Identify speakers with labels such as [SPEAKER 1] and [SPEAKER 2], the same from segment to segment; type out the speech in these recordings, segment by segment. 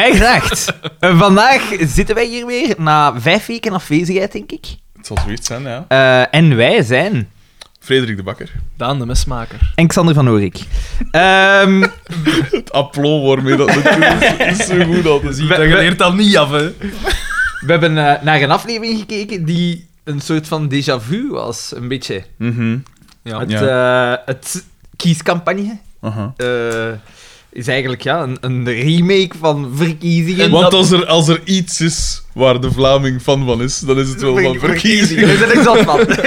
[SPEAKER 1] gezegd. En vandaag zitten wij hier weer, na vijf weken afwezigheid, denk ik.
[SPEAKER 2] Het zal zoiets zijn, ja.
[SPEAKER 1] Eh, en wij zijn...
[SPEAKER 2] Frederik de Bakker.
[SPEAKER 3] Daan, de mesmaker.
[SPEAKER 1] En Xander van Oorik. Ehm,
[SPEAKER 2] Het applaus waarmee dat natuurlijk is zo goed al te zien.
[SPEAKER 1] Dat je leert
[SPEAKER 3] dat niet af, hè.
[SPEAKER 1] we hebben eh, naar een aflevering gekeken die een soort van déjà vu was, een beetje.
[SPEAKER 2] Mhm.
[SPEAKER 3] Ja.
[SPEAKER 1] Het, eh, het kiescampagne
[SPEAKER 2] Aha.
[SPEAKER 1] eh, is eigenlijk ja, een, een remake van verkiezingen.
[SPEAKER 2] Want als er, als er iets is waar de Vlaming fan van is, dan is het wel van verkiezingen.
[SPEAKER 1] Daar ben ik zat van.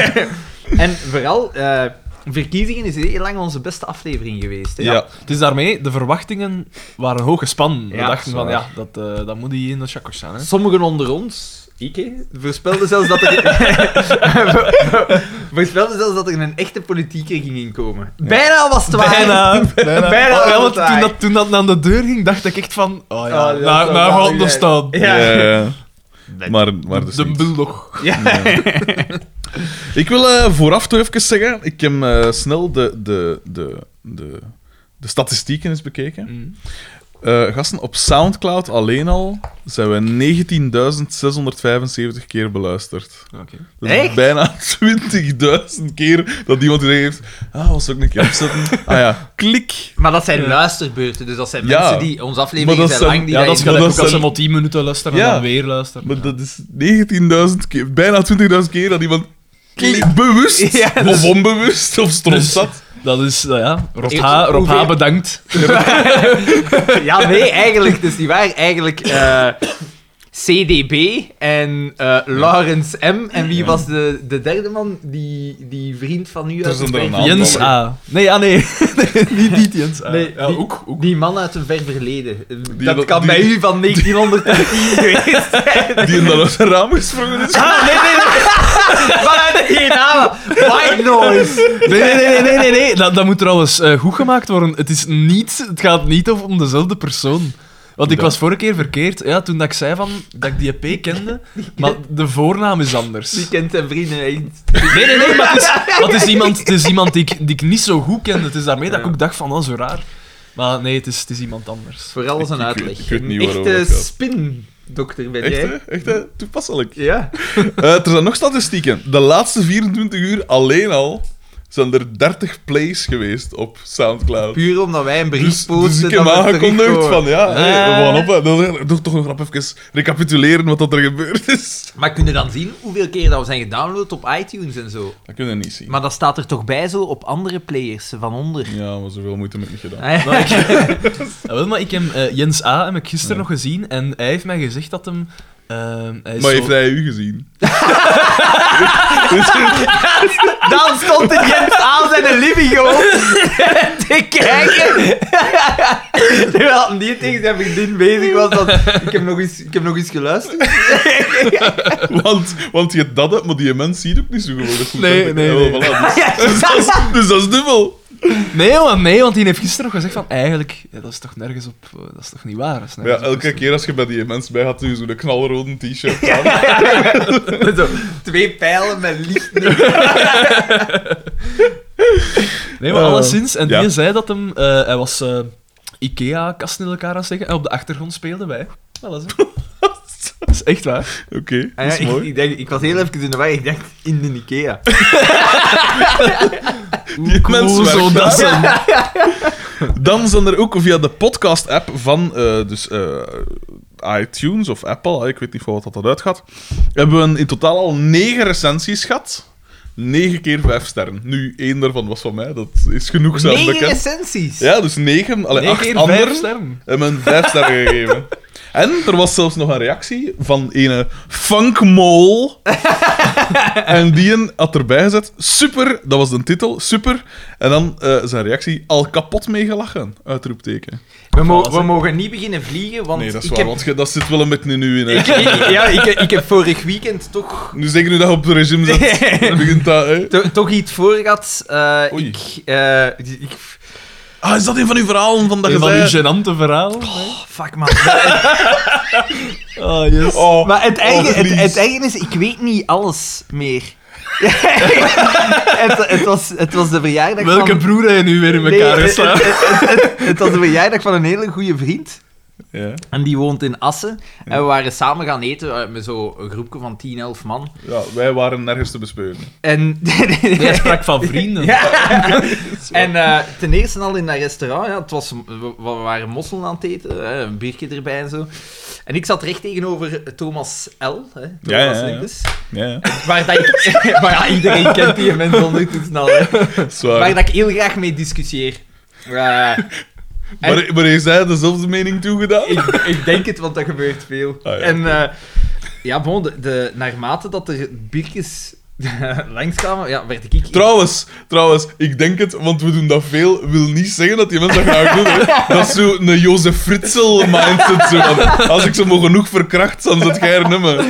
[SPEAKER 1] en vooral, eh, verkiezingen is heel lang onze beste aflevering geweest. Hè?
[SPEAKER 2] Ja,
[SPEAKER 3] Het is daarmee, de verwachtingen waren hoog gespannen.
[SPEAKER 1] Ja,
[SPEAKER 3] We dachten van,
[SPEAKER 1] zwaar.
[SPEAKER 3] ja, dat, eh, dat moet hier in de chakos zijn, hè.
[SPEAKER 1] Sommigen onder ons, ik, hè, voorspelden zelfs dat er... voorspelden zelfs dat er een echte politieker ging inkomen. Bijna was het waar.
[SPEAKER 3] Bijna.
[SPEAKER 1] Bijna
[SPEAKER 3] Oh, ja,
[SPEAKER 1] was
[SPEAKER 3] want
[SPEAKER 1] het waar.
[SPEAKER 3] toen dat, toen dat aan de deur ging, dacht ik echt van... Oh
[SPEAKER 1] Oh,
[SPEAKER 3] ja,
[SPEAKER 1] dat
[SPEAKER 3] nou,
[SPEAKER 1] zou
[SPEAKER 3] nou
[SPEAKER 1] wel
[SPEAKER 3] gaat het nog
[SPEAKER 1] zijn.
[SPEAKER 3] staan.
[SPEAKER 1] Ja.
[SPEAKER 2] Ja, ja, ja. Maar, maar dus
[SPEAKER 3] de
[SPEAKER 2] niet.
[SPEAKER 3] bulldog.
[SPEAKER 1] Ja.
[SPEAKER 2] Ik wil eh, vooraf toch even zeggen, ik heb eh, snel de, de, de, de, de statistieken eens bekeken.
[SPEAKER 3] Mm.
[SPEAKER 2] Eh, gasten, op Soundcloud alleen al zijn we 19.675 keer beluisterd.
[SPEAKER 3] Oké.
[SPEAKER 2] Dat is
[SPEAKER 1] Echt?
[SPEAKER 2] bijna 20.000 keer dat iemand die heeft. Ah, was ook een keer opzetten. Ah ja, klik.
[SPEAKER 1] Maar dat zijn
[SPEAKER 3] Ja.
[SPEAKER 1] luisterbeurten, dus dat zijn
[SPEAKER 2] Ja.
[SPEAKER 1] mensen die... Onze
[SPEAKER 2] Maar
[SPEAKER 1] afleveringen
[SPEAKER 2] dat
[SPEAKER 1] zijn
[SPEAKER 2] zijn-
[SPEAKER 1] lang, die
[SPEAKER 3] Ja,
[SPEAKER 1] wij
[SPEAKER 3] dat is
[SPEAKER 1] in-
[SPEAKER 2] maar
[SPEAKER 3] gelijk
[SPEAKER 2] dat
[SPEAKER 3] ook als ze
[SPEAKER 2] zijn-
[SPEAKER 3] maar 10 minuten luisteren en
[SPEAKER 2] Ja.
[SPEAKER 3] dan weer luisteren.
[SPEAKER 2] Maar
[SPEAKER 3] Ja.
[SPEAKER 2] dat is 19.000 keer, bijna 20.000 keer dat iemand klik, bewust
[SPEAKER 1] Ja, dat
[SPEAKER 2] of onbewust of
[SPEAKER 3] Dus-
[SPEAKER 2] strontzat.
[SPEAKER 3] Dat is, nou ja, Rob
[SPEAKER 1] Eeuw,
[SPEAKER 3] H, Rob
[SPEAKER 1] hoeveel-
[SPEAKER 3] H bedankt.
[SPEAKER 1] Ja, nee, eigenlijk, dus die waren eigenlijk eh, CDB en eh Lawrence M. En wie was de, de derde man? Die, die vriend van u
[SPEAKER 2] Er
[SPEAKER 1] uit
[SPEAKER 2] zijn
[SPEAKER 1] de
[SPEAKER 2] er een
[SPEAKER 1] ver-
[SPEAKER 2] aantal.
[SPEAKER 3] Jens A. Nee, ah nee. nee niet, niet Jens
[SPEAKER 2] Eh,
[SPEAKER 3] A.
[SPEAKER 1] Nee,
[SPEAKER 3] ja,
[SPEAKER 1] die-
[SPEAKER 3] ook, ook.
[SPEAKER 1] Die man uit een ver verleden. dat,
[SPEAKER 2] dat-
[SPEAKER 1] kan
[SPEAKER 2] die-
[SPEAKER 1] bij u van 1910 geweest zijn.
[SPEAKER 2] Die in dat uit een raam gesprongen is.
[SPEAKER 1] Ah, nee, nee, nee. Vanuit de DNA. White noise.
[SPEAKER 3] Nee, nee, nee, nee, nee, nee, nee. Dat, dat moet trouwens eh, goed gemaakt worden. Het, is niet, het gaat niet om dezelfde persoon. Want ik
[SPEAKER 2] Dan?
[SPEAKER 3] was vorige keer verkeerd, ja, toen dat ik zei van, dat ik die EP kende, maar de voornaam is anders.
[SPEAKER 1] Die kent zijn vrienden eens.
[SPEAKER 3] Nee, nee, nee, maar het is, maar het is iemand, het is iemand die, ik, die ik niet zo goed kende. Het is daarmee dat ik ook dacht van, oh, zo raar. Maar nee, het is, het is iemand anders.
[SPEAKER 1] Vooral als een
[SPEAKER 2] Ik- ik weet-
[SPEAKER 1] uitleg.
[SPEAKER 2] ik weet niet
[SPEAKER 1] Een
[SPEAKER 2] waarover
[SPEAKER 1] echte
[SPEAKER 2] het gaat.
[SPEAKER 1] spin-dokter ben
[SPEAKER 2] Echt,
[SPEAKER 1] jij.
[SPEAKER 2] hè? Echt, hè? Toepasselijk.
[SPEAKER 1] Ja.
[SPEAKER 2] Eh, er zijn nog statistieken. De laatste 24 uur alleen al zijn er 30 plays geweest op Soundcloud.
[SPEAKER 1] Puur omdat wij een
[SPEAKER 2] Dus,
[SPEAKER 1] brief posten.
[SPEAKER 2] dus ik heb
[SPEAKER 1] dat we
[SPEAKER 2] aangekondigd
[SPEAKER 1] terugkomen.
[SPEAKER 2] van ja, hey, we
[SPEAKER 3] Eh.
[SPEAKER 2] gaan op. hè. Dan- dan- Doe toch nog grap even recapituleren wat dat er gebeurd is.
[SPEAKER 1] Maar kun je dan zien hoeveel keer dat we zijn gedownload op iTunes en zo?
[SPEAKER 2] Dat kunnen we niet zien.
[SPEAKER 1] Maar dat staat er toch bij zo op andere players van onder.
[SPEAKER 2] Ja, maar zoveel moeite heb ik niet gedaan.
[SPEAKER 1] Ah, ja.
[SPEAKER 3] Maar ik, ja, wel, maar ik heb eh, Jens A. heb ik gisteren nog gezien en hij heeft mij gezegd dat hem... ehm, hij is
[SPEAKER 2] Maar
[SPEAKER 3] zo-
[SPEAKER 2] heeft hij u gezien?
[SPEAKER 1] Dan stond het Jens aan zijn living gewoon te kijken. Terwijl die tegen zijn vriendin bezig was. Dat, ik, heb nog eens, ik heb nog eens geluisterd.
[SPEAKER 2] want, want je dat hebt, maar die mens ziet ook niet zo geweldig goed.
[SPEAKER 3] Nee,
[SPEAKER 2] hè.
[SPEAKER 3] nee,
[SPEAKER 2] Ja,
[SPEAKER 3] nee.
[SPEAKER 2] wel, voilà, dus, dus dat is, dus dat is dubbel.
[SPEAKER 3] Nee, want, nee, want die heeft gisteren nog gezegd van eigenlijk, ja, dat is toch nergens op, eh, dat is toch niet waar? Dat is
[SPEAKER 2] Maar ja,
[SPEAKER 3] nergens op
[SPEAKER 2] elke
[SPEAKER 3] gestoeld.
[SPEAKER 2] keer als je bij die mens bij gaat, doe je zo'n knalrode t-shirt aan.
[SPEAKER 1] Zo, twee pijlen met licht.
[SPEAKER 3] Nee, maar
[SPEAKER 2] Eh,
[SPEAKER 3] alleszins, en
[SPEAKER 2] ja.
[SPEAKER 3] die zei dat hem, eh, hij was eh, Ikea-kasten in elkaar aan het zeggen en op de achtergrond speelden wij. Wel eens, hè. Dat is echt waar.
[SPEAKER 2] Oké,
[SPEAKER 1] Ah,
[SPEAKER 2] dat
[SPEAKER 1] ja,
[SPEAKER 2] is
[SPEAKER 1] ik,
[SPEAKER 2] mooi.
[SPEAKER 1] ik, denk, ik was heel even in de weg. Ik dacht, in de Ikea.
[SPEAKER 2] Die
[SPEAKER 3] Cool,
[SPEAKER 2] mensen
[SPEAKER 3] zo
[SPEAKER 2] werken
[SPEAKER 3] dat ze-
[SPEAKER 2] Dan zijn er ook via de podcast-app van eh, dus, eh, iTunes of Apple, eh, ik weet niet voor wat dat eruit gaat, hebben we in totaal al negen recensies gehad. Negen keer vijf sterren. Nu, één daarvan was van mij, dat is genoeg zelf
[SPEAKER 1] Negen
[SPEAKER 2] bekend.
[SPEAKER 1] recensies.
[SPEAKER 2] Ja, dus negen, allee,
[SPEAKER 3] Negen
[SPEAKER 2] acht
[SPEAKER 3] keer
[SPEAKER 2] anderen
[SPEAKER 3] vijf sterren.
[SPEAKER 2] hebben een vijf sterren gegeven. En er was zelfs nog een reactie van ene Funkmol. en die een had erbij gezet. Super, dat was de titel, super. En dan eh, zijn reactie, al kapot meegelachen, uitroepteken.
[SPEAKER 1] We, mo- we mogen niet beginnen vliegen, want
[SPEAKER 2] nee, dat
[SPEAKER 1] ik
[SPEAKER 2] is waar,
[SPEAKER 1] heb
[SPEAKER 2] want ge- dat zit wel een beetje in u in. hè.
[SPEAKER 1] Ik, ik- ja, ik, ik heb vorig weekend toch,
[SPEAKER 2] Nu zeker nu dat je op het regime zit, dan begint dat... hè.
[SPEAKER 1] to- toch iets voor gehad. Eh,
[SPEAKER 2] Oei.
[SPEAKER 1] ik, eh, ik-
[SPEAKER 2] Ah, is dat een van uw verhalen van dat je
[SPEAKER 3] Een van uw
[SPEAKER 2] zei-
[SPEAKER 3] gênante verhalen.
[SPEAKER 1] oh, fuck man. Maar-
[SPEAKER 3] Oh, yes.
[SPEAKER 2] Oh,
[SPEAKER 1] maar het eigen,
[SPEAKER 2] oh,
[SPEAKER 1] het,
[SPEAKER 2] Dries.
[SPEAKER 1] het eigen is, ik weet niet alles meer. het, het, was, het was de verjaardag
[SPEAKER 3] Welke
[SPEAKER 1] van...
[SPEAKER 3] broer heb je nu weer in elkaar
[SPEAKER 1] Nee, het,
[SPEAKER 3] geslagen?
[SPEAKER 1] het- het- het- het was de verjaardag van een hele goede vriend.
[SPEAKER 2] Ja.
[SPEAKER 1] En die woont in Assen. En we waren samen gaan eten eh, met zo'n groepje van 10, 11 man.
[SPEAKER 2] ja, wij waren nergens te bespeuren.
[SPEAKER 1] En,
[SPEAKER 3] Jij sprak van vrienden.
[SPEAKER 1] Ja. En eh, ten eerste al in dat restaurant, ja, het was, we, we waren mosselen aan het eten, hè, een biertje erbij en zo. En ik zat recht tegenover Thomas L. Hè, Thomas
[SPEAKER 2] Ja, ja, ja.
[SPEAKER 1] Linkes.
[SPEAKER 2] Ja, ja.
[SPEAKER 1] Waar dat ik, maar ja, iedereen kent die mens al nu te snel. Hè,
[SPEAKER 2] Zwaar.
[SPEAKER 1] waar dat ik heel graag mee discussieer. Eh,
[SPEAKER 2] Maar, maar heeft zij dezelfde mening toegedaan?
[SPEAKER 1] ik, ik denk het, want dat gebeurt veel.
[SPEAKER 2] ja.
[SPEAKER 1] En eh, ja, bon, de, de, naarmate dat er biertjes langskwamen, ja, werd ik...
[SPEAKER 2] Trouwens, trouwens, ik denk het, want we doen dat veel, wil niet zeggen dat die mensen dat graag doen. Hè. Dat is zo'n Jozef Fritsel mindset. Zo, van, als ik ze maar genoeg verkracht, dan zit jij er nummer.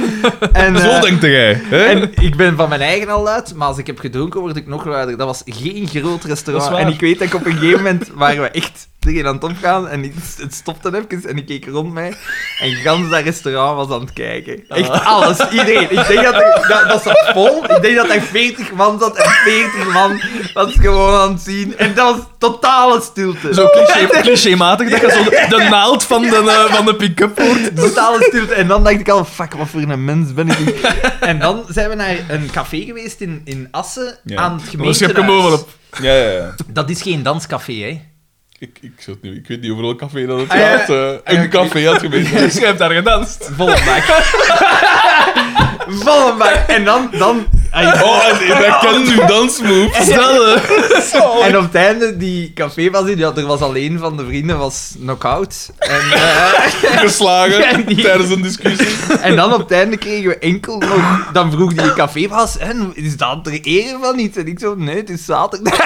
[SPEAKER 1] en,
[SPEAKER 2] Zo
[SPEAKER 1] eh,
[SPEAKER 2] denkt jij. Hè?
[SPEAKER 1] En ik ben van mijn eigen al luid, maar als ik heb gedronken, word ik nog luider. Dat was geen groot
[SPEAKER 3] Dat
[SPEAKER 1] restaurant.
[SPEAKER 3] is waar.
[SPEAKER 1] En ik weet dat ik op een gegeven moment waren we echt tegen aan het opgaan en ik- het stopte even en ik keek rond mij en gans dat restaurant was aan het kijken. Echt
[SPEAKER 3] Ah.
[SPEAKER 1] alles, iedereen. Ik denk dat, er- dat, dat zat vol. Ik denk dat er 40 man zat en 40 man was gewoon aan het zien. En dat was totale stilte.
[SPEAKER 3] Zo cliché, clichématig dat je zo de, de naald van de, eh, van de pick-up hoort.
[SPEAKER 1] Totale stilte. En dan dacht ik al, fuck, wat voor een mens ben ik. En dan zijn we naar een café geweest in, in Assen
[SPEAKER 2] Ja.
[SPEAKER 1] aan het
[SPEAKER 3] Maar schep hem
[SPEAKER 1] gemeentehuis.
[SPEAKER 3] overal op.
[SPEAKER 2] Ja, ja, ja.
[SPEAKER 1] Dat is geen danscafé, hè.
[SPEAKER 2] Ik, ik, zou het niet- ik weet niet hoeveel café dat het
[SPEAKER 1] Ah, ja.
[SPEAKER 2] gaat. eh, een café had geweest.
[SPEAKER 3] Je hebt daar gedanst.
[SPEAKER 1] Volle bak. Volle bak. En dan... dan
[SPEAKER 2] Oh, en ik ken nu dansmoves.
[SPEAKER 3] Stel, eh,
[SPEAKER 1] en op het einde, die café was die, ja, er was alleen van de vrienden, was knock-out. En, eh,
[SPEAKER 2] geslagen
[SPEAKER 1] Ja, die-
[SPEAKER 2] tijdens een discussie.
[SPEAKER 1] en dan op het einde kregen we enkel nog... Dan vroeg die cafébaas, en is dat er ere van iets? En ik zo, nee, het is zaterdag.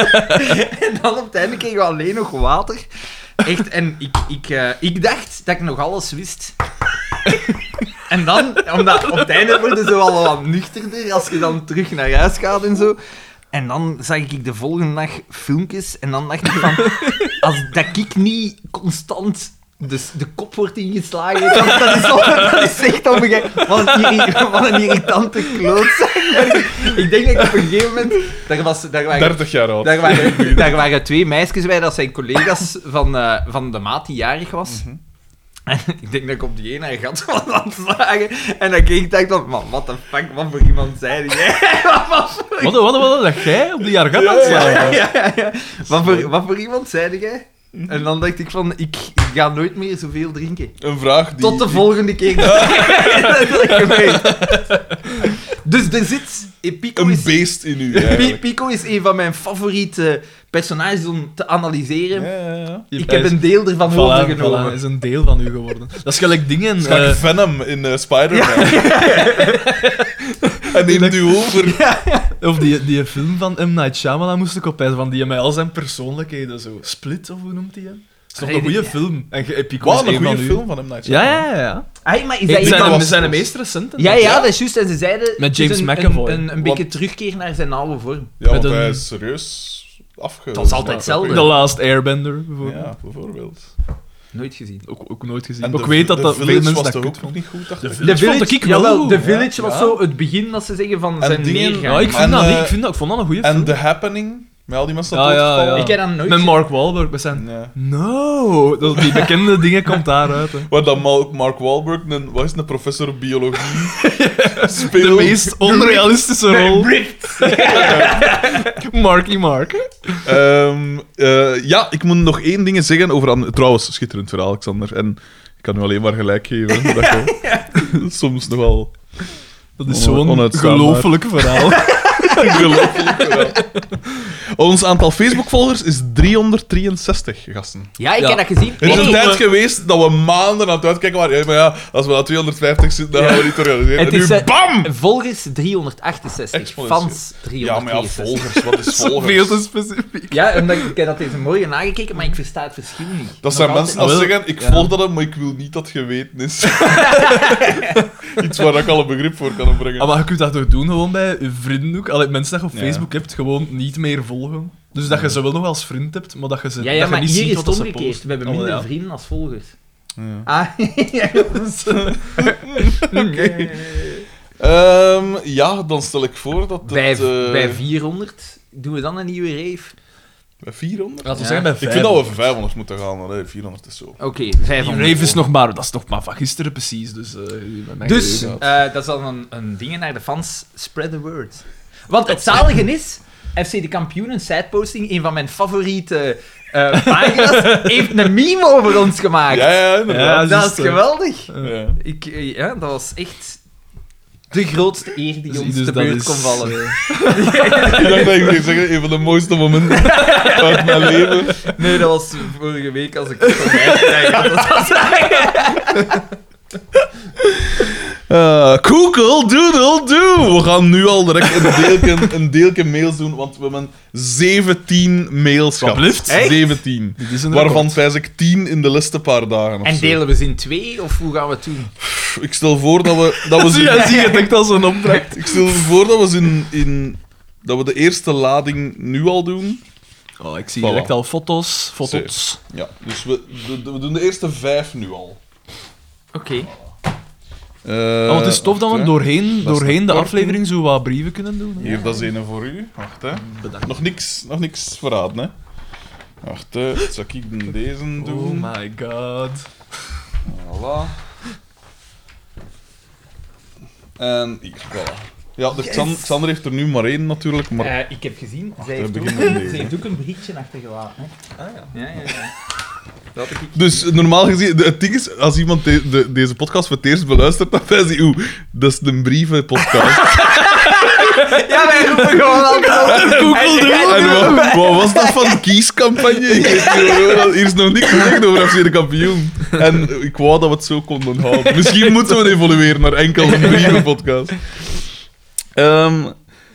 [SPEAKER 1] en dan op het einde kregen we alleen nog water. Echt, en ik, ik, eh, ik dacht dat ik nog alles wist. En dan, omdat op het einde worden ze wel wat nuchterder als je dan terug naar huis gaat en zo. En dan zag ik de volgende dag filmpjes en dan dacht ik van, als dat ik niet constant de, de kop wordt ingeslagen, dat, dat, is, on- dat is echt onbegrijpelijk. Wat, een irri- wat een irritante klootzak. Ik denk dat ik op een gegeven moment, daar was, daar waren
[SPEAKER 2] 30 jaar oud.
[SPEAKER 1] daar waren, daar waren twee meisjes bij, dat zijn collega's van, eh, van de maat die jarig was.
[SPEAKER 2] Mhm.
[SPEAKER 1] En ik denk dat ik op die ene een gat was aan het slagen. En dan keek ik dacht van, man, what the fuck, wat voor iemand zei die?
[SPEAKER 3] Wat, wat, wat, dat jij op die jargon aan het slaan
[SPEAKER 1] Ja,
[SPEAKER 3] was?
[SPEAKER 1] ja, ja. Wat, voor, wat voor iemand zei jij? En dan dacht ik van, ik ga nooit meer zoveel drinken.
[SPEAKER 2] Een vraag Mhm. die...
[SPEAKER 1] Tot de volgende keer. Dat is geweest. dus er zit... Pico
[SPEAKER 2] Een
[SPEAKER 1] is-
[SPEAKER 2] beest in u,
[SPEAKER 1] Pi-
[SPEAKER 2] eigenlijk.
[SPEAKER 1] Pico is een van mijn favoriete personages om te analyseren.
[SPEAKER 2] Ja, ja, ja.
[SPEAKER 1] Ik heb een deel ervan
[SPEAKER 3] Voilà, voilà,
[SPEAKER 1] overgenomen.
[SPEAKER 3] is een deel van u geworden. Dat is gelijk
[SPEAKER 2] Het
[SPEAKER 3] dingen...
[SPEAKER 2] is gelijk
[SPEAKER 3] eh,
[SPEAKER 2] Venom in eh, Spider-Man. en neemt u over.
[SPEAKER 3] eh, Of die, die film van M. Night Shyamalan moest ik opijzen, van die met al zijn persoonlijkheden zo. Split, of hoe noemt die hem? Dat is toch een
[SPEAKER 1] Nee, die-
[SPEAKER 3] goede film. En ge- Pico
[SPEAKER 2] Wat
[SPEAKER 3] is
[SPEAKER 2] een
[SPEAKER 3] van
[SPEAKER 2] goede
[SPEAKER 3] u.
[SPEAKER 2] film van hem, Night
[SPEAKER 3] Ja,
[SPEAKER 2] Shyamalan.
[SPEAKER 3] ja, ja. ja.
[SPEAKER 1] Ai, maar is
[SPEAKER 3] Hey,
[SPEAKER 1] dat
[SPEAKER 3] zijn,
[SPEAKER 1] iemand-
[SPEAKER 3] de, zijn de meest recente.
[SPEAKER 1] Ja, ja, dat is juist. En ze zeiden...
[SPEAKER 3] Met
[SPEAKER 1] het is
[SPEAKER 3] James
[SPEAKER 1] een-
[SPEAKER 3] McAvoy.
[SPEAKER 1] Een, een, een
[SPEAKER 2] Wat-
[SPEAKER 1] beetje terugkeer naar zijn oude vorm.
[SPEAKER 2] Ja, want
[SPEAKER 3] Met
[SPEAKER 2] hij
[SPEAKER 3] een-
[SPEAKER 2] is serieus afge...
[SPEAKER 1] Dat is altijd hetzelfde.
[SPEAKER 3] The Last Airbender, bijvoorbeeld.
[SPEAKER 2] Ja, bijvoorbeeld.
[SPEAKER 1] Nooit gezien.
[SPEAKER 3] Ook, ook nooit gezien.
[SPEAKER 2] En
[SPEAKER 3] Maar
[SPEAKER 2] de-
[SPEAKER 3] ik weet dat
[SPEAKER 2] de
[SPEAKER 3] dat veel
[SPEAKER 2] Village
[SPEAKER 3] mensen
[SPEAKER 2] was
[SPEAKER 3] dat
[SPEAKER 2] toch
[SPEAKER 3] kut
[SPEAKER 2] ook nog
[SPEAKER 3] vonden.
[SPEAKER 2] niet goed, dacht
[SPEAKER 3] De
[SPEAKER 2] ik.
[SPEAKER 3] Village vond ik wel
[SPEAKER 1] jawel,
[SPEAKER 3] goed,
[SPEAKER 1] The
[SPEAKER 3] ja.
[SPEAKER 1] Village was
[SPEAKER 2] Ja.
[SPEAKER 1] zo het begin, dat ze zeggen, van
[SPEAKER 2] En
[SPEAKER 1] zijn
[SPEAKER 2] dingen-
[SPEAKER 1] neergang.
[SPEAKER 3] Ja, ik vind,
[SPEAKER 2] En,
[SPEAKER 3] dat, niet.
[SPEAKER 2] eh,
[SPEAKER 3] ik, vind dat, ik vond dat een goede
[SPEAKER 2] En
[SPEAKER 3] film.
[SPEAKER 2] The Happening, met al die mensen
[SPEAKER 3] Ja,
[SPEAKER 2] dat
[SPEAKER 3] ja,
[SPEAKER 2] doodvallen.
[SPEAKER 3] ja.
[SPEAKER 1] Ik heb dat nooit
[SPEAKER 3] Met
[SPEAKER 1] gezien.
[SPEAKER 3] Mark Wahlberg, we zijn...
[SPEAKER 2] Ja.
[SPEAKER 3] No! Dat, die bekende dingen komt daaruit. Hè.
[SPEAKER 2] Waar dan Mal- Mark Wahlberg, een, wat is het, een professor biologie,
[SPEAKER 3] De
[SPEAKER 2] speelt.
[SPEAKER 3] meest onrealistische rol. Marky Mark.
[SPEAKER 2] Ehm, eh, ja, ik moet nog één ding zeggen over... Anne- Trouwens, schitterend verhaal, Alexander. En ik kan u alleen maar gelijk geven. Dat je soms nogal
[SPEAKER 3] Dat is
[SPEAKER 2] On-
[SPEAKER 3] zo'n
[SPEAKER 2] onuitstaanbaar.
[SPEAKER 3] gelooflijk verhaal.
[SPEAKER 2] ongelooflijk verhaal. Ons aantal Facebook-volgers is 363, gasten.
[SPEAKER 1] Ja, ik
[SPEAKER 3] Ja.
[SPEAKER 1] heb dat gezien.
[SPEAKER 2] Er is een
[SPEAKER 1] Nee,
[SPEAKER 2] tijd geweest dat we maanden aan het uitkijken waren. Ja, maar ja, als we naar 250 zitten, dan gaan we niet organiseren.
[SPEAKER 1] Het
[SPEAKER 2] En nu,
[SPEAKER 1] is, eh,
[SPEAKER 2] bam!
[SPEAKER 1] Volgers 368,
[SPEAKER 2] Exponentieel.
[SPEAKER 1] fans
[SPEAKER 2] Ja,
[SPEAKER 1] 368.
[SPEAKER 2] maar ja, volgers. Wat is
[SPEAKER 3] Veel te
[SPEAKER 2] volgers?
[SPEAKER 3] specifiek.
[SPEAKER 1] Ja, omdat ik ik heb dat deze morgen nagekeken, maar ik versta het verschil niet.
[SPEAKER 2] Dat
[SPEAKER 1] Nog
[SPEAKER 2] zijn
[SPEAKER 1] altijd.
[SPEAKER 2] mensen die
[SPEAKER 3] Ah, wel.
[SPEAKER 2] zeggen, ik
[SPEAKER 3] Ja.
[SPEAKER 2] volg dat, maar ik wil niet dat geweten is. Iets waar ik al een begrip voor kan opbrengen.
[SPEAKER 3] Ah, maar je kunt dat toch doen gewoon bij je vrienden ook? Allee, mensen dat je op
[SPEAKER 2] Ja.
[SPEAKER 3] Facebook hebt, gewoon niet meer volgen. Dus dat je ze wel nog als vriend hebt, maar dat je ze
[SPEAKER 1] Ja, ja
[SPEAKER 3] dat
[SPEAKER 1] maar
[SPEAKER 3] je niet
[SPEAKER 1] hier
[SPEAKER 3] ziet
[SPEAKER 1] is
[SPEAKER 3] wat
[SPEAKER 1] het
[SPEAKER 3] dat ze
[SPEAKER 1] omgekeerd.
[SPEAKER 3] posten.
[SPEAKER 1] We hebben
[SPEAKER 3] Oh,
[SPEAKER 1] minder
[SPEAKER 3] ja.
[SPEAKER 1] vrienden als volgers.
[SPEAKER 2] Ja.
[SPEAKER 1] Ah, ja,
[SPEAKER 2] Oké. Ehm, ja, dan stel ik voor dat het...
[SPEAKER 1] bij,
[SPEAKER 2] eh,
[SPEAKER 1] bij 400 doen we dan een nieuwe rave.
[SPEAKER 2] Bij 400?
[SPEAKER 3] Laten we
[SPEAKER 1] Ja.
[SPEAKER 3] zeggen bij
[SPEAKER 2] Ik vind dat we
[SPEAKER 3] wel.
[SPEAKER 2] voor 500 moeten gaan, maar nee, 400 is zo.
[SPEAKER 1] Oké, 500
[SPEAKER 3] Rave is
[SPEAKER 1] euro.
[SPEAKER 3] dus nog maar, dat is toch maar van gisteren precies. Dus, eh, mijn
[SPEAKER 1] Dus,
[SPEAKER 3] geheugen.
[SPEAKER 1] eh, dat is al een, een ding naar de fans. Spread the word. Want het zalige is, FC De Kampioenen sideposting, een van mijn favoriete eh pagina's, heeft een meme over ons gemaakt.
[SPEAKER 2] Ja, ja, inderdaad.
[SPEAKER 3] Ja,
[SPEAKER 1] dat
[SPEAKER 3] juist,
[SPEAKER 1] is
[SPEAKER 3] eh.
[SPEAKER 1] geweldig.
[SPEAKER 2] Ja.
[SPEAKER 1] Ik, eh, ja, dat was echt de grootste eer die
[SPEAKER 3] Dus-
[SPEAKER 1] ons
[SPEAKER 3] dus
[SPEAKER 1] te
[SPEAKER 3] dat
[SPEAKER 1] beurt
[SPEAKER 3] is-
[SPEAKER 1] kon vallen.
[SPEAKER 2] Ik dacht dat ik ging zeggen, een van de mooiste momenten uit mijn leven.
[SPEAKER 1] Nee, dat was vorige week als ik het van mij krijg. Dat was-
[SPEAKER 2] Eh Google Doodle Doo. We gaan nu al direct een deelke, een deelke mails doen, want we hebben 17 mails gehad.
[SPEAKER 3] Alsjeblieft.
[SPEAKER 1] Echt?
[SPEAKER 2] 17.
[SPEAKER 3] Dit is een
[SPEAKER 2] Waarvan vijs ik 10 in de laatste paar dagen. Of
[SPEAKER 1] En
[SPEAKER 2] zo.
[SPEAKER 1] delen we ze in twee, of hoe gaan we het doen?
[SPEAKER 2] Pff, Ik stel voor dat we, dat we
[SPEAKER 3] record. Ja,
[SPEAKER 2] ze-
[SPEAKER 3] zie je het echt als een opdracht.
[SPEAKER 2] Ik stel voor dat we ze in, in dat we de eerste lading nu al doen.
[SPEAKER 3] Oh, ik zie
[SPEAKER 2] Voilà.
[SPEAKER 3] direct al foto's. Foto's.
[SPEAKER 2] Ja, dus we, de- de- we doen de eerste vijf nu al.
[SPEAKER 1] Oké.
[SPEAKER 2] Eh,
[SPEAKER 3] oh, het is tof dat we
[SPEAKER 2] wacht, hè.
[SPEAKER 3] doorheen,
[SPEAKER 2] Dat is
[SPEAKER 3] doorheen de
[SPEAKER 2] kort.
[SPEAKER 3] aflevering zo wat brieven kunnen doen. hè.
[SPEAKER 2] Hier, dat is een voor u. Wacht, hè.
[SPEAKER 3] Bedankt.
[SPEAKER 2] Nog niks, nog niks verraden, hè. Wacht, hè. Zal ik dan deze
[SPEAKER 3] Oh
[SPEAKER 2] doen?
[SPEAKER 3] my god.
[SPEAKER 2] voilà. En hier, voilà. Ja, de Xan- Xander heeft er nu maar één natuurlijk, maar...
[SPEAKER 1] Eh, ik heb gezien, zij
[SPEAKER 2] we
[SPEAKER 1] heeft, ook,
[SPEAKER 2] beginnen met deze.
[SPEAKER 1] zij heeft ook een berichtje achtergelaten. Hè.
[SPEAKER 3] Ah, ja.
[SPEAKER 1] Ja, ja, ja. Dat had ik...
[SPEAKER 2] Dus eh, normaal gezien, de- het ding is, als iemand de- de- deze podcast voor het eerst beluistert, dan wijst hij, oeh, dat is een brievenpodcast.
[SPEAKER 1] Ja, wij roepen gewoon altijd op.
[SPEAKER 3] Google
[SPEAKER 2] en wat, wat was dat van kiescampagne? Ik weet niet hoor, Hier is nog niks gezegd over FC de kampioen. En ik wou dat we het zo konden houden. Misschien moeten we het evolueren naar enkel een brievenpodcast. Ehm,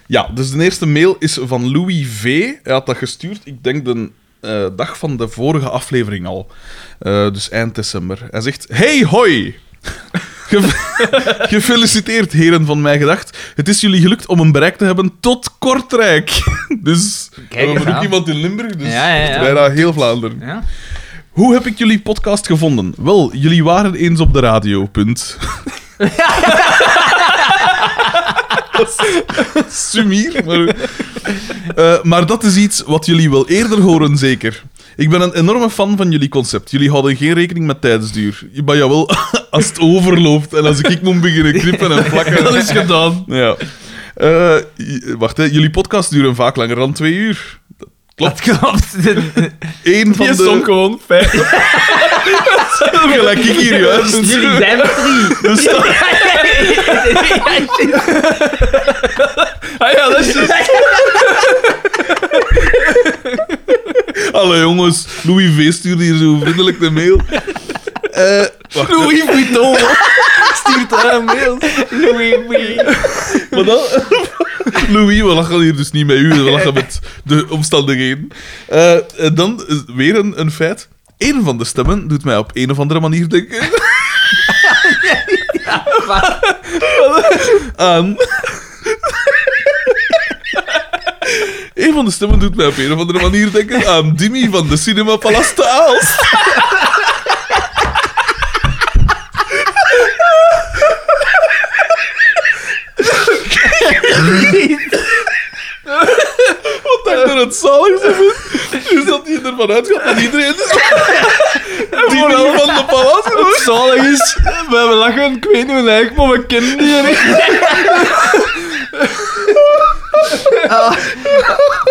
[SPEAKER 2] ja, dus de eerste mail is van Louis V. Hij had dat gestuurd, ik denk de eh, dag van de vorige aflevering al. Eh, dus eind december. Hij zegt: Hey, hoi! Ge- Gefeliciteerd, heren van mijn gedacht. Het is jullie gelukt om een bereik te hebben tot Kortrijk. Dus we
[SPEAKER 1] eens
[SPEAKER 2] hebben ook
[SPEAKER 1] aan.
[SPEAKER 2] iemand in Limburg, dus
[SPEAKER 1] Ja, ja, ja.
[SPEAKER 2] bijna heel Vlaanderen.
[SPEAKER 1] Ja?
[SPEAKER 2] Hoe heb ik jullie podcast gevonden? Wel, jullie waren eens op de radio, punt. Dat is Sumier, maar... Eh, maar dat is iets wat jullie wel eerder horen, zeker. Ik ben een enorme fan van jullie concept. Jullie houden geen rekening met tijdsduur. Maar jawel, als het overloopt en als ik, ik moet beginnen knippen en plakken...
[SPEAKER 3] Dat is gedaan.
[SPEAKER 2] Ja. Eh, j- wacht, hè. jullie podcast duren vaak langer dan twee uur.
[SPEAKER 1] Dat klopt.
[SPEAKER 2] Eén van
[SPEAKER 3] Die
[SPEAKER 2] de...
[SPEAKER 3] stond gewoon vijf.
[SPEAKER 2] Gelijk ik hier juist.
[SPEAKER 1] Jullie zijn er drie.
[SPEAKER 2] Dus dat-
[SPEAKER 3] Ah ja, dat is juist.
[SPEAKER 2] Alle jongens, Louis V stuurde hier zo vriendelijk de mail. Eh,
[SPEAKER 3] Louis Vuitton. Stuurt daar een mail.
[SPEAKER 1] Louis, Louis.
[SPEAKER 2] maar dan... Louis, we lachen hier dus niet met u, we lachen met de omstandigheden. Eh, eh, dan is weer een, een feit. Eén van de stemmen doet mij op een of andere manier denken
[SPEAKER 1] Maar-
[SPEAKER 2] aan... Eén van de stemmen doet mij op een of andere manier denken aan Dimmy van de Cinema Palace te Aalst. Wat ik er het zaligste vind, is dat hij ervan uitgaat dat iedereen... Die wel van de palas
[SPEAKER 3] Het zalig is, we hebben lachen, ik weet niet hoe het maar we kennen die niet.
[SPEAKER 1] Ah.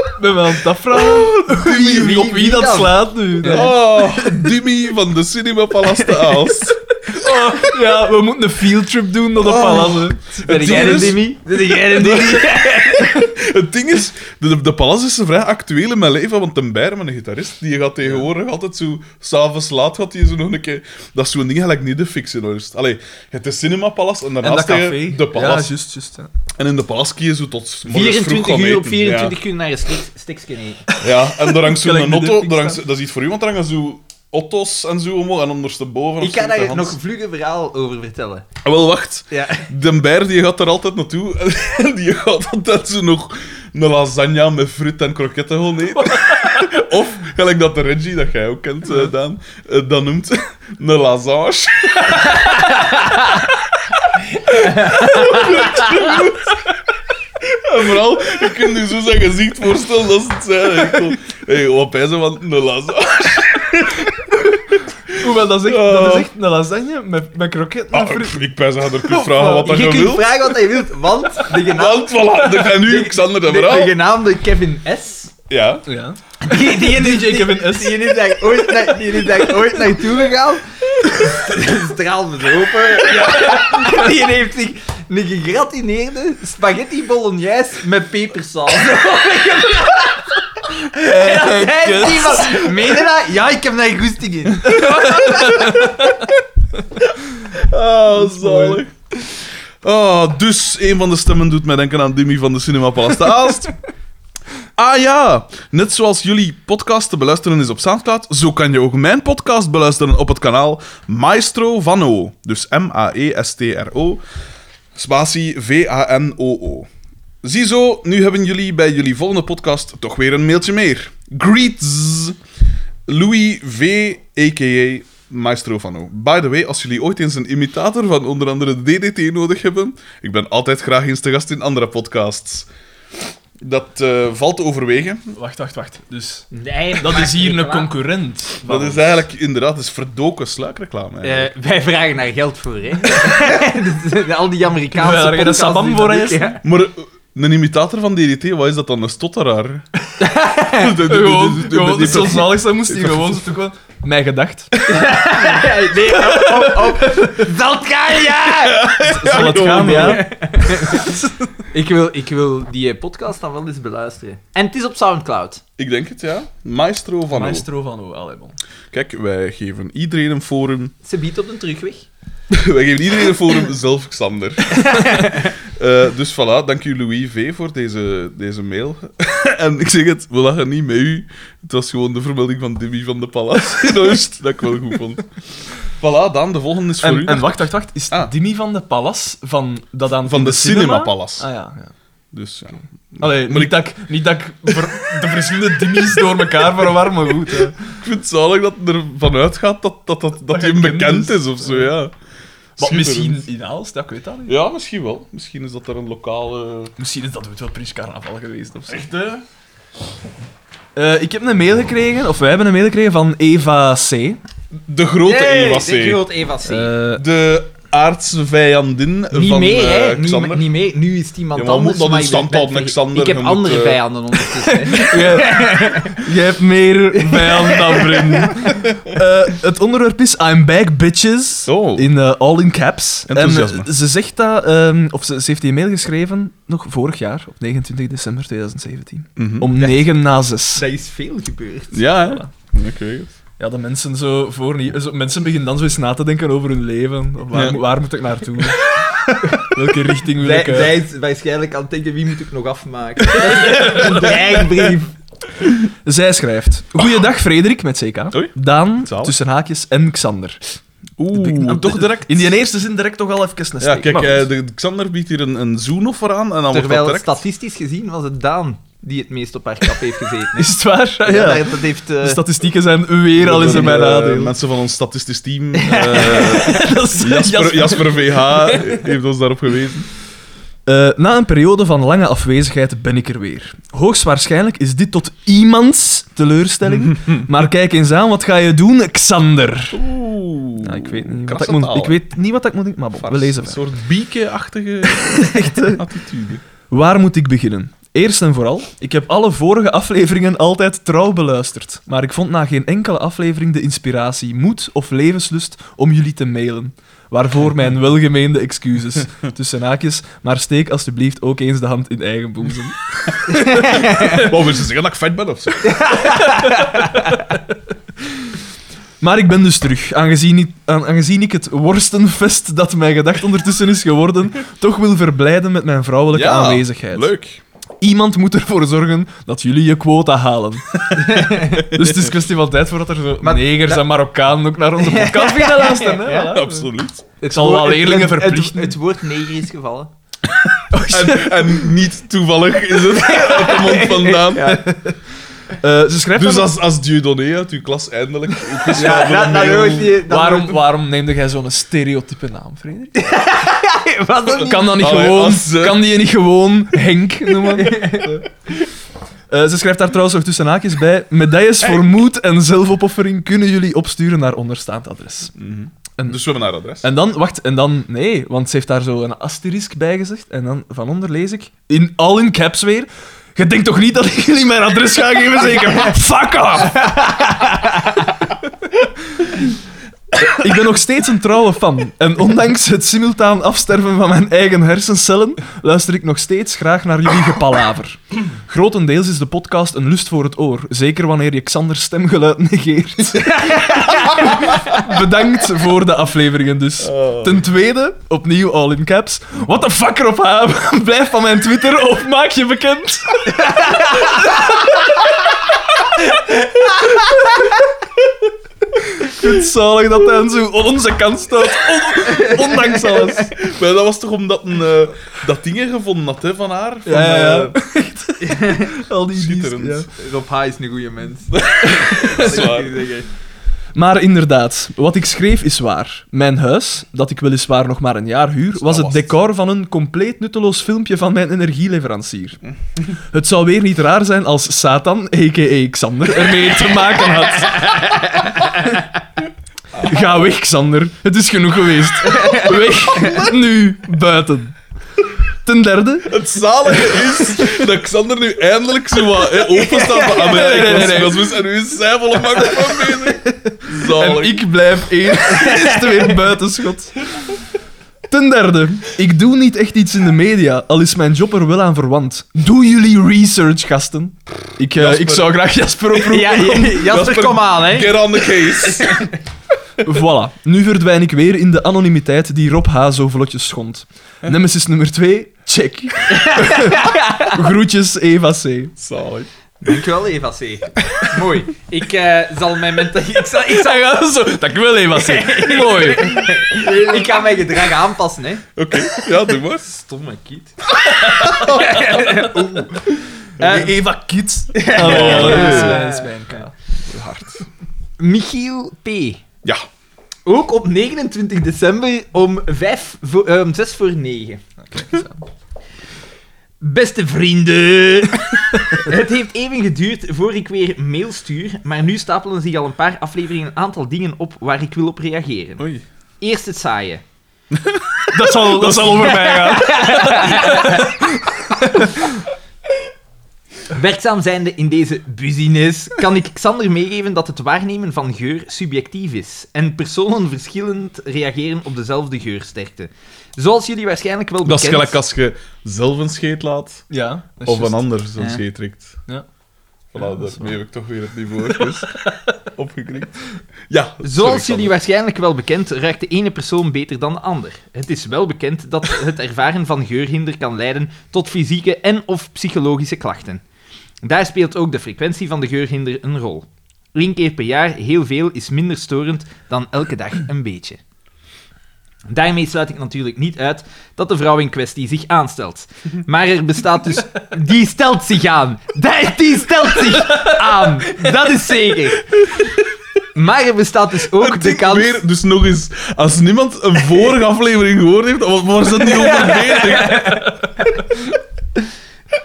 [SPEAKER 3] Ik ben wel aan het afvragen
[SPEAKER 2] Dimmy.
[SPEAKER 1] wie-
[SPEAKER 3] op wie dat
[SPEAKER 1] dan?
[SPEAKER 3] slaat nu.
[SPEAKER 2] Oh, Dimmy van de Cinema Palace de Aalst.
[SPEAKER 3] Oh, ja, we moeten een fieldtrip doen naar de
[SPEAKER 2] Oh.
[SPEAKER 3] palazen.
[SPEAKER 1] Ben jij
[SPEAKER 2] ding
[SPEAKER 3] dus
[SPEAKER 1] een
[SPEAKER 2] is-
[SPEAKER 1] Dimmy? Ben jij een Dimmy?
[SPEAKER 2] Het ding is, de, de Palace is vrij actueel in mijn leven, want ten Bijrem, een gitarist, die gaat tegenwoordig altijd zo... S'avonds laat gaat hij zo nog een keer... Dat is zo'n ding gelijk niet de fixen, hoor. Dus, Allee, het is Cinema Palace en
[SPEAKER 3] En dat
[SPEAKER 2] daarnaast
[SPEAKER 3] café.
[SPEAKER 2] tegen de Palace.
[SPEAKER 3] Ja, juist, juist. hè.
[SPEAKER 2] en in de Palace kun je zo tot... morgens vroeg
[SPEAKER 1] 24
[SPEAKER 2] gaan
[SPEAKER 1] uur op
[SPEAKER 2] eten. Ja.
[SPEAKER 1] 24 uur naar een stik- stiksken eten.
[SPEAKER 2] Ja, en daar hangt
[SPEAKER 3] Gelijk
[SPEAKER 2] zo'n
[SPEAKER 3] met de
[SPEAKER 2] auto,
[SPEAKER 3] fik
[SPEAKER 2] daar hangt, zo- dat is iets voor u, want daar hangen zo auto's en zo omhoog en ondersteboven.
[SPEAKER 1] Ik
[SPEAKER 2] of zo
[SPEAKER 1] kan
[SPEAKER 2] met de
[SPEAKER 1] daar
[SPEAKER 2] hand.
[SPEAKER 1] nog een vlug een verhaal over vertellen.
[SPEAKER 2] Ah, Wel, wacht.
[SPEAKER 1] Ja.
[SPEAKER 2] De Beer die gaat er altijd naartoe en die gaat altijd zo nog een lasagne met fruit en kroketten gewoon eten. of, gelijk dat de Reggie, dat jij ook kent, eh, Daan, eh, dat noemt een lasagne. En vooral, je kunt je zo zijn gezicht voorstellen dat ze het zijn. Echt zo, hey, wat pijzen van een lasagne.
[SPEAKER 3] Hoewel, dat is echt, dat is echt een lasagne met, met kroketten. en
[SPEAKER 2] Ah,
[SPEAKER 3] fruit.
[SPEAKER 2] ik pijs dat je er kunt vragen wat dat
[SPEAKER 1] eh, je
[SPEAKER 2] je
[SPEAKER 1] kunt
[SPEAKER 2] wilt.
[SPEAKER 1] vragen wat je wilt, want de genaamde,
[SPEAKER 2] Want, voilà, dan ga nu Xander de
[SPEAKER 1] de, de
[SPEAKER 2] verhaal.
[SPEAKER 1] genaamde Kevin S.
[SPEAKER 2] Ja.
[SPEAKER 3] Ja.
[SPEAKER 1] Die, die, die,
[SPEAKER 3] DJ Kevin S.
[SPEAKER 1] Die, die is daar ooit, naar, die is daar ooit naartoe gegaan. Straal open. Die heeft zich een gegratineerde spaghetti bolognese met pepersaus.
[SPEAKER 3] Eh,
[SPEAKER 1] En
[SPEAKER 3] kut.
[SPEAKER 1] die van, meen je dat? Ja, ik heb daar goesting in. Oh,
[SPEAKER 2] Ah,
[SPEAKER 3] mooi.
[SPEAKER 2] zalig. Ah, dus een van de stemmen doet mij denken aan Dimmy van de Cinema Palace te Aalst. Ah ja, net zoals jullie podcast te beluisteren is op Soundcloud, zo kan je ook mijn podcast beluisteren op het kanaal Maestro Vano. Dus M-A-E-S-T-R-O, spatie V-A-N-O-O. Ziezo, nu hebben jullie bij jullie volgende podcast toch weer een mailtje meer. Greets! Louis V, a.k.a. Maestro Vano. By the way, als jullie ooit eens een imitator van onder andere DDT nodig hebben, ik ben altijd graag eens te gast in andere podcasts. Dat eh, valt te overwegen.
[SPEAKER 3] Wacht, wacht, wacht. Dus
[SPEAKER 1] Nee,
[SPEAKER 3] dat is hier een concurrent.
[SPEAKER 2] Dat is eigenlijk inderdaad dat is verdoken sluikreclame. eigenlijk.
[SPEAKER 1] Eh, wij vragen daar geld voor, hè. Dus, al die Amerikaanse
[SPEAKER 3] Ja, daar heb je dat
[SPEAKER 1] podcasts
[SPEAKER 3] sabam
[SPEAKER 1] die
[SPEAKER 3] voor,
[SPEAKER 1] dat
[SPEAKER 3] hè,
[SPEAKER 1] ook,
[SPEAKER 3] Jesse?
[SPEAKER 1] ja.
[SPEAKER 2] Maar eh, een imitator van DDT, wat is dat dan? Een stotteraar?
[SPEAKER 3] Gewoon, gewoon, het is zo zalig zijn moest hij gewoon zo toekomen. Mijn gedacht.
[SPEAKER 1] Nee, op, op, op. Zal het gaan, ja!
[SPEAKER 3] Zal het gaan, ja?
[SPEAKER 1] Ik wil, ik wil die podcast dan wel eens beluisteren. En het is op Soundcloud.
[SPEAKER 2] Ik denk het, ja. Maestro Vano.
[SPEAKER 3] Maestro van O. Allee, bon.
[SPEAKER 2] Kijk, wij geven iedereen een forum.
[SPEAKER 1] Ze biedt op een terugweg.
[SPEAKER 2] Wij geven iedereen een forum, zelf Xander. Eh, dus voilà, dank u Louis V voor deze, deze mail. en ik zeg het, we lachen niet met u. Het was gewoon de vermelding van Demi van de Palas in Oost, dat ik wel goed vond. Voilà, Daan, de volgende is voor u.
[SPEAKER 3] En, en wacht, wacht, wacht. Is
[SPEAKER 2] Ah.
[SPEAKER 3] Dimi van de Palas van dat aan
[SPEAKER 2] Van
[SPEAKER 3] in
[SPEAKER 2] de Cinema
[SPEAKER 3] cinema?
[SPEAKER 2] Palace.
[SPEAKER 3] Ah ja. ja.
[SPEAKER 2] Dus ja.
[SPEAKER 3] Allee,
[SPEAKER 2] Maar
[SPEAKER 3] niet,
[SPEAKER 2] ik-
[SPEAKER 3] dat ik, niet dat ik ver- de verschillende Dimmy's door elkaar verwar, maar goed. hè.
[SPEAKER 2] Ik vind het zalig dat er vanuit gaat dat, dat, dat, dat
[SPEAKER 3] Dat
[SPEAKER 2] hij
[SPEAKER 3] je
[SPEAKER 2] hem
[SPEAKER 3] bekend
[SPEAKER 2] bekend
[SPEAKER 3] is.
[SPEAKER 2] is of zo, ja.
[SPEAKER 3] Wat
[SPEAKER 2] Schitterend.
[SPEAKER 3] misschien in Aalst, ja, ik weet dat niet.
[SPEAKER 2] Ja, misschien wel. Misschien is dat er een lokale...
[SPEAKER 3] Misschien is dat ooit wel Prins Carnaval geweest of zo. Echt, hè? Eh, ik heb een mail gekregen, of wij hebben een mail gekregen van Eva C.
[SPEAKER 2] De grote E Eva C.
[SPEAKER 1] De grote Eva C.
[SPEAKER 3] Eh,
[SPEAKER 2] De aardse vijandin
[SPEAKER 1] niet
[SPEAKER 2] van
[SPEAKER 1] mee,
[SPEAKER 2] eh,
[SPEAKER 1] hè.
[SPEAKER 2] Xander.
[SPEAKER 1] Niet, niet mee. Nu is het iemand
[SPEAKER 2] Ja, maar we
[SPEAKER 1] anders.
[SPEAKER 2] moeten dat in
[SPEAKER 1] ik ben-
[SPEAKER 2] stand houden,
[SPEAKER 1] ben-
[SPEAKER 2] Xander.
[SPEAKER 1] Ik heb
[SPEAKER 2] Je moet,
[SPEAKER 1] andere
[SPEAKER 2] eh,
[SPEAKER 1] vijanden ondertussen. hè.
[SPEAKER 3] jij- Jij hebt meer vijanden dan vrienden. Eh, het onderwerp is I'm back, bitches.
[SPEAKER 2] Oh.
[SPEAKER 3] In eh, all in caps.
[SPEAKER 2] Enthousiasme.
[SPEAKER 3] En eh, ze zegt dat, ehm, of ze, ze heeft die mail geschreven, nog vorig jaar, op 29 december 2017.
[SPEAKER 2] Mhm.
[SPEAKER 3] Om 9 na 6.
[SPEAKER 1] Dat is veel gebeurd.
[SPEAKER 2] Ja, hè? Ik weet het.
[SPEAKER 3] Ja, de mensen zo voor niet. Zo, mensen beginnen dan zo eens na te denken over hun leven. Of Waar,
[SPEAKER 2] Ja.
[SPEAKER 3] moet- waar moet ik naartoe? Welke richting wil
[SPEAKER 1] Zij,
[SPEAKER 3] ik? eh,
[SPEAKER 1] zij is waarschijnlijk aan het denken, wie moet ik nog afmaken? een dreigbrief.
[SPEAKER 3] Zij schrijft: Goeiedag Frederik met CK.
[SPEAKER 2] Oei.
[SPEAKER 3] Daan,
[SPEAKER 2] Zalig.
[SPEAKER 3] tussen haakjes en Xander.
[SPEAKER 2] Oeh,
[SPEAKER 3] Ik- nou
[SPEAKER 2] toch direct.
[SPEAKER 3] In die eerste zin direct toch al even een steek.
[SPEAKER 2] Ja, kijk,
[SPEAKER 3] Maar
[SPEAKER 2] eh,
[SPEAKER 3] goed.
[SPEAKER 2] de, Xander biedt hier een, een zoenoffer aan en dan wordt dat
[SPEAKER 1] Terwijl
[SPEAKER 2] direct.
[SPEAKER 1] statistisch gezien was het Daan die het meest op haar kap heeft gezeten. hè.
[SPEAKER 3] Is het waar? Ja.
[SPEAKER 1] Ja, dat- dat heeft... eh,
[SPEAKER 3] De statistieken zijn weer al eens
[SPEAKER 2] Eh,
[SPEAKER 3] in mijn nadeel.
[SPEAKER 2] mensen van ons statistisch team, eh,
[SPEAKER 3] Dat is-
[SPEAKER 2] Jasper,
[SPEAKER 3] Jasper.
[SPEAKER 2] Jasper VH, heeft ons daarop gewezen.
[SPEAKER 3] Eh, na een periode van lange afwezigheid ben ik er weer. Hoogstwaarschijnlijk is dit tot iemands teleurstelling. maar kijk eens aan, wat ga je doen, Xander?
[SPEAKER 2] Oeh.
[SPEAKER 3] Ja, ik weet niet wat ik,
[SPEAKER 2] Krasse
[SPEAKER 3] moet,
[SPEAKER 2] taal,
[SPEAKER 3] ik
[SPEAKER 2] hè.
[SPEAKER 3] weet niet wat ik moet doen, maar bon,
[SPEAKER 2] Vars.
[SPEAKER 3] we lezen
[SPEAKER 2] Een
[SPEAKER 3] verder.
[SPEAKER 2] soort bieke-achtige attitude.
[SPEAKER 3] Waar moet ik beginnen? Eerst en vooral, ik heb alle vorige afleveringen altijd trouw beluisterd. Maar ik vond na geen enkele aflevering de inspiratie, moed of levenslust om jullie te mailen. Waarvoor mijn welgemeende excuses. Tussen haakjes, maar steek alstublieft ook eens de hand in eigen boezem.
[SPEAKER 2] Wat wil ze zeggen dat ik vet ben of zo?
[SPEAKER 3] Maar ik ben dus terug, aangezien ik, aan- aangezien ik het worstenfest dat mijn gedacht ondertussen is geworden, toch wil verblijden met mijn vrouwelijke
[SPEAKER 2] Ja,
[SPEAKER 3] aanwezigheid.
[SPEAKER 2] Leuk.
[SPEAKER 3] Iemand moet ervoor zorgen dat jullie je quota halen. dus het is kwestie van tijd voordat er zo
[SPEAKER 1] Maar
[SPEAKER 3] negers en Marokkanen ook naar onze podcast beginnen luisteren. Hè?
[SPEAKER 1] Ja.
[SPEAKER 3] Voilà.
[SPEAKER 2] Absoluut.
[SPEAKER 3] Het zal wel
[SPEAKER 1] het-
[SPEAKER 3] leerlingen
[SPEAKER 1] het- het-
[SPEAKER 3] verplichten.
[SPEAKER 1] Het woord neger is gevallen.
[SPEAKER 2] En, en niet toevallig is het uit de mond vandaan.
[SPEAKER 3] Eh, ze schrijft
[SPEAKER 2] Dus
[SPEAKER 3] dan-
[SPEAKER 2] als, als Dieudonné uit uw klas eindelijk ook eens
[SPEAKER 1] Ja,
[SPEAKER 2] gaat
[SPEAKER 1] dat, dat
[SPEAKER 2] vermelden-
[SPEAKER 1] hoort je. dat
[SPEAKER 3] waarom,
[SPEAKER 1] hoort-
[SPEAKER 3] waarom neemde jij zo'n stereotype naam, Frederik?
[SPEAKER 1] Was dat niet?
[SPEAKER 3] Kan dat niet
[SPEAKER 2] Allee,
[SPEAKER 3] gewoon?
[SPEAKER 2] als ze-
[SPEAKER 3] Kan die je niet gewoon Henk noemen? Eh, ze schrijft daar trouwens nog tussen haakjes bij. Medailles voor moed en zelfopoffering kunnen jullie opsturen naar onderstaand adres.
[SPEAKER 2] Mhm.
[SPEAKER 3] En-
[SPEAKER 2] Dus we hebben haar adres.
[SPEAKER 3] En dan, wacht, en dan, nee, want ze heeft daar zo een asterisk bij gezegd. En dan van onder lees ik, in al in caps weer. Je denkt toch niet dat ik jullie mijn adres ga geven, zeker? Fuck off! ik ben nog steeds een trouwe fan. En ondanks het simultaan afsterven van mijn eigen hersencellen, luister ik nog steeds graag naar jullie gepalaver. Grotendeels is de podcast een lust voor het oor, zeker wanneer je Xanders stemgeluid negeert. Bedankt voor de afleveringen dus. Ten tweede, opnieuw all in caps. What the fuck erop hebben? Blijf van mijn Twitter of maak je bekend. Ik vind het zalig dat hij zo aan onze kant staat, on- ondanks alles.
[SPEAKER 2] Maar dat was toch omdat een, eh, dat ding gevonden had hè, van haar? Van,
[SPEAKER 3] Ja, ja, ja.
[SPEAKER 2] eh,
[SPEAKER 3] Al die
[SPEAKER 2] Schitterend.
[SPEAKER 3] diensten, ja.
[SPEAKER 1] Rob H. is een goede mens.
[SPEAKER 2] dat is waar.
[SPEAKER 3] Maar inderdaad, wat ik schreef is waar. Mijn huis, dat ik weliswaar nog maar een jaar huur, was het
[SPEAKER 2] was het.
[SPEAKER 3] decor van een compleet nutteloos filmpje van mijn energieleverancier. Het zou weer niet raar zijn als Satan, a.k.a. Xander, ermee te maken had. Ga weg, Xander. Het is genoeg geweest. Weg. Nu. Buiten. Ten derde,
[SPEAKER 2] Het zalige is dat Xander nu eindelijk zo wat hè, openstaat "Ah, voor Amerika.
[SPEAKER 3] Nee, nee, nee, nee.
[SPEAKER 2] was mis en nu is zij volle mak van bezig.
[SPEAKER 3] En
[SPEAKER 2] Zalig.
[SPEAKER 3] ik blijf eerst weer buitenschot. Ten derde, ik doe niet echt iets in de media, al is mijn job er wel aan verwant. Doen jullie research, gasten? Ik, eh,
[SPEAKER 2] Jasper.
[SPEAKER 3] ik zou graag Jasper oproepen.
[SPEAKER 1] Ja, Jasper,
[SPEAKER 2] Jasper,
[SPEAKER 1] kom aan, hè.
[SPEAKER 2] Get on the case.
[SPEAKER 3] Voilà, nu verdwijn ik weer in de anonimiteit die Rob H. zo vlotjes schond. Nemesis nummer 2, check. Groetjes, Eva C.
[SPEAKER 2] Zalig.
[SPEAKER 1] Dankjewel, Eva C. Mooi. Ik eh, zal mijn menta- Ik, zal, ik, zal-
[SPEAKER 3] zo, dat ik wil Eva C. Mooi.
[SPEAKER 1] ik ga mijn gedrag aanpassen, hè.
[SPEAKER 2] Oké, ja, doe maar.
[SPEAKER 1] Stomme kiet.
[SPEAKER 3] Eh, Eva Kiet. Oh, dat is mijn- dat is mijn kaal.
[SPEAKER 2] Hard.
[SPEAKER 1] Michiel P.
[SPEAKER 2] Ja.
[SPEAKER 1] Ook op 29 december om, vijf voor, eh, om 6 voor 9. Beste vrienden! Het heeft even geduurd voor ik weer mail stuur, maar nu stapelen zich al een paar afleveringen een aantal dingen op waar ik wil op reageren.
[SPEAKER 2] Oei.
[SPEAKER 1] Eerst het saaie.
[SPEAKER 3] Dat zal, dat zal over mij gaan.
[SPEAKER 1] Werkzaam zijnde in deze business kan ik Xander meegeven dat het waarnemen van geur subjectief is en personen verschillend reageren op dezelfde geursterkte. Zoals jullie waarschijnlijk wel
[SPEAKER 2] Dat is
[SPEAKER 1] bekend...
[SPEAKER 2] gelijk als je zelf een scheet laat
[SPEAKER 3] Ja, dat is
[SPEAKER 2] of een
[SPEAKER 3] juist.
[SPEAKER 2] ander zo'n
[SPEAKER 1] Ja.
[SPEAKER 2] scheet trekt.
[SPEAKER 3] Ja.
[SPEAKER 2] Voilà,
[SPEAKER 3] Ja, dat is
[SPEAKER 2] daarmee heb ik toch weer het niveau dus opgekrikt. Ja.
[SPEAKER 1] Zoals
[SPEAKER 2] sorry,
[SPEAKER 1] jullie waarschijnlijk wel bekend, ruikt de ene persoon beter dan de ander. Het is wel bekend dat het ervaren van geurhinder kan leiden tot fysieke en of psychologische klachten. Daar speelt ook de frequentie van de geurhinder een rol. Eén keer per jaar heel veel is minder storend dan elke dag een beetje. Daarmee sluit ik natuurlijk niet uit dat de vrouw in kwestie zich aanstelt. Maar er bestaat dus... Die stelt zich aan. Die- Die stelt zich aan. Dat is zeker. Maar er bestaat dus ook de
[SPEAKER 2] Ik
[SPEAKER 1] kans...
[SPEAKER 2] Weer, dus nog eens, als niemand een vorige aflevering gehoord heeft, dan was dat niet over bezig?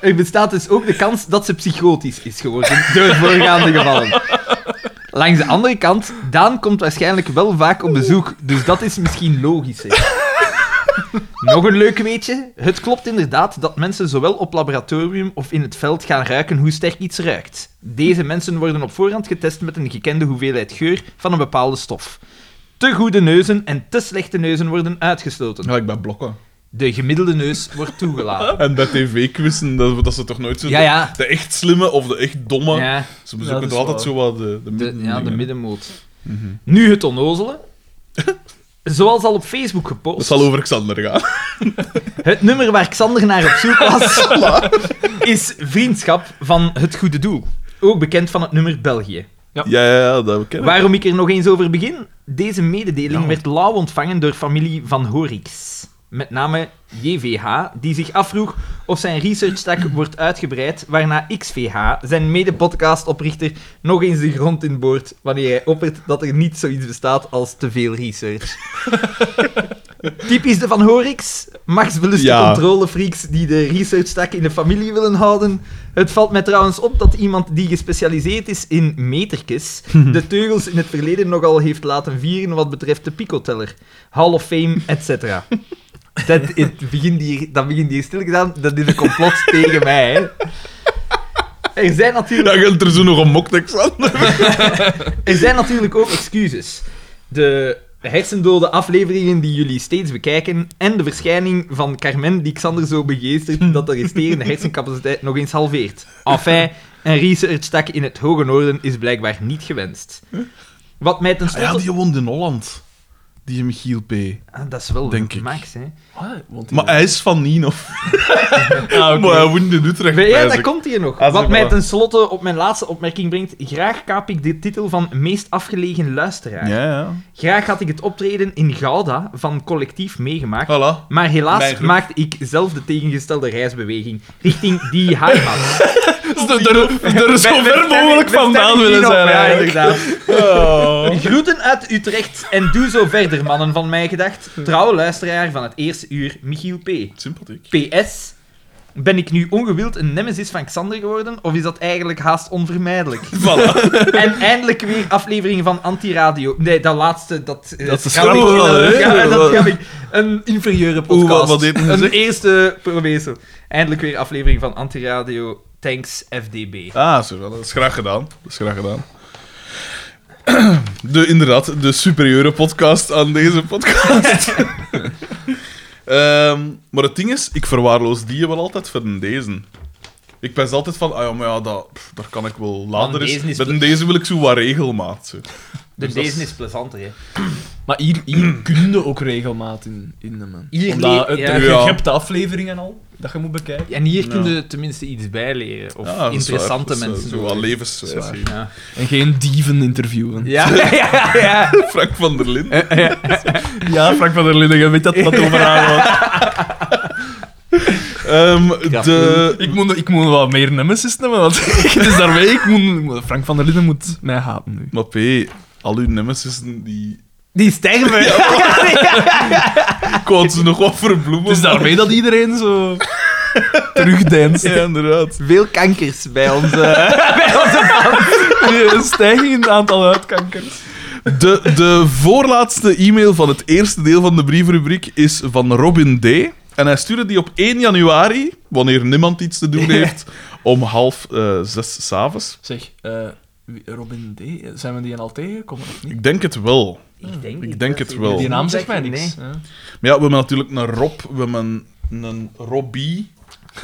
[SPEAKER 1] Er bestaat dus ook de kans dat ze psychotisch is geworden door het voorgaande gevallen. Langs de andere kant, Daan komt waarschijnlijk wel vaak op bezoek, dus dat is misschien logischer. Nog een leuk weetje. Het klopt inderdaad dat mensen zowel op laboratorium of in het veld gaan ruiken hoe sterk iets ruikt. Deze mensen worden op voorhand getest met een gekende hoeveelheid geur van een bepaalde stof. Te goede neuzen en te slechte neuzen worden uitgesloten.
[SPEAKER 2] Gelijk bij blokken.
[SPEAKER 1] De gemiddelde neus wordt toegelaten.
[SPEAKER 2] En bij tv-quizzen, dat, dat ze toch nooit zo...
[SPEAKER 1] Ja, ja.
[SPEAKER 2] De echt slimme of de echt domme.
[SPEAKER 1] Ja.
[SPEAKER 2] Ze
[SPEAKER 3] Ja,
[SPEAKER 2] bezoeken
[SPEAKER 3] dat
[SPEAKER 2] toch
[SPEAKER 3] is
[SPEAKER 2] altijd zo wat de, de,
[SPEAKER 1] De, ja, de
[SPEAKER 2] dingen.
[SPEAKER 1] middenmoot. Nu het onnozele. Zoals al op Facebook
[SPEAKER 2] Dat
[SPEAKER 1] gepost.
[SPEAKER 2] zal over Xander gaan.
[SPEAKER 1] Het nummer waar Xander naar op zoek was, is Vriendschap van het Goede Doel. Ook bekend van het nummer België.
[SPEAKER 2] Ja, ja, ja dat ken ik.
[SPEAKER 1] Waarom ik er nog eens over begin? Deze mededeling
[SPEAKER 2] Ja.
[SPEAKER 1] werd lauw ontvangen door familie van Horix. Met name JVH, die zich afvroeg of zijn researchtak wordt uitgebreid, waarna XVH, zijn mede-podcastoprichter, nog eens de grond in boort wanneer hij oppert dat er niet zoiets bestaat als te veel research. Typisch de Van Horix, machtsbeluste
[SPEAKER 2] Ja.
[SPEAKER 1] controlefreaks die de researchtak in de familie willen houden. Het valt mij trouwens op dat iemand die gespecialiseerd is in metertjes de teugels in het verleden nogal heeft laten vieren wat betreft de picoteller, Hall of Fame, etc. Dat, het begint hier, dat begint hier stilgedaan, dat is een complot tegen mij. Hè. Er zijn natuurlijk...
[SPEAKER 2] Dan geldt er zo nog een moktekst aan.
[SPEAKER 1] Er zijn natuurlijk ook excuses. De hersendode afleveringen die jullie steeds bekijken en de verschijning van Carmen die Xander zo begeestert dat de resterende hersencapaciteit nog eens halveert. Enfin, een researchtak in het hoge noorden is blijkbaar niet gewenst. Wat mij ten
[SPEAKER 2] Ah ja,
[SPEAKER 1] slotte...
[SPEAKER 2] die woont in Holland. Die Michiel P.
[SPEAKER 1] Ah, dat is wel
[SPEAKER 2] Denk ik.
[SPEAKER 1] Max, hè.
[SPEAKER 3] Wat? Want die-
[SPEAKER 2] Maar hij is van Nino.
[SPEAKER 3] Ah, oké.
[SPEAKER 2] Maar hij woont in Utrecht.
[SPEAKER 1] Maar ja,
[SPEAKER 2] wijs
[SPEAKER 1] daar
[SPEAKER 2] ik.
[SPEAKER 1] komt hier nog.
[SPEAKER 2] Ah,
[SPEAKER 1] Wat
[SPEAKER 2] zeg
[SPEAKER 1] mij
[SPEAKER 2] maar.
[SPEAKER 1] ten slotte op mijn laatste opmerking brengt, graag kaap ik de titel van meest afgelegen luisteraar.
[SPEAKER 2] Ja, ja.
[SPEAKER 1] Graag had ik het optreden in Gouda van Collectief meegemaakt,
[SPEAKER 2] Voilà.
[SPEAKER 1] Maar
[SPEAKER 2] Mijn
[SPEAKER 1] helaas
[SPEAKER 2] groep.
[SPEAKER 1] maakte ik zelf de tegengestelde reisbeweging richting die heimat.
[SPEAKER 3] Er is zo ver mogelijk vandaan willen zijn,
[SPEAKER 1] Ja,
[SPEAKER 3] eigenlijk.
[SPEAKER 1] inderdaad.
[SPEAKER 2] Oh.
[SPEAKER 1] Groeten uit Utrecht en doe zo verder, mannen van mij gedacht. Trouw luisteraar van het eerste uur, Michiel P.
[SPEAKER 2] Sympathiek.
[SPEAKER 1] PS. Ben ik nu ongewild een nemesis van Xander geworden, of is dat eigenlijk haast onvermijdelijk?
[SPEAKER 2] Voilà.
[SPEAKER 1] En eindelijk weer afleveringen van Antiradio. Nee, dat laatste, dat... eh,
[SPEAKER 3] Dat is
[SPEAKER 1] schrap ik,
[SPEAKER 3] schrappen we wel,
[SPEAKER 1] dat-
[SPEAKER 3] hè?
[SPEAKER 1] ja, dat schrap ik. Een inferieure podcast.
[SPEAKER 2] Oeh, wat- wat heeft men
[SPEAKER 1] een
[SPEAKER 2] gezegd?
[SPEAKER 1] eerste probeersel. Eindelijk weer aflevering van Antiradio. Thanks, FDB.
[SPEAKER 2] Ah, zo, wel, dat is graag gedaan. Dat is graag gedaan. De, inderdaad, de superieure podcast aan deze podcast. Ehm, maar het ding is, ik verwaarloos die wel altijd voor een deze. Ik ben altijd van, ah ja, maar ja, dat, pff, daar kan ik wel later eens...
[SPEAKER 1] deze is
[SPEAKER 2] Met
[SPEAKER 1] wel-
[SPEAKER 2] een deze wil ik zo wat regelmaat. zo.
[SPEAKER 1] Dus
[SPEAKER 2] Dus dat
[SPEAKER 1] deze is plezanter, hè.
[SPEAKER 3] Maar hier, hier kun je ook regelmaat in, in nemen.
[SPEAKER 1] Hier
[SPEAKER 3] Omdat
[SPEAKER 1] le-
[SPEAKER 3] het-
[SPEAKER 1] ja.
[SPEAKER 3] je, je
[SPEAKER 2] Ja.
[SPEAKER 3] hebt de afleveringen al, dat je moet bekijken.
[SPEAKER 1] En hier kun
[SPEAKER 2] Ja.
[SPEAKER 1] je tenminste iets bijleren. Of
[SPEAKER 2] Ja, dat is waar.
[SPEAKER 1] interessante
[SPEAKER 2] Dat is, eh,
[SPEAKER 1] mensen.
[SPEAKER 2] Zo
[SPEAKER 1] horen.
[SPEAKER 2] wat levenswijs. hier.
[SPEAKER 1] Ja.
[SPEAKER 3] En geen dieven interviewen.
[SPEAKER 1] Ja, ja, ja.
[SPEAKER 2] Frank van der Linden.
[SPEAKER 3] Ja, Frank van der Linden, je weet dat dat over haar was.
[SPEAKER 2] Ehm, de...
[SPEAKER 3] Ik moet, ik moet wat meer nemesis nemen, want het is daarmee. Ik moet, Frank van der Linden moet mij haten nu.
[SPEAKER 2] Maar P, al uw nemesissen, die...
[SPEAKER 1] Die sterven.
[SPEAKER 2] Ik wou ze nog wat verbloemen.
[SPEAKER 3] Het is daarmee dat iedereen zo terugdeinst.
[SPEAKER 2] Ja, inderdaad.
[SPEAKER 1] Veel kankers bij
[SPEAKER 2] eh.
[SPEAKER 1] onze...
[SPEAKER 3] Een stijging in het aantal huidkankers.
[SPEAKER 2] De, de voorlaatste e-mail van het eerste deel van de brievenrubriek is van Robin D. En hij stuurde die op 1 januari, wanneer niemand iets te doen heeft, om half eh, zes s'avonds.
[SPEAKER 3] Zeg, eh, wie- Robin D, zijn we die al tegengekomen of niet?
[SPEAKER 2] Ik denk het wel.
[SPEAKER 1] Ik denk,
[SPEAKER 2] Ik denk het wel.
[SPEAKER 3] Die naam zegt mij niks.
[SPEAKER 1] Nee.
[SPEAKER 2] Maar
[SPEAKER 3] hè.
[SPEAKER 2] ja, we hebben natuurlijk een Rob, we hebben een, een Robbie.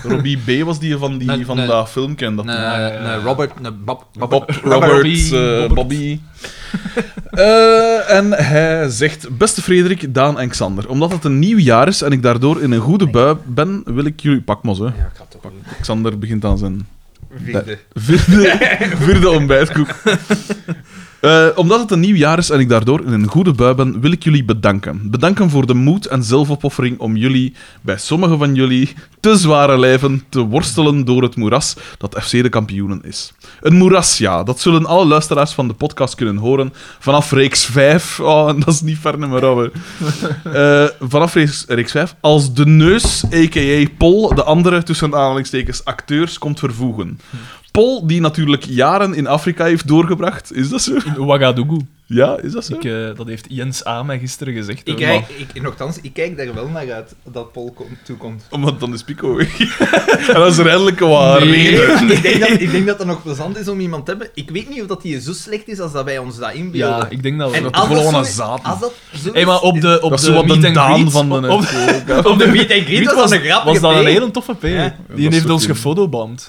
[SPEAKER 2] Robbie B was die van, die,
[SPEAKER 1] Een-
[SPEAKER 2] van
[SPEAKER 1] een-
[SPEAKER 2] dat film, ken dat
[SPEAKER 1] Een een Eh, Robert, een Bob, Bob,
[SPEAKER 2] Bob,
[SPEAKER 3] Robert,
[SPEAKER 2] Roberts, eh,
[SPEAKER 3] Robert.
[SPEAKER 2] Bobby. Eh, en hij zegt: Beste Frederik, Daan en Xander, omdat het een nieuw jaar is en ik daardoor in een goede bui ben, wil ik jullie. Pak mos, hè?
[SPEAKER 1] Ja, ik had toch een
[SPEAKER 2] Xander begint aan zijn
[SPEAKER 1] vierde.
[SPEAKER 2] vierde, vierde ontbijtkoek. Eh, omdat het een nieuw jaar is en ik daardoor in een goede bui ben, wil ik jullie bedanken. Bedanken voor de moed en zelfopoffering om jullie, bij sommigen van jullie, te zware lijven te worstelen door het moeras dat FC de kampioenen is. Een moeras, ja, dat zullen alle luisteraars van de podcast kunnen horen vanaf reeks 5. Oh, en dat is niet ver nummer over. Eh, vanaf reeks, reeks 5. Als de neus, a.k.a. Pol, de andere tussen aanhalingstekens acteurs, komt vervoegen. Pol, die natuurlijk jaren in Afrika heeft doorgebracht. Is dat zo?
[SPEAKER 3] In Ouagadougou.
[SPEAKER 2] Ja, is dat zo?
[SPEAKER 3] Ik, eh, dat heeft Jens A. mij gisteren gezegd.
[SPEAKER 1] Ik
[SPEAKER 3] hè,
[SPEAKER 1] kijk, ik, nochtans, ik kijk daar wel naar uit dat Paul kom, toekomt.
[SPEAKER 2] Omdat dan is Pico weg. en dat is redelijk waar.
[SPEAKER 3] Nee.
[SPEAKER 1] ik, denk dat, ik denk dat het nog plezant is om iemand te hebben. Ik weet niet of dat hij zo slecht is als dat wij ons dat
[SPEAKER 3] maar- Ja,
[SPEAKER 1] inbeelden.
[SPEAKER 3] ik denk dat we...
[SPEAKER 1] en
[SPEAKER 2] dat
[SPEAKER 1] als
[SPEAKER 2] toch gewoon
[SPEAKER 1] zo
[SPEAKER 2] een
[SPEAKER 1] is-
[SPEAKER 2] zaad.
[SPEAKER 1] Als dat zo
[SPEAKER 3] Hey,
[SPEAKER 1] is-
[SPEAKER 3] maar op de, op
[SPEAKER 2] Dat is
[SPEAKER 3] de
[SPEAKER 2] zo wat
[SPEAKER 3] meet
[SPEAKER 2] de
[SPEAKER 3] and
[SPEAKER 2] Daan
[SPEAKER 3] greet-
[SPEAKER 2] van de-
[SPEAKER 3] op,
[SPEAKER 1] is- op de meet and greet was, dat een grappige
[SPEAKER 3] was dat
[SPEAKER 1] P.
[SPEAKER 3] een hele toffe P.
[SPEAKER 1] Ja.
[SPEAKER 3] Die
[SPEAKER 2] Ja, dat
[SPEAKER 3] heeft
[SPEAKER 2] is
[SPEAKER 3] ons
[SPEAKER 2] ook-
[SPEAKER 3] gefotobamd.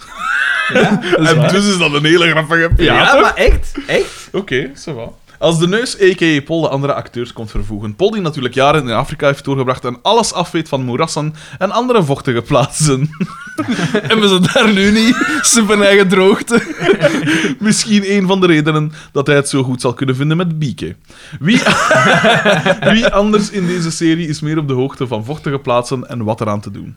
[SPEAKER 2] En dus is dat een hele grappige P.
[SPEAKER 1] Ja,
[SPEAKER 3] Ja, toch?
[SPEAKER 1] maar echt, echt.
[SPEAKER 2] Oké, zo Als de neus, a.k.a. Pol, de andere acteurs komt vervoegen. Pol, die natuurlijk jaren in Afrika heeft doorgebracht en alles afweet van moerassen en andere vochtige plaatsen.
[SPEAKER 3] Hebben ze daar nu niet? Super eigen droogte.
[SPEAKER 2] Misschien een van de redenen dat hij het zo goed zal kunnen vinden met Bieke. Wie, wie anders in deze serie is meer op de hoogte van vochtige plaatsen en wat eraan te doen?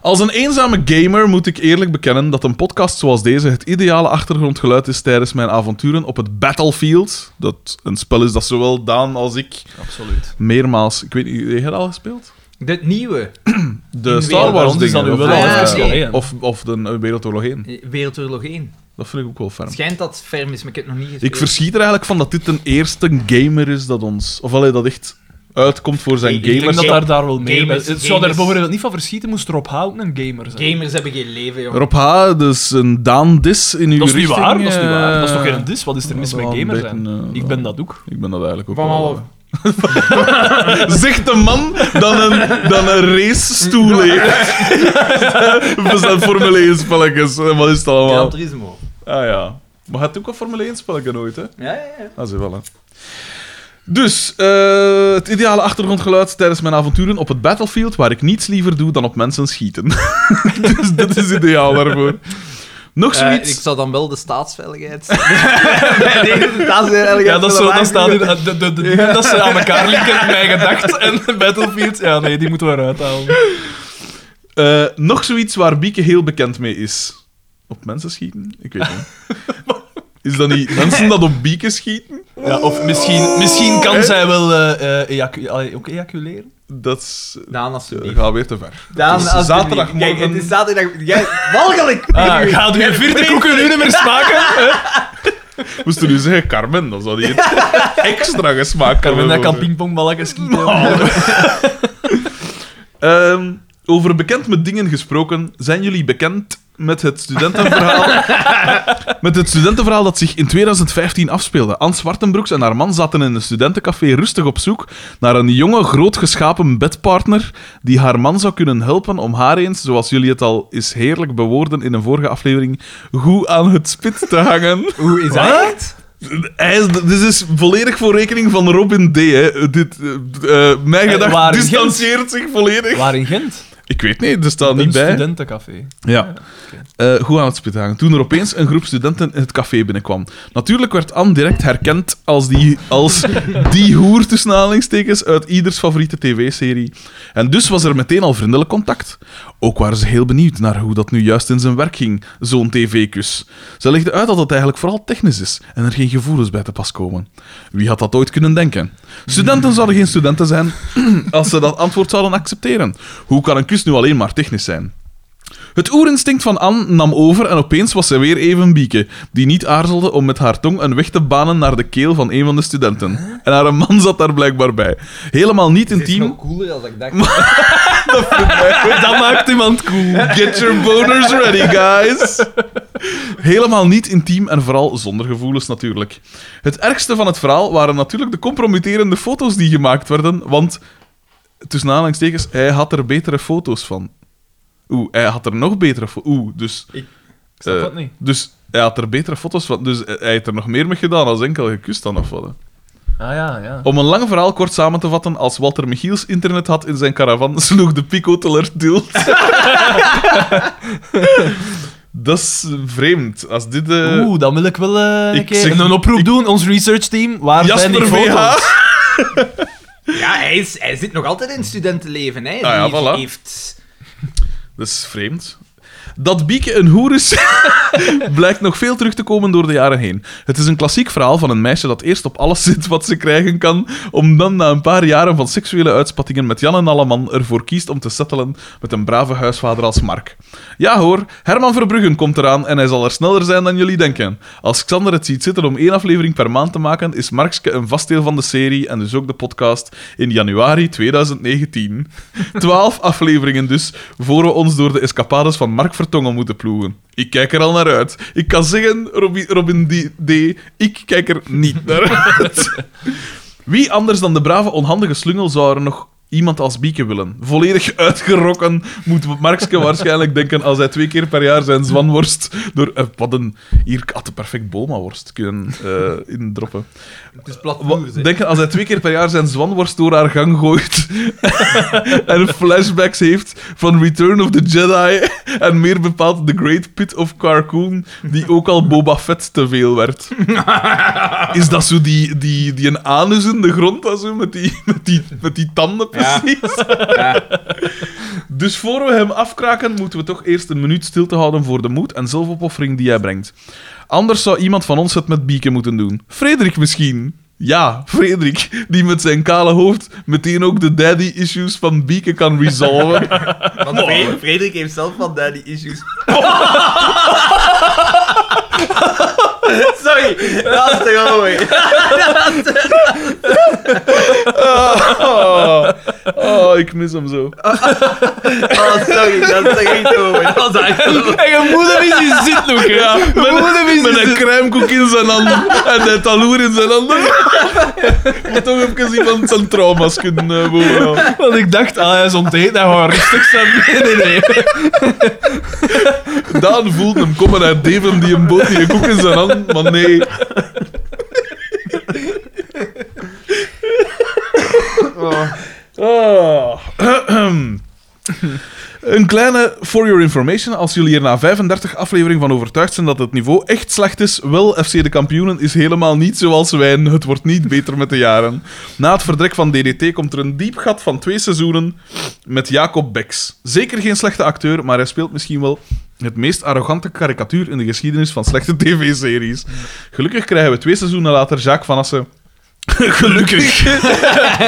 [SPEAKER 2] Als een eenzame gamer moet ik eerlijk bekennen dat een podcast zoals deze het ideale achtergrondgeluid is tijdens mijn avonturen op het Battlefield. Dat een spel is dat zowel Daan als ik
[SPEAKER 3] Absoluut.
[SPEAKER 2] meermaals... Ik weet niet, heb je dat al gespeeld?
[SPEAKER 1] Dit nieuwe.
[SPEAKER 2] De
[SPEAKER 1] In Wereldoorlog
[SPEAKER 2] Star Wars
[SPEAKER 3] is
[SPEAKER 2] dingen.
[SPEAKER 3] dat nu
[SPEAKER 2] of-
[SPEAKER 3] wel
[SPEAKER 1] al
[SPEAKER 2] ja,
[SPEAKER 1] gespeeld,
[SPEAKER 2] ja.
[SPEAKER 3] hè?
[SPEAKER 2] of, of de eh, Wereldoorlog 1.
[SPEAKER 1] eh, Wereldoorlog 1.
[SPEAKER 2] Dat vind ik ook wel ferm.
[SPEAKER 1] Schijnt dat het ferm is, maar ik heb het nog niet gespeeld.
[SPEAKER 2] Ik verschiet er eigenlijk van dat dit een eerste gamer is dat ons... Of allee, dat echt uitkomt voor zijn
[SPEAKER 1] Ik denk
[SPEAKER 3] Ik denk
[SPEAKER 2] gamers.
[SPEAKER 3] dat daar, daar wel mee
[SPEAKER 1] Gamers,
[SPEAKER 3] Het zou
[SPEAKER 1] gamers.
[SPEAKER 3] daar bijvoorbeeld niet van verschieten, moest Rob Houten een gamer zijn.
[SPEAKER 1] Gamers hebben geen leven, jongen.
[SPEAKER 2] Rob H., dus een Daan Dis in uw
[SPEAKER 3] Dat is niet
[SPEAKER 2] richting.
[SPEAKER 3] waar, dat is niet waar.
[SPEAKER 2] eh,
[SPEAKER 3] Dat is toch geen dis? Wat is er mis
[SPEAKER 2] dat
[SPEAKER 3] met
[SPEAKER 2] wel een
[SPEAKER 3] gamer zijn?
[SPEAKER 2] beetje, eh,
[SPEAKER 3] Ik ben dat ook.
[SPEAKER 2] Ik ben dat eigenlijk ook
[SPEAKER 1] Van
[SPEAKER 2] wel.
[SPEAKER 1] alle-
[SPEAKER 2] Zegt de man dan een, dan een racestoel heeft. We zijn Formule 1 spelletjes. En Wat is het allemaal?
[SPEAKER 1] Gran Turismo.
[SPEAKER 2] Ah ja. Maar gaat ook een Formule 1 spelletje nooit, hè?
[SPEAKER 1] Ja, ja, ja.
[SPEAKER 2] Ah, ze wel, hè. Dus, eh, het ideale achtergrondgeluid tijdens mijn avonturen op het battlefield, waar ik niets liever doe dan op mensen schieten. dus dat is ideaal daarvoor. Nog
[SPEAKER 1] Eh,
[SPEAKER 2] zoiets.
[SPEAKER 1] ik zou dan wel de staatsveiligheid. Bij deze staatsveiligheid
[SPEAKER 3] Ja, dat is zo,
[SPEAKER 1] willen
[SPEAKER 3] dan staat in
[SPEAKER 1] waarschuwen.
[SPEAKER 3] de, de, de, dingen dat ze aan elkaar linken in mijn gedacht en Battlefield. Ja, nee, die moeten we eruit halen.
[SPEAKER 2] Eh, nog zoiets waar Bieke heel bekend mee is. Op mensen schieten? Ik weet niet. Is dat niet mensen dat op Bieke schieten?
[SPEAKER 3] Ja, of misschien, misschien kan zij wel eh, eh, ejacu- allee, ook ejaculeren.
[SPEAKER 2] Dat is... eh,
[SPEAKER 1] Daan, alsjeblieft.
[SPEAKER 2] gaat weer te ver.
[SPEAKER 1] Daan,
[SPEAKER 2] Het is
[SPEAKER 1] alsjeblieft.
[SPEAKER 2] zaterdagmorgen.
[SPEAKER 1] Kijk, het is zaterdag... Jij... Walgelijk!
[SPEAKER 3] Ah, gaat u een vierde koeken nu niet meer smaken?
[SPEAKER 2] Moest je nu zeggen Carmen, dan zou die extra gesmaakt
[SPEAKER 3] Carmen, dat
[SPEAKER 2] hebben.
[SPEAKER 3] kan pingpongballen schieten.
[SPEAKER 2] Oh. Ehm, over bekend met dingen gesproken, zijn jullie bekend met het studentenverhaal? met het studentenverhaal dat zich in 2015 afspeelde. Anne Zwartenbroeks en haar man zaten in een studentencafé rustig op zoek naar een jonge, grootgeschapen bedpartner die haar man zou kunnen helpen om haar eens, zoals jullie het al is heerlijk bewoorden in een vorige aflevering, goed aan het spit te hangen.
[SPEAKER 1] Hoe is dat echt?
[SPEAKER 2] Hij is, dit is volledig voor rekening van Robin D. Hè. Dit, eh, eh, mijn
[SPEAKER 3] Eh,
[SPEAKER 2] gedachte
[SPEAKER 3] waar in
[SPEAKER 2] distancieert zich volledig.
[SPEAKER 3] Waar in Gent?
[SPEAKER 2] Ik weet niet, er staat niet
[SPEAKER 3] een
[SPEAKER 2] bij.
[SPEAKER 3] studentencafé.
[SPEAKER 2] Ja. Eh, goed aan het spit hangen. Toen er opeens een groep studenten het café binnenkwam. Natuurlijk werd Anne direct herkend als die, als die hoer tussen aanhalingstekens uit ieders favoriete tv-serie. En dus was er meteen al vriendelijk contact. Ook waren ze heel benieuwd naar hoe dat nu juist in zijn werk ging, zo'n tv-kus. Ze legde uit dat het eigenlijk vooral technisch is en er geen gevoelens bij te pas komen. Wie had dat ooit kunnen denken? Studenten zouden geen studenten zijn als ze dat antwoord zouden accepteren. Hoe kan een kus nu alleen maar technisch zijn? Het oerinstinct van Anne nam over en opeens was ze weer even Bieke, die niet aarzelde om met haar tong een weg te banen naar de keel van een van de studenten. En haar man zat daar blijkbaar bij. Helemaal niet
[SPEAKER 1] Het is
[SPEAKER 2] intiem.
[SPEAKER 1] nog cooler dan ik dacht.
[SPEAKER 3] Dat maakt iemand cool.
[SPEAKER 2] Get your boners ready, guys! Helemaal niet intiem en vooral zonder gevoelens natuurlijk. Het ergste van het verhaal waren natuurlijk de compromitterende foto's die gemaakt werden, want tussen aanhalingstekens, hij had er betere foto's van. Oeh, hij had er nog betere foto's. Oeh, dus
[SPEAKER 3] Ik snap
[SPEAKER 2] Eh,
[SPEAKER 3] dat niet.
[SPEAKER 2] Dus hij had er betere foto's van. Dus hij heeft er nog meer mee gedaan als enkel gekust dan of wat, hè.
[SPEAKER 3] Ah ja, ja.
[SPEAKER 2] Om een lang verhaal kort samen te vatten, als Walter Michiels internet had in zijn caravan, sloeg de picoteler tilt. Dat is vreemd. Als dit... eh,
[SPEAKER 3] Oeh, dan wil ik wel eh, een,
[SPEAKER 2] ik
[SPEAKER 3] keer
[SPEAKER 2] zeg-
[SPEAKER 3] een oproep doen, ons research team. Waar zijn die
[SPEAKER 2] Jasper
[SPEAKER 3] foto's?
[SPEAKER 2] VH.
[SPEAKER 1] Ja, hij, is, hij zit nog altijd in het studentenleven. Hè. Die
[SPEAKER 3] Nou
[SPEAKER 2] Ah ja, voilà.
[SPEAKER 1] heeft...
[SPEAKER 2] Dat is vreemd. Dat Bieke een hoer is, blijkt nog veel terug te komen door de jaren heen. Het is een klassiek verhaal van een meisje dat eerst op alles zit wat ze krijgen kan, om dan na een paar jaren van seksuele uitspattingen met Jan en Alleman ervoor kiest om te settelen met een brave huisvader als Mark. Ja hoor, Herman Verbruggen komt eraan en hij zal er sneller zijn dan jullie denken. Als Xander het ziet zitten om één aflevering per maand te maken, is Markske een vast deel van de serie en dus ook de podcast in januari 2019. Twaalf afleveringen dus, voor we ons door de escapades van Mark Vertongen moeten ploegen. Ik kijk er al naar uit. Ik kan zeggen, Robin, Robin D, D, ik kijk er niet naar uit. Wie anders dan de brave, onhandige slungel zou er nog iemand als Bieke willen? Volledig uitgerokken moet Markske waarschijnlijk denken als hij twee keer per jaar zijn zwanworst door... eh, wat een... Hier had de perfect Boma-worst kunnen eh indroppen.
[SPEAKER 1] Het is plat
[SPEAKER 2] Wa-
[SPEAKER 1] moer,
[SPEAKER 2] Denk aan als hij twee keer per jaar zijn zwanworst door haar gang gooit en flashbacks heeft van Return of the Jedi en meer bepaald The Great Pit of Carcoon, die ook al Boba Fett te veel werd. Is dat zo die, die, die een anus in de grond, dat zo, met, die, met, die, met die tanden?
[SPEAKER 1] Ja,
[SPEAKER 2] precies. Dus voor we hem afkraken, moeten we toch eerst een minuut stil te houden voor de moed en zelfopoffering die hij brengt. Anders zou iemand van ons het met Bieke moeten doen. Frederik misschien. Ja, Frederik, die met zijn kale hoofd meteen ook de daddy-issues van Bieke kan resolven.
[SPEAKER 1] Want Fre- Frederik heeft zelf van daddy issues. Sorry, dat is te mooi.
[SPEAKER 2] Oh, oh, ik mis hem zo.
[SPEAKER 3] Ah,
[SPEAKER 1] Oh, sorry, dat is echt te mooi.
[SPEAKER 4] Dat is eigenlijk...
[SPEAKER 3] En je moeder is in zit nog, hè?
[SPEAKER 2] Ja, met,
[SPEAKER 3] moeder is
[SPEAKER 2] met
[SPEAKER 3] het.
[SPEAKER 2] een crèmekoek in zijn handen en een taloer in zijn handen. Moet toch even iemand zijn trauma's kunnen eh, behouden.
[SPEAKER 3] Want ik dacht, ah, hij is ontdekt, hij gaat rustig zijn. Nee, nee, nee.
[SPEAKER 2] Daan voelt hem komen uit Devon die een boot die een koek in zijn hand, maar nee. Ah. Een kleine for your information. Als jullie er na 35 afleveringen van overtuigd zijn dat het niveau echt slecht is, wel FC de kampioenen is helemaal niet zoals wij. en Het wordt niet beter met de jaren. Na het vertrek van DDT komt er een diep gat van twee seizoenen met Jacob Beks. Zeker geen slechte acteur, maar hij speelt misschien wel het meest arrogante karikatuur in de geschiedenis van slechte tv-series. Gelukkig krijgen we twee seizoenen later Jacques Van Assen. Gelukkig.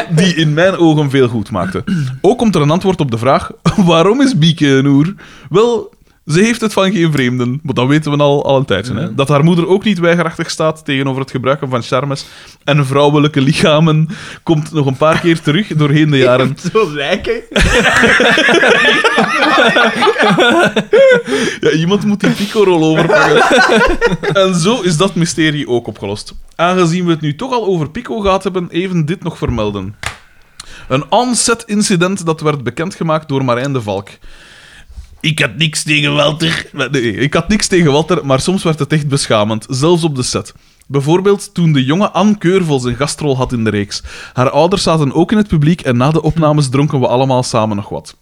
[SPEAKER 2] Die in mijn ogen veel goed maakte. Ook komt er een antwoord op de vraag: waarom is Bieke een oer? Wel, ze heeft het van geen vreemden, maar dat weten we al, al een tijdje. Hè? Dat haar moeder ook niet weigerachtig staat tegenover het gebruiken van charmes en vrouwelijke lichamen komt nog een paar keer terug doorheen de jaren.
[SPEAKER 1] Zo lijken.
[SPEAKER 2] Ja, iemand moet die pico-rol overpakken. en zo is dat mysterie ook opgelost. Aangezien we het nu toch al over pico gehad hebben, even dit nog vermelden. Een onset incident dat werd bekendgemaakt door Marijn de Valk. Ik had niks tegen Walter. Nee, ik had niks tegen Walter, maar soms werd het echt beschamend, zelfs op de set. Bijvoorbeeld toen de jonge Anne Keurvel zijn gastrol had in de reeks. Haar ouders zaten ook in het publiek en na de opnames dronken we allemaal samen nog wat.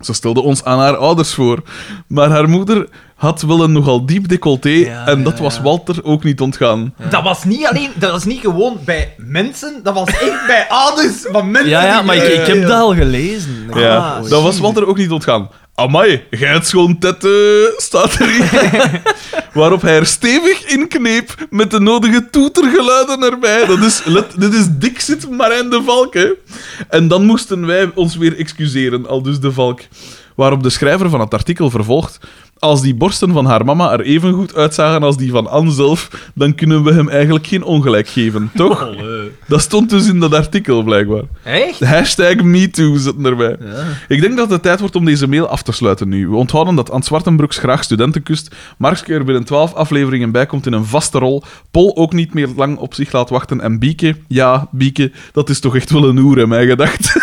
[SPEAKER 2] Ze stelde ons aan haar ouders voor. Maar haar moeder had wel een nogal diep decolleté
[SPEAKER 3] Ja,
[SPEAKER 2] en dat
[SPEAKER 3] ja,
[SPEAKER 2] was
[SPEAKER 3] ja.
[SPEAKER 2] Walter ook niet ontgaan.
[SPEAKER 1] Dat was niet alleen, dat was niet gewoon bij mensen, dat was echt bij ouders van mensen.
[SPEAKER 3] Ja, ja,
[SPEAKER 1] die-
[SPEAKER 3] maar ik, ik heb dat al gelezen. oh,
[SPEAKER 2] Ja,
[SPEAKER 1] Ah,
[SPEAKER 2] dat was Walter ook niet ontgaan. Amai, gij het schoon tet, eh, staat erin. Waarop hij er stevig in kneep met de nodige toetergeluiden erbij. Dat is, let, dit is Dixit Marijn de Valk, hè. En dan moesten wij ons weer excuseren, al dus de Valk. Waarop de schrijver van het artikel vervolgt... Als die borsten van haar mama er even goed uitzagen als die van Anne zelf, dan kunnen we hem eigenlijk geen ongelijk geven, toch? Dat stond dus in dat artikel, blijkbaar.
[SPEAKER 1] Eh, Echt?
[SPEAKER 2] De hashtag MeToo zit erbij. Ik denk dat het tijd wordt om deze mail af te sluiten nu. We onthouden dat Anne Zwartenbroeks graag studenten kust. Markske er binnen 12 afleveringen bij komt in een vaste rol. Pol ook niet meer lang op zich laat wachten. En Bieke, ja, Bieke, dat is toch echt wel een oer in mijn gedacht.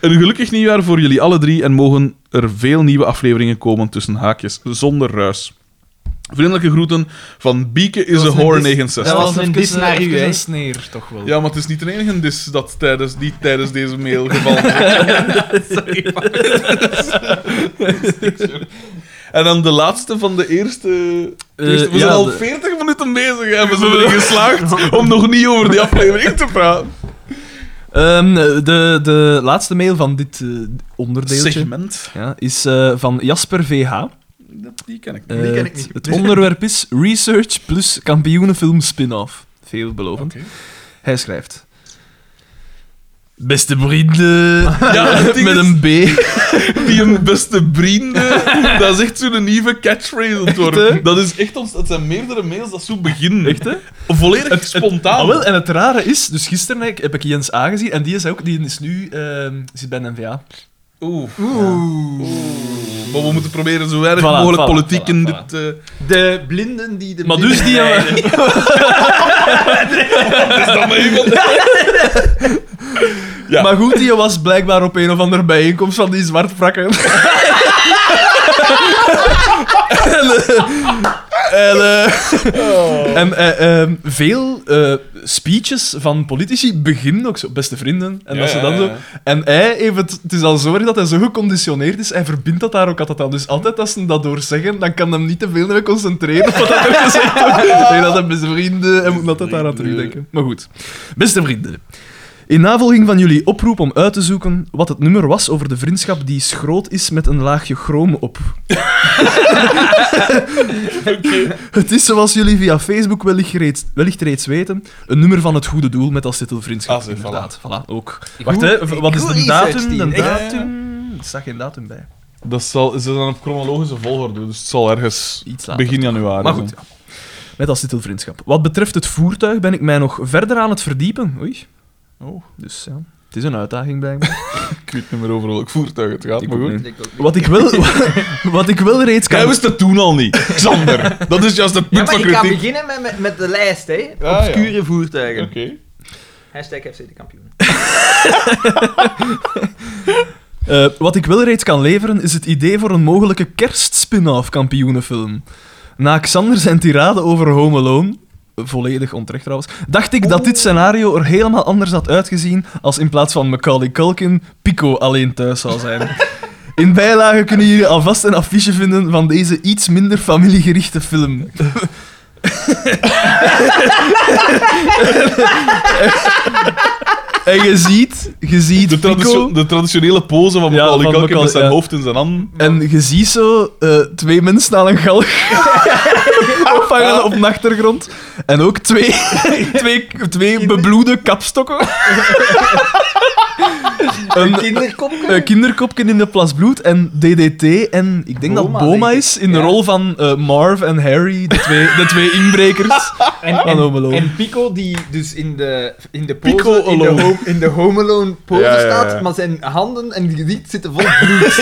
[SPEAKER 2] een gelukkig nieuwjaar voor jullie alle drie. En mogen er veel nieuwe afleveringen komen tussen haakjes, zonder ruis. Vriendelijke groeten van Bieke is
[SPEAKER 1] was
[SPEAKER 2] a
[SPEAKER 1] een
[SPEAKER 2] Hoor
[SPEAKER 1] dis-
[SPEAKER 2] 69.
[SPEAKER 1] dat was een dis naar u, hè?
[SPEAKER 3] Eh, een sneer, toch wel.
[SPEAKER 2] Ja, maar het is niet de enige dis dat tijdens, die tijdens deze mail gevallen is.
[SPEAKER 1] Sorry, maar-
[SPEAKER 2] En dan de laatste van de eerste.
[SPEAKER 3] Eh,
[SPEAKER 2] eerste- we
[SPEAKER 3] ja,
[SPEAKER 2] zijn al
[SPEAKER 3] de-
[SPEAKER 2] 40 minuten bezig en we zijn erin geslaagd om nog niet over die aflevering te praten.
[SPEAKER 3] Ehm, de, de laatste mail van dit eh, onderdeeltje
[SPEAKER 2] Segment.
[SPEAKER 3] ja, is eh, van Jasper VH.
[SPEAKER 2] Dat, die ken ik
[SPEAKER 3] Eh,
[SPEAKER 2] niet.
[SPEAKER 1] ken ik niet.
[SPEAKER 3] Het, het onderwerp is Research plus kampioenenfilm spin-off. Veelbelovend.
[SPEAKER 2] Oké.
[SPEAKER 3] Hij schrijft... Beste vrienden...
[SPEAKER 2] Ja, het ding
[SPEAKER 3] met
[SPEAKER 2] is,
[SPEAKER 3] een B.
[SPEAKER 2] die een beste vrienden. dat is echt zo'n nieuwe catchphrase aan het worden.
[SPEAKER 3] hè?
[SPEAKER 2] Dat is echt ons. Het zijn meerdere mails dat zo beginnen.
[SPEAKER 3] Echt, hè?
[SPEAKER 2] Volledig
[SPEAKER 3] Ah,
[SPEAKER 2] spontaan.
[SPEAKER 3] wel, en het rare is, dus gisteren heb ik- heb ik Jens A gezien en die is ook, die is nu, ehm, zit bij een NVA.
[SPEAKER 2] Oeh. Maar we moeten proberen zo weinig
[SPEAKER 3] Voilà,
[SPEAKER 2] mogelijk
[SPEAKER 3] voilà,
[SPEAKER 2] politiek
[SPEAKER 3] voilà,
[SPEAKER 2] in
[SPEAKER 3] voilà.
[SPEAKER 2] dit. eh,
[SPEAKER 1] De blinden die de
[SPEAKER 3] Maar dus die,
[SPEAKER 1] blinden
[SPEAKER 3] hebben-
[SPEAKER 2] is dat maar iemand? Ja.
[SPEAKER 3] maar goed, die was blijkbaar op een of andere bijeenkomst van die zwartprakken. en eh, en, eh, en eh, ehm, veel eh, speeches van politici beginnen ook zo, beste vrienden. En,
[SPEAKER 2] Ja,
[SPEAKER 3] dat ze dan
[SPEAKER 2] ja,
[SPEAKER 3] zo,
[SPEAKER 2] ja.
[SPEAKER 3] en hij heeft het, het is al zo erg dat hij zo geconditioneerd is, hij verbindt dat daar ook altijd aan. Dus altijd als ze dat doorzeggen, dan kan hem niet te veel meer concentreren op wat dat er gezegd wordt. Nee, dat zijn beste vrienden, hij moet altijd daar aan terugdenken. Maar goed, beste vrienden. In navolging van jullie oproep om uit te zoeken wat het nummer was over de vriendschap die schroot is met een laagje chroom op. Het is zoals jullie via Facebook wellicht reeds, wellicht reeds weten, een nummer van het goede doel met als titel vriendschap.
[SPEAKER 2] Ah, zeg,
[SPEAKER 3] inderdaad. Voilà, ook.
[SPEAKER 1] Ik
[SPEAKER 3] Wacht,
[SPEAKER 1] doe-
[SPEAKER 3] hè, v- wat
[SPEAKER 1] ik
[SPEAKER 3] is
[SPEAKER 1] doe
[SPEAKER 3] de
[SPEAKER 1] research,
[SPEAKER 3] datum? De
[SPEAKER 1] Tien.
[SPEAKER 2] Ja, ja, ja.
[SPEAKER 3] datum? Er staat geen datum bij.
[SPEAKER 2] Dat zal, ze zijn op chronologische volgorde, dus het zal ergens
[SPEAKER 3] Iets later.
[SPEAKER 2] begin januari
[SPEAKER 3] Maar goed,
[SPEAKER 2] zijn.
[SPEAKER 3] ja. Met als titel vriendschap. Wat betreft het voertuig ben ik mij nog verder aan het verdiepen. Oei.
[SPEAKER 2] Oh.
[SPEAKER 3] Dus ja, het is een uitdaging blijkbaar.
[SPEAKER 2] Ik weet niet meer over welk voertuig het gaat,
[SPEAKER 3] Ik
[SPEAKER 2] maar
[SPEAKER 3] ook
[SPEAKER 2] goed.
[SPEAKER 3] niet.
[SPEAKER 1] Ik ook niet.
[SPEAKER 3] Wat ik wel, wat ik wel reeds kan...
[SPEAKER 2] Jij wist het toen al niet, Xander. Dat is juist het
[SPEAKER 1] Ja,
[SPEAKER 2] punt
[SPEAKER 1] maar
[SPEAKER 2] van
[SPEAKER 1] ik ga
[SPEAKER 2] kritiek.
[SPEAKER 1] beginnen met, met, met de lijst, hè.
[SPEAKER 2] ja.
[SPEAKER 1] Obscure voertuigen.
[SPEAKER 2] Oké.
[SPEAKER 1] Hashtag FC de kampioen.
[SPEAKER 3] Eh, wat ik wel reeds kan leveren is het idee voor een mogelijke kerstspin-off kampioenenfilm. Na Xander zijn tirade over Home Alone, eh, volledig onterecht trouwens, dacht ik dat dit scenario er helemaal anders had uitgezien als in plaats van Macaulay Culkin Pico alleen thuis zou zijn. In bijlage kunnen jullie alvast een affiche vinden van deze iets minder familiegerichte film. en je ziet, je ziet
[SPEAKER 2] De,
[SPEAKER 3] Pico...
[SPEAKER 2] traditio- de traditionele pose van
[SPEAKER 3] Ja,
[SPEAKER 2] Macaulay
[SPEAKER 3] van
[SPEAKER 2] Culkin met
[SPEAKER 3] Macaulay,
[SPEAKER 2] zijn
[SPEAKER 3] ja.
[SPEAKER 2] hoofd in zijn hand.
[SPEAKER 3] En je ziet zo eh, twee mensen aan een galg ophangen op de achtergrond. En ook twee, twee, twee bebloede kapstokken.
[SPEAKER 1] Een
[SPEAKER 3] een
[SPEAKER 1] kinderkopje?
[SPEAKER 3] eh, kinderkopje in de plas bloed en DDT en ik denk
[SPEAKER 1] Boma,
[SPEAKER 3] dat Boma
[SPEAKER 1] denk ik.
[SPEAKER 3] is in de
[SPEAKER 1] Ja.
[SPEAKER 3] rol van eh, Marv en Harry, de twee, de twee inbrekers.
[SPEAKER 1] En,
[SPEAKER 3] Van Home Alone.
[SPEAKER 1] en Pico, die dus in de, in de pose,
[SPEAKER 2] Pico
[SPEAKER 1] in, de
[SPEAKER 2] Alone.
[SPEAKER 1] home, in de Home Alone pose
[SPEAKER 2] Ja, ja, ja.
[SPEAKER 1] staat, maar zijn handen en gezicht zitten vol bloed.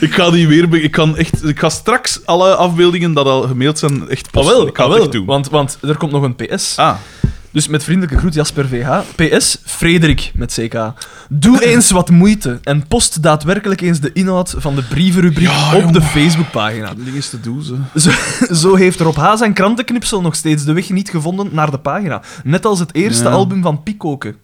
[SPEAKER 2] Ik ga die weer... be- Ik, kan echt, ik ga straks alle afbeeldingen dat al gemaild zijn echt
[SPEAKER 3] Ah
[SPEAKER 2] posten. ik ga
[SPEAKER 3] ah,
[SPEAKER 2] het echt doen.
[SPEAKER 3] want, want er komt nog een PS.
[SPEAKER 2] Ah.
[SPEAKER 3] Dus met vriendelijke groet Jasper VH. PS, Frederik met CK. Doe eens wat moeite en post daadwerkelijk eens de inhoud van de brievenrubriek
[SPEAKER 2] Ja,
[SPEAKER 3] op
[SPEAKER 2] jongen.
[SPEAKER 3] de Facebookpagina.
[SPEAKER 2] ding is te doen, ze.
[SPEAKER 3] Zo, zo heeft Rob H. zijn krantenknipsel nog steeds de weg niet gevonden naar de pagina. Net als het eerste
[SPEAKER 2] Ja.
[SPEAKER 3] album van Pikoke.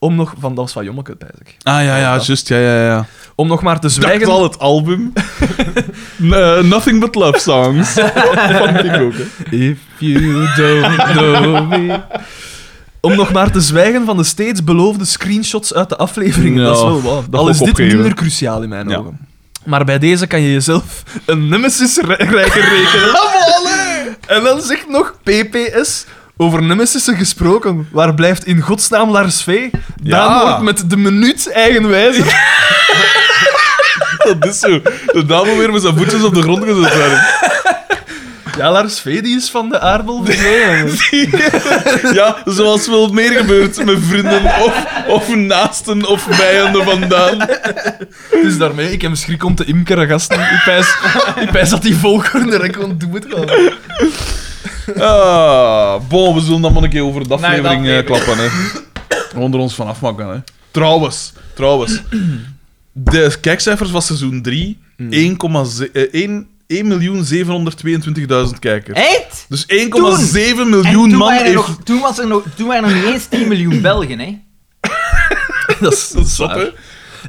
[SPEAKER 3] Om nog, van, dat was van Jommeke, bij zich.
[SPEAKER 2] Ah, ja, ja, juist. Ja, ja, ja.
[SPEAKER 3] Om nog maar te
[SPEAKER 2] Zwijgen...
[SPEAKER 3] zwijgen.
[SPEAKER 2] al het album. Eh, nothing but love songs. van Pico. hè.
[SPEAKER 3] If you don't know me. Om nog maar te zwijgen van de steeds beloofde screenshots uit de afleveringen.
[SPEAKER 2] Ja,
[SPEAKER 3] dat is wel wat.
[SPEAKER 2] dat
[SPEAKER 3] Al
[SPEAKER 2] ga
[SPEAKER 3] is
[SPEAKER 2] ik
[SPEAKER 3] dit
[SPEAKER 2] opgeven.
[SPEAKER 3] minder cruciaal in mijn
[SPEAKER 2] Ja.
[SPEAKER 3] ogen. Maar bij deze kan je jezelf een nemesis re- rijker rekenen. en dan zegt nog PPS... Over nemesissen gesproken, waar blijft in godsnaam Lars V? Daan
[SPEAKER 2] Ja.
[SPEAKER 3] wordt met de minuut eigenwijzer.
[SPEAKER 2] Dat is zo. De dame weer met zijn voetjes op de grond gezet werden.
[SPEAKER 3] Ja, Lars V die is van de aardbol verdwenen.
[SPEAKER 2] Ja, zoals wel meer gebeurt met vrienden of, of naasten of vijanden vandaan.
[SPEAKER 3] Dus daarmee, ik heb schrik om te imkeren, gasten. Ik pijs, ik pijs dat die volgorde er gewoon doet het wel.
[SPEAKER 2] Ah, bon, we zullen dan maar een keer over de
[SPEAKER 1] Nee, de
[SPEAKER 2] aflevering eh,
[SPEAKER 1] aflevering.
[SPEAKER 2] klappen. Hè. Gewoon er ons van afmaken. Hè. Trouwens, trouwens. De kijkcijfers van seizoen 3,
[SPEAKER 3] Hmm.
[SPEAKER 2] 1,7 eh, 1 1.722.000 kijkers.
[SPEAKER 1] Echt?
[SPEAKER 2] Dus 1,7 miljoen man
[SPEAKER 1] waren er
[SPEAKER 2] heeft...
[SPEAKER 1] nog, toen, was er nog, toen waren er nog niet eens 10 miljoen Belgen, hè?
[SPEAKER 3] Dat is,
[SPEAKER 2] Dat is zot,
[SPEAKER 3] waar.
[SPEAKER 2] hè?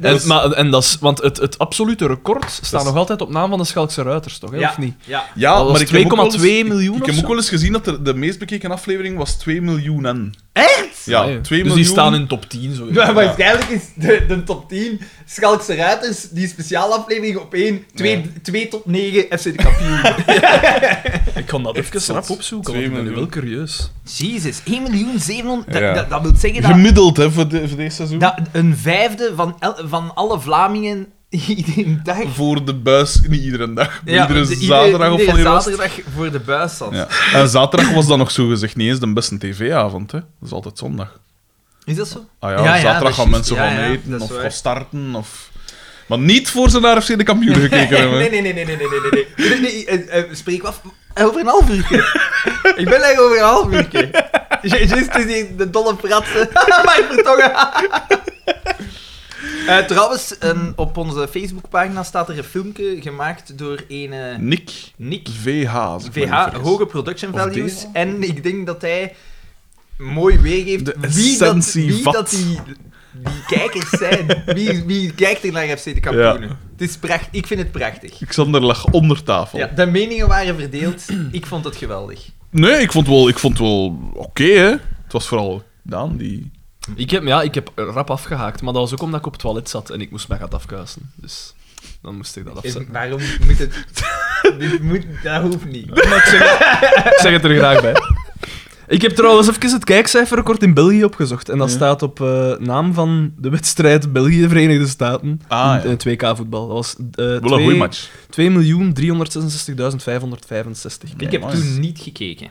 [SPEAKER 3] En,
[SPEAKER 2] is-
[SPEAKER 3] maar, en dat is, want het, het absolute record staat
[SPEAKER 2] is-
[SPEAKER 3] nog altijd op naam van de Schalkse Ruiters, toch? Hè? Of niet?
[SPEAKER 1] Ja.
[SPEAKER 2] Ja,
[SPEAKER 3] Dat was
[SPEAKER 2] maar ik heb ook wel eens-
[SPEAKER 3] 2,2 miljoen
[SPEAKER 2] Ik,
[SPEAKER 3] of
[SPEAKER 2] ik heb
[SPEAKER 3] zo.
[SPEAKER 2] ook wel eens gezien dat er de meest bekeken aflevering was 2 miljoen en.
[SPEAKER 1] Echt?
[SPEAKER 2] Ja,
[SPEAKER 3] Ah,
[SPEAKER 2] 2
[SPEAKER 3] Dus
[SPEAKER 2] miljoen.
[SPEAKER 3] die staan in top 10. Zo,
[SPEAKER 1] Maar waarschijnlijk is de, de top 10 Schalkse Ruiters dus die speciale aflevering op 1, 2,
[SPEAKER 2] Ja.
[SPEAKER 1] 2 tot 9 FC de kampioen.
[SPEAKER 3] Ik kan dat even
[SPEAKER 2] zot.
[SPEAKER 3] rap opzoeken, want
[SPEAKER 2] Twee
[SPEAKER 3] ik ben nu wel
[SPEAKER 2] miljoen.
[SPEAKER 3] curieus.
[SPEAKER 1] Jezus, 1 miljoen 700...
[SPEAKER 2] Ja.
[SPEAKER 1] Dat, dat, dat wil zeggen dat,
[SPEAKER 2] Gemiddeld, hè, voor, de, voor dit seizoen.
[SPEAKER 1] dat een vijfde van, el- van alle Vlamingen iedere dag...
[SPEAKER 2] Voor de buis, niet iedere dag. maar iedere
[SPEAKER 1] de-
[SPEAKER 2] zaterdag of
[SPEAKER 1] iedere
[SPEAKER 2] wanneer was het?
[SPEAKER 1] zaterdag voor de buis zat.
[SPEAKER 2] Ja. En zaterdag was dan nog zo gezegd niet eens de beste tv-avond, hè. Dat is altijd zondag.
[SPEAKER 1] Is dat zo?
[SPEAKER 2] Ah ja,
[SPEAKER 1] Ja, ja, dat
[SPEAKER 2] zaterdag
[SPEAKER 1] is
[SPEAKER 2] gaan
[SPEAKER 1] juist.
[SPEAKER 2] mensen
[SPEAKER 1] Ja,
[SPEAKER 2] gaan
[SPEAKER 1] ja,
[SPEAKER 2] eten
[SPEAKER 1] dat is
[SPEAKER 2] of
[SPEAKER 1] waar.
[SPEAKER 2] gaan starten of... Maar niet voor ze naar FC de kampioen gekeken hebben.
[SPEAKER 1] Nee,
[SPEAKER 2] hè.
[SPEAKER 1] nee, nee, nee, nee, nee, nee, nee. nee. nee, nee, eh, eh, spreek me af. Over een half uur. Ik ben er over een half uur. Juist is die de dolle pratsen. Mijn vertongen. Eh trouwens, een- op onze Facebookpagina staat er een filmpje gemaakt door een eh,
[SPEAKER 2] Nick
[SPEAKER 1] Nick
[SPEAKER 2] VH. als ik me niet
[SPEAKER 1] VH,
[SPEAKER 2] vergis.
[SPEAKER 1] hoge production
[SPEAKER 2] Of
[SPEAKER 1] values.
[SPEAKER 2] deze.
[SPEAKER 1] En ik denk dat hij mooi weergeeft
[SPEAKER 2] De
[SPEAKER 1] wie, dat,
[SPEAKER 2] essentie
[SPEAKER 1] wie
[SPEAKER 2] vat.
[SPEAKER 1] dat die, die kijkers zijn. Wie, wie kijkt er naar FC de kampioenen?
[SPEAKER 2] Ja.
[SPEAKER 1] Het is pracht, ik vind het prachtig.
[SPEAKER 2] Xander lag onder tafel.
[SPEAKER 1] Ja, de meningen waren verdeeld. Ik vond het geweldig.
[SPEAKER 2] Nee, ik vond wel, ik vond wel oké, hè. Het was vooral Daan, die...
[SPEAKER 3] Ik heb, ja, ik heb rap afgehaakt, maar dat was ook omdat ik op het toilet zat en ik moest mij gaan afkuisen. Dus dan moest ik dat afzetten.
[SPEAKER 1] waarom moet het... dit moet, dat hoeft niet.
[SPEAKER 3] Maar ik, zeg het, ik zeg het er graag bij. Ik heb trouwens even het kijkcijferrecord in België opgezocht. En dat
[SPEAKER 2] Ja.
[SPEAKER 3] staat op eh, naam van de wedstrijd België-Verenigde Staten.
[SPEAKER 2] Ah,
[SPEAKER 3] in,
[SPEAKER 2] ja.
[SPEAKER 3] het WK-voetbal. Dat was
[SPEAKER 2] Wel een goeie match.
[SPEAKER 3] eh 2.366.565
[SPEAKER 1] Ik
[SPEAKER 3] kijkers.
[SPEAKER 1] heb
[SPEAKER 2] maar-
[SPEAKER 1] toen niet gekeken.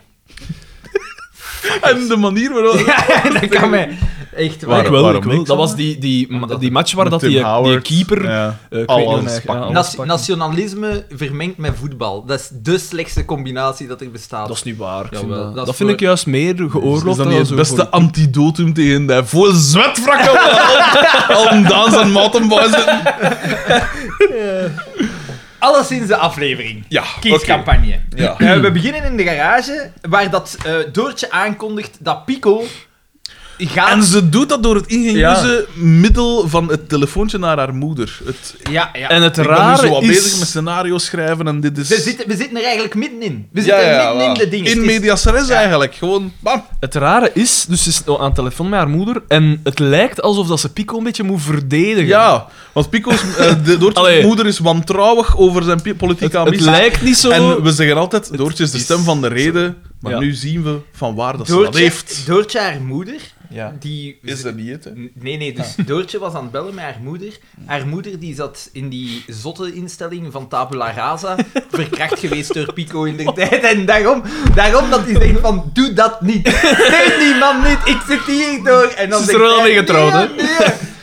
[SPEAKER 2] En de manier waarop...
[SPEAKER 1] dat kan mij echt
[SPEAKER 2] Waarom?
[SPEAKER 3] ik wel, ik
[SPEAKER 2] waarom
[SPEAKER 3] wel.
[SPEAKER 2] niks,
[SPEAKER 3] Dat
[SPEAKER 2] hè?
[SPEAKER 3] was die, die, ma-
[SPEAKER 1] Omdat-
[SPEAKER 3] die match waar dat
[SPEAKER 2] Tim
[SPEAKER 3] die, die
[SPEAKER 2] Howard,
[SPEAKER 3] keeper...
[SPEAKER 2] ja.
[SPEAKER 3] eh, ik weet
[SPEAKER 2] Alles
[SPEAKER 3] niet hoe hij-
[SPEAKER 2] pakken.
[SPEAKER 3] ja, alles
[SPEAKER 1] Nas-
[SPEAKER 3] pakken.
[SPEAKER 1] nationalisme vermengd met voetbal. Dat is de slechtste combinatie dat er bestaat.
[SPEAKER 3] Dat is niet waar. Ik
[SPEAKER 1] Jawel,
[SPEAKER 3] vind dat
[SPEAKER 1] dat is
[SPEAKER 3] dat vind
[SPEAKER 1] voor-
[SPEAKER 3] ik juist meer
[SPEAKER 2] Is
[SPEAKER 3] geoorloofd
[SPEAKER 2] dat
[SPEAKER 3] dan
[SPEAKER 2] niet het
[SPEAKER 3] zo
[SPEAKER 2] beste
[SPEAKER 3] voor-
[SPEAKER 2] antidotum tegen de vol zwetvrakken al Daans en Mattenboys?
[SPEAKER 1] Alles in de aflevering.
[SPEAKER 2] Ja, oké.
[SPEAKER 1] Kiescampagne.
[SPEAKER 2] Ja.
[SPEAKER 1] Eh, we beginnen in de garage, waar dat eh, Doortje aankondigt dat Pico gaat...
[SPEAKER 2] En ze doet dat door het ingenieuze middel van het telefoontje naar haar moeder. Het,
[SPEAKER 1] Ja, ja.
[SPEAKER 3] En het
[SPEAKER 2] ik ben nu
[SPEAKER 3] rare
[SPEAKER 2] zo wat
[SPEAKER 3] is...
[SPEAKER 2] bezig met scenario schrijven en dit is...
[SPEAKER 1] Ze zitten, we zitten er eigenlijk middenin. We
[SPEAKER 2] Ja,
[SPEAKER 1] zitten
[SPEAKER 2] ja,
[SPEAKER 1] middenin
[SPEAKER 2] ja.
[SPEAKER 1] de dingen.
[SPEAKER 2] In
[SPEAKER 1] Het is-
[SPEAKER 2] medias res
[SPEAKER 1] Ja.
[SPEAKER 2] eigenlijk. Gewoon, bam.
[SPEAKER 3] Het rare is, dus ze is aan het telefoon met haar moeder en het lijkt alsof dat ze Pico een beetje moet verdedigen.
[SPEAKER 2] Ja, want Pico's eh, de Doortje's
[SPEAKER 3] Allee.
[SPEAKER 2] moeder is wantrouwig over zijn pi-
[SPEAKER 3] Het,
[SPEAKER 2] politieke
[SPEAKER 3] het
[SPEAKER 2] ambities.
[SPEAKER 3] lijkt niet zo...
[SPEAKER 2] En we zeggen altijd, Doortje is de
[SPEAKER 3] is-
[SPEAKER 2] stem van de reden, maar
[SPEAKER 3] Ja.
[SPEAKER 2] nu zien we van waar dat ze dat
[SPEAKER 1] Doortje,
[SPEAKER 2] heeft.
[SPEAKER 1] Doortje, haar moeder,
[SPEAKER 2] Ja.
[SPEAKER 1] die...
[SPEAKER 2] Is dat niet het, hè?
[SPEAKER 1] Nee, nee, dus Doortje was aan het bellen met haar moeder. Haar moeder die zat in die zotte instelling van Tabula Rasa, verkracht geweest door Pico in de tijd. En daarom, daarom dat hij zegt van, doe dat niet. Neem die man niet, ik zit hier door. En dan
[SPEAKER 3] Ze is
[SPEAKER 1] zegt
[SPEAKER 3] er wel
[SPEAKER 1] hij,
[SPEAKER 3] mee getrouwd, hè?
[SPEAKER 1] nee,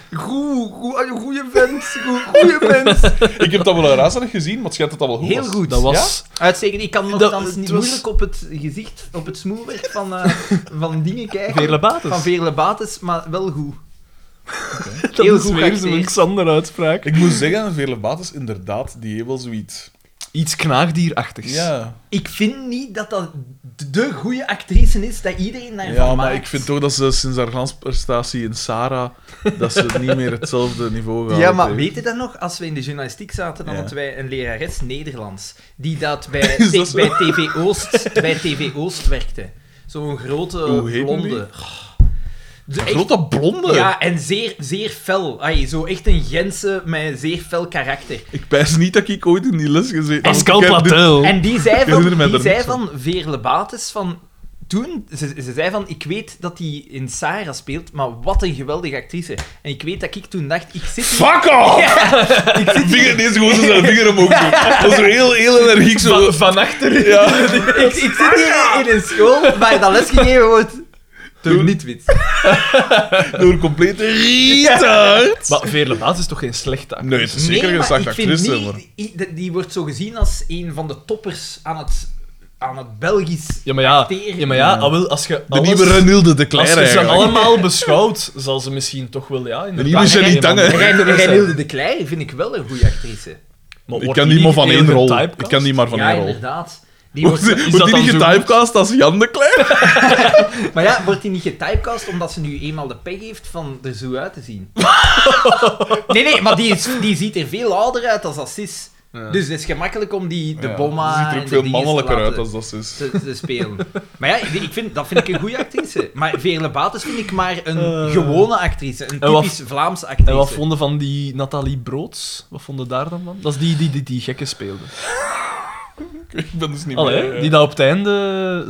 [SPEAKER 1] Nee, goed, goed, goeie vent, goed, goeie vent.
[SPEAKER 2] Ik heb dat wel een raar nog gezien, maar het schijnt dat dat wel goed
[SPEAKER 1] Heel
[SPEAKER 2] was.
[SPEAKER 1] goed.
[SPEAKER 3] Dat was...
[SPEAKER 1] Uitstekend, ik kan
[SPEAKER 3] Dat-
[SPEAKER 1] nogthans
[SPEAKER 3] het
[SPEAKER 1] niet
[SPEAKER 3] was-
[SPEAKER 1] moeilijk op het gezicht, op het smoelwerk van, eh, van dingen kijken.
[SPEAKER 3] Veerle Bates.
[SPEAKER 1] Van Veerle Bates, maar wel goed.
[SPEAKER 3] Dat
[SPEAKER 1] Heel
[SPEAKER 3] is
[SPEAKER 1] goed
[SPEAKER 3] weer zo'n
[SPEAKER 1] geacteerd.
[SPEAKER 3] Xander-uitspraak.
[SPEAKER 2] Ik moet zeggen, Vele Baat is inderdaad, die heeft wel zoiets.
[SPEAKER 3] Iets knaagdierachtigs.
[SPEAKER 2] Ja,
[SPEAKER 1] Ik vind niet dat dat de goede actrice is dat iedereen daarvan
[SPEAKER 2] ja maar
[SPEAKER 1] maakt.
[SPEAKER 2] ik vind toch dat ze sinds haar glansprestatie in Sarah, dat ze niet meer hetzelfde niveau gaat.
[SPEAKER 1] Ja, maar weet je dat nog? Als we in de journalistiek zaten, dan
[SPEAKER 2] Ja.
[SPEAKER 1] hadden wij een lerares Nederlands die dat bij,
[SPEAKER 2] Is dat
[SPEAKER 1] t-
[SPEAKER 2] zo?
[SPEAKER 1] bij, TV, Oost, bij TV Oost werkte. Zo'n grote
[SPEAKER 2] Hoe heette
[SPEAKER 1] blonde. Oh. De-
[SPEAKER 2] Een
[SPEAKER 1] echt-
[SPEAKER 2] grote blonde!
[SPEAKER 1] ja, en zeer, zeer fel. Ai, zo echt een Gentse met een zeer fel karakter.
[SPEAKER 2] Ik pijs niet dat ik ooit in die les gezeten heb.
[SPEAKER 3] Pascal
[SPEAKER 2] Ik heb dit-
[SPEAKER 3] Platel.
[SPEAKER 1] En die zei
[SPEAKER 2] herinner
[SPEAKER 1] van,
[SPEAKER 2] mij
[SPEAKER 1] die
[SPEAKER 2] daar
[SPEAKER 1] zei
[SPEAKER 2] niks van.
[SPEAKER 1] van Veerle Bates van... Toen, ze, ze zei van, ik weet dat hij in Sarah speelt, maar wat een geweldige actrice. En ik weet dat ik toen dacht, ik zit hier...
[SPEAKER 2] Fuck off! Vinger, deze gewoon zo zijn vinger omhoog doen. Dat is zo heel, heel energiek zo.
[SPEAKER 3] Van, van achter.
[SPEAKER 2] Ja.
[SPEAKER 1] Ik, ik zit hier in een school waar dat lesgegeven wordt door niet-wit.
[SPEAKER 2] Door complete retard.
[SPEAKER 3] Maar Veerle Baat is toch geen slechte actrice?
[SPEAKER 2] Nee, het is zeker
[SPEAKER 1] maar
[SPEAKER 2] geen
[SPEAKER 1] ik
[SPEAKER 2] slechte
[SPEAKER 1] vind
[SPEAKER 2] actrice.
[SPEAKER 1] niet-
[SPEAKER 2] maar-
[SPEAKER 1] i- die, die wordt zo gezien als een van de toppers aan het, aan het Belgisch...
[SPEAKER 3] Ja, maar ja,
[SPEAKER 1] Acteren.
[SPEAKER 3] ja, maar ja al wel, als je
[SPEAKER 2] De
[SPEAKER 3] alles-
[SPEAKER 2] nieuwe Renilde de
[SPEAKER 3] Als
[SPEAKER 2] Cler
[SPEAKER 3] je ze
[SPEAKER 2] eigenlijk.
[SPEAKER 3] allemaal beschouwt, zal ze misschien toch wel... Ja, inderdaad.
[SPEAKER 2] nieuwe Jenny
[SPEAKER 3] een van de-
[SPEAKER 2] Tange.
[SPEAKER 1] Rein- Reinilde de Kleijer vind ik wel een goede actrice.
[SPEAKER 3] Maar
[SPEAKER 2] Ik
[SPEAKER 3] wordt
[SPEAKER 2] ken die maar van
[SPEAKER 3] heel
[SPEAKER 2] één rol.
[SPEAKER 3] getypecast?
[SPEAKER 2] Ik ken die maar van
[SPEAKER 1] ja,
[SPEAKER 2] één rol.
[SPEAKER 1] inderdaad. Die
[SPEAKER 2] Wordt
[SPEAKER 1] wordt,
[SPEAKER 2] die- wordt die
[SPEAKER 3] dan
[SPEAKER 2] niet
[SPEAKER 3] zo
[SPEAKER 2] getypecast als Jan de Cler?
[SPEAKER 1] Maar ja, wordt hij niet getypecast omdat ze nu eenmaal de pech heeft van er zo uit te zien? nee, nee, maar die, is, die ziet er veel ouder uit als dat ze is. Dus het is gemakkelijk om die de
[SPEAKER 2] Ja,
[SPEAKER 1] bomma
[SPEAKER 2] Ze ziet er
[SPEAKER 1] en
[SPEAKER 2] ook
[SPEAKER 1] de
[SPEAKER 2] veel
[SPEAKER 1] dinges te
[SPEAKER 2] mannelijker
[SPEAKER 1] laten-
[SPEAKER 2] uit als dat ze is.
[SPEAKER 1] te, te spelen. Maar ja, ik- ik vind, dat vind ik een goede actrice. Maar Veerle Bates vind ik maar een
[SPEAKER 3] Eh.
[SPEAKER 1] gewone actrice. Een
[SPEAKER 3] En wat-
[SPEAKER 1] typisch Vlaamse actrice.
[SPEAKER 3] En wat vonden van die Nathalie Broods? Wat vonden daar dan van? Dat is die die die, die gekken speelde.
[SPEAKER 2] Ik ben dus niet
[SPEAKER 3] Allee,
[SPEAKER 2] meer...
[SPEAKER 3] die dat op het einde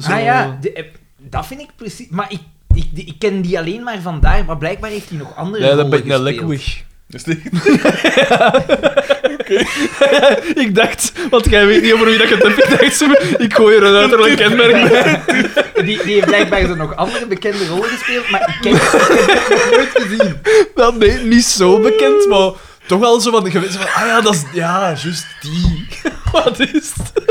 [SPEAKER 3] zo...
[SPEAKER 1] Ah ja, de- eh, dat vind ik precies... Maar ik, ik, die- ik ken die alleen maar vandaar, maar blijkbaar heeft hij nog andere
[SPEAKER 3] Ja, dat
[SPEAKER 1] rollen
[SPEAKER 3] ben ik naar
[SPEAKER 1] gespeeld.
[SPEAKER 3] Lekwig.
[SPEAKER 2] Is die-
[SPEAKER 3] Ik dacht, want jij weet niet over wie dat je het hebt. Ik dacht, ze- ik gooi er een uiterlijk kenmerk bij.
[SPEAKER 1] Die, die heeft blijkbaar zo nog andere bekende rollen gespeeld, maar ik ken ik heb het nog nooit gezien.
[SPEAKER 3] Wel, nee, niet zo bekend, maar toch al zo van... Je weet zo van, ah ja, dat is... Ja, juist die. Wat is het?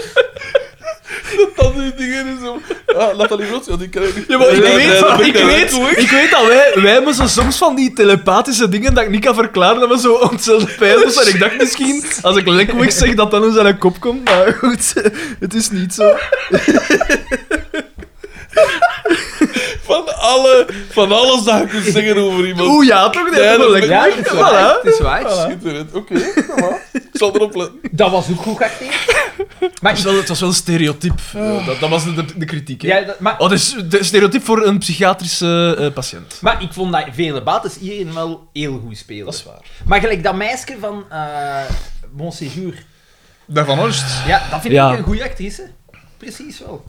[SPEAKER 2] Dat die dingen is zo... Ah, Nathalie Rood, ja, die ken ik.
[SPEAKER 3] Ja, maar ik
[SPEAKER 2] Ja,
[SPEAKER 3] weet,
[SPEAKER 2] ja, dat
[SPEAKER 3] van-
[SPEAKER 2] ben
[SPEAKER 3] ik,
[SPEAKER 2] daar
[SPEAKER 3] weet,
[SPEAKER 2] ook toe.
[SPEAKER 3] ik weet dat wij, wij moesten soms van die telepathische dingen dat ik niet kan verklaren, dat we zo ontzettend pijlen zijn. Ik dacht misschien, als ik lekwig zeg, dat dan eens aan een kop komt. Maar goed, het is niet zo.
[SPEAKER 2] Van, alle, van alles dat je kunt zeggen over iemand.
[SPEAKER 3] Oeh ja, toch?
[SPEAKER 2] Ja,
[SPEAKER 3] dat
[SPEAKER 2] dat-
[SPEAKER 3] lekker.
[SPEAKER 1] Ja, het is waar.
[SPEAKER 3] Voilà.
[SPEAKER 1] Het is waar.
[SPEAKER 2] Schitterend. Oké, kom maar. Ik zal erop letten.
[SPEAKER 1] Dat was ook goed geacteerd.
[SPEAKER 3] Maar
[SPEAKER 1] Maar
[SPEAKER 3] het, was wel, het was wel een stereotyp. Eh, dat, dat was de, de, de kritiek. Hè?
[SPEAKER 1] Ja, dat- maar,
[SPEAKER 3] Oh, dus de stereotyp voor een psychiatrische eh, patiënt.
[SPEAKER 1] maar ik vond dat vele bates hierin wel heel goed spelen.
[SPEAKER 3] Dat is waar.
[SPEAKER 1] Maar gelijk dat meisje van eh Bonséjour,
[SPEAKER 2] Daarvan Oost.
[SPEAKER 1] ja, dat vind
[SPEAKER 3] Ja.
[SPEAKER 1] ik een goede actrice. Precies wel.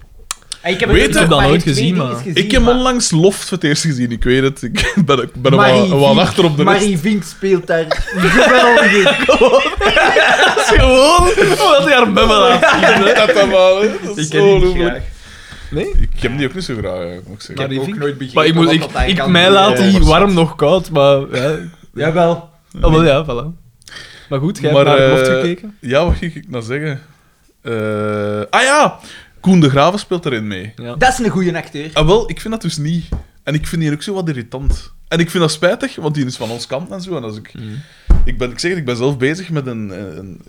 [SPEAKER 1] En ik heb
[SPEAKER 2] Weet
[SPEAKER 1] het
[SPEAKER 2] je- Ik heb
[SPEAKER 3] dat
[SPEAKER 1] maar
[SPEAKER 3] nooit
[SPEAKER 1] twee
[SPEAKER 3] gezien,
[SPEAKER 1] dingetjes
[SPEAKER 3] maar-
[SPEAKER 2] Ik heb
[SPEAKER 1] maar-
[SPEAKER 2] onlangs Loft voor het eerst gezien, ik weet het. Ik ben, ik ben er
[SPEAKER 1] Marie
[SPEAKER 2] wel, wel
[SPEAKER 1] Vink-
[SPEAKER 2] achter op de rest.
[SPEAKER 1] Marie Vink speelt daar geweldig in.
[SPEAKER 3] Gewoon Oh, omdat hij haar bubbel had.
[SPEAKER 2] Dat dan wel, hè. Dat is
[SPEAKER 1] Ik
[SPEAKER 2] zo
[SPEAKER 1] ken die niet
[SPEAKER 2] ongelooflijk.
[SPEAKER 1] graag.
[SPEAKER 2] Ik heb die ook niet zo graag, eigenlijk, moet ik zeggen.
[SPEAKER 3] Maar die-
[SPEAKER 1] Ik heb
[SPEAKER 3] Vink?
[SPEAKER 1] ook nooit begrepen
[SPEAKER 3] Maar ik moet,
[SPEAKER 1] wat
[SPEAKER 3] ik,
[SPEAKER 1] dat hij
[SPEAKER 3] ik,
[SPEAKER 1] kan
[SPEAKER 3] mij
[SPEAKER 1] doen.
[SPEAKER 3] laat
[SPEAKER 2] Ja,
[SPEAKER 3] die
[SPEAKER 2] maar-
[SPEAKER 3] warm nog koud, maar ja.
[SPEAKER 1] Jawel.
[SPEAKER 3] Ah, wel, ja, voilà. Maar goed, jij
[SPEAKER 2] Maar,
[SPEAKER 3] hebt naar de hoofd
[SPEAKER 2] eh,
[SPEAKER 3] gekeken.
[SPEAKER 2] Ja, wat ging ik nou zeggen? Eh, ah ja, Koen de Graven speelt erin mee.
[SPEAKER 1] Dat is een goede acteur.
[SPEAKER 2] Ah, wel, ik vind dat dus niet. En ik vind die ook zo wat irritant. En ik vind dat spijtig, want die is van ons kant en zo. En als ik,
[SPEAKER 3] Hmm.
[SPEAKER 2] ik, ben, ik zeg het, ik ben zelf bezig met een, een,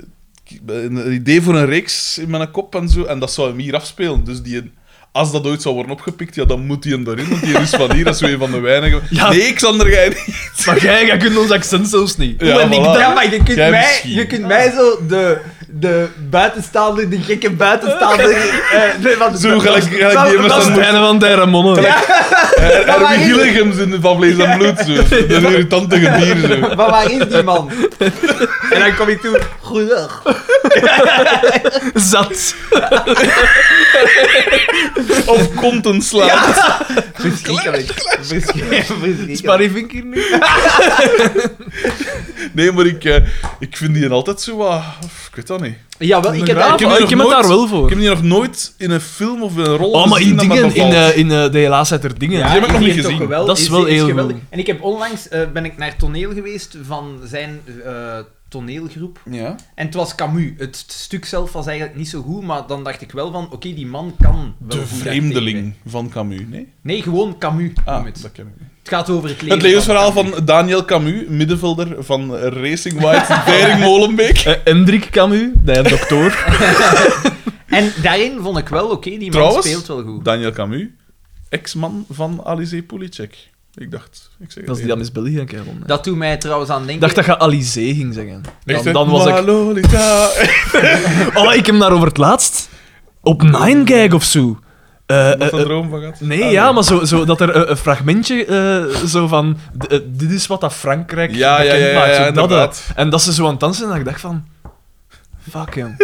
[SPEAKER 2] een, een idee voor een reeks in mijn kop en zo. En dat zou hem hier afspelen. Dus die, als dat ooit zou worden opgepikt, ja, dan moet die hem erin. Want die is van hier, dat is weer van de weinigen.
[SPEAKER 3] Ja.
[SPEAKER 2] Nee, Xander, jij niet.
[SPEAKER 3] Maar jij, jij kunt ons accent zelfs niet.
[SPEAKER 2] Ja,
[SPEAKER 3] Hoe en ik
[SPEAKER 2] voilà.
[SPEAKER 1] Ja, maar je kunt,
[SPEAKER 2] Jij
[SPEAKER 1] mij,
[SPEAKER 2] misschien.
[SPEAKER 1] je kunt mij zo de, de buitenstaander, de gekke buitenstaander... eh, nee, want-
[SPEAKER 2] Zo gelijk- gelijk
[SPEAKER 1] Wel,
[SPEAKER 2] die
[SPEAKER 1] dat
[SPEAKER 2] mensen-
[SPEAKER 3] Dat is het einde van de Monne.
[SPEAKER 1] Ja. maar
[SPEAKER 2] Erwin
[SPEAKER 1] is-
[SPEAKER 2] Gilligems in Van Vlees en Bloed. Zo. Dat irritante gebier. Zo.
[SPEAKER 1] is- Maar waar is die man? En dan kom ik toe, goeiedag.
[SPEAKER 3] Zat.
[SPEAKER 2] Of konten slaan.
[SPEAKER 1] Verschrikkelijk. Verschrikkelijk.
[SPEAKER 3] Is
[SPEAKER 1] Verschrikkelijk.
[SPEAKER 3] Barry Vink hier nu?
[SPEAKER 2] Nee, maar ik, eh, ik vind die altijd zo wat... Ik weet dat niet.
[SPEAKER 1] Ja, wel, ik heb
[SPEAKER 3] Ja,
[SPEAKER 1] daar...
[SPEAKER 2] Ik heb hier
[SPEAKER 3] maar
[SPEAKER 2] nog
[SPEAKER 3] ik heb het
[SPEAKER 2] nooit-
[SPEAKER 3] daar wel
[SPEAKER 2] Ik
[SPEAKER 3] voor.
[SPEAKER 2] heb die nog nooit in een film of in een rol
[SPEAKER 3] Oh, maar in
[SPEAKER 2] gezien dat me
[SPEAKER 3] dingen, in,
[SPEAKER 2] bevalt.
[SPEAKER 3] eh, in eh, de helaas uit er dingen.
[SPEAKER 2] Ja. heb ik nog
[SPEAKER 1] die
[SPEAKER 2] niet
[SPEAKER 1] is toch
[SPEAKER 2] gezien.
[SPEAKER 1] geweldig-
[SPEAKER 3] Dat is wel heel
[SPEAKER 1] geweldig.
[SPEAKER 3] goed.
[SPEAKER 1] En ik heb onlangs eh, ben ik naar toneel geweest van zijn eh, toneelgroep.
[SPEAKER 2] Ja.
[SPEAKER 1] En het was Camus. Het st- stuk zelf was eigenlijk niet zo goed, maar dan dacht ik wel van, oké, die man kan wel
[SPEAKER 2] De
[SPEAKER 1] goed acteren.
[SPEAKER 2] Vreemdeling van Camus, nee?
[SPEAKER 1] Nee, gewoon Camus.
[SPEAKER 2] Ah,
[SPEAKER 1] noem het.
[SPEAKER 2] dat ken ik niet.
[SPEAKER 1] Het gaat over het leven.
[SPEAKER 2] Het levensverhaal van Daniel Camus, middenvelder van Racing White, Bering Molenbeek.
[SPEAKER 3] Eh, Hendrik Camus, de dokter.
[SPEAKER 1] En daarin vond ik wel, oké, die man
[SPEAKER 2] Trouwens,
[SPEAKER 1] speelt wel goed.
[SPEAKER 2] Daniel Camus, ex-man van Alizé Poulicek. Ik dacht, ik zeg
[SPEAKER 3] dat is die dan is België, kerel. Ik
[SPEAKER 1] Dat doet mij trouwens aan denken...
[SPEAKER 3] dacht dat je Alizé ging zeggen.
[SPEAKER 2] Echt, hè?
[SPEAKER 3] Dan, dan was ik...
[SPEAKER 2] Lolita.
[SPEAKER 3] Oh, ik heb hem daarover het laatst op Nine Gag of zo. Eh, eh,
[SPEAKER 2] Wat een
[SPEAKER 3] eh,
[SPEAKER 2] droom van gehad.
[SPEAKER 3] nee,
[SPEAKER 2] Ah,
[SPEAKER 3] ja, maar zo, zo, dat er eh, een fragmentje eh, zo van... d- eh, dit is wat dat Frankrijk
[SPEAKER 2] Ja, ja,
[SPEAKER 3] bekend
[SPEAKER 2] ja, ja,
[SPEAKER 3] maakt. zo
[SPEAKER 2] ja,
[SPEAKER 3] dat, eh.
[SPEAKER 2] inderdaad.
[SPEAKER 3] en dat ze zo aan het dansen en dat ik dacht van... Fuck hem.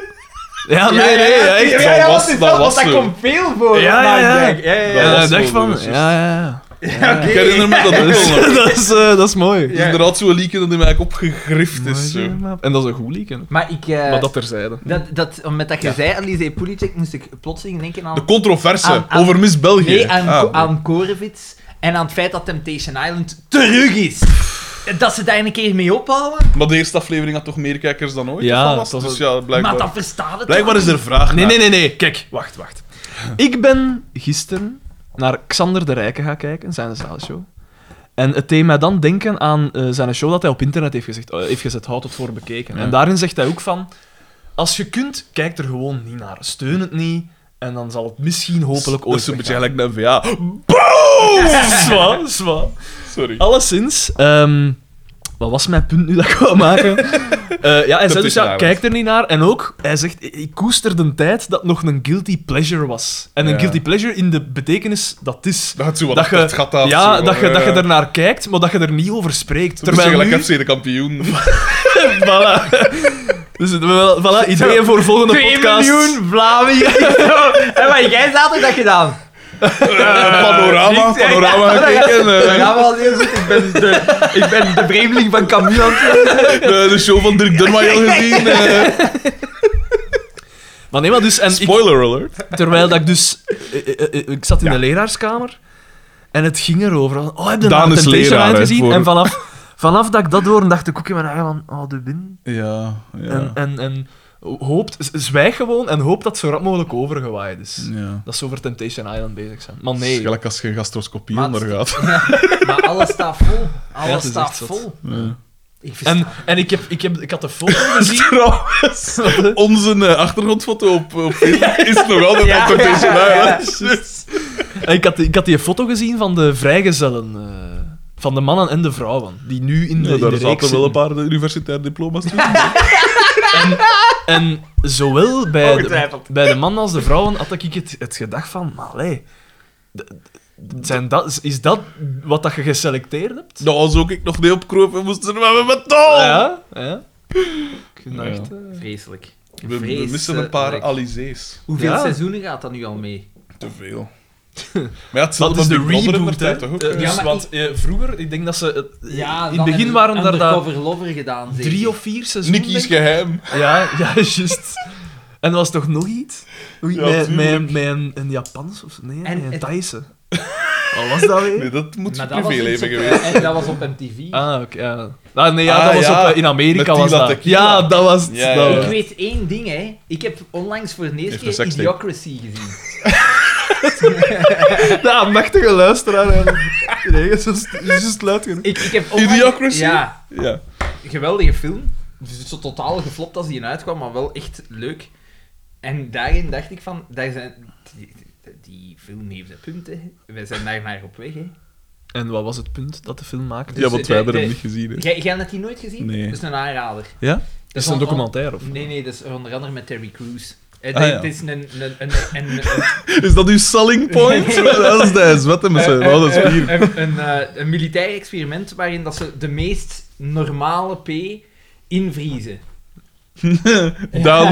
[SPEAKER 3] Ja, nee,
[SPEAKER 1] Ja, ja,
[SPEAKER 3] nee,
[SPEAKER 1] ja,
[SPEAKER 3] echt.
[SPEAKER 1] ja,
[SPEAKER 2] Dat
[SPEAKER 1] ja,
[SPEAKER 2] was-
[SPEAKER 1] want het
[SPEAKER 2] dat
[SPEAKER 1] wel-
[SPEAKER 2] was
[SPEAKER 1] want
[SPEAKER 2] zo.
[SPEAKER 1] dat komt veel voor.
[SPEAKER 3] Ja,
[SPEAKER 1] hè,
[SPEAKER 3] ja,
[SPEAKER 1] maar
[SPEAKER 3] ja.
[SPEAKER 1] ik denk, Ja, ja.
[SPEAKER 2] Dat
[SPEAKER 3] Ja,
[SPEAKER 2] was
[SPEAKER 3] ik dacht
[SPEAKER 2] wel
[SPEAKER 3] van...
[SPEAKER 2] bewust.
[SPEAKER 3] Ja, ja, ja.
[SPEAKER 1] Ja, oké.
[SPEAKER 2] Ik herinner me dat ook
[SPEAKER 3] Dus,
[SPEAKER 2] wel nog.
[SPEAKER 3] dat, is, eh, dat is mooi.
[SPEAKER 2] Het is Dus inderdaad zo'n liedje dat in mij opgegrift is. Zo.
[SPEAKER 3] En dat is een goed leak. hè.
[SPEAKER 1] Maar ik... eh,
[SPEAKER 3] Maar dat terzijde.
[SPEAKER 1] dat, dat, met dat je zei, Alize Pulicek, moest ik plotseling denken aan...
[SPEAKER 2] De controverse
[SPEAKER 1] Aan- aan-
[SPEAKER 2] over Miss België.
[SPEAKER 1] Nee, aan,
[SPEAKER 2] Ah.
[SPEAKER 1] Ko- aan Korevits en aan het feit dat Temptation Island terug is. Dat ze daar een keer mee ophalen,
[SPEAKER 2] Maar de eerste aflevering had toch meer kijkers dan ooit?
[SPEAKER 3] Ja,
[SPEAKER 2] of wat was
[SPEAKER 3] dat
[SPEAKER 2] het?
[SPEAKER 3] was-
[SPEAKER 2] dus ja, blijkbaar.
[SPEAKER 1] maar dat verstaan het
[SPEAKER 2] Blijkbaar is er vraag
[SPEAKER 3] Nee,
[SPEAKER 2] naar.
[SPEAKER 3] nee, nee, nee. Kijk, wacht, wacht. Ik ben gisteren naar Xander de Rijke gaan kijken, zijn show. En het deed mij dan denken aan eh, zijn show dat hij op internet heeft, gezegd, eh, heeft gezet, houd het voor bekeken.
[SPEAKER 2] Ja.
[SPEAKER 3] En daarin zegt hij ook van, als je kunt, kijk er gewoon niet naar. Steun het niet, en dan zal het misschien hopelijk
[SPEAKER 2] Dat
[SPEAKER 3] ooit
[SPEAKER 2] is een beetje
[SPEAKER 3] weggaan.
[SPEAKER 2] gelijk naar VA. Boom!
[SPEAKER 3] Oh, Zwaar, zwaar.
[SPEAKER 2] Sorry.
[SPEAKER 3] Alleszins, ehm, wat was mijn punt nu dat ik wou maken? Eh, ja, hij zei dus, ja,
[SPEAKER 2] Tussen
[SPEAKER 3] kijk er niet naar. En ook, hij zegt, ik- ik koester de tijd dat nog een guilty pleasure was. En een
[SPEAKER 2] Ja.
[SPEAKER 3] guilty pleasure in de betekenis dat het is...
[SPEAKER 2] Dat gaat zo wat
[SPEAKER 3] Dat
[SPEAKER 2] dat
[SPEAKER 3] je-
[SPEAKER 2] het gat af.
[SPEAKER 3] ja,
[SPEAKER 2] zo,
[SPEAKER 3] dat je,
[SPEAKER 2] eh,
[SPEAKER 3] dat je ernaar kijkt, maar dat je er niet over spreekt.
[SPEAKER 2] dat is
[SPEAKER 3] Terwijl nu...
[SPEAKER 2] gelijk FC de kampioen.
[SPEAKER 3] voilà. Dus het- wel- voilà, ideeën voor volgende
[SPEAKER 1] 2
[SPEAKER 3] podcast.
[SPEAKER 1] miljoen Vlamingen. en wat jij zaterdag gedaan?
[SPEAKER 2] Eh, panorama,
[SPEAKER 1] niet-
[SPEAKER 2] panorama gekeken. eh,
[SPEAKER 1] Ja, wel heel goed. Ik ben de, ik ben de vreemdeling van Camille. aan het-
[SPEAKER 2] de, de show van Dirk Dunmail gezien. eh.
[SPEAKER 3] Maar nee, maar dus... En ik-
[SPEAKER 2] Spoiler alert.
[SPEAKER 3] Terwijl dat ik dus... eh, eh, eh, Ik zat in de leraarskamer en het ging erover. Oh, heb je
[SPEAKER 2] Daan
[SPEAKER 3] nou
[SPEAKER 2] is
[SPEAKER 3] Temptation
[SPEAKER 2] leraar,
[SPEAKER 3] Island
[SPEAKER 2] hè,
[SPEAKER 3] gezien?
[SPEAKER 2] voor-
[SPEAKER 3] En vanaf, vanaf dat ik dat hoorde, dacht ik ook in mijn eigen van... Oh, de win.
[SPEAKER 2] Ja, ja.
[SPEAKER 3] En, en, en hoopt, z- zwijg gewoon en hoop dat het zo rap mogelijk overgewaaid is.
[SPEAKER 2] ja.
[SPEAKER 3] Dat ze over Temptation Island bezig zijn. Maar
[SPEAKER 2] Het is
[SPEAKER 3] nee.
[SPEAKER 2] gelijk als je gastroscopie
[SPEAKER 1] Maar het-
[SPEAKER 2] ondergaat.
[SPEAKER 1] Maar alles staat vol.
[SPEAKER 3] Ja,
[SPEAKER 1] Alles
[SPEAKER 3] het is
[SPEAKER 1] staat
[SPEAKER 3] echt zot.
[SPEAKER 1] vol.
[SPEAKER 2] Ja.
[SPEAKER 1] Ik versta
[SPEAKER 3] En, en ik, heb, ik, heb, ik had de foto gezien.
[SPEAKER 2] Trouwens, onze eh, achtergrondfoto op, op Facebook is nog altijd
[SPEAKER 1] Ja.
[SPEAKER 2] op Temptation
[SPEAKER 1] Ja, ja, ja.
[SPEAKER 2] Island.
[SPEAKER 3] En ik, had, ik had die foto gezien van de vrijgezellen. eh, van de mannen en de vrouwen. Die nu in de,
[SPEAKER 2] Ja,
[SPEAKER 3] in de
[SPEAKER 2] eh, daar
[SPEAKER 3] reeks
[SPEAKER 2] zaten wel
[SPEAKER 3] zitten.
[SPEAKER 2] een paar universitair diploma's tussen.
[SPEAKER 3] En zowel bij de,
[SPEAKER 1] Ongetwijfeld.
[SPEAKER 3] bij de mannen als de vrouwen had ik het, het gedacht van, maar allee, d- d- zijn dat, is dat wat dat je geselecteerd hebt?
[SPEAKER 2] Dat was Nou, ook ik nog niet opkropen, moesten we met metaal.
[SPEAKER 3] Ah, Ja, ja. Ik vind dat
[SPEAKER 2] Ja.
[SPEAKER 3] echt, eh,
[SPEAKER 1] Vreselijk.
[SPEAKER 2] We, we
[SPEAKER 1] Vreselijk.
[SPEAKER 2] missen een paar Alizés.
[SPEAKER 1] Hoeveel
[SPEAKER 3] Ja.
[SPEAKER 1] seizoenen gaat dat nu al mee?
[SPEAKER 2] Te veel. Maar ja,
[SPEAKER 3] Dat
[SPEAKER 2] hetzelfde
[SPEAKER 3] is
[SPEAKER 2] met
[SPEAKER 3] de
[SPEAKER 2] Big Brother
[SPEAKER 3] reboot, hè?
[SPEAKER 2] inderdaad, toch ook?
[SPEAKER 3] Eh,
[SPEAKER 1] Ja,
[SPEAKER 3] dus,
[SPEAKER 1] maar
[SPEAKER 3] want eh, vroeger, ik denk dat ze... het- in het
[SPEAKER 1] dan
[SPEAKER 3] begin
[SPEAKER 1] een
[SPEAKER 3] waren daar dat
[SPEAKER 1] Undercover Lover gedaan, zeker?
[SPEAKER 3] drie of vier seizoenen.
[SPEAKER 2] Nicky's geheim.
[SPEAKER 3] Ja, ja, juist. En er was toch nog iets? Oei,
[SPEAKER 2] Ja,
[SPEAKER 3] met,
[SPEAKER 2] tuurlijk.
[SPEAKER 3] met, met een, een Japans of zo? Nee,
[SPEAKER 1] En
[SPEAKER 3] een
[SPEAKER 1] het-
[SPEAKER 3] Thaise. Wat was dat weer?
[SPEAKER 2] Nee, dat moet
[SPEAKER 1] Maar
[SPEAKER 2] je
[SPEAKER 1] dat was
[SPEAKER 2] privéleven
[SPEAKER 1] iets op-
[SPEAKER 2] geweest.
[SPEAKER 1] En dat was op MTV.
[SPEAKER 3] Ah, oké. ja. Ah, nee, ja,
[SPEAKER 2] Ah,
[SPEAKER 3] dat was
[SPEAKER 2] ja.
[SPEAKER 3] op, eh, in
[SPEAKER 2] Met
[SPEAKER 3] Amerika
[SPEAKER 2] Tila
[SPEAKER 3] was dat.
[SPEAKER 2] Tequila.
[SPEAKER 3] Ja, dat was het.
[SPEAKER 2] Ja,
[SPEAKER 3] dat
[SPEAKER 2] ja.
[SPEAKER 3] was
[SPEAKER 1] Ik
[SPEAKER 3] het.
[SPEAKER 1] weet één ding, hè. Ik heb onlangs voor de eerste
[SPEAKER 2] Heeft een
[SPEAKER 1] keer
[SPEAKER 2] sekstape.
[SPEAKER 1] Idiocracy gezien.
[SPEAKER 3] De aandachtige luisteraar. hè. Nee, dat is juist luid genoeg.
[SPEAKER 1] Ik, ik heb onlangs-
[SPEAKER 2] Idiocracy?
[SPEAKER 1] Ja,
[SPEAKER 2] Ja.
[SPEAKER 3] Dus,
[SPEAKER 1] geweldige film. Dus het is zo totaal geflopt als die uitkwam, maar wel echt leuk. En daarin dacht ik van, daar zijn... Die, die film heeft de punten. Wij zijn daar naar op weg, hè.
[SPEAKER 3] En wat was het punt dat de film maakte?
[SPEAKER 1] Dus
[SPEAKER 2] ja, want wij
[SPEAKER 1] de-
[SPEAKER 2] hebben hem
[SPEAKER 1] de-
[SPEAKER 2] niet gezien. hè.
[SPEAKER 1] Jij, jij hebt die nooit gezien?
[SPEAKER 2] Nee.
[SPEAKER 1] Dat is een aanrader.
[SPEAKER 3] Ja?
[SPEAKER 1] Dat
[SPEAKER 3] Is het een
[SPEAKER 1] on- on-
[SPEAKER 3] documentaire of?
[SPEAKER 1] Nee, nee, dat is onder andere met Terry Crews. Het,
[SPEAKER 2] Ah, ja.
[SPEAKER 1] het is een... een, een, een, een-
[SPEAKER 2] Is dat uw selling point? dat is de zwetten met zijn oh, dat is
[SPEAKER 1] een,
[SPEAKER 2] vier.
[SPEAKER 1] een, een, eh, een militair experiment waarin dat ze de meest normale P invriezen.
[SPEAKER 2] Daan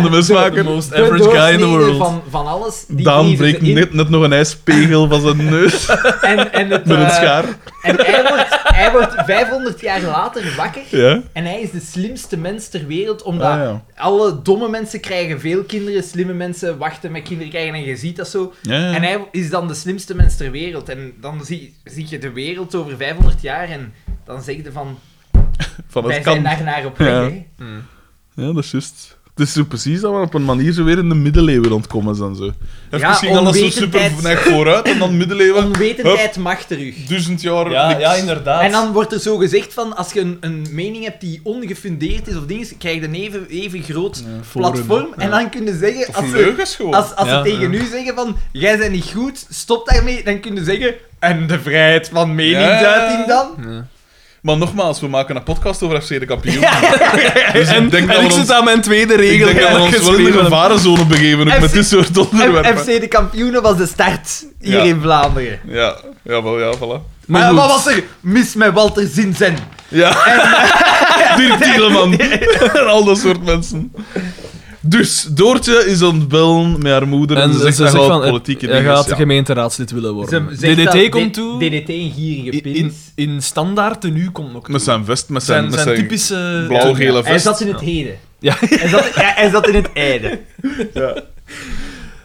[SPEAKER 2] de
[SPEAKER 3] The
[SPEAKER 2] mismaker.
[SPEAKER 3] most
[SPEAKER 1] De
[SPEAKER 3] average guy in the
[SPEAKER 1] doorsnede
[SPEAKER 3] world.
[SPEAKER 1] Van, van alles. Die
[SPEAKER 2] Daan
[SPEAKER 1] vriezen ze
[SPEAKER 2] breekt
[SPEAKER 1] in.
[SPEAKER 2] net, net nog een ijspegel van zijn neus
[SPEAKER 1] En, en, het,
[SPEAKER 2] met een
[SPEAKER 1] eh,
[SPEAKER 2] schaar.
[SPEAKER 1] en hij, wordt, hij wordt 500 jaar later wakker.
[SPEAKER 2] Ja.
[SPEAKER 1] En hij is de slimste mens ter wereld, omdat
[SPEAKER 2] Ah, ja.
[SPEAKER 1] alle domme mensen krijgen veel kinderen, slimme mensen wachten met kinderen krijgen en je ziet dat zo.
[SPEAKER 2] Ja, ja.
[SPEAKER 1] En hij is dan de slimste mens ter wereld. En dan zie, zie je de wereld over 500 jaar en dan zeg je van,
[SPEAKER 2] Van
[SPEAKER 1] wij
[SPEAKER 2] het
[SPEAKER 1] zijn
[SPEAKER 2] kan.
[SPEAKER 1] daar naar op weg.
[SPEAKER 2] Ja.
[SPEAKER 1] hè.
[SPEAKER 2] Ja, dat is juist. Het is zo precies dat we op een manier zo weer in de middeleeuwen ontkomen zijn. Zo. Even
[SPEAKER 1] Ja,
[SPEAKER 2] misschien alles zo super
[SPEAKER 1] onwetendheid.
[SPEAKER 2] naar vooruit en dan middeleeuwen,
[SPEAKER 1] Onwetendheid mag terug.
[SPEAKER 2] duizend jaar
[SPEAKER 3] Ja,
[SPEAKER 2] niks.
[SPEAKER 3] ja, inderdaad.
[SPEAKER 1] En dan wordt er zo gezegd van, als je een, een mening hebt die ongefundeerd is of dingen, krijg je een even, even groot platform. En dan kunnen zeggen,
[SPEAKER 2] Of
[SPEAKER 1] als ze,
[SPEAKER 2] leugens gewoon.
[SPEAKER 1] als, als
[SPEAKER 3] Ja,
[SPEAKER 1] ze tegen
[SPEAKER 3] ja.
[SPEAKER 1] u zeggen van, jij bent niet goed, stop daarmee, dan kunnen ze zeggen, en de vrijheid van meningsuiting
[SPEAKER 2] Ja.
[SPEAKER 1] dan?
[SPEAKER 3] Ja.
[SPEAKER 2] Maar nogmaals, we maken een podcast over FC de kampioen. Dus
[SPEAKER 3] En,
[SPEAKER 2] ik denk dat
[SPEAKER 3] en
[SPEAKER 2] we
[SPEAKER 3] ik
[SPEAKER 2] ons,
[SPEAKER 3] zit aan mijn tweede
[SPEAKER 2] ik
[SPEAKER 3] regel.
[SPEAKER 2] denk dat we
[SPEAKER 3] eigenlijk
[SPEAKER 2] ons wel in de
[SPEAKER 3] geschreven.
[SPEAKER 2] gevarenzone begeven ook
[SPEAKER 1] FC
[SPEAKER 2] met dit soort onderwerpen.
[SPEAKER 1] FC de kampioenen was de start hier
[SPEAKER 2] Ja.
[SPEAKER 1] in Vlaanderen.
[SPEAKER 2] Ja, jawel, ja, voilà.
[SPEAKER 1] Maar
[SPEAKER 3] Maar goed.
[SPEAKER 1] wat was er mis met Walter Zinzen?
[SPEAKER 2] Ja.
[SPEAKER 3] eh,
[SPEAKER 2] Dirk Tiedeman. en al dat soort mensen. Dus Doortje is aan het bellen met haar moeder en,
[SPEAKER 3] En
[SPEAKER 2] ze zegt,
[SPEAKER 3] ze zegt
[SPEAKER 2] hij
[SPEAKER 3] van, eh,
[SPEAKER 2] gaat politieke
[SPEAKER 3] hij
[SPEAKER 2] dingen.
[SPEAKER 3] gaat
[SPEAKER 2] ja.
[SPEAKER 3] gemeenteraadslid willen worden.
[SPEAKER 1] Ze zegt dat
[SPEAKER 3] DDT komt
[SPEAKER 1] D-
[SPEAKER 3] toe.
[SPEAKER 1] DDT een gierige
[SPEAKER 3] In, in,
[SPEAKER 1] pins.
[SPEAKER 3] in standaard tenue komt nog toe.
[SPEAKER 2] Met zijn vest, met zijn,
[SPEAKER 3] zijn,
[SPEAKER 2] met
[SPEAKER 3] zijn,
[SPEAKER 2] zijn
[SPEAKER 3] typische...
[SPEAKER 2] blauw-gele
[SPEAKER 1] Hij
[SPEAKER 2] vest.
[SPEAKER 1] zat in het heden.
[SPEAKER 3] Ja.
[SPEAKER 1] Hij zat, hij, hij zat in het einde.
[SPEAKER 2] Ja.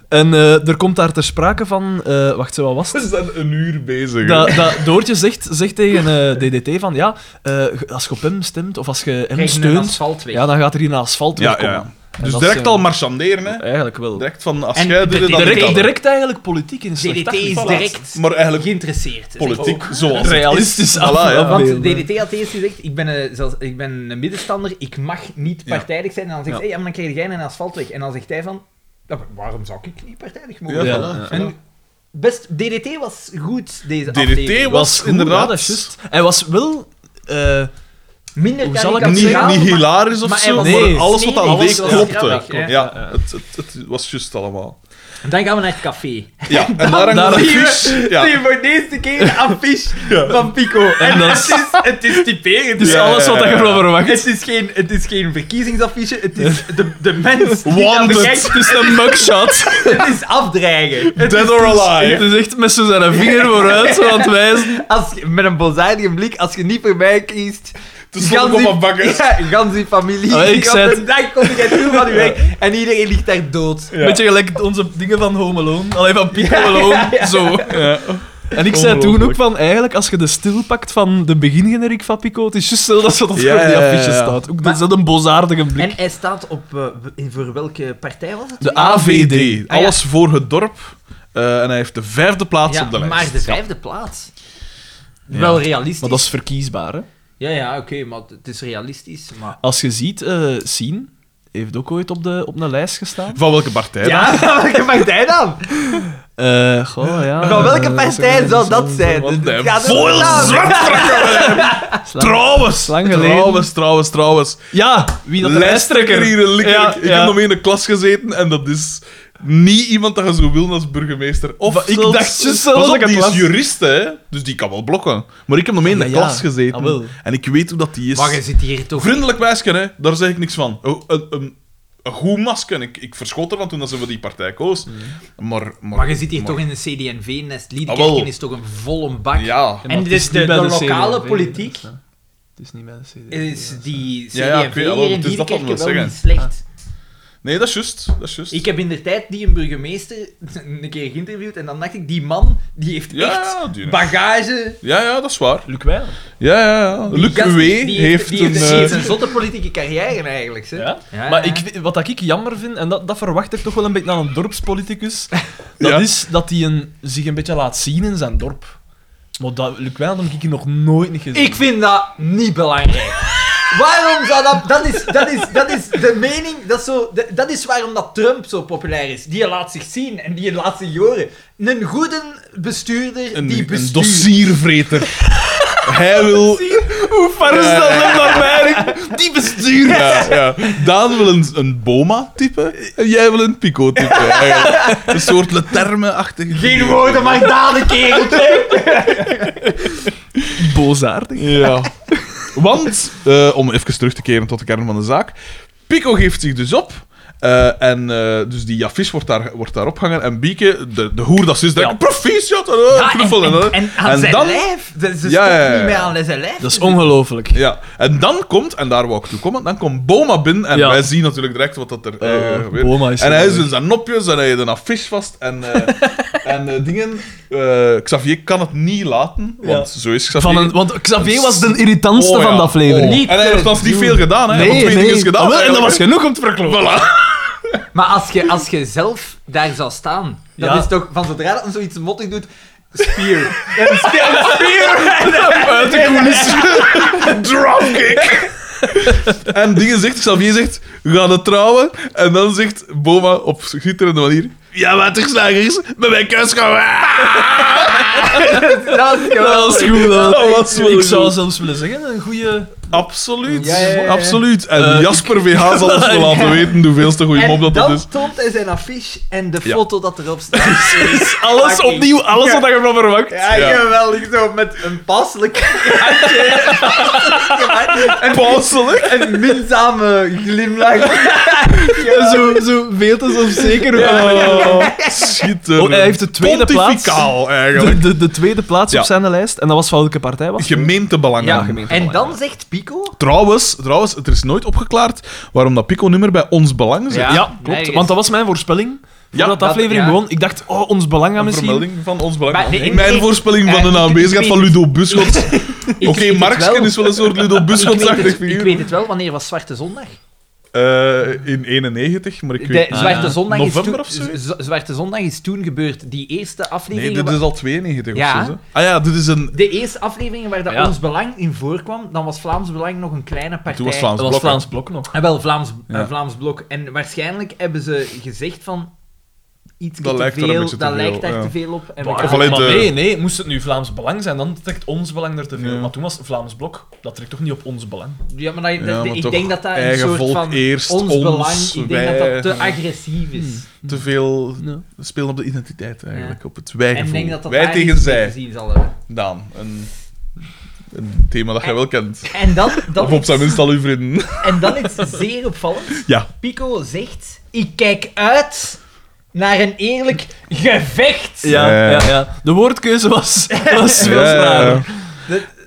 [SPEAKER 3] En eh, er komt daar ter sprake van... eh, wacht, ze, wat was het?
[SPEAKER 2] Ze zijn een uur bezig.
[SPEAKER 3] Dat,
[SPEAKER 2] hè.
[SPEAKER 3] dat Doortje zegt, zegt tegen eh, DDT van... Ja, eh, als je op hem stemt of als je hem
[SPEAKER 1] Krijg je een
[SPEAKER 3] steunt...
[SPEAKER 1] asfalt weg.
[SPEAKER 3] Ja, dan gaat er hier een asfalt
[SPEAKER 2] ja,
[SPEAKER 3] wegkomen.
[SPEAKER 2] ja.
[SPEAKER 3] En
[SPEAKER 2] Dus
[SPEAKER 3] dat
[SPEAKER 2] direct
[SPEAKER 3] is, eh,
[SPEAKER 2] al marchanderen, hè.
[SPEAKER 3] Eigenlijk wel.
[SPEAKER 2] Direct van, als
[SPEAKER 1] En
[SPEAKER 2] jij
[SPEAKER 1] de-
[SPEAKER 2] doet, het, dan
[SPEAKER 1] direct-
[SPEAKER 2] doe ik dat.
[SPEAKER 3] Direct, direct eigenlijk politiek in een slecht
[SPEAKER 1] DDT is
[SPEAKER 3] daglicht.
[SPEAKER 1] direct Oh.
[SPEAKER 2] Maar eigenlijk
[SPEAKER 1] geïnteresseerd. zeg.
[SPEAKER 2] politiek zoals
[SPEAKER 3] Realistisch
[SPEAKER 2] het is. Voilà, ja.
[SPEAKER 3] afbeelden.
[SPEAKER 1] Want DDT had eerst gezegd, ik ben, een, zelfs, ik ben een middenstander, ik mag niet
[SPEAKER 2] Ja.
[SPEAKER 1] partijdig zijn. En dan zegt
[SPEAKER 3] Ja.
[SPEAKER 1] hij, ja, maar dan krijg jij een asfalt weg. En dan zegt hij van, ja, maar waarom zou ik niet partijdig mogen
[SPEAKER 2] Ja,
[SPEAKER 1] zijn?
[SPEAKER 3] Ja,
[SPEAKER 2] voilà.
[SPEAKER 3] ja.
[SPEAKER 1] En best, DDT was goed, deze
[SPEAKER 2] DDT
[SPEAKER 1] aflevering.
[SPEAKER 2] was-
[SPEAKER 3] goed,
[SPEAKER 2] inderdaad.
[SPEAKER 3] ja, dat is juist. Hij was wel... eh,
[SPEAKER 1] Minder
[SPEAKER 3] Hoe zal ik dat
[SPEAKER 2] Niet,
[SPEAKER 1] karikaturaal,
[SPEAKER 2] niet
[SPEAKER 1] maar-
[SPEAKER 2] hilarisch of
[SPEAKER 1] maar hij
[SPEAKER 2] zo,
[SPEAKER 3] was-
[SPEAKER 2] maar
[SPEAKER 3] Nee.
[SPEAKER 2] alles wat aan
[SPEAKER 1] Nee, alles
[SPEAKER 2] deed
[SPEAKER 1] was
[SPEAKER 2] klopte.
[SPEAKER 1] grappig,
[SPEAKER 2] Ja,
[SPEAKER 1] ja.
[SPEAKER 3] Ja.
[SPEAKER 2] Het, het, het was juist allemaal.
[SPEAKER 1] Dan gaan we naar het café.
[SPEAKER 2] Ja, en daar hangt
[SPEAKER 3] daar
[SPEAKER 2] een
[SPEAKER 3] zie
[SPEAKER 1] je-
[SPEAKER 2] affiche.
[SPEAKER 1] Zie
[SPEAKER 2] Ja.
[SPEAKER 1] je voor de eerste keer een affiche
[SPEAKER 2] Ja.
[SPEAKER 1] van Pico. En,
[SPEAKER 3] dat
[SPEAKER 1] het, is, het is typerend.
[SPEAKER 3] Het is
[SPEAKER 2] Ja,
[SPEAKER 3] alles
[SPEAKER 2] ja,
[SPEAKER 3] wat
[SPEAKER 2] ja,
[SPEAKER 3] je
[SPEAKER 2] ja.
[SPEAKER 3] van verwacht.
[SPEAKER 1] Het is geen, het is geen verkiezingsaffiche, het is de, de mens die aan de
[SPEAKER 3] Wanted.
[SPEAKER 1] kijk-
[SPEAKER 3] Het is een mugshot.
[SPEAKER 1] Het is afdreigen. Het
[SPEAKER 2] Dead or
[SPEAKER 3] Het
[SPEAKER 2] alive.
[SPEAKER 3] is echt met zo zijn vinger vooruit zo aan het wijzen.
[SPEAKER 1] Als je- met een bozijdige blik, als je niet voor mij kiest...
[SPEAKER 2] Het is nog op bakken.
[SPEAKER 1] Ja, gans die familie.
[SPEAKER 3] Ah, ik
[SPEAKER 1] op
[SPEAKER 3] zei het.
[SPEAKER 1] een dag kom jij toe van je werk en iedereen ligt daar dood.
[SPEAKER 2] Ja.
[SPEAKER 3] Beetje gelijk onze dingen van Home Alone. Alleen van Pico Alone. Zo.
[SPEAKER 2] Ja.
[SPEAKER 3] En ik zei toen ook
[SPEAKER 2] Ongelooflijk.
[SPEAKER 3] van, eigenlijk, als je de stil pakt van de begingeneriek van Pico, het is juist zo dat ze dat
[SPEAKER 2] Ja,
[SPEAKER 3] op die
[SPEAKER 2] ja, ja,
[SPEAKER 3] affiche
[SPEAKER 2] ja.
[SPEAKER 3] staat. Ook, dat is dat een bozaardige blik.
[SPEAKER 1] En hij staat op... eh, in- voor welke partij was het?
[SPEAKER 3] de AVD.
[SPEAKER 2] AVD. Alles voor het dorp. Eh, en hij heeft de vijfde plaats
[SPEAKER 1] Ja,
[SPEAKER 2] op de lijst.
[SPEAKER 1] maar de vijfde plaats. Wel realistisch.
[SPEAKER 3] Maar dat is verkiesbaar, hè.
[SPEAKER 1] Ja, ja, oké, maar het is realistisch. Maar...
[SPEAKER 3] Als je ziet, eh Sien heeft ook ooit op, de, op een lijst gestaan.
[SPEAKER 2] Van welke partij? dan?
[SPEAKER 1] Ja, welke partij dan?
[SPEAKER 3] Eh, goh, ja.
[SPEAKER 1] Van welke
[SPEAKER 3] eh,
[SPEAKER 1] pestij zou dat zijn?
[SPEAKER 2] Want
[SPEAKER 1] Dus
[SPEAKER 2] hij
[SPEAKER 1] het gaat over
[SPEAKER 2] voelt
[SPEAKER 1] naam.
[SPEAKER 2] zwartrekken. Trouwens,
[SPEAKER 3] lang geleden.
[SPEAKER 2] trouwens, trouwens, trouwens.
[SPEAKER 3] Ja, wie dat de
[SPEAKER 2] Lijsttrekker hier in Likkerk.
[SPEAKER 3] Ja,
[SPEAKER 2] Ik
[SPEAKER 3] ja.
[SPEAKER 2] heb nog mee in de klas gezeten en dat is niet iemand dat je zo wil als burgemeester. Of
[SPEAKER 3] Maar ik
[SPEAKER 2] zelfs-
[SPEAKER 3] dacht juist
[SPEAKER 2] Pas
[SPEAKER 3] zelfs
[SPEAKER 2] op,
[SPEAKER 3] dat ik het
[SPEAKER 2] die is
[SPEAKER 3] las.
[SPEAKER 2] jurist, hè, dus die kan wel blokken. Maar ik heb nog mee in de
[SPEAKER 3] Ja, ja.
[SPEAKER 2] klas gezeten
[SPEAKER 3] Ah, wel.
[SPEAKER 2] en ik weet hoe dat die is.
[SPEAKER 1] Maar je zit hier toch...
[SPEAKER 2] Vriendelijk meisje, hè? daar zeg ik niks van. O- Een, een, een goed masker. Ik, ik verschot ervan toen dat ze voor die partij koos. Maar, maar,
[SPEAKER 1] Maar je zit hier
[SPEAKER 2] maar-
[SPEAKER 1] toch in een CDNV-nest.
[SPEAKER 2] Ah, wel.
[SPEAKER 1] Liedekerken is toch een volle bak.
[SPEAKER 2] Ja,
[SPEAKER 3] Ja,
[SPEAKER 1] En
[SPEAKER 3] maar
[SPEAKER 1] dit
[SPEAKER 3] het
[SPEAKER 1] is
[SPEAKER 3] niet
[SPEAKER 1] de-
[SPEAKER 3] bij
[SPEAKER 1] de
[SPEAKER 3] CD,
[SPEAKER 1] lokale
[SPEAKER 3] ik weet
[SPEAKER 1] politiek.
[SPEAKER 3] het, hè. Het is niet bij de CD.
[SPEAKER 1] Is die
[SPEAKER 2] Ja, ja,
[SPEAKER 1] CDNV
[SPEAKER 2] ik weet- ah, wel,
[SPEAKER 1] hier in
[SPEAKER 2] het is dat wat we
[SPEAKER 1] Liedekerken wel
[SPEAKER 2] zeggen.
[SPEAKER 1] niet slecht?
[SPEAKER 2] nee, dat is juist. Dat is juist.
[SPEAKER 1] Ik heb in de tijd die een burgemeester een keer geïnterviewd en dan dacht ik, die man die heeft
[SPEAKER 2] Ja,
[SPEAKER 1] echt
[SPEAKER 2] die-
[SPEAKER 1] bagage.
[SPEAKER 2] Ja, ja, dat is waar.
[SPEAKER 3] Luc Wijlen.
[SPEAKER 2] Ja, ja, ja.
[SPEAKER 1] Die
[SPEAKER 2] Luc
[SPEAKER 1] gast-
[SPEAKER 2] W.
[SPEAKER 1] die
[SPEAKER 2] heeft
[SPEAKER 1] die
[SPEAKER 2] een...
[SPEAKER 1] heeft
[SPEAKER 2] eh,
[SPEAKER 1] een zotte politieke carrière eigenlijk. Hè?
[SPEAKER 3] Ja?
[SPEAKER 1] Ja,
[SPEAKER 3] maar
[SPEAKER 1] ja.
[SPEAKER 3] ik, wat ik jammer vind, en dat, dat verwacht ik toch wel een beetje aan een dorpspoliticus, dat
[SPEAKER 2] Ja.
[SPEAKER 3] is dat hij een, zich een beetje laat zien in zijn dorp. Maar dat Luc Wijlen heb ik nog nooit niet gezien.
[SPEAKER 1] Ik vind dat niet belangrijk. Waarom zou dat... Dat is, dat is, dat is de mening... Dat is, zo, de- dat is waarom dat Trump zo populair is. Die laat zich zien en die laat zich horen. Een goede bestuurder
[SPEAKER 2] een,
[SPEAKER 1] die
[SPEAKER 2] een
[SPEAKER 1] bestuurt.
[SPEAKER 2] dossiervreter. Hij wil...
[SPEAKER 3] Hoe ver is dat dan naar mij?
[SPEAKER 2] Die bestuur! Ja, ja. Daan wil een, een Boma-type en jij wil een Pico-type. eigenlijk. Een soort leterme-achtige...
[SPEAKER 1] Geen
[SPEAKER 2] figuur.
[SPEAKER 1] woorden, maar daden, kereltje.
[SPEAKER 3] Boosaardig.
[SPEAKER 2] Ja. Want, eh, om even terug te keren tot de kern van de zaak. Pico geeft zich dus op. eh, en eh, dus die Jafis wordt daar, wordt daar opgehangen. En Bieke, de, de hoer dat ze is, denkt:
[SPEAKER 3] Ja.
[SPEAKER 2] proficiat! eh,
[SPEAKER 1] Ja,
[SPEAKER 2] knuffel,
[SPEAKER 1] en, en,
[SPEAKER 2] eh.
[SPEAKER 1] en aan
[SPEAKER 2] En
[SPEAKER 1] zijn
[SPEAKER 2] dan-
[SPEAKER 1] lijf. Ze, ze
[SPEAKER 2] Ja, ja,
[SPEAKER 1] stopt
[SPEAKER 2] ja.
[SPEAKER 1] niet meer aan zijn lijf.
[SPEAKER 3] Dat is ongelooflijk.
[SPEAKER 2] Ja, en dan komt, en daar wou ik toe komen, dan komt Boma binnen en
[SPEAKER 3] Ja.
[SPEAKER 2] wij zien natuurlijk direct wat dat er eh,
[SPEAKER 3] Eh,
[SPEAKER 2] gebeurt.
[SPEAKER 3] Boma is
[SPEAKER 2] en hij
[SPEAKER 3] er
[SPEAKER 2] is
[SPEAKER 3] weer.
[SPEAKER 2] in zijn nopjes en hij heeft een affiche vast en, eh, en eh, dingen. Eh, Xavier kan het niet laten, want zo is Xavier.
[SPEAKER 3] Van een, want Xavier was de irritantste
[SPEAKER 2] Oh, ja.
[SPEAKER 3] van de aflevering.
[SPEAKER 2] Oh.
[SPEAKER 1] Niet
[SPEAKER 2] En hij heeft
[SPEAKER 1] te
[SPEAKER 2] nog niet
[SPEAKER 1] doen.
[SPEAKER 2] veel gedaan, hè? Hij heeft nog twee dingetjes gedaan.
[SPEAKER 3] Ah, wel, en dat was
[SPEAKER 2] eigenlijk.
[SPEAKER 3] genoeg om te verkloppen.
[SPEAKER 2] Voilà.
[SPEAKER 1] Maar als je, als je zelf daar zou staan, dat
[SPEAKER 3] Ja.
[SPEAKER 1] is toch van zodra dat hem zoiets mottig doet. Spear. Een spear. Een spear.
[SPEAKER 2] Uit de coulissen. Dropkick. en dingen zegt, Xavier zegt, we gaan het trouwen. En dan zegt Boma op schitterende manier... Ja, waterslagers, bij mijn kus gaan
[SPEAKER 1] Dat is geweldig.
[SPEAKER 3] Dat was goed. dat-
[SPEAKER 2] Dat was wel
[SPEAKER 3] ik
[SPEAKER 2] goed.
[SPEAKER 3] zou zelfs willen zeggen, een goede...
[SPEAKER 2] Absoluut.
[SPEAKER 1] Ja, ja, ja.
[SPEAKER 2] Absoluut. En
[SPEAKER 3] Eh,
[SPEAKER 2] Jasper VH zal ons wel laten weten hoeveelste goede mop
[SPEAKER 1] En
[SPEAKER 2] dat dat
[SPEAKER 1] dan
[SPEAKER 2] is.
[SPEAKER 1] stond hij zijn affiche en de
[SPEAKER 2] Ja.
[SPEAKER 1] foto dat erop staat.
[SPEAKER 3] Is alles
[SPEAKER 1] Fucking-
[SPEAKER 3] opnieuw, alles wat je van verwacht.
[SPEAKER 1] Ja,
[SPEAKER 2] Ja.
[SPEAKER 1] geweldig. Zo met een passelijk handje. Een
[SPEAKER 2] Passelijk.
[SPEAKER 1] Een minzame glimlach.
[SPEAKER 3] Zo, zo veel te zo zeker.
[SPEAKER 2] Ja. Schitterend.
[SPEAKER 3] Oh, hij heeft de tweede plaats.
[SPEAKER 2] Pontificaal,
[SPEAKER 3] De,
[SPEAKER 2] eigenlijk.
[SPEAKER 3] de, de tweede plaats
[SPEAKER 2] Ja.
[SPEAKER 3] op zijn lijst. En dat was van welke partij was?
[SPEAKER 2] Gemeentebelangen.
[SPEAKER 3] Ja, gemeente.
[SPEAKER 1] En dan zegt Pico...
[SPEAKER 2] Trouwens, trouwens, het is nooit opgeklaard waarom dat Pico nummer bij ons belang zit.
[SPEAKER 1] Ja.
[SPEAKER 3] Ja, klopt.
[SPEAKER 1] nergens.
[SPEAKER 3] Want dat was mijn voorspelling. Voordat de
[SPEAKER 1] dat-
[SPEAKER 3] aflevering
[SPEAKER 1] ja.
[SPEAKER 3] begon. Ik dacht, oh, ons belang gaat
[SPEAKER 2] Een
[SPEAKER 3] misschien...
[SPEAKER 2] vermelding van ons belang.
[SPEAKER 1] Maar nee,
[SPEAKER 2] Mijn
[SPEAKER 1] ik-
[SPEAKER 2] voorspelling
[SPEAKER 1] ik-
[SPEAKER 2] van
[SPEAKER 1] eh,
[SPEAKER 2] een
[SPEAKER 1] ik- ik
[SPEAKER 2] aanwezigheid
[SPEAKER 1] weet
[SPEAKER 2] van
[SPEAKER 1] het.
[SPEAKER 2] Ludo Buschot.
[SPEAKER 1] Ik weet
[SPEAKER 2] Oké,
[SPEAKER 1] het wel.
[SPEAKER 2] Marksken is wel een soort Ludo
[SPEAKER 1] Ik weet,
[SPEAKER 2] Buschot-achtig
[SPEAKER 1] het, ik
[SPEAKER 2] figuur.
[SPEAKER 1] weet het wel, wanneer was Zwarte Zondag?
[SPEAKER 2] Eh, in 91, maar ik
[SPEAKER 1] De
[SPEAKER 2] weet Ah,
[SPEAKER 1] Zwarte,
[SPEAKER 3] ja.
[SPEAKER 1] Zondag is
[SPEAKER 2] November
[SPEAKER 1] toen,
[SPEAKER 2] of zoiets?
[SPEAKER 1] Z- Zwarte Zondag is toen gebeurd. Die eerste
[SPEAKER 2] Nee,
[SPEAKER 1] aflevering...
[SPEAKER 2] dit is al 92
[SPEAKER 1] Ja.
[SPEAKER 2] of zo. hè? Ah ja, dit is een...
[SPEAKER 1] De eerste afleveringen waar dat
[SPEAKER 3] Ja.
[SPEAKER 1] ons belang in voorkwam, dan was Vlaams Belang nog een kleine partij.
[SPEAKER 2] Toen was Vlaams
[SPEAKER 3] Dat was
[SPEAKER 2] Blok. hè?
[SPEAKER 3] Vlaams Blok nog.
[SPEAKER 1] Ah, wel, Vlaams,
[SPEAKER 2] Ja.
[SPEAKER 1] eh, Vlaams Blok. En waarschijnlijk hebben ze gezegd van... Iets
[SPEAKER 2] Dat
[SPEAKER 1] te
[SPEAKER 2] lijkt er een
[SPEAKER 1] veel,
[SPEAKER 2] beetje te
[SPEAKER 1] dat
[SPEAKER 2] veel,
[SPEAKER 1] lijkt daar
[SPEAKER 2] ja.
[SPEAKER 1] te veel op. En we
[SPEAKER 3] Maar-
[SPEAKER 1] gaan-
[SPEAKER 2] Of alleen
[SPEAKER 3] maar
[SPEAKER 2] de-
[SPEAKER 3] nee, nee, moest het nu Vlaams Belang zijn, dan trekt ons belang er te veel.
[SPEAKER 2] Ja.
[SPEAKER 3] Maar toen was Vlaams Blok, dat trekt toch niet op ons belang?
[SPEAKER 1] Ja, maar, dat, dat-
[SPEAKER 2] Ja, maar
[SPEAKER 1] ik
[SPEAKER 2] toch,
[SPEAKER 1] denk dat dat een
[SPEAKER 2] eigen
[SPEAKER 1] soort
[SPEAKER 2] volk
[SPEAKER 1] van
[SPEAKER 2] eerst,
[SPEAKER 1] ons,
[SPEAKER 2] ons,
[SPEAKER 1] belang, ik denk
[SPEAKER 2] wij. Hm.
[SPEAKER 1] dat dat te agressief is.
[SPEAKER 2] Te veel
[SPEAKER 3] Ja.
[SPEAKER 2] spelen op de identiteit, eigenlijk.
[SPEAKER 1] Ja.
[SPEAKER 2] Op het
[SPEAKER 1] En ik
[SPEAKER 2] wijgevoel.
[SPEAKER 1] denk dat dat
[SPEAKER 2] Wij
[SPEAKER 1] daar
[SPEAKER 2] tegen
[SPEAKER 1] iets
[SPEAKER 2] zij.
[SPEAKER 1] mee te zien zal hebben.
[SPEAKER 2] Daan, een, een thema dat jij wel kent.
[SPEAKER 1] En dan,
[SPEAKER 2] Of
[SPEAKER 1] dan,
[SPEAKER 2] op zijn
[SPEAKER 1] iets,
[SPEAKER 2] minst al uw vrienden.
[SPEAKER 1] en dan iets zeer opvallends.
[SPEAKER 2] Ja.
[SPEAKER 1] Pico zegt, ik kijk uit naar een eerlijk gevecht.
[SPEAKER 3] Ja,
[SPEAKER 2] Ja.
[SPEAKER 3] ja, ja. De woordkeuze was, was, was
[SPEAKER 2] Ja, ja, ja.
[SPEAKER 3] raar.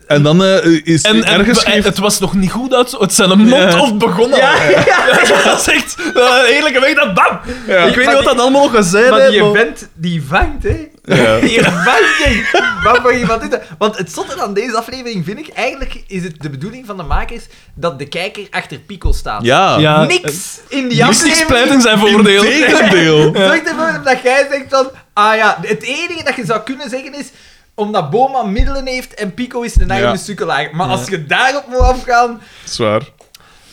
[SPEAKER 2] En dan eh, is
[SPEAKER 3] En, en
[SPEAKER 2] ergens...
[SPEAKER 3] be- en het was nog niet goed uit, het zijn een mond
[SPEAKER 2] Ja.
[SPEAKER 3] of begonnen.
[SPEAKER 1] Ja,
[SPEAKER 3] al.
[SPEAKER 1] ja.
[SPEAKER 3] dat was echt eh, een eerlijke weg dat bam!
[SPEAKER 2] Ja.
[SPEAKER 3] Ik weet
[SPEAKER 1] Maar
[SPEAKER 3] niet wat dat allemaal nog gezegd
[SPEAKER 1] Maar die
[SPEAKER 3] heeft. maar-
[SPEAKER 1] vent, die vangt, hè.
[SPEAKER 2] Ja.
[SPEAKER 1] Die vangt, hè. Wat voor iemand is dat? Want het zotte aan deze aflevering vind ik, eigenlijk is het de bedoeling van de makers dat de kijker achter Pico staat.
[SPEAKER 2] ja. eh,
[SPEAKER 3] Ja.
[SPEAKER 1] Niks in die
[SPEAKER 3] Niks niks pleit in
[SPEAKER 1] aflevering.
[SPEAKER 3] zijn voordeel.
[SPEAKER 2] Tegendeel.
[SPEAKER 1] Zorg ervoor dat jij zegt van, ah ja, het enige dat je zou kunnen zeggen is omdat Boma middelen heeft en Pico is een eigen
[SPEAKER 2] Ja.
[SPEAKER 1] sukkelaar. Maar
[SPEAKER 3] Ja.
[SPEAKER 1] als je daarop moet afgaan...
[SPEAKER 2] Zwaar.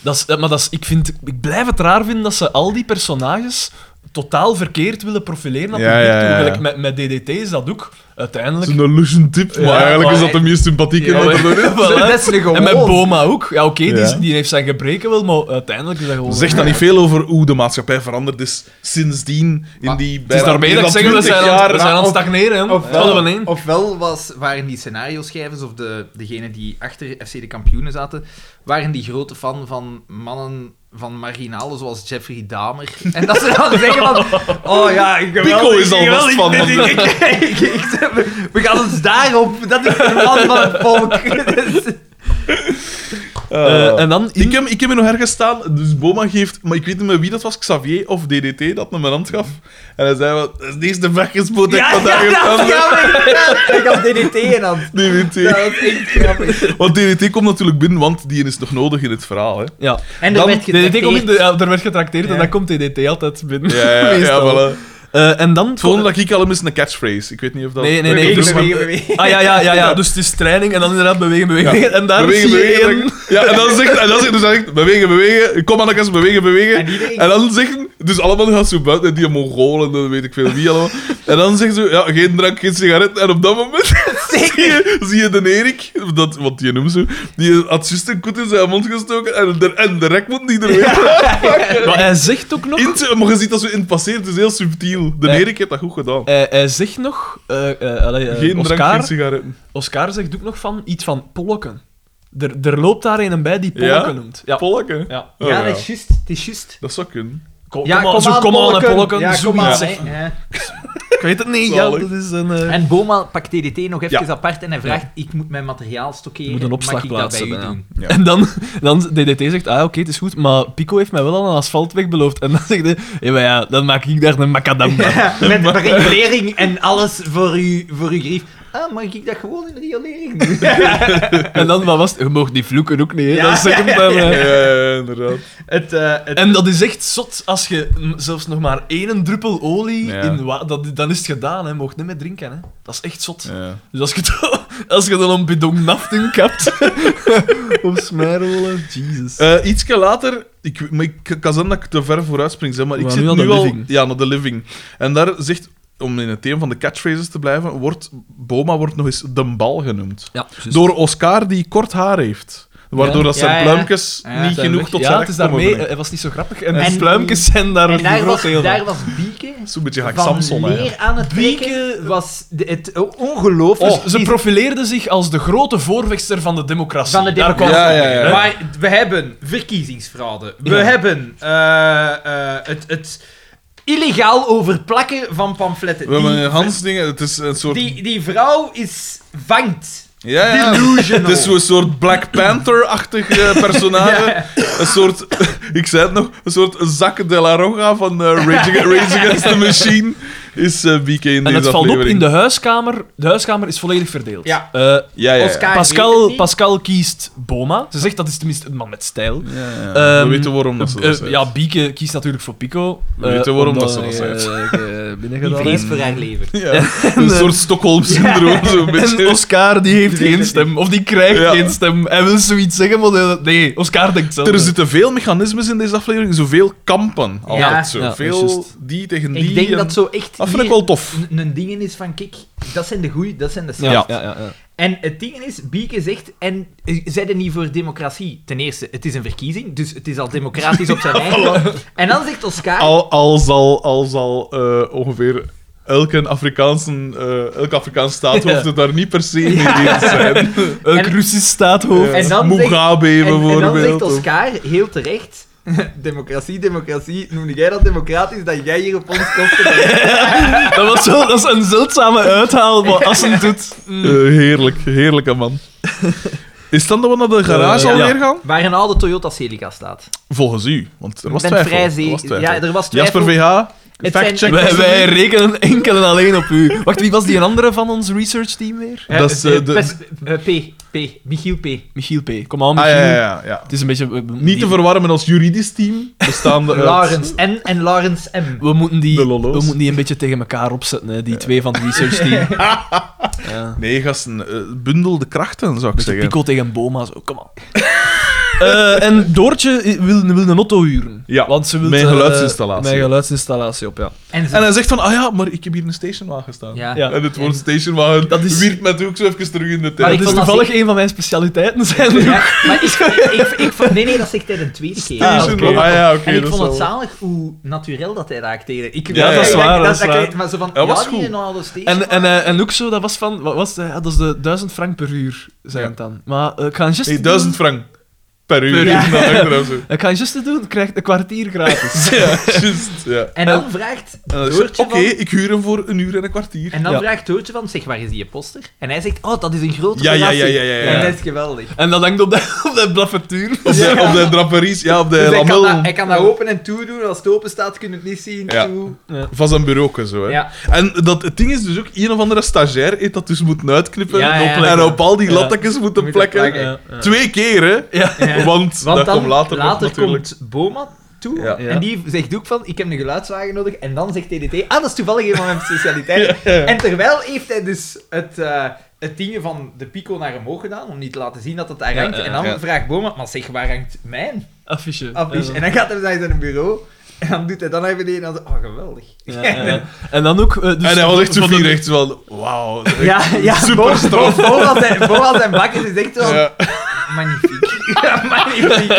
[SPEAKER 3] Dat is, eh, maar dat is, ik, vind, ik blijf het raar vinden dat ze al die personages totaal verkeerd willen profileren naar
[SPEAKER 2] Ja,
[SPEAKER 3] publiek
[SPEAKER 2] ja,
[SPEAKER 3] toe.
[SPEAKER 2] ja, ja.
[SPEAKER 3] Gelijk Met, met DDT is dat ook uiteindelijk.
[SPEAKER 2] Het is een illusion tip, maar
[SPEAKER 3] Ja,
[SPEAKER 2] eigenlijk is
[SPEAKER 1] maar-
[SPEAKER 2] dat de meest sympathieke.
[SPEAKER 3] Ja,
[SPEAKER 2] dat
[SPEAKER 3] maar-
[SPEAKER 2] er is.
[SPEAKER 3] Wel, hè.
[SPEAKER 1] Dat is een
[SPEAKER 3] En met
[SPEAKER 1] gewoon.
[SPEAKER 3] Boma ook. Ja, oké, die, is-
[SPEAKER 2] Ja.
[SPEAKER 3] die heeft zijn gebreken wel, maar uiteindelijk is dat gewoon...
[SPEAKER 2] Zegt dat niet veel over hoe de maatschappij veranderd is sindsdien in
[SPEAKER 1] Maar
[SPEAKER 2] die
[SPEAKER 3] het is daarmee dat ik zeg, we
[SPEAKER 2] 20
[SPEAKER 3] zijn
[SPEAKER 2] jaar.
[SPEAKER 3] aan, we zijn aan het
[SPEAKER 1] of-
[SPEAKER 3] stagneren. hè.
[SPEAKER 1] Ofwel,
[SPEAKER 3] Vallen we in.
[SPEAKER 1] ofwel was, waren die scenario-schrijvers of de, degenen die achter FC de kampioenen zaten, waren die grote fan van mannen van marginalen zoals Jeffrey Dahmer. En dat ze dan zeggen van, oh ja, geweldig,
[SPEAKER 2] Pico is al
[SPEAKER 1] geweldig,
[SPEAKER 2] last van.
[SPEAKER 1] dit- ik- ik- ik- ik- we- We gaan ons daarop, dat is de man van het volk. Dus-
[SPEAKER 2] Eh,
[SPEAKER 3] Eh, en dan... in-
[SPEAKER 2] Ik heb, ik heb hier nog ergens staan, dus Boma geeft, maar ik weet niet meer wie dat was, Xavier of DDT, dat hem een hand gaf. En hij zei: wel, Dat is de eerste vechtgespoot dat ik
[SPEAKER 1] Ja, ja,
[SPEAKER 2] vandaag
[SPEAKER 1] dat is
[SPEAKER 2] heb gehad."
[SPEAKER 1] grappig. Ik had DDT in hand. Dat
[SPEAKER 2] DDT.
[SPEAKER 1] was echt grappig.
[SPEAKER 2] Want DDT komt natuurlijk binnen, want die is nog nodig in het verhaal. Hè.
[SPEAKER 3] Ja.
[SPEAKER 1] En er
[SPEAKER 2] Dan-
[SPEAKER 1] werd
[SPEAKER 3] DDT komt,
[SPEAKER 1] getrakteerd.
[SPEAKER 3] in- ja, er werd getrakteerd en
[SPEAKER 1] Ja.
[SPEAKER 3] dan komt DDT altijd binnen.
[SPEAKER 2] Ja, ja, ja,
[SPEAKER 3] Meestal.
[SPEAKER 2] voilà.
[SPEAKER 3] Eh, en dan...
[SPEAKER 2] Het volgende dat ik al hem is een catchphrase. Ik weet niet of dat.
[SPEAKER 3] Nee, nee, nee.
[SPEAKER 1] Bewegen,
[SPEAKER 3] dus-
[SPEAKER 1] bewegen, bewegen.
[SPEAKER 3] Ah ja, ja, ja, ja. Dus het is training en dan inderdaad bewegen, bewegen.
[SPEAKER 2] Ja.
[SPEAKER 3] En daar
[SPEAKER 2] bewegen,
[SPEAKER 3] zie je
[SPEAKER 2] bewegen.
[SPEAKER 3] één-
[SPEAKER 2] bewegen. Ja, en dan zegt, en dan zegt, dus hij zegt bewegen, bewegen, kom aan de kast, bewegen, bewegen.
[SPEAKER 1] En iedereen-
[SPEAKER 2] En dan zeggen, dus allemaal gaan zo buiten, die Mongolen, dan weet ik veel wie allemaal. En dan zeggen ze, ja, geen drank, geen sigaret. En op dat moment zie je, zie je de Erik, dat, want die noemt zo, die had juist een koet in zijn mond gestoken en de, en de rek moet niet ermee.
[SPEAKER 3] Maar hij zegt ook nog...
[SPEAKER 2] In te- maar je ziet dat zo in het passeert, het is heel subtiel. De
[SPEAKER 3] Ja.
[SPEAKER 2] Erik heeft dat goed gedaan.
[SPEAKER 3] Hij, hij zegt nog... eh, eh, allee, eh,
[SPEAKER 2] Geen drank, geen
[SPEAKER 3] Oscar,
[SPEAKER 2] sigaretten.
[SPEAKER 3] Oscar zegt ook nog van iets van polken. Er, er loopt daar een bij die polken
[SPEAKER 2] Ja?
[SPEAKER 3] noemt. Ja.
[SPEAKER 2] Polken.
[SPEAKER 3] Ja.
[SPEAKER 2] Oh,
[SPEAKER 1] Ja,
[SPEAKER 2] ja. Oh,
[SPEAKER 1] dat is juist. Het is juist.
[SPEAKER 2] Dat zou kunnen.
[SPEAKER 3] Kom, kom aan, zo, kom aan, hè, polken.
[SPEAKER 1] Ja,
[SPEAKER 3] zoek
[SPEAKER 1] kom aan,
[SPEAKER 3] iets,
[SPEAKER 1] hè.
[SPEAKER 3] zeg.
[SPEAKER 1] Ja.
[SPEAKER 3] Ik weet het niet. Ja,
[SPEAKER 2] Zalig.
[SPEAKER 3] dat is een... eh,
[SPEAKER 1] En Boma pakt DDT nog even
[SPEAKER 2] Ja.
[SPEAKER 1] apart en hij vraagt: Ik moet mijn materiaal stockeren.
[SPEAKER 3] moet een opslag
[SPEAKER 1] Mag ik dat bij
[SPEAKER 3] plaatsen.
[SPEAKER 1] u
[SPEAKER 3] ja.
[SPEAKER 1] doen?
[SPEAKER 2] Ja.
[SPEAKER 3] En dan, dan DDT zegt, ah oké, het is goed, maar Pico heeft mij wel al een asfaltweg beloofd. En dan zegt hij, ja, maar ja, dan maak ik daar een macadam van.
[SPEAKER 1] Met riolering en alles voor, u, voor uw grief. Ah, mag ik dat gewoon in de riolering doen?
[SPEAKER 3] En dan, wat was het? Je mag die vloeken ook niet, hè.
[SPEAKER 1] Ja,
[SPEAKER 3] dat zegt hem dan, eh.
[SPEAKER 2] Ja, ja, inderdaad.
[SPEAKER 1] het, eh, het,
[SPEAKER 3] En dat is echt zot, als je mm, zelfs nog maar één druppel olie
[SPEAKER 2] Ja.
[SPEAKER 3] in wa- dat, dan is het gedaan, hè. Je mag niet meer drinken, hè. Dat is echt zot.
[SPEAKER 2] Ja.
[SPEAKER 3] Dus als je, dan- als je dan een bidon naft in kapt, of smijrollen, Jesus.
[SPEAKER 2] Eh ietsje later, ik, maar ik kan zijn dat ik te ver vooruit spring, zeg, maar ik
[SPEAKER 3] Maar
[SPEAKER 2] zit
[SPEAKER 3] nu
[SPEAKER 2] nu,
[SPEAKER 3] aan de
[SPEAKER 2] al
[SPEAKER 3] living.
[SPEAKER 2] ja, naar de living. En daar zegt, om in het thema van de catchphrases te blijven, wordt, Boma wordt nog eens de bal genoemd.
[SPEAKER 3] Ja, juist.
[SPEAKER 2] Door Oscar die kort haar heeft. Waardoor
[SPEAKER 3] Dus- Ja.
[SPEAKER 2] dat zijn
[SPEAKER 1] Ja, ja.
[SPEAKER 2] pluimpjes
[SPEAKER 1] Ja,
[SPEAKER 2] niet
[SPEAKER 3] Zijn
[SPEAKER 2] genoeg
[SPEAKER 3] weg.
[SPEAKER 2] tot
[SPEAKER 3] ja,
[SPEAKER 2] zijn
[SPEAKER 3] het is
[SPEAKER 2] recht komen
[SPEAKER 3] daarmee,
[SPEAKER 2] brengen.
[SPEAKER 3] eh, het was niet zo grappig. En,
[SPEAKER 1] En-
[SPEAKER 3] de pluimpjes zijn daar
[SPEAKER 1] en
[SPEAKER 3] een
[SPEAKER 1] daar, was,
[SPEAKER 3] groot deel van.
[SPEAKER 1] daar was Bieke
[SPEAKER 2] Zo'n beetje gelijk
[SPEAKER 1] van
[SPEAKER 2] Samson. hè.
[SPEAKER 1] leer aan het
[SPEAKER 3] Bieke
[SPEAKER 1] Bieke was de- het oh, ongelooflijk.
[SPEAKER 3] Dus ze
[SPEAKER 1] Die-
[SPEAKER 3] profileerde zich als de grote voorvechter van de democratie.
[SPEAKER 1] Van de
[SPEAKER 3] Daar kwam-
[SPEAKER 1] democratie.
[SPEAKER 2] Ja, ja, ja.
[SPEAKER 1] Maar we hebben verkiezingsfraude. We
[SPEAKER 3] Ja.
[SPEAKER 1] hebben eh, eh, het, het illegaal overplakken van pamfletten.
[SPEAKER 2] We hebben
[SPEAKER 1] Die-
[SPEAKER 2] een Hans dingen, het is een soort...
[SPEAKER 1] Die, die vrouw is vangt.
[SPEAKER 2] ja, ja.
[SPEAKER 1] Delusional.
[SPEAKER 2] Het is zo'n soort Black Panther-achtig eh, personage.
[SPEAKER 1] Ah, Ja.
[SPEAKER 2] Een soort, ik zei het nog, een soort zak de la Roja van eh, Rage, Ag- Rage Against the Machine is eh BK in
[SPEAKER 3] En
[SPEAKER 2] deze
[SPEAKER 3] het valt op in
[SPEAKER 2] aflevering.
[SPEAKER 3] de huiskamer. De huiskamer is volledig verdeeld.
[SPEAKER 1] Ja.
[SPEAKER 3] Eh,
[SPEAKER 2] Ja, ja, ja.
[SPEAKER 1] Oscar weet het
[SPEAKER 3] Pascal,
[SPEAKER 1] niet.
[SPEAKER 3] Pascal kiest Boma. Ze zegt dat is tenminste een man met stijl.
[SPEAKER 2] Ja, ja.
[SPEAKER 3] Ehm,
[SPEAKER 2] we weten waarom dat ze
[SPEAKER 3] Eh,
[SPEAKER 2] dat
[SPEAKER 3] eh,
[SPEAKER 2] zegt.
[SPEAKER 3] ja, Bieke kiest natuurlijk voor Pico.
[SPEAKER 2] We
[SPEAKER 3] eh,
[SPEAKER 2] weten waarom
[SPEAKER 3] omdat
[SPEAKER 2] dat ze dat
[SPEAKER 3] hij,
[SPEAKER 2] zegt.
[SPEAKER 3] eh, eh,
[SPEAKER 1] Die
[SPEAKER 3] binnengedaan
[SPEAKER 1] vreest
[SPEAKER 3] is.
[SPEAKER 1] voor haar leven.
[SPEAKER 2] Ja. Een soort Stockholm-syndroom, zo'n beetje.
[SPEAKER 3] eh, En Oscar die heeft geen stem, of die krijgt
[SPEAKER 2] Ja.
[SPEAKER 3] geen stem. Hij wil zoiets zeggen, maar eh, nee, Oscar denkt zelf.
[SPEAKER 2] er zitten veel mechanismes in deze aflevering, zoveel kampen. Altijd
[SPEAKER 1] Ja.
[SPEAKER 2] zo.
[SPEAKER 3] Ja, dat is
[SPEAKER 2] veel
[SPEAKER 3] juist.
[SPEAKER 2] die tegen die.
[SPEAKER 1] Ik denk
[SPEAKER 2] en-
[SPEAKER 1] dat zo echt
[SPEAKER 2] Dat vind
[SPEAKER 1] hier
[SPEAKER 2] ik wel tof.
[SPEAKER 1] een- een ding is van, kijk, dat zijn de goeie, dat zijn de
[SPEAKER 3] Ja,
[SPEAKER 1] slechte.
[SPEAKER 3] ja. Ja, ja.
[SPEAKER 1] En het ding is, Bieke zegt, en eh, zij er niet voor democratie. Ten eerste, het is een verkiezing, dus het is al democratisch op zijn eigen. En dan zegt Oscar,
[SPEAKER 2] Al, al zal, al zal eh, ongeveer elke Afrikaanse, eh, elke Afrikaanse staatshoofd het daar niet per se mee eens zijn.
[SPEAKER 3] Elk
[SPEAKER 1] En-
[SPEAKER 3] Russisch staathoofd.
[SPEAKER 1] En dan zegt-
[SPEAKER 2] Eh, Mugabe
[SPEAKER 1] en, en dan zegt
[SPEAKER 2] bijvoorbeeld. of-
[SPEAKER 1] Oscar, heel terecht, democratie, democratie, noemde jij dat democratisch, dat jij hier op ons kosten bent?
[SPEAKER 3] Dat, was wel, dat is een zeldzame uithaal, maar als hij het doet...
[SPEAKER 2] Eh, heerlijk, heerlijke man. Is het dan dat we naar de garage
[SPEAKER 3] Eh, ja.
[SPEAKER 2] alweer gaan?
[SPEAKER 1] Waar een oude Toyota Celica staat.
[SPEAKER 2] Volgens u, want er was
[SPEAKER 1] Ik ben
[SPEAKER 2] twijfel.
[SPEAKER 1] vrij
[SPEAKER 2] Er
[SPEAKER 1] zeker.
[SPEAKER 2] was twijfel.
[SPEAKER 1] Ja, er was
[SPEAKER 2] Jasper
[SPEAKER 1] twijfel.
[SPEAKER 2] VH,
[SPEAKER 1] Het
[SPEAKER 2] factcheck.
[SPEAKER 1] zijn-
[SPEAKER 3] Wij, wij rekenen enkel en alleen op u. Wacht, wie was die andere van ons researchteam weer?
[SPEAKER 2] Dat is, eh,
[SPEAKER 1] Eh,
[SPEAKER 2] de-
[SPEAKER 1] Pes- eh, P, P, Michiel P.
[SPEAKER 3] Michiel P. Kom aan,
[SPEAKER 2] Ah,
[SPEAKER 3] Michiel.
[SPEAKER 2] ja, ja, ja, ja.
[SPEAKER 3] Het is een beetje... we- we-
[SPEAKER 2] Niet te
[SPEAKER 3] die-
[SPEAKER 2] verwarren met ons juridisch team, bestaande uit...
[SPEAKER 1] Lawrence N en Lawrence M.
[SPEAKER 3] We moeten, die,
[SPEAKER 2] De
[SPEAKER 3] we
[SPEAKER 2] lollo's.
[SPEAKER 3] moeten die een beetje tegen elkaar opzetten, hè, die twee van het researchteam. ja.
[SPEAKER 2] Nee, gasten, eh, bundel de krachten, zou ik
[SPEAKER 3] Beetje
[SPEAKER 2] zeggen.
[SPEAKER 3] Pico tegen Boma, zo. Kom aan. Eh, en Doortje i- wil, wil een auto huren.
[SPEAKER 2] Ja,
[SPEAKER 3] want ze wil
[SPEAKER 2] mijn
[SPEAKER 3] eh,
[SPEAKER 2] geluidsinstallatie.
[SPEAKER 3] mijn geluidsinstallatie op, ja.
[SPEAKER 1] En ze-
[SPEAKER 2] En hij zegt van, ah ja, maar ik heb hier een stationwagen staan.
[SPEAKER 1] ja.
[SPEAKER 3] Ja.
[SPEAKER 2] En het woord stationwagen
[SPEAKER 3] Dat is-
[SPEAKER 2] wierp mij ook zo even terug in
[SPEAKER 1] Maar
[SPEAKER 2] de
[SPEAKER 3] Dat
[SPEAKER 2] tijd.
[SPEAKER 1] ik
[SPEAKER 3] is
[SPEAKER 1] vond dat
[SPEAKER 3] toevallig een van mijn specialiteiten zijn.
[SPEAKER 1] Ja, maar ik, ik, ik vond, nee, nee, dat zegt hij de tweede keer.
[SPEAKER 3] Ah,
[SPEAKER 2] Station-
[SPEAKER 3] oké.
[SPEAKER 2] ah ja, oké.
[SPEAKER 1] en ik
[SPEAKER 2] dat
[SPEAKER 1] vond
[SPEAKER 2] zou
[SPEAKER 1] het
[SPEAKER 2] wel.
[SPEAKER 1] zalig hoe natuurlijk dat hij dat acteerde. Ik,
[SPEAKER 2] Ja, dat is
[SPEAKER 3] waar,
[SPEAKER 1] ik-
[SPEAKER 3] dat is
[SPEAKER 1] ik-
[SPEAKER 3] waar.
[SPEAKER 1] Maar zo van,
[SPEAKER 2] Dat
[SPEAKER 1] ja,
[SPEAKER 2] was
[SPEAKER 1] die
[SPEAKER 2] goed.
[SPEAKER 1] in oude station.
[SPEAKER 3] En, en, eh, en ook zo, dat was van, wat was het? Ja, dat is de 1000 frank per uur, zei
[SPEAKER 2] Ja.
[SPEAKER 3] het dan. Maar eh, ik ga een geste
[SPEAKER 2] Hey, 1000 frank per uur.
[SPEAKER 1] Ja.
[SPEAKER 2] Ja. Ja. Zo.
[SPEAKER 3] doen. Ik ga een geste doen, krijg een kwartier gratis.
[SPEAKER 2] ja, juist. Ja.
[SPEAKER 1] En dan vraagt
[SPEAKER 2] En dan zeg
[SPEAKER 1] Doortje
[SPEAKER 2] je,
[SPEAKER 1] van-
[SPEAKER 2] eh, Oké, ik huur hem voor een uur en een kwartier.
[SPEAKER 1] En dan
[SPEAKER 3] Ja.
[SPEAKER 1] vraagt Doortje van, zeg, waar is die poster? En hij zegt, oh, dat is een grote
[SPEAKER 2] Ja, ja,
[SPEAKER 1] verrassing.
[SPEAKER 2] ja, ja, ja, ja.
[SPEAKER 1] En dat is geweldig.
[SPEAKER 3] En dat hangt op de, op de blaffatuur.
[SPEAKER 2] Op de,
[SPEAKER 1] Ja.
[SPEAKER 2] op de draperies, ja, op de
[SPEAKER 1] Dus hij, kan
[SPEAKER 2] Eh, lamel
[SPEAKER 1] dat, hij kan dat open en toe doen. Als het open staat, kun je het niet zien.
[SPEAKER 2] Ja.
[SPEAKER 1] Toe.
[SPEAKER 2] van zijn bureau ook en zo. Hè.
[SPEAKER 1] Ja.
[SPEAKER 2] En dat, het ding is dus ook, een of andere stagiair heeft dat dus moeten uitknippen
[SPEAKER 1] Ja, ja.
[SPEAKER 2] en op al die
[SPEAKER 3] Ja.
[SPEAKER 2] lattekjes moeten
[SPEAKER 1] Moet
[SPEAKER 2] plekken.
[SPEAKER 1] het plakken.
[SPEAKER 2] Twee keer, hè.
[SPEAKER 3] Ja.
[SPEAKER 1] Ja.
[SPEAKER 2] Want,
[SPEAKER 1] Want
[SPEAKER 2] dat
[SPEAKER 1] dan,
[SPEAKER 2] komt later,
[SPEAKER 1] later,
[SPEAKER 2] nog natuurlijk.
[SPEAKER 1] komt Boma toe.
[SPEAKER 2] Ja.
[SPEAKER 3] Ja.
[SPEAKER 1] En die zegt ook van, ik heb een geluidswagen nodig. En dan zegt TDT, ah, dat is toevallig een van mijn specialiteiten. En terwijl heeft hij dus het, eh het ding van de pico naar omhoog gedaan, om niet te laten zien dat het daar
[SPEAKER 3] Ja,
[SPEAKER 1] hangt.
[SPEAKER 3] ja,
[SPEAKER 1] en dan
[SPEAKER 2] ja. Eh,
[SPEAKER 1] vraagt Boma, maar zeg, waar hangt mijn
[SPEAKER 3] Affiche.
[SPEAKER 1] affiche? En dan gaat hij naar zijn bureau. En dan doet hij dan naar beneden en dan zo, oh, geweldig.
[SPEAKER 3] Ja, ja, ja. En dan ook... eh, dus
[SPEAKER 2] en hij was echt zo
[SPEAKER 3] van de-
[SPEAKER 2] vier, echt wel, wauw.
[SPEAKER 1] Ja, ja,
[SPEAKER 2] Super
[SPEAKER 1] Bo- Bo- Boma zijn, Boma zijn bakken is echt wel
[SPEAKER 2] Ja.
[SPEAKER 1] magnifiek. Ja, magnifiek.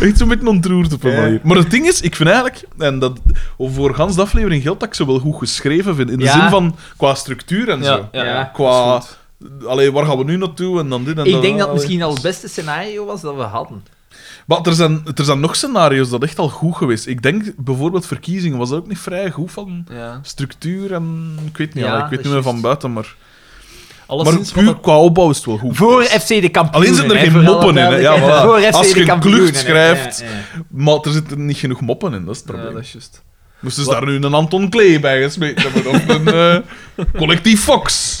[SPEAKER 2] Echt zo met een ontroerd op een
[SPEAKER 1] Ja.
[SPEAKER 2] manier. Maar het ding is, ik vind eigenlijk, en dat voor gans de aflevering geldt dat ik ze wel goed geschreven vind. In de
[SPEAKER 1] Ja.
[SPEAKER 2] zin van qua structuur en zo.
[SPEAKER 3] Ja, ja.
[SPEAKER 1] Ja.
[SPEAKER 2] Qua,
[SPEAKER 3] Dat is
[SPEAKER 2] allee, waar gaan we nu naartoe en dan dit en
[SPEAKER 1] Ik denk dat
[SPEAKER 2] allee.
[SPEAKER 1] het misschien al het beste scenario was dat we hadden.
[SPEAKER 2] Maar er zijn, er zijn nog scenario's dat echt al goed geweest. Ik denk bijvoorbeeld verkiezingen was dat ook niet vrij goed van
[SPEAKER 3] Ja.
[SPEAKER 2] structuur en ik weet niet,
[SPEAKER 1] Ja,
[SPEAKER 2] allee,
[SPEAKER 1] dat
[SPEAKER 2] ik weet
[SPEAKER 1] is
[SPEAKER 2] niet meer van
[SPEAKER 1] juist.
[SPEAKER 2] buiten, maar, maar
[SPEAKER 3] Alleszins van
[SPEAKER 2] puur qua opbouw is het wel goed.
[SPEAKER 1] Voor
[SPEAKER 2] geweest.
[SPEAKER 1] FC de kampioenen.
[SPEAKER 2] Alleen zijn er
[SPEAKER 1] hè,
[SPEAKER 2] geen
[SPEAKER 1] voor alle
[SPEAKER 2] moppen in, hè. Ja,
[SPEAKER 1] duidelijkheid.
[SPEAKER 2] voilà.
[SPEAKER 1] Voor FC
[SPEAKER 2] Als je
[SPEAKER 1] de
[SPEAKER 2] een
[SPEAKER 1] kampioenen,
[SPEAKER 2] klucht
[SPEAKER 1] hè.
[SPEAKER 2] schrijft-
[SPEAKER 1] Ja, ja.
[SPEAKER 2] Maar er zitten niet genoeg moppen in, dat is het
[SPEAKER 3] dat-
[SPEAKER 2] probleem.
[SPEAKER 3] Ja, dat is juist.
[SPEAKER 2] Moesten ze daar nu een Anton Klee bij gesmeten hebben of een eh, collectief Fox?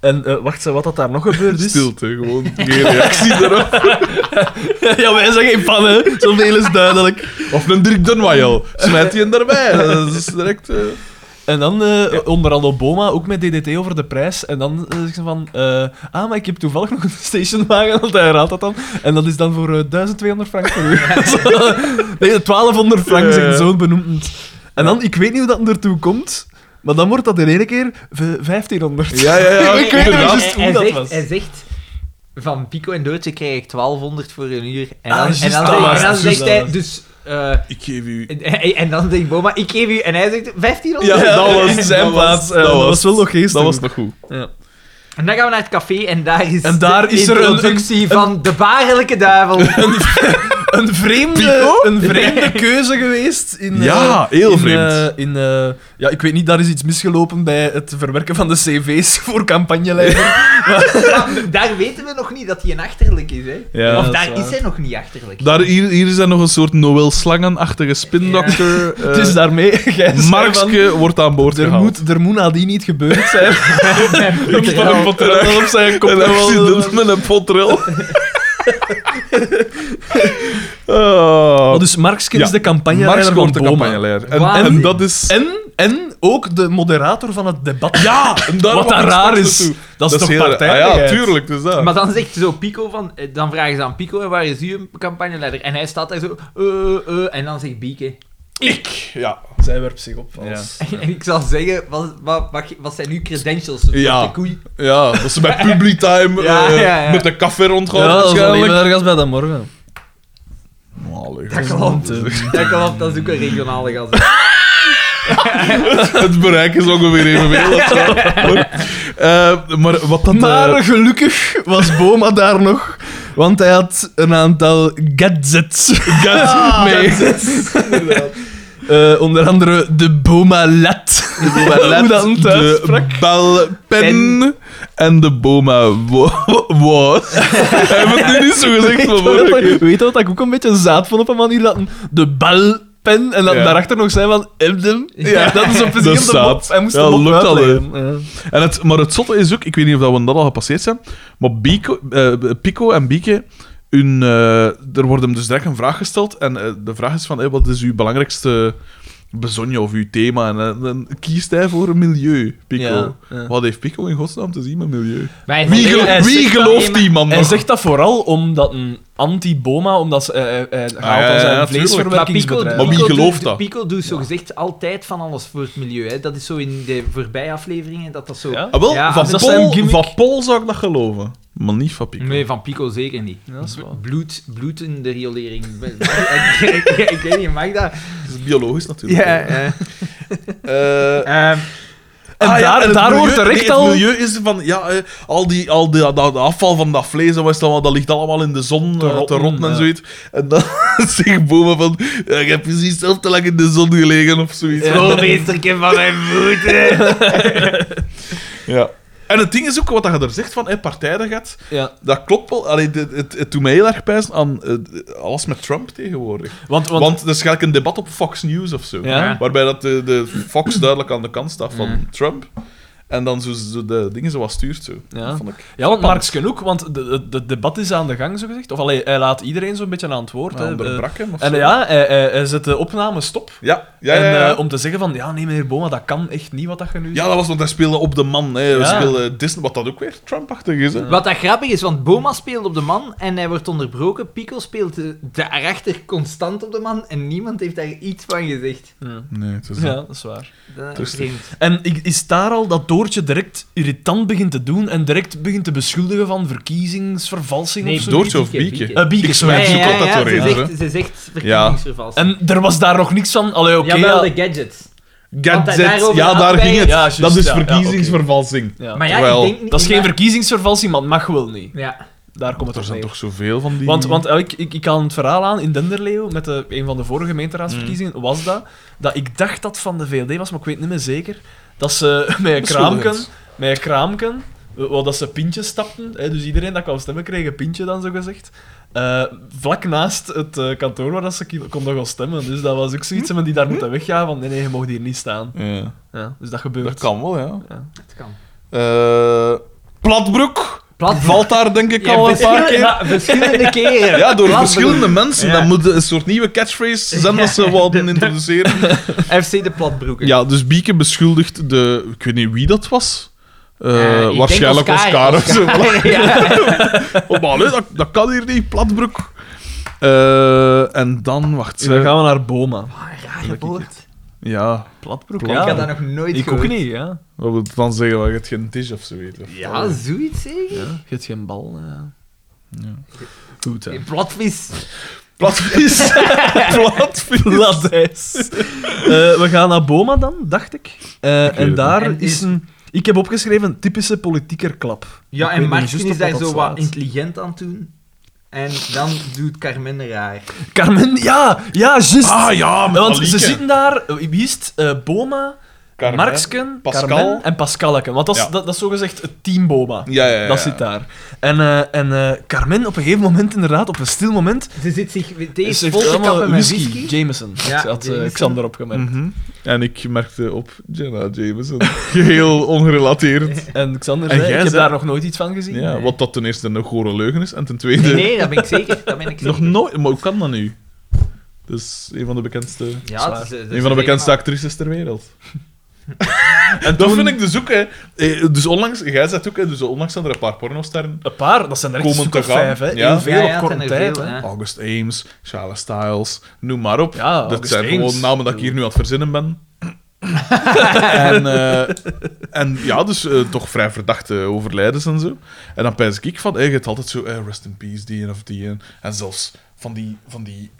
[SPEAKER 3] En eh, wacht, zei, wat dat daar nog gebeurd is...
[SPEAKER 2] Stilte, gewoon geen reactie erop.
[SPEAKER 3] ja, wij zijn geen fan, hè. Zoveel is duidelijk.
[SPEAKER 2] Of een Dirk Dunwajel, smijt die hem erbij. Dat is direct... eh,
[SPEAKER 3] En dan eh, onder andere Boma, ook met DDT over de prijs. En dan eh, zegt ze van... eh, ah, maar ik heb toevallig nog een stationwagen, want hij raadt dat dan. En dat is dan voor eh, 1200 frank per uur. Zo, nee, 1200 frank,
[SPEAKER 2] Ja,
[SPEAKER 3] zegt
[SPEAKER 2] ja.
[SPEAKER 3] zo'n benoemd. En dan, ik weet niet hoe dat ertoe komt, maar dan wordt dat in één keer v- 1500.
[SPEAKER 2] Ja, ja, ja,
[SPEAKER 3] ik weet niet
[SPEAKER 2] inderdaad.
[SPEAKER 3] juist hoe
[SPEAKER 1] Hij
[SPEAKER 3] dat
[SPEAKER 1] zegt-
[SPEAKER 3] was.
[SPEAKER 1] Hij zegt... Van Pico en Doodje krijg ik 1200 voor een uur. En
[SPEAKER 3] Ah,
[SPEAKER 1] dan,
[SPEAKER 3] juist,
[SPEAKER 1] en dan,
[SPEAKER 3] dat
[SPEAKER 1] zegt-
[SPEAKER 3] was
[SPEAKER 1] en dan
[SPEAKER 3] het,
[SPEAKER 1] zegt
[SPEAKER 3] juist,
[SPEAKER 1] hij
[SPEAKER 3] dat
[SPEAKER 1] dus... eh,
[SPEAKER 2] Ik geef u...
[SPEAKER 1] en, en dan zegt Boma, ik geef u... En hij zegt 1500.
[SPEAKER 2] Ja, dat was
[SPEAKER 3] in zijn
[SPEAKER 2] dat
[SPEAKER 3] plaats.
[SPEAKER 2] was-
[SPEAKER 3] eh,
[SPEAKER 2] dat
[SPEAKER 3] dat
[SPEAKER 2] was-
[SPEAKER 3] was wel nog geestig.
[SPEAKER 2] Dat was nog goed.
[SPEAKER 3] Ja.
[SPEAKER 1] En dan gaan we naar het café en daar is,
[SPEAKER 3] En daar is
[SPEAKER 1] de
[SPEAKER 3] er een-
[SPEAKER 1] introductie van de baarlijke duivel.
[SPEAKER 3] Een vreemde,
[SPEAKER 2] Pico?
[SPEAKER 3] een vreemde keuze geweest. In,
[SPEAKER 2] Ja,
[SPEAKER 3] eh,
[SPEAKER 2] heel
[SPEAKER 3] in,
[SPEAKER 2] vreemd.
[SPEAKER 3] eh, in, eh, ja, ik weet niet, daar is iets misgelopen bij het verwerken van de cv's voor campagneleider.
[SPEAKER 1] Maar daar weten we nog niet dat hij een achterlijk is. Hè?
[SPEAKER 2] Ja,
[SPEAKER 1] of
[SPEAKER 3] dat is
[SPEAKER 1] daar
[SPEAKER 3] waar.
[SPEAKER 1] is hij nog niet achterlijk.
[SPEAKER 2] Daar, hier, hier is dan nog een soort Noël Slangenachtige spindokter. eh,
[SPEAKER 3] dus daarmee, jij zei van,
[SPEAKER 2] Markske wordt aan boord
[SPEAKER 3] er
[SPEAKER 2] gehaald.
[SPEAKER 3] moet, er moet nadien niet gebeurd zijn.
[SPEAKER 2] Ik van een potrel op zijn kop. Een
[SPEAKER 3] Oh,
[SPEAKER 2] accident met een potrel.
[SPEAKER 3] Maar
[SPEAKER 2] oh.
[SPEAKER 3] dus Markske
[SPEAKER 2] Ja,
[SPEAKER 3] is de
[SPEAKER 2] Marx
[SPEAKER 3] campagneleider van
[SPEAKER 2] wordt de
[SPEAKER 3] Boma.
[SPEAKER 2] campagneleider. En,
[SPEAKER 1] Waanzin.
[SPEAKER 2] en dat is...
[SPEAKER 3] En, en ook de moderator van het debat.
[SPEAKER 2] ja, en daar wou
[SPEAKER 3] wat daar
[SPEAKER 2] ik
[SPEAKER 3] raar
[SPEAKER 2] straks
[SPEAKER 3] is.
[SPEAKER 2] naartoe.
[SPEAKER 3] Dat is toch
[SPEAKER 2] heel-
[SPEAKER 3] partij?
[SPEAKER 2] Ah ja, tuurlijk. Dus dat.
[SPEAKER 1] Maar dan zegt zo Pico van... eh, Dan vragen ze aan Pico, en waar is uw campagneleider? En hij staat daar zo... eh, eh, en dan zegt Bieke...
[SPEAKER 2] ik... Ja.
[SPEAKER 3] Zij werpt zich op als...
[SPEAKER 1] En ik zal zeggen, wat, wat, wat, wat zijn uw credentials? Een
[SPEAKER 2] Ja.
[SPEAKER 1] soort de koei.
[SPEAKER 2] ja, dat ze bij public time
[SPEAKER 1] Ja,
[SPEAKER 2] eh,
[SPEAKER 1] ja, ja.
[SPEAKER 2] met de café rondgaan
[SPEAKER 3] Ja, dat is alleen
[SPEAKER 2] waarschijnlijk. Oh,
[SPEAKER 3] maar ergens bij dat morgen.
[SPEAKER 2] Allee,
[SPEAKER 1] Dat klopt.
[SPEAKER 2] het-
[SPEAKER 1] Dat klopt, dat is ook een regionale gast.
[SPEAKER 2] Het bereik is ongeveer evenveel. of zo. Maar, eh, maar wat dat... eh,
[SPEAKER 3] Maar gelukkig was Boma daar nog, want hij had een aantal gadgets mee. Eh, onder andere de Boma Lat. Hoe dat hem thuis
[SPEAKER 2] de
[SPEAKER 3] sprak.
[SPEAKER 2] belpen en de boma wo- woord. Hij heeft het nu niet zo gezegd van vorige keer.
[SPEAKER 3] Weet je wat ik ook een beetje zaad vond op een manier? Dat hem de balpen en dan
[SPEAKER 2] Ja.
[SPEAKER 3] daarachter nog zijn van Emdem.
[SPEAKER 2] Ja.
[SPEAKER 3] Dat is op
[SPEAKER 2] Dat
[SPEAKER 3] precies
[SPEAKER 2] is
[SPEAKER 3] de mop.
[SPEAKER 2] zaad.
[SPEAKER 3] Hij moest
[SPEAKER 2] Ja,
[SPEAKER 3] de mop
[SPEAKER 2] lukt al, hè.
[SPEAKER 3] uitleggen. Ja.
[SPEAKER 2] En het, maar het zotte is ook, ik weet niet of dat we dat al gepasseerd zijn, maar Bico, eh, Pico en Bieke, hun, eh, er wordt hem dus direct een vraag gesteld. En eh, de vraag is van, eh, wat is uw belangrijkste bezonje of uw thema. En eh, dan kiest hij voor milieu, Pico.
[SPEAKER 3] Ja, ja.
[SPEAKER 2] Wat heeft Pico in godsnaam te zien met milieu?
[SPEAKER 1] Wij-
[SPEAKER 2] Wie,
[SPEAKER 1] Hij
[SPEAKER 2] gelo-
[SPEAKER 1] zegt
[SPEAKER 2] wie
[SPEAKER 1] dan
[SPEAKER 2] gelooft
[SPEAKER 1] iemand-
[SPEAKER 2] die man
[SPEAKER 3] Hij
[SPEAKER 2] nog?
[SPEAKER 3] zegt dat vooral omdat een anti-boma, omdat ze, eh, hij haalt
[SPEAKER 2] ja,
[SPEAKER 3] dan zijn
[SPEAKER 1] Maar
[SPEAKER 2] ja, tuurlijk.
[SPEAKER 1] Pico,
[SPEAKER 3] vleesverwerkingsbedrijf.
[SPEAKER 2] Maar wie
[SPEAKER 1] Pico
[SPEAKER 2] gelooft
[SPEAKER 1] doet-
[SPEAKER 2] dat?
[SPEAKER 1] Pico doet zo gezegd altijd van alles voor het milieu. Hè. Dat is zo in de voorbije afleveringen dat dat zo.
[SPEAKER 3] Ja?
[SPEAKER 2] Ah, wel,
[SPEAKER 1] Ja,
[SPEAKER 2] van,
[SPEAKER 1] dus dat
[SPEAKER 3] is zijn
[SPEAKER 2] Pol,
[SPEAKER 3] gimmick.
[SPEAKER 2] van Pol zou ik dat geloven. Maar niet van Pico.
[SPEAKER 1] Nee, van Pico zeker niet.
[SPEAKER 3] Ja, dat is waar.
[SPEAKER 1] Bloed, bloed in de riolering. ik, ik, ik- ik weet niet, mag dat?
[SPEAKER 2] Dat is biologisch natuurlijk.
[SPEAKER 1] eh,
[SPEAKER 2] Eh,
[SPEAKER 1] ehm,
[SPEAKER 3] En
[SPEAKER 2] Ah, ja,
[SPEAKER 3] daar,
[SPEAKER 2] het
[SPEAKER 3] daar
[SPEAKER 2] milieu-
[SPEAKER 3] wordt
[SPEAKER 2] nee,
[SPEAKER 3] terecht
[SPEAKER 2] het
[SPEAKER 3] al...
[SPEAKER 2] milieu is van, ja, eh, al, die, al die, dat, dat afval van dat vlees en wat is dat, allemaal, dat ligt allemaal in de zon
[SPEAKER 3] Te
[SPEAKER 2] eh, te
[SPEAKER 3] rotten,
[SPEAKER 2] rotten en
[SPEAKER 3] ja.
[SPEAKER 2] zoiets. En dan zegt Boma van, ja, ik heb precies zelf te lang in de zon gelegen of zoiets. Ja.
[SPEAKER 1] Zo meesterke van mijn voeten.
[SPEAKER 2] En het ding is ook, wat dat je er zegt van, hey, partijdigheid,
[SPEAKER 3] Ja,
[SPEAKER 2] dat klopt wel. Allee, dit- het, het, doet mij heel erg pijn aan eh, alles met Trump tegenwoordig.
[SPEAKER 3] want, want,
[SPEAKER 2] Want, er is gelijk een debat op Fox News of zo.
[SPEAKER 3] Ja.
[SPEAKER 2] Waarbij dat de, de Fox duidelijk aan de kant staat van
[SPEAKER 3] Mm.
[SPEAKER 2] Trump. En dan zo, zo de dingen zoals stuurt zo.
[SPEAKER 3] Ja.
[SPEAKER 2] Dat vond ik
[SPEAKER 3] ja, want Marx genoeg, want het de, de, het debat is aan de gang, zo gezegd. Of allee, hij laat iedereen zo'n beetje aan het woord. hè.
[SPEAKER 2] ja,
[SPEAKER 3] Eh,
[SPEAKER 2] onderbrak hem of
[SPEAKER 3] en
[SPEAKER 2] zo.
[SPEAKER 3] ja, hij, hij, hij zet de opname stop.
[SPEAKER 2] Ja, ja,
[SPEAKER 3] en,
[SPEAKER 2] ja, ja.
[SPEAKER 3] eh, om te zeggen van, ja, nee, meneer Boma, dat kan echt niet wat dat je nu
[SPEAKER 2] Ja, dat was want hij speelde op de man. Hè. We
[SPEAKER 3] Ja.
[SPEAKER 2] speelden Disney, wat dat ook weer Trumpachtig is. Hè.
[SPEAKER 1] Wat dat grappig is, want Boma speelt op de man en hij wordt onderbroken. Pico speelt eh, daarachter constant op de man en niemand heeft daar iets van gezegd.
[SPEAKER 3] Ja.
[SPEAKER 2] Nee, het is
[SPEAKER 3] Hm. ja, dat is waar.
[SPEAKER 1] Dat is
[SPEAKER 2] Rustig.
[SPEAKER 1] vreemd.
[SPEAKER 3] En ik- is daar al dat Doortje direct irritant begint te doen en direct begint te beschuldigen van verkiezingsvervalsing
[SPEAKER 1] Nee,
[SPEAKER 3] of zo?
[SPEAKER 2] Doortje of
[SPEAKER 1] Bieke,
[SPEAKER 2] Bieke?
[SPEAKER 1] Bieke.
[SPEAKER 3] Eh, Bieke,
[SPEAKER 2] Ik
[SPEAKER 3] sorry.
[SPEAKER 2] smijt ze ook altijd
[SPEAKER 1] ze,
[SPEAKER 2] doorheen. hè.
[SPEAKER 1] zegt, ze zegt verkiezingsvervalsing.
[SPEAKER 3] En er was daar nog niks van. Allee, oké.
[SPEAKER 1] Jawel,
[SPEAKER 3] ja.
[SPEAKER 1] de gadgets. Want hij
[SPEAKER 2] Gadget,
[SPEAKER 1] daarover
[SPEAKER 2] ja,
[SPEAKER 1] had
[SPEAKER 2] daar
[SPEAKER 1] bij-
[SPEAKER 2] ging het.
[SPEAKER 3] Ja, juist,
[SPEAKER 2] dat is
[SPEAKER 3] ja, ja, oké.
[SPEAKER 2] verkiezingsvervalsing.
[SPEAKER 3] Ja.
[SPEAKER 1] Maar ja,
[SPEAKER 2] Terwijl-
[SPEAKER 1] ik denk niet...
[SPEAKER 3] dat is geen
[SPEAKER 1] maar-
[SPEAKER 3] verkiezingsvervalsing, maar het mag wel niet.
[SPEAKER 1] Ja.
[SPEAKER 3] Daar
[SPEAKER 2] Want
[SPEAKER 3] komt het
[SPEAKER 2] er
[SPEAKER 3] op
[SPEAKER 2] zijn
[SPEAKER 3] neer.
[SPEAKER 2] toch zoveel van die...
[SPEAKER 3] Want, want eh, ik, ik, ik haal het verhaal aan in Denderleeuw, met de, een van de vorige gemeenteraadsverkiezingen,
[SPEAKER 1] Mm.
[SPEAKER 3] was dat, dat ik dacht dat van de VLD was, maar ik weet niet meer zeker, dat ze met een
[SPEAKER 2] Beschuldigend.
[SPEAKER 3] kraamken, met een kraamken eh, wel dat ze pintjes stapten, hè, dus iedereen dat kwam stemmen kreeg een pintje dan, zo gezegd. Eh, vlak naast het eh, kantoor waar dat ze ki- konden gaan stemmen. Dus dat was ook zoiets, hebben die daar moeten weggaan, van nee, nee, je mocht hier niet staan.
[SPEAKER 2] Ja,
[SPEAKER 3] Ja, dus dat gebeurt.
[SPEAKER 2] dat kan wel, ja.
[SPEAKER 1] Het kan.
[SPEAKER 2] Eh, Platbroek
[SPEAKER 1] Platbroek.
[SPEAKER 2] valt daar denk ik
[SPEAKER 1] Ja,
[SPEAKER 2] al een paar
[SPEAKER 1] verschillende-
[SPEAKER 2] keer.
[SPEAKER 1] ja, verschillende keren.
[SPEAKER 2] Ja, door
[SPEAKER 1] Platbroek.
[SPEAKER 2] verschillende mensen.
[SPEAKER 1] Ja.
[SPEAKER 2] Dan moet een soort nieuwe catchphrase zijn dat ze wilden introduceren.
[SPEAKER 1] FC de platbroeken.
[SPEAKER 2] Ja, dus Bieke beschuldigt de... Ik weet niet wie dat was. Eh,
[SPEAKER 1] Eh, ik
[SPEAKER 2] waarschijnlijk
[SPEAKER 1] denk
[SPEAKER 2] Oscar, of zo.
[SPEAKER 1] ja.
[SPEAKER 2] Oh, maar allee, dat, dat kan hier niet, platbroek. Eh, en dan, wacht,
[SPEAKER 3] Dus dan
[SPEAKER 2] zeg.
[SPEAKER 3] gaan we naar Boma.
[SPEAKER 1] Ah, Raar woord.
[SPEAKER 2] Ja,
[SPEAKER 3] Platbroek,
[SPEAKER 2] Plat-
[SPEAKER 3] ja.
[SPEAKER 1] Ik had dat nog nooit
[SPEAKER 3] Ik ook
[SPEAKER 1] gehoord.
[SPEAKER 3] niet, ja.
[SPEAKER 2] wat wil het dan zeggen? Dat je het geen tisch of zo weet. of-
[SPEAKER 1] Ja, zoiets zeker?
[SPEAKER 3] Ja, je hebt geen bal. Ja. Goed, hè.
[SPEAKER 1] Platvis.
[SPEAKER 2] Platvis. Platvis.
[SPEAKER 3] Ladijs. Eh, we gaan naar Boma dan, dacht ik. Eh,
[SPEAKER 2] weet
[SPEAKER 3] en
[SPEAKER 2] het
[SPEAKER 3] daar
[SPEAKER 1] niet. En
[SPEAKER 3] is
[SPEAKER 1] is-
[SPEAKER 3] een... Ik heb opgeschreven, typische politiekerklap.
[SPEAKER 1] Ja, en
[SPEAKER 3] Ik weet niet
[SPEAKER 1] Martin
[SPEAKER 3] juist
[SPEAKER 1] is
[SPEAKER 3] op wat
[SPEAKER 1] daar
[SPEAKER 3] dat
[SPEAKER 1] zo wat
[SPEAKER 3] slaat.
[SPEAKER 1] intelligent aan het doen. En dan doet Carmen raar.
[SPEAKER 3] Carmen, ja, ja, juist.
[SPEAKER 2] Ah ja, met
[SPEAKER 3] Want
[SPEAKER 2] Alieke.
[SPEAKER 3] ze zitten daar, eh, wie is het? Eh, Boma,
[SPEAKER 2] Carmen,
[SPEAKER 3] Marksken,
[SPEAKER 2] Pascal.
[SPEAKER 3] Carmen en Pascalken. Want dat is,
[SPEAKER 2] Ja.
[SPEAKER 3] dat, dat is zogezegd het team Boma.
[SPEAKER 2] Ja, ja, ja.
[SPEAKER 3] Dat zit daar. En, eh, en eh, Carmen op een gegeven moment, inderdaad, op een stil moment...
[SPEAKER 1] Ze zit zich
[SPEAKER 3] ze
[SPEAKER 1] deze
[SPEAKER 3] heeft
[SPEAKER 1] vol te
[SPEAKER 3] allemaal
[SPEAKER 1] kappen met whisky.
[SPEAKER 3] Jameson.
[SPEAKER 1] Ja,
[SPEAKER 3] had eh,
[SPEAKER 1] Jameson.
[SPEAKER 3] Xander opgemerkt.
[SPEAKER 2] Mhm. En ik merkte op Jenna Jameson. Geheel ongerelateerd.
[SPEAKER 3] En Xander
[SPEAKER 2] En
[SPEAKER 3] zei,
[SPEAKER 2] jij
[SPEAKER 3] ik heb
[SPEAKER 2] zei-
[SPEAKER 3] daar nog nooit iets van gezien.
[SPEAKER 2] Ja,
[SPEAKER 3] Nee.
[SPEAKER 2] wat dat ten eerste een gore leugen is. En ten tweede...
[SPEAKER 1] Nee, nee, dat ben ik zeker. Dat ben ik
[SPEAKER 2] Nog
[SPEAKER 1] zeker.
[SPEAKER 2] nooit... Maar hoe kan dat nu? Dat is een van de bekendste...
[SPEAKER 1] Ja, het is, eh, dat
[SPEAKER 2] Een van de
[SPEAKER 1] is
[SPEAKER 2] bekendste
[SPEAKER 1] helemaal-
[SPEAKER 2] actrices ter wereld. en dat vind ik dus ook, hè. Eh, Dus onlangs, jij zegt ook, hè, dus onlangs zijn er een paar pornosterren.
[SPEAKER 3] Een paar, dat zijn er echt
[SPEAKER 2] Komen
[SPEAKER 3] een stuk
[SPEAKER 2] te
[SPEAKER 3] of
[SPEAKER 2] gaan.
[SPEAKER 3] vijf, hè.
[SPEAKER 2] Ja.
[SPEAKER 3] Heel veel
[SPEAKER 1] Ja, ja,
[SPEAKER 3] op
[SPEAKER 1] het
[SPEAKER 3] korte
[SPEAKER 1] zijn er
[SPEAKER 3] tijd,
[SPEAKER 1] veel,
[SPEAKER 3] hè.
[SPEAKER 1] ja.
[SPEAKER 2] August Ames, Charles Styles, noem maar op.
[SPEAKER 3] Ja,
[SPEAKER 2] dat
[SPEAKER 3] August
[SPEAKER 2] zijn
[SPEAKER 3] Ames.
[SPEAKER 2] gewoon namen dat ik hier nu aan het verzinnen ben. en, eh, en ja, dus eh, toch vrij verdachte overlijdens en zo. En dan pijs ik van, hey, je hebt altijd zo, eh, rest in peace, die en of die. En, en zelfs van die, van die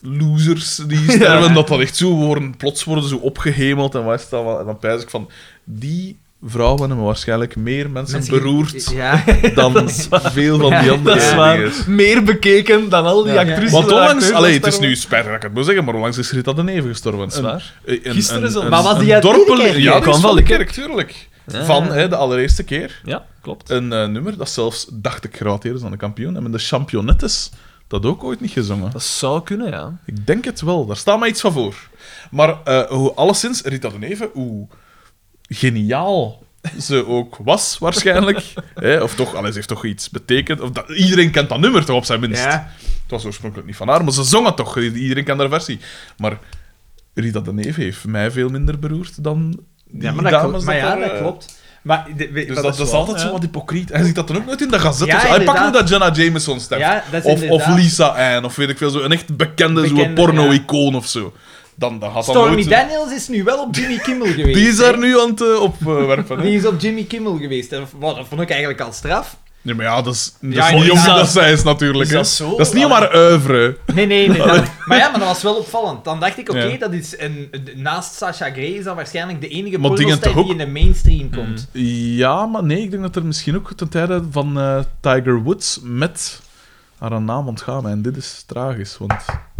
[SPEAKER 2] losers die sterven, dat dat echt zo worden, plots worden zo opgehemeld en wat is dat wel. En dan pijs ik van, die vrouwen hebben waarschijnlijk meer mensen, beroerd
[SPEAKER 1] Ja.
[SPEAKER 2] dan veel van die andere
[SPEAKER 3] Dat is
[SPEAKER 2] dingen.
[SPEAKER 3] waar. Meer bekeken dan al die
[SPEAKER 1] Ja.
[SPEAKER 3] actrices.
[SPEAKER 2] Want
[SPEAKER 3] en
[SPEAKER 2] onlangs,
[SPEAKER 3] acteurs
[SPEAKER 2] allee, het
[SPEAKER 3] daar
[SPEAKER 2] is nu spijtig dat ik het moet zeggen, maar onlangs is Rita de Neve gestorven.
[SPEAKER 3] Dat is waar.
[SPEAKER 2] Een- een-
[SPEAKER 3] Gisteren
[SPEAKER 2] een-
[SPEAKER 3] is dat-
[SPEAKER 2] een-
[SPEAKER 1] Maar was die
[SPEAKER 2] een
[SPEAKER 1] uit
[SPEAKER 2] dorpel-
[SPEAKER 1] Liedekerk?
[SPEAKER 2] Ja,
[SPEAKER 3] Die
[SPEAKER 2] die
[SPEAKER 3] kwam
[SPEAKER 2] is van de
[SPEAKER 3] van Liedekerk.
[SPEAKER 2] kerk, tuurlijk.
[SPEAKER 3] Ja.
[SPEAKER 2] Van hè, de allereerste keer.
[SPEAKER 3] Ja, klopt.
[SPEAKER 2] Een eh, nummer dat zelfs, dacht ik, gerateerd is aan de kampioen. En met de championettes, dat ook ooit niet gezongen.
[SPEAKER 3] Dat zou kunnen, ja.
[SPEAKER 2] Ik denk het wel, daar staat mij iets van voor. Maar eh, hoe, alleszins, Rita de Neve, hoe geniaal ze ook was, waarschijnlijk. hè, of toch, allee, ze heeft toch iets betekend. Of dat, iedereen kent dat nummer toch op zijn minst.
[SPEAKER 1] Ja.
[SPEAKER 2] Het was oorspronkelijk niet van haar, maar ze zong het toch. Iedereen kent haar versie. Maar Rita de Neef heeft mij veel minder beroerd dan die
[SPEAKER 1] Ja, maar dat,
[SPEAKER 2] dames
[SPEAKER 1] klopt, maar ja,
[SPEAKER 2] er, eh,
[SPEAKER 1] dat klopt. Maar de- we-
[SPEAKER 2] Dus
[SPEAKER 1] wat
[SPEAKER 2] dat, dat is
[SPEAKER 1] wel,
[SPEAKER 2] altijd
[SPEAKER 1] hè?
[SPEAKER 2] zo wat hypocriet. Hij ziet dat dan ook nooit in de gazette.
[SPEAKER 1] Ja,
[SPEAKER 2] of zo. hij pakt nu
[SPEAKER 1] inderdaad.
[SPEAKER 2] dat Jenna Jameson stemt.
[SPEAKER 1] Ja, dat is
[SPEAKER 2] of, of
[SPEAKER 1] inderdaad-
[SPEAKER 2] Lisa Ann, of weet ik veel, zo een echt bekende, zo'n
[SPEAKER 1] Bekende,
[SPEAKER 2] porno-icoon of zo. Dan, dan gaat dat
[SPEAKER 1] Stormy
[SPEAKER 2] nooit...
[SPEAKER 1] Daniels is nu wel op Jimmy Kimmel geweest.
[SPEAKER 2] Die is
[SPEAKER 1] hè.
[SPEAKER 2] daar nu aan het eh, opwerpen. hè.
[SPEAKER 1] Die is op Jimmy Kimmel geweest. En wat, dat vond ik eigenlijk al straf.
[SPEAKER 2] Nee, maar ja, dat is, dat
[SPEAKER 1] Ja,
[SPEAKER 2] is niet omdat
[SPEAKER 3] inderdaad.
[SPEAKER 2] zij is natuurlijk.
[SPEAKER 3] Is
[SPEAKER 2] hè.
[SPEAKER 3] dat zo?
[SPEAKER 2] is niet maar oeuvre.
[SPEAKER 1] Nee, nee, nee. dat- maar ja, maar dat was wel opvallend. Dan dacht ik, oké,
[SPEAKER 2] Ja.
[SPEAKER 1] dat is een, de- naast Sasha Grey is dat waarschijnlijk de enige
[SPEAKER 2] Maar dingen
[SPEAKER 1] pornoster
[SPEAKER 2] toch
[SPEAKER 1] die in de mainstream komt.
[SPEAKER 2] Ja, maar nee, ik denk dat er misschien ook ten tijde van eh, Tiger Woods met haar naam ontgaan. En dit is tragisch, want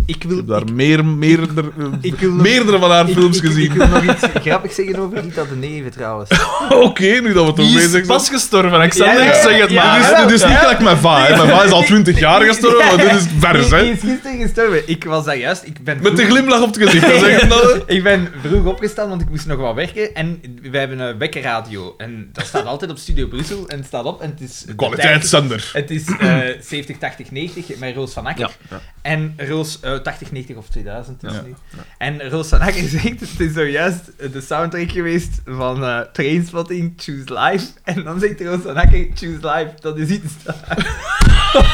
[SPEAKER 1] Ik
[SPEAKER 2] ik
[SPEAKER 1] wil...
[SPEAKER 2] heb daar meer, meerder, eh,
[SPEAKER 1] ik wil nog-
[SPEAKER 2] meerdere van haar
[SPEAKER 1] ik-
[SPEAKER 2] films
[SPEAKER 1] ik-
[SPEAKER 2] gezien.
[SPEAKER 1] Ik, wil nog iets grappigs zeggen over Rita de Neve, trouwens.
[SPEAKER 2] Oké, nu dat we het over
[SPEAKER 3] Die is
[SPEAKER 2] bezig zijn.
[SPEAKER 3] pas gestorven, Alexander.
[SPEAKER 1] Ja, ja,
[SPEAKER 3] ik zeg het
[SPEAKER 1] ja,
[SPEAKER 3] maar. Dus
[SPEAKER 2] dit
[SPEAKER 1] ja.
[SPEAKER 2] is, dit is niet gelijk mijn va. hè. Mijn va is al 20 jaar gestorven, maar dit is vers,
[SPEAKER 1] Die- Die
[SPEAKER 2] hè.
[SPEAKER 1] is gisteren gestorven. Ik was daar juist... Ik ben
[SPEAKER 2] Met
[SPEAKER 1] vroeg-
[SPEAKER 2] de glimlach op het gezicht. Dat zeg ik dat.
[SPEAKER 1] ik ben vroeg opgestaan, want ik moest nog wat werken. En wij hebben een wekkerradio. En dat staat altijd op Studio Brussel. En het staat op en het is... de tijd-
[SPEAKER 2] Kwaliteitszender.
[SPEAKER 1] Het is eh 70, 80, 90 met Roos van Akker.
[SPEAKER 3] Ja,
[SPEAKER 1] En Roos, eh 80, 90 of 2000. is
[SPEAKER 2] Ja,
[SPEAKER 1] het nu. En Roos van Akker zegt: Het is zojuist de soundtrack geweest van eh Trainspotting, Choose Life. En dan zegt Roos van Akker: Choose Life, dat is iets. dat-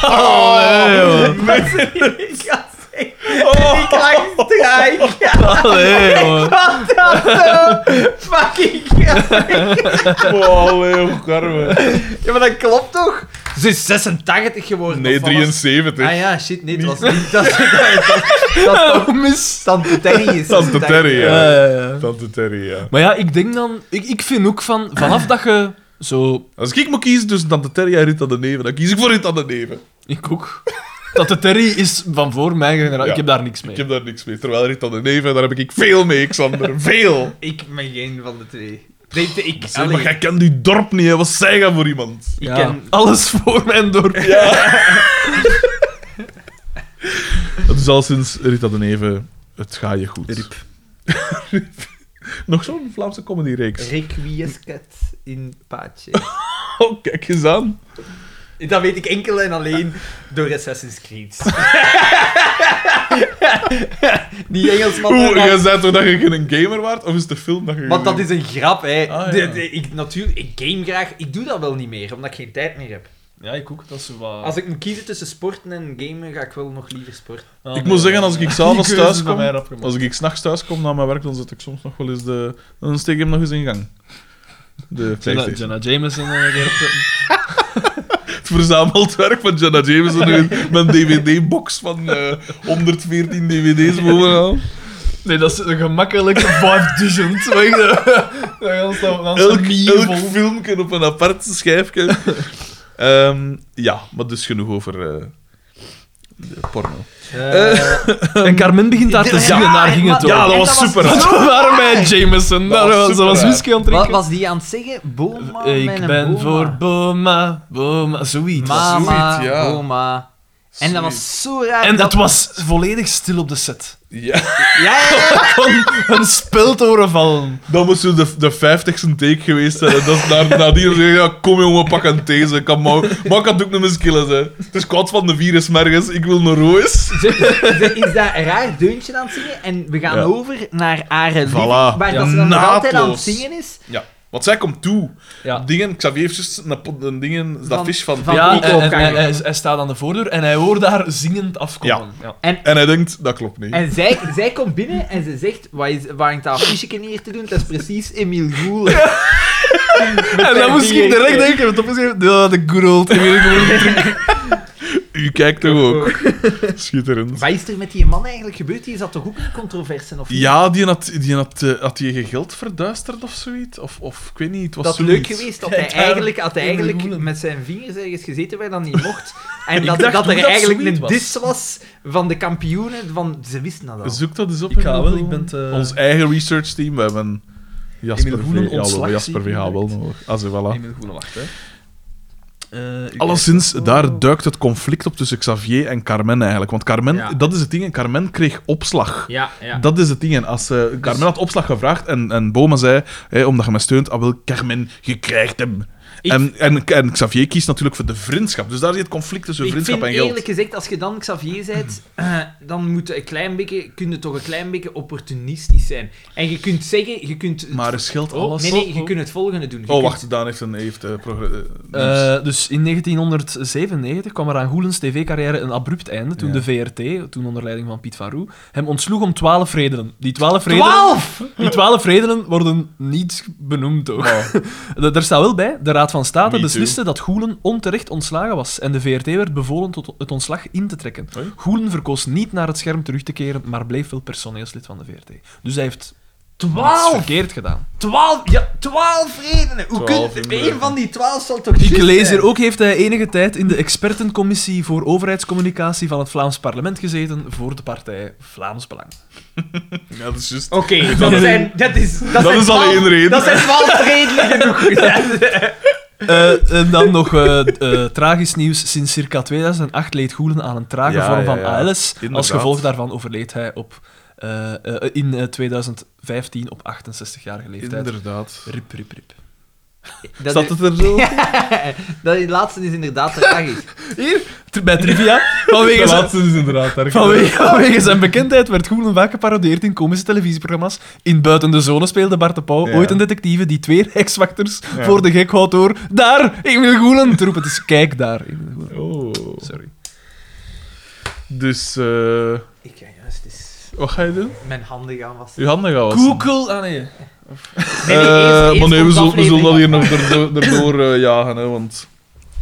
[SPEAKER 2] Oh, nee, man.
[SPEAKER 1] Mensen die ik ga zeggen.
[SPEAKER 2] Oh.
[SPEAKER 1] Ik lag strijk.
[SPEAKER 3] Allee, man.
[SPEAKER 1] Wat dat zo fucking grappig.
[SPEAKER 2] Oh, nee, hoe karme.
[SPEAKER 1] Ja, maar dat klopt toch? Ze is 86 geworden.
[SPEAKER 2] Nee,
[SPEAKER 1] of wat was-
[SPEAKER 2] 73.
[SPEAKER 1] Ah ja, shit, nee, het was niet. Dat is dat mis. Tante Terry is
[SPEAKER 2] Tante Terry, ja.
[SPEAKER 3] Oh, Ja, ja, ja.
[SPEAKER 2] Tante Terry, ja.
[SPEAKER 3] Maar ja, ik denk dan... Ik, ik vind ook van... Vanaf dat je zo...
[SPEAKER 2] Als ik moet kiezen tussen Tante Terry en Rita de Neven, dan kies ik voor Rita de Neven.
[SPEAKER 3] Ik ook. Dat de Terry is van voor mijn generatie.
[SPEAKER 2] Ja.
[SPEAKER 3] Ik heb daar niks mee.
[SPEAKER 2] Ik heb daar niks mee. Terwijl Rita de Neven, daar heb ik veel mee, Xander. Veel.
[SPEAKER 1] eh, Ik ben geen van de twee. Nee, nee, ik,
[SPEAKER 2] Zeg, maar
[SPEAKER 1] allee,
[SPEAKER 2] jij kent die dorp niet, hè. Wat zij gaan voor iemand?
[SPEAKER 1] ik
[SPEAKER 3] Ja.
[SPEAKER 1] ken-
[SPEAKER 3] Alles voor mijn dorp.
[SPEAKER 2] Dat is al sinds Rita de Neven, het ga je goed. Rip. Nog zo'n Vlaamse comedy-reeks.
[SPEAKER 1] Requiescat in Pace.
[SPEAKER 2] Oh, kijk eens aan.
[SPEAKER 1] Dat weet ik enkel en alleen door Assassin's Creed. Die Engelsman.
[SPEAKER 2] Oeh, jij zei toch dat je geen gamer waard? Of is de film dat je...
[SPEAKER 1] Want dat is een grap, hè.
[SPEAKER 2] Ah, ja.
[SPEAKER 1] De- de- ik, natuurlijk, ik game graag. Ik doe dat wel niet meer, omdat ik geen tijd meer heb.
[SPEAKER 3] Ja, ik ook. Dat is
[SPEAKER 2] Ah.
[SPEAKER 3] wat...
[SPEAKER 1] Als ik moet kiezen tussen sporten en gamen, ga ik wel nog liever sporten.
[SPEAKER 2] Ik moet zeggen, als ik s'avonds thuis kom...
[SPEAKER 3] Als
[SPEAKER 2] Als
[SPEAKER 3] ik...
[SPEAKER 2] ik s'nachts thuis kom na mijn werk, dan zet ik soms nog wel eens de... Dan steek ik hem nog eens in gang. De
[SPEAKER 3] Jenna,
[SPEAKER 2] PlayStation.
[SPEAKER 3] Jenna Jameson eh, weer op-
[SPEAKER 2] Het verzameld werk van Jenna Jameson in mijn dvd-box van eh, 114 dvd's bovenaan.
[SPEAKER 3] Nee, dat is een gemakkelijke 5000. Weet je, dat- dat is dan- dat is
[SPEAKER 2] elk,
[SPEAKER 3] een mier
[SPEAKER 2] elk
[SPEAKER 3] vol.
[SPEAKER 2] filmpje op een apart schijfje. Ehm, ja, maar dus genoeg over eh, de porno.
[SPEAKER 1] Eh,
[SPEAKER 3] En Carmen begint daar te
[SPEAKER 1] Ja,
[SPEAKER 3] zingen, daar ging het
[SPEAKER 1] maar-
[SPEAKER 2] Eh, Ja,
[SPEAKER 3] over.
[SPEAKER 2] dat was super.
[SPEAKER 3] Want we waren bij Jameson,
[SPEAKER 2] Dat
[SPEAKER 3] daar
[SPEAKER 2] was
[SPEAKER 3] was,
[SPEAKER 2] super,
[SPEAKER 3] dat was
[SPEAKER 2] hè.
[SPEAKER 3] whisky aan het
[SPEAKER 1] Wat
[SPEAKER 3] drinken.
[SPEAKER 1] was die aan het zeggen? Boma,
[SPEAKER 3] Eh, ik
[SPEAKER 1] mijn
[SPEAKER 3] ben
[SPEAKER 1] boma.
[SPEAKER 3] voor Boma, Boma, zoiets.
[SPEAKER 1] Mama,
[SPEAKER 2] Zoiets, ja.
[SPEAKER 1] Boma. En dat was zo raar.
[SPEAKER 3] En
[SPEAKER 1] dat-
[SPEAKER 3] het was volledig stil op de set.
[SPEAKER 2] Ja,
[SPEAKER 1] Ja, ja, ja.
[SPEAKER 3] Kon een speltoren vallen.
[SPEAKER 2] dan moest zo de, de 50ste take geweest zijn. En dat is naar, nadien zeggen, ja, kom jongen, pak een deze. Kan maar, maar ik had ook nog eens killen, hè. Het is kwaad van de virus, mergens. Ik wil een roos.
[SPEAKER 1] Ze is dat raar deuntje aan het zingen. En we gaan
[SPEAKER 2] Ja.
[SPEAKER 1] over naar Are
[SPEAKER 2] Voilà.
[SPEAKER 1] Waar
[SPEAKER 2] Ja.
[SPEAKER 1] dat ze dan nog altijd aan het
[SPEAKER 2] Naadloos.
[SPEAKER 1] zingen is.
[SPEAKER 2] Ja, want zij komt toe.
[SPEAKER 3] Ja.
[SPEAKER 2] Dingen, Xavier heeft juist een, pot- een dingen, dat
[SPEAKER 1] Van-
[SPEAKER 2] vis van...
[SPEAKER 1] van-
[SPEAKER 3] Ja,
[SPEAKER 1] ik
[SPEAKER 3] en-
[SPEAKER 1] ook,
[SPEAKER 3] en hij,
[SPEAKER 1] eigenlijk.
[SPEAKER 3] hij- hij staat aan de voordeur en hij hoort daar zingend afkomen. Ja.
[SPEAKER 2] En hij denkt, dat klopt niet.
[SPEAKER 1] En zij, zij komt binnen en ze zegt, wat, is, wat hangt dat afficheken hier te doen? Dat is precies Emile Goel.
[SPEAKER 3] En dan moest ik direct denken, ik heb het opgeschreven, ja, de good old American
[SPEAKER 2] U kijkt toch ook. Schitterend.
[SPEAKER 1] Wat is er met die man eigenlijk gebeurd? Die zat toch ook in controversen of niet?
[SPEAKER 2] Ja, die had, die had, eh, had die je geld verduisterd of zoiets? Of, of ik weet niet, het was
[SPEAKER 1] dat
[SPEAKER 2] zoiets.
[SPEAKER 1] leuk geweest dat hij
[SPEAKER 3] Kijk, daar
[SPEAKER 1] eigenlijk, had hij
[SPEAKER 3] in de
[SPEAKER 1] eigenlijk
[SPEAKER 3] goelen.
[SPEAKER 1] met zijn vingers ergens gezeten waar dan niet mocht. En dat,
[SPEAKER 3] dacht
[SPEAKER 1] dat
[SPEAKER 3] hoe
[SPEAKER 1] er
[SPEAKER 3] dat
[SPEAKER 1] eigenlijk
[SPEAKER 3] zoiets
[SPEAKER 1] een
[SPEAKER 3] was.
[SPEAKER 1] dis was van de kampioenen. Van, ze wisten dat al.
[SPEAKER 2] Zoek dat eens op.
[SPEAKER 3] Ik ga
[SPEAKER 2] in
[SPEAKER 3] wel,
[SPEAKER 2] Google.
[SPEAKER 3] ik ben te-
[SPEAKER 2] Ons eigen research team, we hebben Jasper
[SPEAKER 3] Emil
[SPEAKER 2] VH,
[SPEAKER 3] Groenen
[SPEAKER 2] ja, wel,
[SPEAKER 3] ontslag
[SPEAKER 2] Jasper
[SPEAKER 3] zie ik
[SPEAKER 2] VH wel
[SPEAKER 3] direct.
[SPEAKER 2] nodig. Ah, zo, voilà.
[SPEAKER 3] Goede wacht, hè. Eh,
[SPEAKER 2] Alleszins, daar duikt het conflict op tussen Xavier en Carmen eigenlijk. Want Carmen,
[SPEAKER 1] Ja.
[SPEAKER 2] dat is het ding, en Carmen kreeg opslag.
[SPEAKER 1] Ja, ja.
[SPEAKER 2] Dat is het ding. En als, eh, Carmen had opslag gevraagd en, en Boma zei, hè, omdat je mij steunt, ah, wel, Carmen, je krijgt hem.
[SPEAKER 4] Ik-
[SPEAKER 2] En, en, en Xavier kiest natuurlijk voor de vriendschap. Dus daar zit het conflict tussen
[SPEAKER 4] Ik
[SPEAKER 2] vriendschap
[SPEAKER 4] vind
[SPEAKER 2] en geld.
[SPEAKER 4] eerlijk gezegd, als je dan Xavier bent, eh, dan moet je een klein beetje, kun je toch een klein beetje opportunistisch zijn. En je kunt zeggen, je kunt... het-
[SPEAKER 2] Maar er scheelt
[SPEAKER 4] Oh,
[SPEAKER 2] alles.
[SPEAKER 4] Nee, nee, je kunt het volgende doen. Je
[SPEAKER 2] Oh,
[SPEAKER 4] kunt-
[SPEAKER 2] wacht, Daan heeft een... Heeft, eh, progr- eh, nieuws.
[SPEAKER 3] Eh, dus in 1997 kwam er aan Goelens tv-carrière een abrupt einde toen
[SPEAKER 2] Ja.
[SPEAKER 3] de VRT, toen onder leiding van Piet Varou, hem ontsloeg om 12 redenen. Die 12 redenen,
[SPEAKER 4] 12!
[SPEAKER 3] die 12 redenen worden niet benoemd ook.
[SPEAKER 2] Oh.
[SPEAKER 3] Da- Daar staat wel bij, de Raad van State
[SPEAKER 2] Me
[SPEAKER 3] besliste dat Goelen onterecht ontslagen was en de VRT werd bevolen tot het ontslag in te trekken.
[SPEAKER 2] Oei.
[SPEAKER 3] Goelen verkoos niet naar het scherm terug te keren, maar bleef wel personeelslid van de VRT. Dus hij heeft iets
[SPEAKER 4] 12!
[SPEAKER 3] verkeerd gedaan.
[SPEAKER 4] 12! Ja, 12 redenen!
[SPEAKER 1] Hoe
[SPEAKER 2] Twaalf
[SPEAKER 1] kun je...
[SPEAKER 2] inbreuk.
[SPEAKER 1] Eén van die twaalf zal toch
[SPEAKER 3] Ik
[SPEAKER 1] juist
[SPEAKER 3] lees
[SPEAKER 1] zijn?
[SPEAKER 3] hier ook, heeft hij enige tijd in de expertencommissie voor overheidscommunicatie van het Vlaams parlement gezeten voor de partij Vlaams Belang.
[SPEAKER 2] Ja, dat is juist.
[SPEAKER 4] Oké, dat zijn... Dat is... Dat,
[SPEAKER 2] dat
[SPEAKER 4] zijn
[SPEAKER 2] is al
[SPEAKER 4] 12
[SPEAKER 2] één reden.
[SPEAKER 4] Dat zijn 12 redenen genoeg.
[SPEAKER 3] Eh, en dan nog eh, eh, tragisch nieuws. Sinds circa 2008 leed Goelen aan een trage
[SPEAKER 2] Ja,
[SPEAKER 3] vorm
[SPEAKER 2] ja,
[SPEAKER 3] van
[SPEAKER 2] ja.
[SPEAKER 3] ALS.
[SPEAKER 2] Inderdaad.
[SPEAKER 3] Als gevolg daarvan overleed hij op, eh, eh, in eh, 2015 op 68-jarige leeftijd.
[SPEAKER 2] Inderdaad.
[SPEAKER 3] Rip, rip, rip.
[SPEAKER 1] Dat
[SPEAKER 2] Staat
[SPEAKER 1] is-
[SPEAKER 2] het er zo?
[SPEAKER 1] Dat die laatste is inderdaad tragisch.
[SPEAKER 3] Hier, ter- bij Trivia. Vanwege
[SPEAKER 2] De
[SPEAKER 3] zijn,
[SPEAKER 2] laatste is inderdaad erg.
[SPEAKER 3] vanwege, vanwege zijn bekendheid werd Goelen vaak geparodieerd in komische televisieprogramma's. In Buiten de Zone speelde Bart de Pauw
[SPEAKER 2] Ja.
[SPEAKER 3] ooit een detectieve die twee rijkswachters
[SPEAKER 2] Ja.
[SPEAKER 3] voor de gek houdt door... Daar, Emil Goelen! te roepen. Het is kijk daar, Emil Goelen.
[SPEAKER 2] Oh.
[SPEAKER 3] Sorry.
[SPEAKER 2] Dus, eh
[SPEAKER 4] Ik kan juist eens
[SPEAKER 2] wat ga je doen?
[SPEAKER 4] mijn handen gaan wassen.
[SPEAKER 2] Je handen gaan wassen.
[SPEAKER 3] Google... Ah nee.
[SPEAKER 4] Nee, nee, eerst-
[SPEAKER 2] Eh,
[SPEAKER 4] eerst
[SPEAKER 2] maar nee, we
[SPEAKER 4] komt
[SPEAKER 2] zullen, we zullen dat hier
[SPEAKER 4] aflevering.
[SPEAKER 2] nog erdoor, erdoor eh, jagen, hè, want...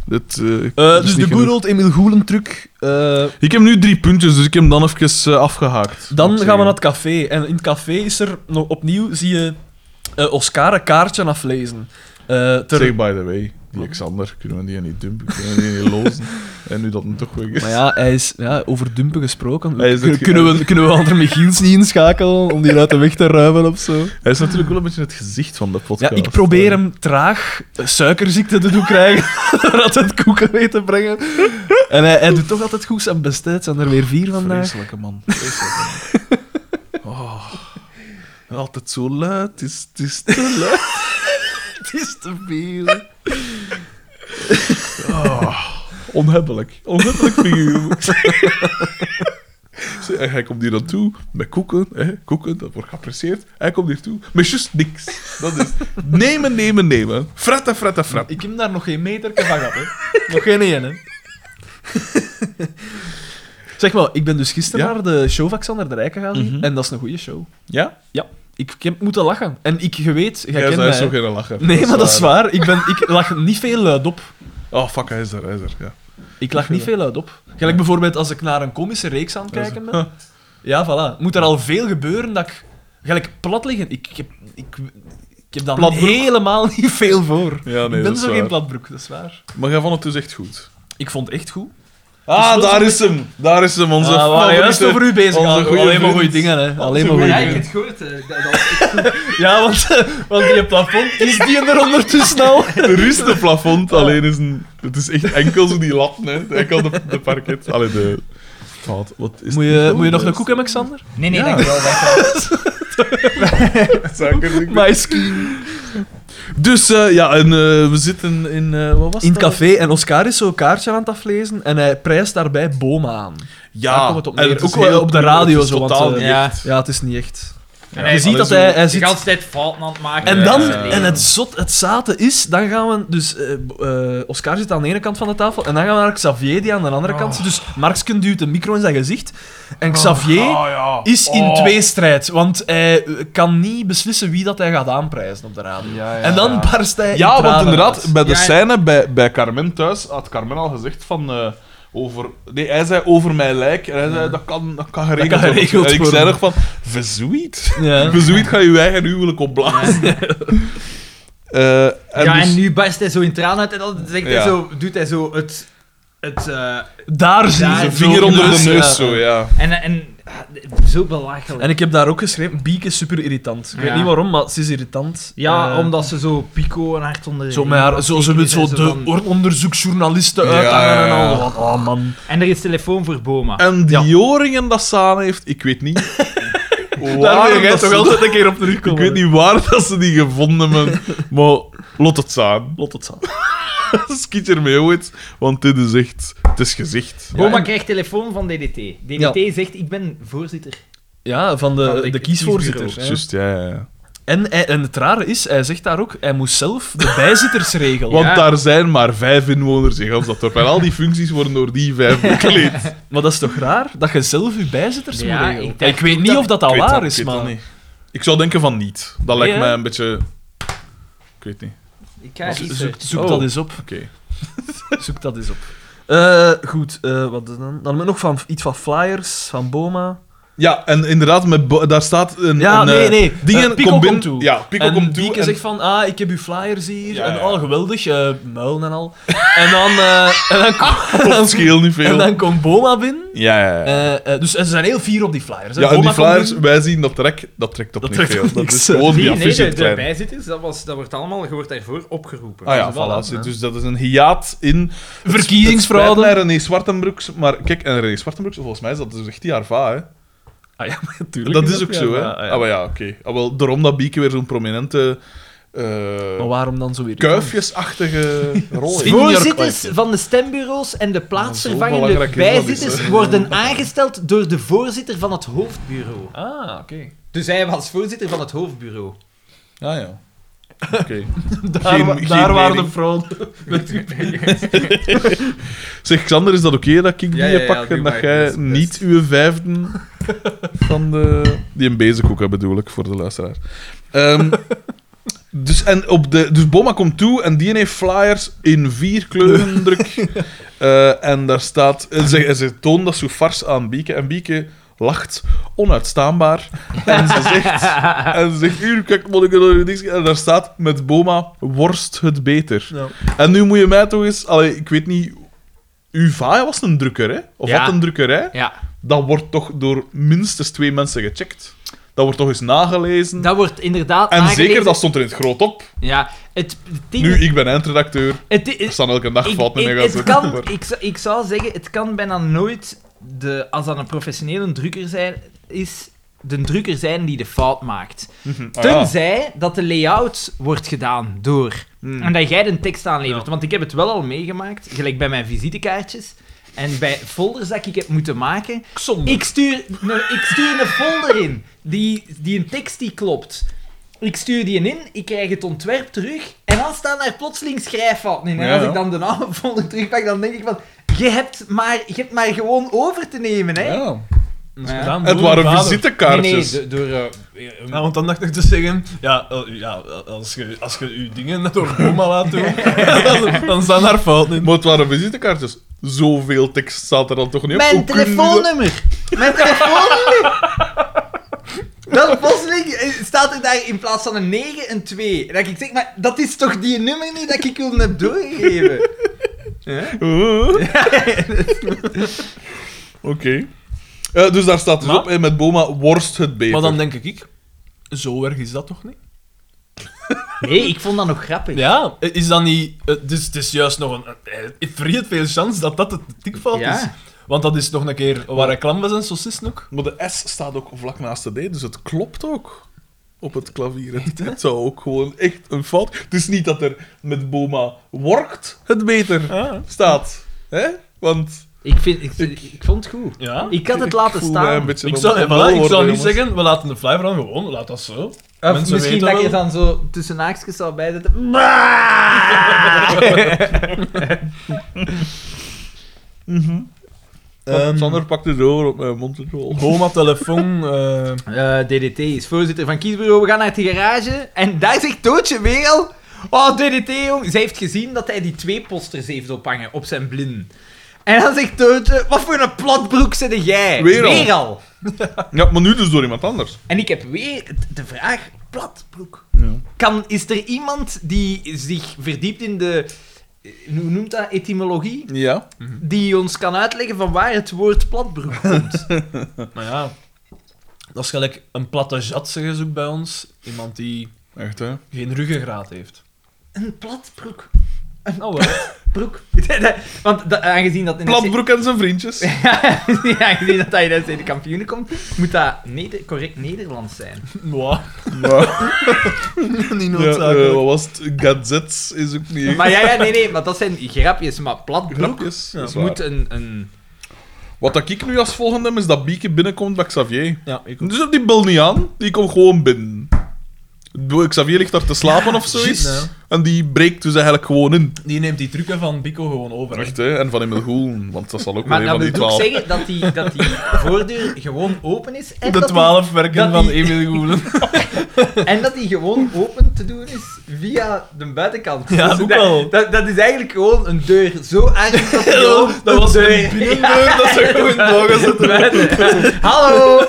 [SPEAKER 2] Dit, eh,
[SPEAKER 3] Eh,
[SPEAKER 2] is niet
[SPEAKER 3] dus de good
[SPEAKER 2] genoeg.
[SPEAKER 3] old Emil Goelen truc. eh,
[SPEAKER 2] Ik heb nu drie puntjes, dus ik heb hem dan even eh, afgehaakt. eh,
[SPEAKER 3] dan
[SPEAKER 2] moet ik zeggen.
[SPEAKER 3] gaan we naar het café. En in het café is er nog opnieuw, zie je eh, Oscar een kaartje aflezen. Eh, ter-
[SPEAKER 2] Zeg, by the way, die Xander, kunnen we die niet dumpen? Kunnen we die niet lozen? En nu dat hem toch weg is.
[SPEAKER 3] Maar ja, hij is ja, over dumpen gesproken.
[SPEAKER 2] Hij is
[SPEAKER 3] Kun-
[SPEAKER 2] het ge-
[SPEAKER 3] kunnen, we, kunnen we Ander Michiels niet inschakelen om die uit de weg te ruimen of zo?
[SPEAKER 2] Hij is natuurlijk wel een beetje het gezicht van de
[SPEAKER 3] Ja,
[SPEAKER 2] podcast.
[SPEAKER 3] ik probeer hem traag eh, suikerziekte te doen krijgen, zodat hij het koeken weet te brengen. En hij, hij doet toch altijd goed zijn best. hè. Het zijn er weer vier vandaag.
[SPEAKER 2] Vreselijke man. Vreselijke man. Oh. Altijd zo luid. Het is, het is te luid.
[SPEAKER 3] Het is te veel.
[SPEAKER 2] Onhebbelijk. Onhebbelijk figuur, moet ik zeggen. En hij komt hier naartoe met koeken, hè? koeken, dat wordt geapprecieerd. Hij komt hier toe met juist niks. Dat is nemen, nemen, nemen. Fretten, fretten, fretten.
[SPEAKER 3] Ik heb daar nog geen meter van gehad, hè. Nog geen één, hè. zeg maar, ik ben dus gisteren
[SPEAKER 2] Ja?
[SPEAKER 3] naar de show van Xander de Rijk gegaan,
[SPEAKER 2] Mhm.
[SPEAKER 3] en dat is een goede show.
[SPEAKER 2] Ja?
[SPEAKER 3] Ik, ik heb moeten lachen. En ik, je weet, jij
[SPEAKER 2] Hij is,
[SPEAKER 3] kent
[SPEAKER 2] hij is
[SPEAKER 3] mij.
[SPEAKER 2] zo geen lachen.
[SPEAKER 3] Nee, maar dat is waar. Ik, ben, ik lach niet veel luid op.
[SPEAKER 2] Oh, fuck, hij is er, hij is er. Ja.
[SPEAKER 3] Ik lach niet veel luid op. Gelijk
[SPEAKER 2] Ja.
[SPEAKER 3] bijvoorbeeld als ik naar een komische reeks aan het
[SPEAKER 2] Hij is er.
[SPEAKER 3] kijken ben. Ja, voilà. Moet er al veel gebeuren dat ik... Gelijk plat liggen. Ik, ik, heb, ik, ik heb dan
[SPEAKER 2] Platbroek.
[SPEAKER 3] helemaal niet veel voor.
[SPEAKER 2] Ja, nee,
[SPEAKER 3] ik
[SPEAKER 2] dat
[SPEAKER 3] ben
[SPEAKER 2] is
[SPEAKER 3] zo
[SPEAKER 2] waar.
[SPEAKER 3] geen platbroek, dat is waar.
[SPEAKER 2] Maar jij vond het dus echt goed.
[SPEAKER 3] Ik vond het echt goed.
[SPEAKER 2] Ah,
[SPEAKER 3] Dus
[SPEAKER 2] daar is hem. Daar is hem, onze
[SPEAKER 3] Ah, we waren juist
[SPEAKER 2] favoriete-
[SPEAKER 3] over u bezig.
[SPEAKER 2] onze
[SPEAKER 3] Alko.
[SPEAKER 2] goeie
[SPEAKER 3] Alleen maar
[SPEAKER 2] vriend.
[SPEAKER 3] goede dingen, hè. Alleen maar
[SPEAKER 2] goeie
[SPEAKER 3] goede
[SPEAKER 4] Ja,
[SPEAKER 2] vriend.
[SPEAKER 4] ik heb
[SPEAKER 3] dingen.
[SPEAKER 4] het gehoord. eh, dat- dat-
[SPEAKER 3] Ja, want, want die plafond is die er ondertussen al.
[SPEAKER 2] Er is een plafond, alleen is een... Het is echt enkel zo die latten, hè. Enkel de, de parket. Allee, de... Wat, wat is
[SPEAKER 3] Moet je, moet je nog een koek hebben, Xander?
[SPEAKER 4] Nee, nee,
[SPEAKER 2] Ja.
[SPEAKER 4] dankjewel, dankjewel.
[SPEAKER 2] hebben?
[SPEAKER 3] Maïski.
[SPEAKER 2] Dus, eh, ja, en eh, we zitten in... eh, wat was
[SPEAKER 3] In het
[SPEAKER 2] dat?
[SPEAKER 3] café. En Oscar is zo'n kaartje aan het aflezen en hij prijst daarbij Boma aan.
[SPEAKER 2] Ja,
[SPEAKER 3] Daar komt het op
[SPEAKER 2] en
[SPEAKER 3] neer.
[SPEAKER 2] is
[SPEAKER 3] Ook wel
[SPEAKER 2] heel
[SPEAKER 3] op de
[SPEAKER 2] cool,
[SPEAKER 3] radio
[SPEAKER 2] het is
[SPEAKER 3] zo, want,
[SPEAKER 2] totaal
[SPEAKER 3] eh,
[SPEAKER 2] niet
[SPEAKER 4] ja.
[SPEAKER 2] echt.
[SPEAKER 3] Ja, het is niet echt.
[SPEAKER 4] En hij
[SPEAKER 3] Je ziet
[SPEAKER 2] Allee,
[SPEAKER 3] dat
[SPEAKER 2] zo-
[SPEAKER 3] hij, hij
[SPEAKER 4] De hele
[SPEAKER 3] zit...
[SPEAKER 4] tijd fouten aan het maken.
[SPEAKER 3] En
[SPEAKER 4] met
[SPEAKER 3] dan,
[SPEAKER 4] zijn leven.
[SPEAKER 3] en het, zot, het zate is, dan gaan we... Dus eh, b- eh, Oscar zit aan de ene kant van de tafel en dan gaan we naar Xavier, die aan de
[SPEAKER 2] Oh.
[SPEAKER 3] andere kant zit. Dus Marksken duwt een micro in zijn gezicht. En Xavier...
[SPEAKER 2] Ah, ja.
[SPEAKER 3] is in
[SPEAKER 2] Oh.
[SPEAKER 3] tweestrijd, want hij eh, kan niet beslissen wie dat hij gaat aanprijzen op de radio. en dan barst hij in
[SPEAKER 2] Ja, want
[SPEAKER 3] tranen
[SPEAKER 2] inderdaad,
[SPEAKER 3] uit.
[SPEAKER 2] bij de
[SPEAKER 4] Ja, ja.
[SPEAKER 2] scène bij, bij Carmen thuis had Carmen al gezegd van... eh, over, nee, hij zei over mijn lijk. En hij zei, dat kan, dat kan geregeld,
[SPEAKER 3] kan geregeld
[SPEAKER 2] En ik zei
[SPEAKER 3] worden.
[SPEAKER 2] nog van, verzoet.
[SPEAKER 3] Ja.
[SPEAKER 2] Verzoet ga je eigen huwelijk opblazen. Eh, en
[SPEAKER 4] ja,
[SPEAKER 2] dus-
[SPEAKER 4] en nu barst hij zo in tranen uit en dan zegt
[SPEAKER 2] Ja.
[SPEAKER 4] hij zo, doet hij zo het... het eh,
[SPEAKER 3] Daar zie je
[SPEAKER 4] Ja,
[SPEAKER 2] zijn
[SPEAKER 4] zo
[SPEAKER 2] vinger onder de
[SPEAKER 3] Dus,
[SPEAKER 2] neus,
[SPEAKER 3] ja.
[SPEAKER 2] zo, ja.
[SPEAKER 4] en, en ah, zo belachelijk.
[SPEAKER 3] En ik heb daar ook geschreven, Biek is super irritant. Ik weet
[SPEAKER 4] Ja.
[SPEAKER 3] niet waarom, maar ze is irritant.
[SPEAKER 4] ja,
[SPEAKER 3] Eh,
[SPEAKER 4] omdat ze zo pico en hard onder de
[SPEAKER 3] Zo,
[SPEAKER 4] riem
[SPEAKER 3] met haar,
[SPEAKER 4] was,
[SPEAKER 3] zo, ze
[SPEAKER 4] zeker
[SPEAKER 3] wil
[SPEAKER 4] zijn
[SPEAKER 3] zo
[SPEAKER 4] ze
[SPEAKER 3] de
[SPEAKER 4] van-
[SPEAKER 3] or- onderzoeksjournalisten
[SPEAKER 2] Ja,
[SPEAKER 3] uithangen
[SPEAKER 2] ja,
[SPEAKER 3] en
[SPEAKER 2] ja.
[SPEAKER 3] al. Wat, Oh man.
[SPEAKER 4] En er is telefoon voor Boma.
[SPEAKER 2] En die Joringen dat ze aan heeft, ik weet niet... waar dat ze-
[SPEAKER 3] een keer op terugkomen.
[SPEAKER 2] Ik weet niet waar dat ze die gevonden hebben, maar Lot het staan.
[SPEAKER 3] Lot het zat.
[SPEAKER 2] Skiet ermee ooit, want dit is echt... Het is gezicht.
[SPEAKER 1] Boma
[SPEAKER 3] en-
[SPEAKER 1] krijgt telefoon van DDT. DDT zegt, ik ben voorzitter.
[SPEAKER 3] Ja, van
[SPEAKER 1] Van
[SPEAKER 3] de,
[SPEAKER 1] de
[SPEAKER 3] de kiesvoorzitter. hè.
[SPEAKER 2] Juist, ja, ja, ja.
[SPEAKER 3] En, hij- en het rare is, hij zegt daar ook, hij moest zelf de bijzittersregel.
[SPEAKER 2] Want daar zijn maar vijf inwoners in gans dat dorp. En al die functies worden door die vijf bekleed.
[SPEAKER 3] Maar dat is toch raar, dat je zelf je bijzitters
[SPEAKER 1] Ja,
[SPEAKER 3] moet regelen?
[SPEAKER 1] ik
[SPEAKER 3] Ik,
[SPEAKER 1] denk
[SPEAKER 3] weet
[SPEAKER 1] ook
[SPEAKER 3] niet
[SPEAKER 1] dat-
[SPEAKER 3] of dat al
[SPEAKER 2] Ik weet
[SPEAKER 3] waar
[SPEAKER 2] dat-
[SPEAKER 3] is,
[SPEAKER 2] ik weet dat
[SPEAKER 3] maar...
[SPEAKER 2] niet. Ik zou denken van niet. Dat lijkt
[SPEAKER 3] Ja.
[SPEAKER 2] mij een beetje... Ik weet niet.
[SPEAKER 1] Ik ga
[SPEAKER 3] Zo-
[SPEAKER 1] iets
[SPEAKER 3] Zoek, zoek
[SPEAKER 2] Oh.
[SPEAKER 3] dat eens op.
[SPEAKER 2] Oké.
[SPEAKER 3] Zoek dat eens op. Eh, goed, eh, wat is dan? Dan hebben we nog van, iets van Flyers, van Boma.
[SPEAKER 2] Ja, en inderdaad, met bo- daar staat een...
[SPEAKER 3] Ja,
[SPEAKER 2] een,
[SPEAKER 3] nee,
[SPEAKER 2] eh,
[SPEAKER 3] nee.
[SPEAKER 2] Dingen
[SPEAKER 3] Eh, Pico
[SPEAKER 2] kom binnen-
[SPEAKER 3] komt toe.
[SPEAKER 2] Ja, Pico
[SPEAKER 3] en
[SPEAKER 2] komt toe.
[SPEAKER 3] Bieke
[SPEAKER 2] en-
[SPEAKER 3] zegt van, ah, ik heb uw flyers hier.
[SPEAKER 2] Ja,
[SPEAKER 3] en
[SPEAKER 2] ja.
[SPEAKER 3] al geweldig, eh, muilen en al. En dan, eh, en dan, kom-
[SPEAKER 2] Dat scheelt niet veel.
[SPEAKER 3] en dan komt Boma binnen.
[SPEAKER 2] Ja, ja, ja.
[SPEAKER 3] Eh, eh, dus en ze zijn heel fier op die flyers. hè.
[SPEAKER 2] ja, en
[SPEAKER 3] Boma
[SPEAKER 2] die
[SPEAKER 3] komt
[SPEAKER 2] flyers,
[SPEAKER 3] binnen.
[SPEAKER 2] wij zien dat trek, dat trekt op
[SPEAKER 3] Dat
[SPEAKER 2] niet
[SPEAKER 3] trekt
[SPEAKER 2] veel.
[SPEAKER 3] op
[SPEAKER 2] dat
[SPEAKER 3] niks,
[SPEAKER 2] is
[SPEAKER 3] hè.
[SPEAKER 2] gewoon die
[SPEAKER 1] Nee, nee,
[SPEAKER 2] affiche
[SPEAKER 1] de,
[SPEAKER 2] in het
[SPEAKER 1] de
[SPEAKER 2] klein.
[SPEAKER 1] bijzitters, dat, was, dat wordt allemaal, je wordt daarvoor opgeroepen.
[SPEAKER 2] Ah ja,
[SPEAKER 3] Dus voilà,
[SPEAKER 2] voilà.
[SPEAKER 3] hè.
[SPEAKER 2] zit- Dus dat is een hiaat in...
[SPEAKER 3] Verkiezingsfraude.
[SPEAKER 2] Het spijt mij, René Zwartenbroeks. Maar kijk, en René Zwartenbroeks, volgens mij is dat dus echt die Arva, hè.
[SPEAKER 3] Ah ja, maar natuurlijk.
[SPEAKER 2] Dat is ook zo, hè.
[SPEAKER 3] Ja, ja.
[SPEAKER 2] Ah, maar ja, oké. Ah, wel, daarom dat Bieke weer zo'n prominente... eh,
[SPEAKER 3] Maar waarom dan zo weer?
[SPEAKER 2] kuifjesachtige rol heeft.
[SPEAKER 3] Senior
[SPEAKER 1] Voorzitters
[SPEAKER 3] kwijt.
[SPEAKER 1] van de stembureaus en de
[SPEAKER 2] Zo
[SPEAKER 1] plaatsvervangende
[SPEAKER 2] belangrijk is dat niet,
[SPEAKER 1] bijzitters
[SPEAKER 2] hè.
[SPEAKER 1] worden aangesteld door de voorzitter van het hoofdbureau.
[SPEAKER 3] Ah, oké.
[SPEAKER 1] Dus hij was voorzitter van het hoofdbureau.
[SPEAKER 2] Ah ja. Oké.
[SPEAKER 3] Daar,
[SPEAKER 2] Geen-
[SPEAKER 3] wa-
[SPEAKER 2] geen
[SPEAKER 3] daar waren de
[SPEAKER 2] mening.
[SPEAKER 3] vrouwen.
[SPEAKER 2] Zeg, Xander, is dat oké dat ik die
[SPEAKER 1] Ja, ja, ja,
[SPEAKER 2] pak
[SPEAKER 1] doe
[SPEAKER 2] en
[SPEAKER 1] maar.
[SPEAKER 2] dat jij
[SPEAKER 1] Dat is best.
[SPEAKER 2] niet uw vijfde van de... Die een bezig ook, hè, bedoel ik, voor de luisteraar. Ehm, dus, en op de, dus Boma komt toe en die heeft flyers in vier kleuren druk. Eh, en daar staat... En ze, en ze toont dat zo fars aan Bieke. En Bieke lacht onuitstaanbaar. En ze zegt... En ze zegt, hier, kijk, moet ik er nog niks... En daar staat met Boma, worst het beter.
[SPEAKER 3] Ja.
[SPEAKER 2] En nu moet je mij toch eens... Allee, ik weet niet... Uw vaai was een drukker, hè? Of
[SPEAKER 1] Ja.
[SPEAKER 2] had een drukkerij.
[SPEAKER 1] Ja,
[SPEAKER 2] Dat wordt toch door minstens twee mensen gecheckt. Dat wordt toch eens nagelezen.
[SPEAKER 1] dat wordt inderdaad
[SPEAKER 2] en
[SPEAKER 1] aangelezen.
[SPEAKER 2] zeker, dat stond er in het groot op.
[SPEAKER 1] Ja, het het ding...
[SPEAKER 2] Nu, ik ben eindredacteur.
[SPEAKER 1] het,
[SPEAKER 2] Er
[SPEAKER 1] het,
[SPEAKER 2] staan elke dag
[SPEAKER 1] ik,
[SPEAKER 2] fouten in.
[SPEAKER 1] ik-
[SPEAKER 2] de
[SPEAKER 1] het
[SPEAKER 2] gazette,
[SPEAKER 1] kan,
[SPEAKER 2] maar-
[SPEAKER 1] ik, zou- ik zou zeggen, het kan bijna nooit, de, als dat een professionele drukker zijn, is, de drukker zijn die de fout maakt.
[SPEAKER 2] Ah, ja.
[SPEAKER 1] Tenzij dat de layout wordt gedaan door.
[SPEAKER 2] Hmm.
[SPEAKER 1] En dat jij de tekst aanlevert. Want ik heb het wel al meegemaakt, gelijk bij mijn visitekaartjes. En bij folders dat ik heb moeten maken. Ik stuur, nou, ik stuur een folder in, die, die een tekst die klopt. Ik stuur die in, ik krijg het ontwerp terug. En dan staan daar plotseling schrijffouten in. En
[SPEAKER 2] Ja,
[SPEAKER 1] als
[SPEAKER 2] ja.
[SPEAKER 1] ik dan de oude folder terugpak, dan denk ik van... Je hebt maar, je hebt maar gewoon over te nemen, hè.
[SPEAKER 2] Ja.
[SPEAKER 1] Ja.
[SPEAKER 2] Het waren visitekaartjes.
[SPEAKER 1] Nee, nee, do- door... eh, eh,
[SPEAKER 3] Ja, want dan dacht ik te zeggen, ja, eh, ja als je als je uw dingen door Boma laat doen, dan, dan staan daar fouten in.
[SPEAKER 2] Maar het waren visitekaartjes. Zoveel tekst staat er dan toch niet op.
[SPEAKER 1] Mijn
[SPEAKER 2] Hoe kun je dat-
[SPEAKER 1] telefoonnummer! Mijn telefoonnummer! Dan plotseling eh, staat er daar in plaats van een 9 een 2. En dat ik zeg, maar dat is toch die nummer niet dat ik wilde heb doorgegeven?
[SPEAKER 2] Huh? Oké. Eh, dus daar staat dus
[SPEAKER 3] Maar-
[SPEAKER 2] op, hè, met Boma worst het beter.
[SPEAKER 3] Maar dan denk ik, ik, zo erg is dat toch niet?
[SPEAKER 1] Nee, ik vond dat nog grappig.
[SPEAKER 3] Ja, is dat niet... eh, Dus het is juist nog een... eh, Ik vergeet veel kans dat dat het tikfout
[SPEAKER 1] Ja.
[SPEAKER 3] is. Want dat is nog een keer waar hij klam was en saucissen ook.
[SPEAKER 2] Maar de S staat ook vlak naast de D, dus het klopt ook. Op het klavier. Het, het zou ook gewoon echt een fout... Het is niet dat er met Boma workt het beter staat. Hè? Want...
[SPEAKER 1] Ik, vind, ik, ik vond het goed.
[SPEAKER 3] Ja.
[SPEAKER 1] Ik had het laten
[SPEAKER 2] voel mij een
[SPEAKER 1] staan.
[SPEAKER 2] beetje
[SPEAKER 3] Ik
[SPEAKER 2] om-
[SPEAKER 3] zou, eh,
[SPEAKER 2] om-
[SPEAKER 3] voilà,
[SPEAKER 2] worden,
[SPEAKER 3] ik zou niet
[SPEAKER 2] jongens.
[SPEAKER 3] zeggen, we laten de fly vooral gewoon, laat dat zo.
[SPEAKER 1] Of
[SPEAKER 3] Mensen
[SPEAKER 1] Ah, misschien
[SPEAKER 3] weten
[SPEAKER 1] dat je
[SPEAKER 3] wel.
[SPEAKER 1] dan zo tussen haakjes zou bijzetten.
[SPEAKER 2] Want Eh, Sander pakt het oor op mijn mondrol.
[SPEAKER 3] Boma, telefoon... eh,
[SPEAKER 1] Eh, DDT is voorzitter van kiesbureau. We gaan naar de garage. En daar zegt Tootje weer al... Oh, DDT, jong. Zij heeft gezien dat hij die twee posters heeft ophangen op zijn blinden. En dan zegt Tootje... Wat voor een platbroek zit jij?
[SPEAKER 2] Weer al.
[SPEAKER 1] al.
[SPEAKER 2] Ja, maar nu dus door iemand anders.
[SPEAKER 1] En ik heb weer t- de vraag... Platbroek. Kan, is er iemand die zich verdiept in de... eh, Hoe noemt dat? Etymologie?
[SPEAKER 2] Ja.
[SPEAKER 1] Die ons kan uitleggen van waar het woord platbroek komt.
[SPEAKER 3] Maar ja, dat is gelijk een platte jat, zeggen ze ook bij ons. Iemand die
[SPEAKER 2] Echt, hè?
[SPEAKER 3] geen ruggengraat heeft.
[SPEAKER 1] een platbroek.
[SPEAKER 3] Nou wel.
[SPEAKER 1] broek. Want da- aangezien dat... in de
[SPEAKER 2] Platbroek en zijn vriendjes.
[SPEAKER 1] se- ja, aangezien dat hij in de kampioenen komt, moet dat neder- correct Nederlands zijn.
[SPEAKER 2] Maar,
[SPEAKER 3] Niet
[SPEAKER 2] ja, eh,
[SPEAKER 3] noodzakelijk.
[SPEAKER 2] wat was het? Gazets is ook niet...
[SPEAKER 1] Maar ja, ja, nee, nee, maar dat zijn grapjes. Maar platbroek
[SPEAKER 2] Grapjes. dat
[SPEAKER 1] dus
[SPEAKER 2] is waar.
[SPEAKER 1] moet een... een
[SPEAKER 2] Wat dat ik nu als volgende heb, is dat Bieke binnenkomt bij Xavier.
[SPEAKER 3] Ja, ik ook.
[SPEAKER 2] Dus op die bel niet aan, die komt gewoon binnen. Ik bedoel, Xavier ligt daar te slapen of zoiets.
[SPEAKER 3] juist, ja.
[SPEAKER 1] nou.
[SPEAKER 2] En die breekt dus eigenlijk gewoon in.
[SPEAKER 3] Die neemt die trucken van Bico gewoon over. hè.
[SPEAKER 2] Echt, hè? En van Emil Goel, want dat zal ook
[SPEAKER 1] maar
[SPEAKER 2] wel
[SPEAKER 1] dat
[SPEAKER 2] een van die
[SPEAKER 1] wil ook
[SPEAKER 2] twaalf.
[SPEAKER 1] zeggen dat die, dat die voordeur gewoon open is. En
[SPEAKER 3] De
[SPEAKER 1] dat die-
[SPEAKER 3] twaalf
[SPEAKER 1] dat
[SPEAKER 3] werken van
[SPEAKER 1] die-
[SPEAKER 3] Emil Goelen.
[SPEAKER 1] En dat die gewoon open te doen is via de buitenkant. Dus
[SPEAKER 3] Ja, ook
[SPEAKER 1] dat,
[SPEAKER 3] wel.
[SPEAKER 1] Dat, dat is eigenlijk gewoon een deur. Zo erg Oh, dat die gewoon
[SPEAKER 3] Dat was
[SPEAKER 1] een
[SPEAKER 3] een binnendeur dat ze gewoon mogen zetten.
[SPEAKER 1] deur- Hallo!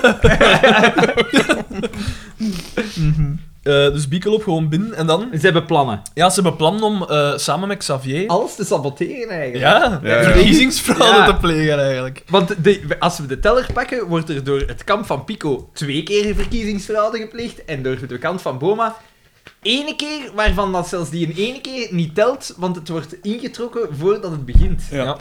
[SPEAKER 3] Eh, dus Bico loopt gewoon binnen en dan...
[SPEAKER 1] Ze hebben plannen.
[SPEAKER 3] Ja, ze hebben plan om eh, samen met Xavier...
[SPEAKER 1] Alles te saboteren eigenlijk.
[SPEAKER 3] Ja,
[SPEAKER 2] Ja, ja.
[SPEAKER 3] verkiezingsfraude
[SPEAKER 1] Ja.
[SPEAKER 3] te plegen eigenlijk.
[SPEAKER 1] Want de- als we de teller pakken, wordt er door het kamp van Pico twee keer verkiezingsfraude gepleegd. En door de kant van Boma ene keer, waarvan dat zelfs die een ene keer niet telt, want het wordt ingetrokken voordat het begint.
[SPEAKER 2] Ja.
[SPEAKER 3] Ja.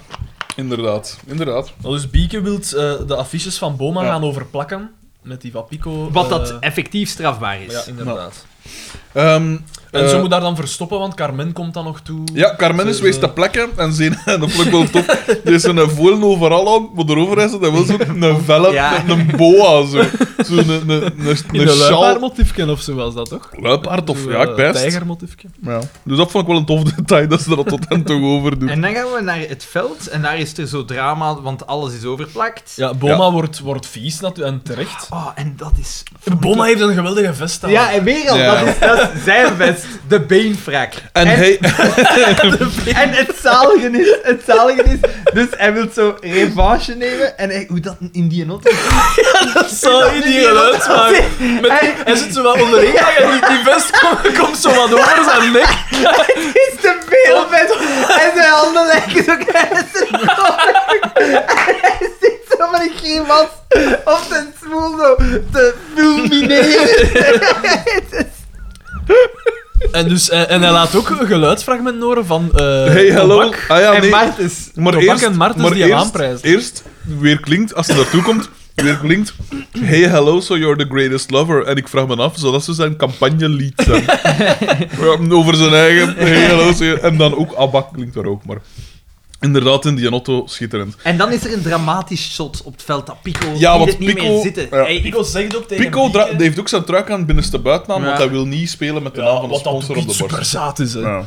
[SPEAKER 2] Inderdaad, inderdaad.
[SPEAKER 3] Nou, Dus Bieke wil eh, de affiches van Boma
[SPEAKER 2] Ja.
[SPEAKER 3] gaan overplakken. Met die van Pico.
[SPEAKER 1] Wat
[SPEAKER 3] eh,
[SPEAKER 1] dat effectief strafbaar is.
[SPEAKER 3] Ja, inderdaad.
[SPEAKER 2] Ehm,
[SPEAKER 3] En ze
[SPEAKER 2] eh,
[SPEAKER 3] moet daar dan verstoppen, want Carmen komt dan nog toe.
[SPEAKER 2] Ja, Carmen is
[SPEAKER 3] Ze-
[SPEAKER 2] wees
[SPEAKER 3] ze-
[SPEAKER 2] te plekken en ze en de pluk wel top. Er is een voelen overal aan, maar erover is dat wel zo'n velle
[SPEAKER 1] Ja.
[SPEAKER 2] met een boa. Zo. Zo een, een, een, een,
[SPEAKER 3] In een
[SPEAKER 2] sjaal.
[SPEAKER 3] luipaardmotiefje of zo was dat toch?
[SPEAKER 2] Luipaard of
[SPEAKER 3] Zo,
[SPEAKER 2] ja, ik
[SPEAKER 3] eh,
[SPEAKER 2] best.
[SPEAKER 3] Tijgermotiefje.
[SPEAKER 2] Ja. Dus dat vond ik wel een tof detail dat ze er al tot en toe over doen.
[SPEAKER 1] En dan gaan we naar het veld en daar is er zo drama, want alles is overplakt.
[SPEAKER 3] Ja, Boma Wordt, wordt vies natuurlijk en terecht.
[SPEAKER 1] Oh, en dat is...
[SPEAKER 3] Boma heeft een geweldige vest aan.
[SPEAKER 1] Ja, en weer al,
[SPEAKER 2] Ja.
[SPEAKER 1] dat, is, dat is zijn vest. De beenfrak.
[SPEAKER 2] En hij,
[SPEAKER 1] en het zalige is, het zalige is, dus hij wil zo revanche nemen en hij, hoe dat in die noten...
[SPEAKER 3] zo in die geluid maken. Met,
[SPEAKER 1] Hij-
[SPEAKER 3] hij zit zo wat onderin en die, die vest komt, komt zo wat over zijn nek.
[SPEAKER 1] is te veel vet. En zijn handen lijken zo klein als zijn kop. En hij zit zo met een grimas op zijn smoel zo te fulmineren.
[SPEAKER 3] En, dus, eh, en hij laat ook een geluidsfragment horen van eh
[SPEAKER 2] hey, hallo. Ah
[SPEAKER 3] Tobak.
[SPEAKER 2] ja,
[SPEAKER 1] en
[SPEAKER 2] nee.
[SPEAKER 1] Martens.
[SPEAKER 2] Maar
[SPEAKER 3] Tobak
[SPEAKER 2] eerst,
[SPEAKER 3] en Martens
[SPEAKER 2] maar
[SPEAKER 3] die hem
[SPEAKER 2] eerst,
[SPEAKER 3] aanprijzen.
[SPEAKER 2] eerst weer klinkt, als ze naartoe komt, weer klinkt... Hey, hello, so you're the greatest lover. En ik vraag me af, zou dat zo zijn campagnelied zijn? Ja, Over zijn eigen... Hey, hello, so you- En dan ook ABBA klinkt er ook, maar... Inderdaad, in die auto schitterend.
[SPEAKER 1] En dan is er een dramatisch shot op het veld dat Pico
[SPEAKER 2] Ja,
[SPEAKER 1] die
[SPEAKER 2] want
[SPEAKER 1] dit niet
[SPEAKER 2] Pico-
[SPEAKER 1] meer zitten.
[SPEAKER 2] ja.
[SPEAKER 1] Hij-
[SPEAKER 3] Pico zegt ook tegen eh,
[SPEAKER 2] Pico dra-
[SPEAKER 3] Bieke-
[SPEAKER 2] die eh, heeft ook zijn truik aan binnenste buiten aan, want
[SPEAKER 1] Ja.
[SPEAKER 2] hij wil niet spelen met de naam van de sponsor op de
[SPEAKER 3] super
[SPEAKER 2] borst.
[SPEAKER 3] zaad is, hè.
[SPEAKER 2] Ja.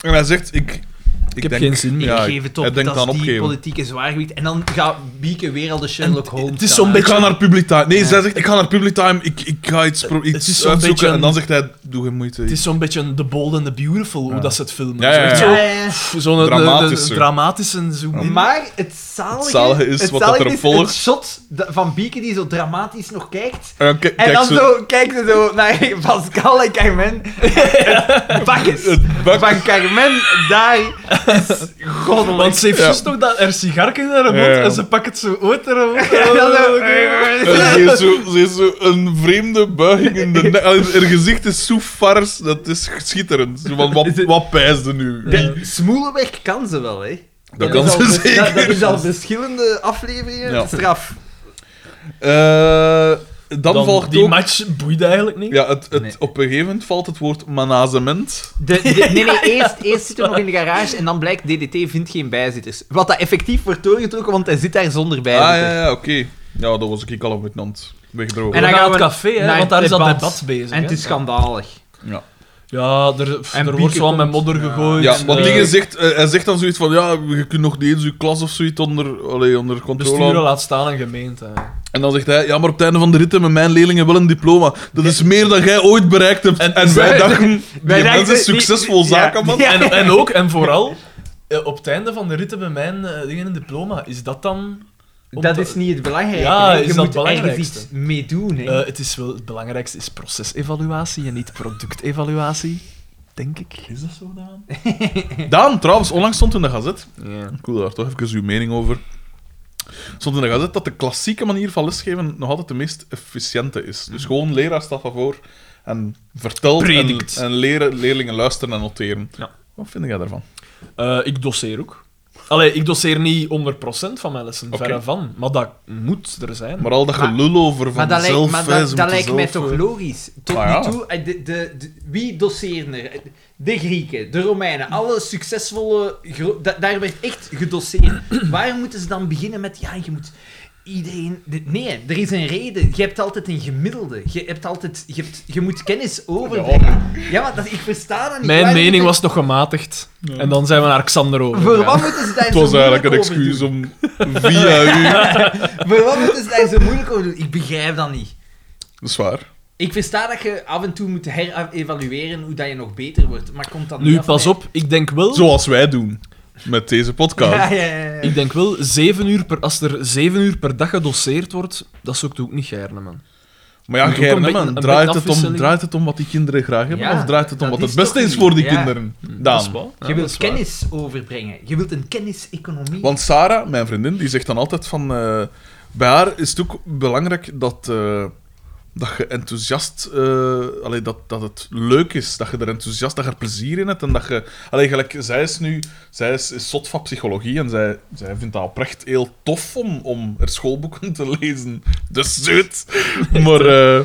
[SPEAKER 2] En hij zegt, ik... Ik,
[SPEAKER 3] heb
[SPEAKER 2] denk-
[SPEAKER 3] geen zin meer.
[SPEAKER 1] ik
[SPEAKER 2] Ja,
[SPEAKER 1] geef het op,
[SPEAKER 2] hij denkt
[SPEAKER 1] dat
[SPEAKER 2] aan
[SPEAKER 1] is die
[SPEAKER 2] opgeven.
[SPEAKER 1] politieke zwaargewicht. En dan gaat Bieke weer al de Sherlock Holmes
[SPEAKER 3] het is
[SPEAKER 1] gaan
[SPEAKER 3] zo'n
[SPEAKER 2] Ik
[SPEAKER 3] beetje...
[SPEAKER 2] ga naar public time. Nee, zij zegt, ik ga naar public time. Ik, ik ga iets, pro- iets
[SPEAKER 3] is zo'n
[SPEAKER 2] uitzoeken.
[SPEAKER 3] beetje een-
[SPEAKER 2] En dan zegt hij, doe geen moeite.
[SPEAKER 3] Het is zo'n beetje The Bold and the Beautiful, hoe dat ze het filmen.
[SPEAKER 2] Ja, ja, ja.
[SPEAKER 3] Zo
[SPEAKER 1] Ja,
[SPEAKER 3] echt
[SPEAKER 1] ja, ja.
[SPEAKER 3] zo- Zo'n
[SPEAKER 2] Dramatische.
[SPEAKER 3] dramatische. dramatische zoom in.
[SPEAKER 1] Maar het zalige,
[SPEAKER 2] Het zalige is
[SPEAKER 1] het
[SPEAKER 2] wat dat
[SPEAKER 1] zalige
[SPEAKER 2] er
[SPEAKER 1] is
[SPEAKER 2] volgt.
[SPEAKER 1] Het shot da- van Bieke die zo dramatisch nog kijkt.
[SPEAKER 2] En dan ki-
[SPEAKER 1] En
[SPEAKER 2] kijkt
[SPEAKER 1] dan
[SPEAKER 2] Eh, ze-
[SPEAKER 1] zo kijkt ze zo naar Pascal en Carmen. Het bakjes
[SPEAKER 2] Het bak-
[SPEAKER 1] van Carmen, daar is goddelijk.
[SPEAKER 3] Want ze heeft
[SPEAKER 2] Ja.
[SPEAKER 3] juist nog dat er sigarken in haar mond
[SPEAKER 2] Ja.
[SPEAKER 3] en ze pakt het zo uit haar mond.
[SPEAKER 1] En dan
[SPEAKER 2] Oh,
[SPEAKER 1] zo-
[SPEAKER 2] En eh, ze, heeft zo, ze heeft zo een vreemde buiging in de nek. Allee, Haar gezicht is zo fars, dat is schitterend. Zo van, wat, wat pijsde nu?
[SPEAKER 1] De Smoelenweg Eh, kan ze wel, hè.
[SPEAKER 2] Dat kan
[SPEAKER 1] is al
[SPEAKER 2] ze
[SPEAKER 1] vers- Dat, dat
[SPEAKER 2] zeker.
[SPEAKER 1] is al verschillende afleveringen
[SPEAKER 2] Ja.
[SPEAKER 1] straf.
[SPEAKER 2] Eh, dan,
[SPEAKER 3] Dan,
[SPEAKER 2] volgt
[SPEAKER 3] die
[SPEAKER 2] ook...
[SPEAKER 3] match boeit eigenlijk niet.
[SPEAKER 2] Ja, het, het,
[SPEAKER 1] Nee.
[SPEAKER 2] op een gegeven moment valt het woord management.
[SPEAKER 1] De, de- nee, nee, eerst, eerst zitten we nog in de garage en dan blijkt DDT vindt geen bijzitters. Wat dat effectief wordt doorgetrokken, want hij zit daar zonder
[SPEAKER 2] Ah,
[SPEAKER 1] bijzitter.
[SPEAKER 2] ja, ja, oké. Ja, dat was ik al een Vietnamd. Wegdrogen.
[SPEAKER 3] En
[SPEAKER 1] En
[SPEAKER 3] dan
[SPEAKER 1] dan
[SPEAKER 3] gaan we
[SPEAKER 1] gaan
[SPEAKER 3] het
[SPEAKER 1] we
[SPEAKER 3] café, hè,
[SPEAKER 1] naar
[SPEAKER 3] want
[SPEAKER 1] het
[SPEAKER 3] daar is dat
[SPEAKER 1] debat.
[SPEAKER 3] debat bezig.
[SPEAKER 1] En
[SPEAKER 3] hè.
[SPEAKER 1] het is schandalig.
[SPEAKER 2] Ja.
[SPEAKER 3] Ja, er, pff,
[SPEAKER 1] En
[SPEAKER 3] er wordt
[SPEAKER 1] Bieke
[SPEAKER 3] zo aan met
[SPEAKER 1] komt.
[SPEAKER 3] modder gegooid.
[SPEAKER 2] Ja, want
[SPEAKER 3] eh,
[SPEAKER 2] dingen zegt, eh, hij zegt dan zoiets van, ja, je kunt nog niet eens je klas of zoiets onder, allee, onder
[SPEAKER 3] Dus
[SPEAKER 2] controle
[SPEAKER 3] Besturen
[SPEAKER 2] houden.
[SPEAKER 3] laat staan en gemeente.
[SPEAKER 2] En dan zegt hij, ja, maar op het einde van de rit hebben mijn leerlingen wel een diploma. Dat is meer dan jij ooit bereikt hebt. En,
[SPEAKER 3] En-
[SPEAKER 2] wij
[SPEAKER 3] Wij-
[SPEAKER 2] dachten,
[SPEAKER 1] wij
[SPEAKER 2] die
[SPEAKER 1] dachten-
[SPEAKER 2] mensen succesvol
[SPEAKER 1] die- ja.
[SPEAKER 2] zakenman.
[SPEAKER 1] Ja.
[SPEAKER 3] En, en ook, en vooral, eh, op het einde van de rit hebben mijn eh, dingen een diploma. Is dat dan... om
[SPEAKER 1] dat
[SPEAKER 3] te-
[SPEAKER 1] is niet het belangrijke.
[SPEAKER 3] Ja,
[SPEAKER 1] hè. je
[SPEAKER 3] is dat
[SPEAKER 1] moet
[SPEAKER 3] het
[SPEAKER 1] ergens
[SPEAKER 3] belangrijkste?
[SPEAKER 1] iets mee doen. Hè.
[SPEAKER 3] Eh, het is wel het belangrijkste is procesevaluatie en niet productevaluatie, denk ik. Is dat zo dan?
[SPEAKER 2] Daan, trouwens, onlangs stond in de gazet. Ik wil daar toch even uw mening over. Stond in de gazet dat de klassieke manier van lesgeven nog altijd de meest efficiënte is. Dus gewoon leraar staat voor en vertelt en,
[SPEAKER 3] Predikt.
[SPEAKER 2] en leren, leerlingen luisteren en noteren.
[SPEAKER 3] Ja.
[SPEAKER 2] Wat vind jij daarvan?
[SPEAKER 3] Eh, ik doseer ook. Allee, ik doseer niet 100% van mijn lessen,
[SPEAKER 2] Oké.
[SPEAKER 3] verre van. Maar dat moet er zijn.
[SPEAKER 2] Maar al dat
[SPEAKER 1] Maar-
[SPEAKER 2] gelul over
[SPEAKER 1] Maar
[SPEAKER 2] van
[SPEAKER 1] dat lijkt,
[SPEAKER 2] zelf...
[SPEAKER 1] maar
[SPEAKER 2] hè, ze
[SPEAKER 1] dat, dat
[SPEAKER 2] moeten
[SPEAKER 1] lijkt mij
[SPEAKER 2] zelf,
[SPEAKER 1] toch
[SPEAKER 2] eh,
[SPEAKER 1] logisch. Tot
[SPEAKER 2] Ah, ja.
[SPEAKER 1] nu toe, eh, de, de, de- wie doseren er? De Grieken, de Romeinen, alle succesvolle... gro- da- daar werd echt gedoseerd. Waarom moeten ze dan beginnen met... Ja, je moet iedereen... de- nee, er is een reden. Je hebt altijd een gemiddelde. Je, hebt altijd, je, hebt, je moet kennis overbrengen. Ja, maar dat, ik versta dat niet.
[SPEAKER 3] Mijn
[SPEAKER 1] Waarom
[SPEAKER 3] mening
[SPEAKER 1] moeten-
[SPEAKER 3] was nog gematigd. En dan zijn we naar Xander over.
[SPEAKER 1] Voor
[SPEAKER 3] gegaan.
[SPEAKER 1] wat moeten ze daar
[SPEAKER 2] Het
[SPEAKER 1] zo
[SPEAKER 2] was eigenlijk een
[SPEAKER 1] moeilijk over doen?
[SPEAKER 2] excuus om via u...
[SPEAKER 1] Voor wat moeten ze daar zo moeilijk over doen? Ik begrijp dat niet.
[SPEAKER 2] Dat is waar.
[SPEAKER 1] Ik versta dat je af en toe moet herevalueren hoe dat je nog beter wordt, maar komt dat niet
[SPEAKER 3] Nu,
[SPEAKER 1] af
[SPEAKER 3] pas
[SPEAKER 1] bij-
[SPEAKER 3] op, ik denk wel...
[SPEAKER 2] Zoals wij doen. Met deze podcast.
[SPEAKER 1] Ja, ja, ja, ja.
[SPEAKER 3] Ik denk wel, zeven uur per, als er zeven uur per dag gedoseerd wordt, dat zoekt ook niet gaarne, man.
[SPEAKER 2] Maar ja,
[SPEAKER 3] Moet ook een
[SPEAKER 2] Gerne,
[SPEAKER 3] beetje-
[SPEAKER 2] man,
[SPEAKER 3] een
[SPEAKER 2] draait het,
[SPEAKER 3] beetje
[SPEAKER 2] om,
[SPEAKER 3] afwisseling.
[SPEAKER 2] draait het om wat die kinderen graag hebben?
[SPEAKER 1] Ja,
[SPEAKER 2] of draait het
[SPEAKER 1] dat
[SPEAKER 2] om wat het
[SPEAKER 1] is
[SPEAKER 2] beste
[SPEAKER 1] toch
[SPEAKER 2] is voor die
[SPEAKER 1] niet, ja.
[SPEAKER 2] kinderen?
[SPEAKER 3] Hm, Dat
[SPEAKER 2] Daan.
[SPEAKER 3] is wel-
[SPEAKER 1] je
[SPEAKER 3] ja, dat
[SPEAKER 1] wilt
[SPEAKER 3] is waar.
[SPEAKER 1] kennis overbrengen. Je wilt een kenniseconomie.
[SPEAKER 2] Want Sarah, mijn vriendin, die zegt dan altijd van... eh, bij haar is het ook belangrijk dat, eh, dat je enthousiast... eh allee, dat, dat het leuk is. Dat je er enthousiast, dat je er plezier in hebt. En dat je... Allee, gelijk, zij is nu... Zij is, is zot van psychologie en zij, zij vindt dat oprecht heel tof om, om er schoolboeken te lezen. Dus zoet. Maar... eh,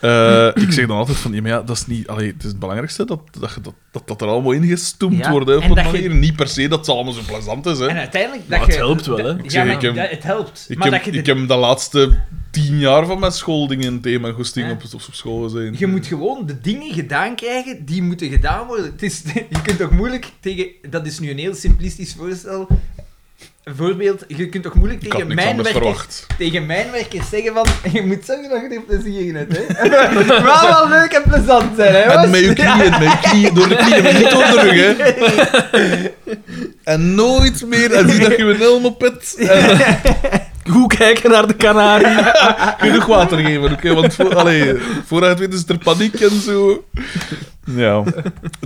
[SPEAKER 2] eh, ik zeg dan altijd van, ja, maar ja, dat is niet... Allee, het is het belangrijkste dat dat, je dat, dat, dat er allemaal ingestoomd
[SPEAKER 1] Ja,
[SPEAKER 2] wordt. Hè, op
[SPEAKER 1] en
[SPEAKER 2] een
[SPEAKER 1] dat je-
[SPEAKER 2] manier. Niet per se dat het allemaal zo plezant is. Hè.
[SPEAKER 1] en uiteindelijk
[SPEAKER 3] Maar
[SPEAKER 1] dat
[SPEAKER 3] het
[SPEAKER 1] je-
[SPEAKER 3] helpt wel, hè.
[SPEAKER 1] dat-
[SPEAKER 3] Ik
[SPEAKER 1] Ja,
[SPEAKER 2] zeg,
[SPEAKER 1] maar
[SPEAKER 2] ik heb-
[SPEAKER 1] dat- het helpt.
[SPEAKER 2] Ik,
[SPEAKER 1] maar
[SPEAKER 2] heb,
[SPEAKER 1] dat je,
[SPEAKER 2] ik
[SPEAKER 1] de-
[SPEAKER 2] heb de laatste tien jaar van mijn schooldingen thema goesting
[SPEAKER 1] Ja.
[SPEAKER 2] op, op, op school gezien.
[SPEAKER 1] je moet gewoon de dingen gedaan krijgen die moeten gedaan worden. Het is, je kunt toch moeilijk tegen... Dat is nu een heel simplistisch voorstel. Een voorbeeld. Je kunt toch moeilijk
[SPEAKER 2] ik had
[SPEAKER 1] tegen
[SPEAKER 2] niks
[SPEAKER 1] mijn
[SPEAKER 2] anders
[SPEAKER 1] werkers,
[SPEAKER 2] verwacht.
[SPEAKER 1] tegen mijn werkers zeggen van... Je moet zorgen dat je er plezier in hebt, hè. maar wel leuk en plezant zijn, hè.
[SPEAKER 2] En
[SPEAKER 1] jongens?
[SPEAKER 2] met je knieën, met je knieën, door de knieën, maar niet door de rug, hè. En nooit meer, en zie dat je een helm op hebt. En
[SPEAKER 3] Goed kijken naar de Canarie.
[SPEAKER 2] genoeg water geven, oké? Want voor, allee, vooruit weet is er paniek en zo. Ja.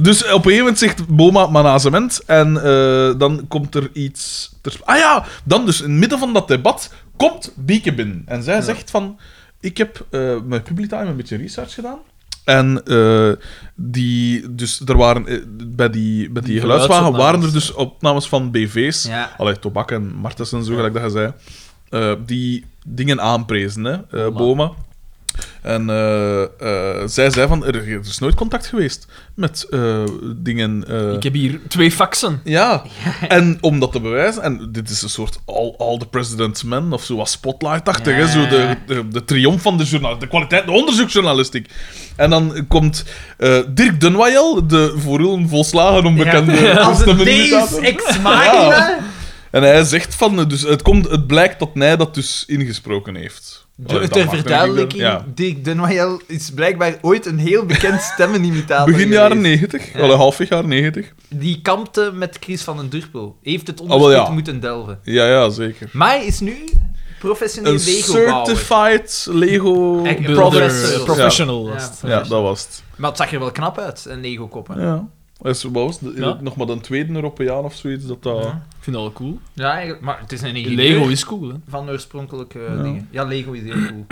[SPEAKER 2] Dus op een gegeven moment zegt Boma management en eh, dan komt er iets... Ter... Ah ja, dan dus in het midden van dat debat komt Bieke binnen. En zij zegt van, ik heb eh met Publitime een beetje research gedaan. En eh, die, dus er waren, eh, bij die, bij die,
[SPEAKER 3] Die
[SPEAKER 2] geluidswagen waren er
[SPEAKER 3] geluidsopnames.
[SPEAKER 2] dus opnames van BV's.
[SPEAKER 1] Ja.
[SPEAKER 2] Allee, Tobak en Martens en zo, gelijk dat je zei. eh, die dingen aanprezen, hè, eh,
[SPEAKER 3] Boma.
[SPEAKER 2] Boma. En eh, eh, zij zei van, er, er is nooit contact geweest met eh, dingen... eh,
[SPEAKER 3] Ik heb hier twee faxen.
[SPEAKER 2] ja. en om dat te bewijzen, en dit is een soort All, all the President's Men of zo wat spotlight-achtig, hè,
[SPEAKER 1] Ja.
[SPEAKER 2] zo de, de, de triomf van de journalistiek, de kwaliteit, de onderzoeksjournalistiek. En dan komt eh, Dirk Denwayel, de voor u volslagen onbekende
[SPEAKER 5] eh,
[SPEAKER 1] Als een
[SPEAKER 2] stemmenimitator.
[SPEAKER 1] deus ex machina.
[SPEAKER 2] Ja. En hij zegt van, eh, dus het, komt, het blijkt dat hij dat dus ingesproken heeft. Allee,
[SPEAKER 5] De,
[SPEAKER 2] dat
[SPEAKER 5] ter
[SPEAKER 2] mag, denk ik dan.
[SPEAKER 5] verduidelijking,
[SPEAKER 2] Ja.
[SPEAKER 5] Dick Denoyel is blijkbaar ooit een heel bekend stemmenimitator
[SPEAKER 2] Begin jaren
[SPEAKER 5] geweest.
[SPEAKER 2] 90, alle halfweg jaren 90.
[SPEAKER 5] Die kampte met Chris van den Durpel. Heeft het
[SPEAKER 2] Ah, wel,
[SPEAKER 5] onderzoek
[SPEAKER 2] ja.
[SPEAKER 5] moeten delven.
[SPEAKER 2] Ja, ja, zeker.
[SPEAKER 5] Maar is nu professioneel
[SPEAKER 2] Een
[SPEAKER 5] Lego-bouwer.
[SPEAKER 2] certified Lego...
[SPEAKER 5] Echt,
[SPEAKER 2] builder.
[SPEAKER 5] professor.
[SPEAKER 2] Ja.
[SPEAKER 3] Professional
[SPEAKER 5] Ja.
[SPEAKER 3] was het.
[SPEAKER 2] Ja, dat was het.
[SPEAKER 5] Maar het zag er wel knap uit, een Lego-koppen.
[SPEAKER 2] Ja. Hij is, wat was het?
[SPEAKER 3] Ja.
[SPEAKER 2] nog maar een tweede Europeaan of zoiets. Dat dat...
[SPEAKER 5] Ja.
[SPEAKER 3] Ik vind dat wel cool.
[SPEAKER 5] Ja, eigenlijk- maar het is een ingenieur
[SPEAKER 3] Lego is cool, hè.
[SPEAKER 5] van de oorspronkelijke
[SPEAKER 2] Ja.
[SPEAKER 5] dingen. Ja, Lego is heel cool.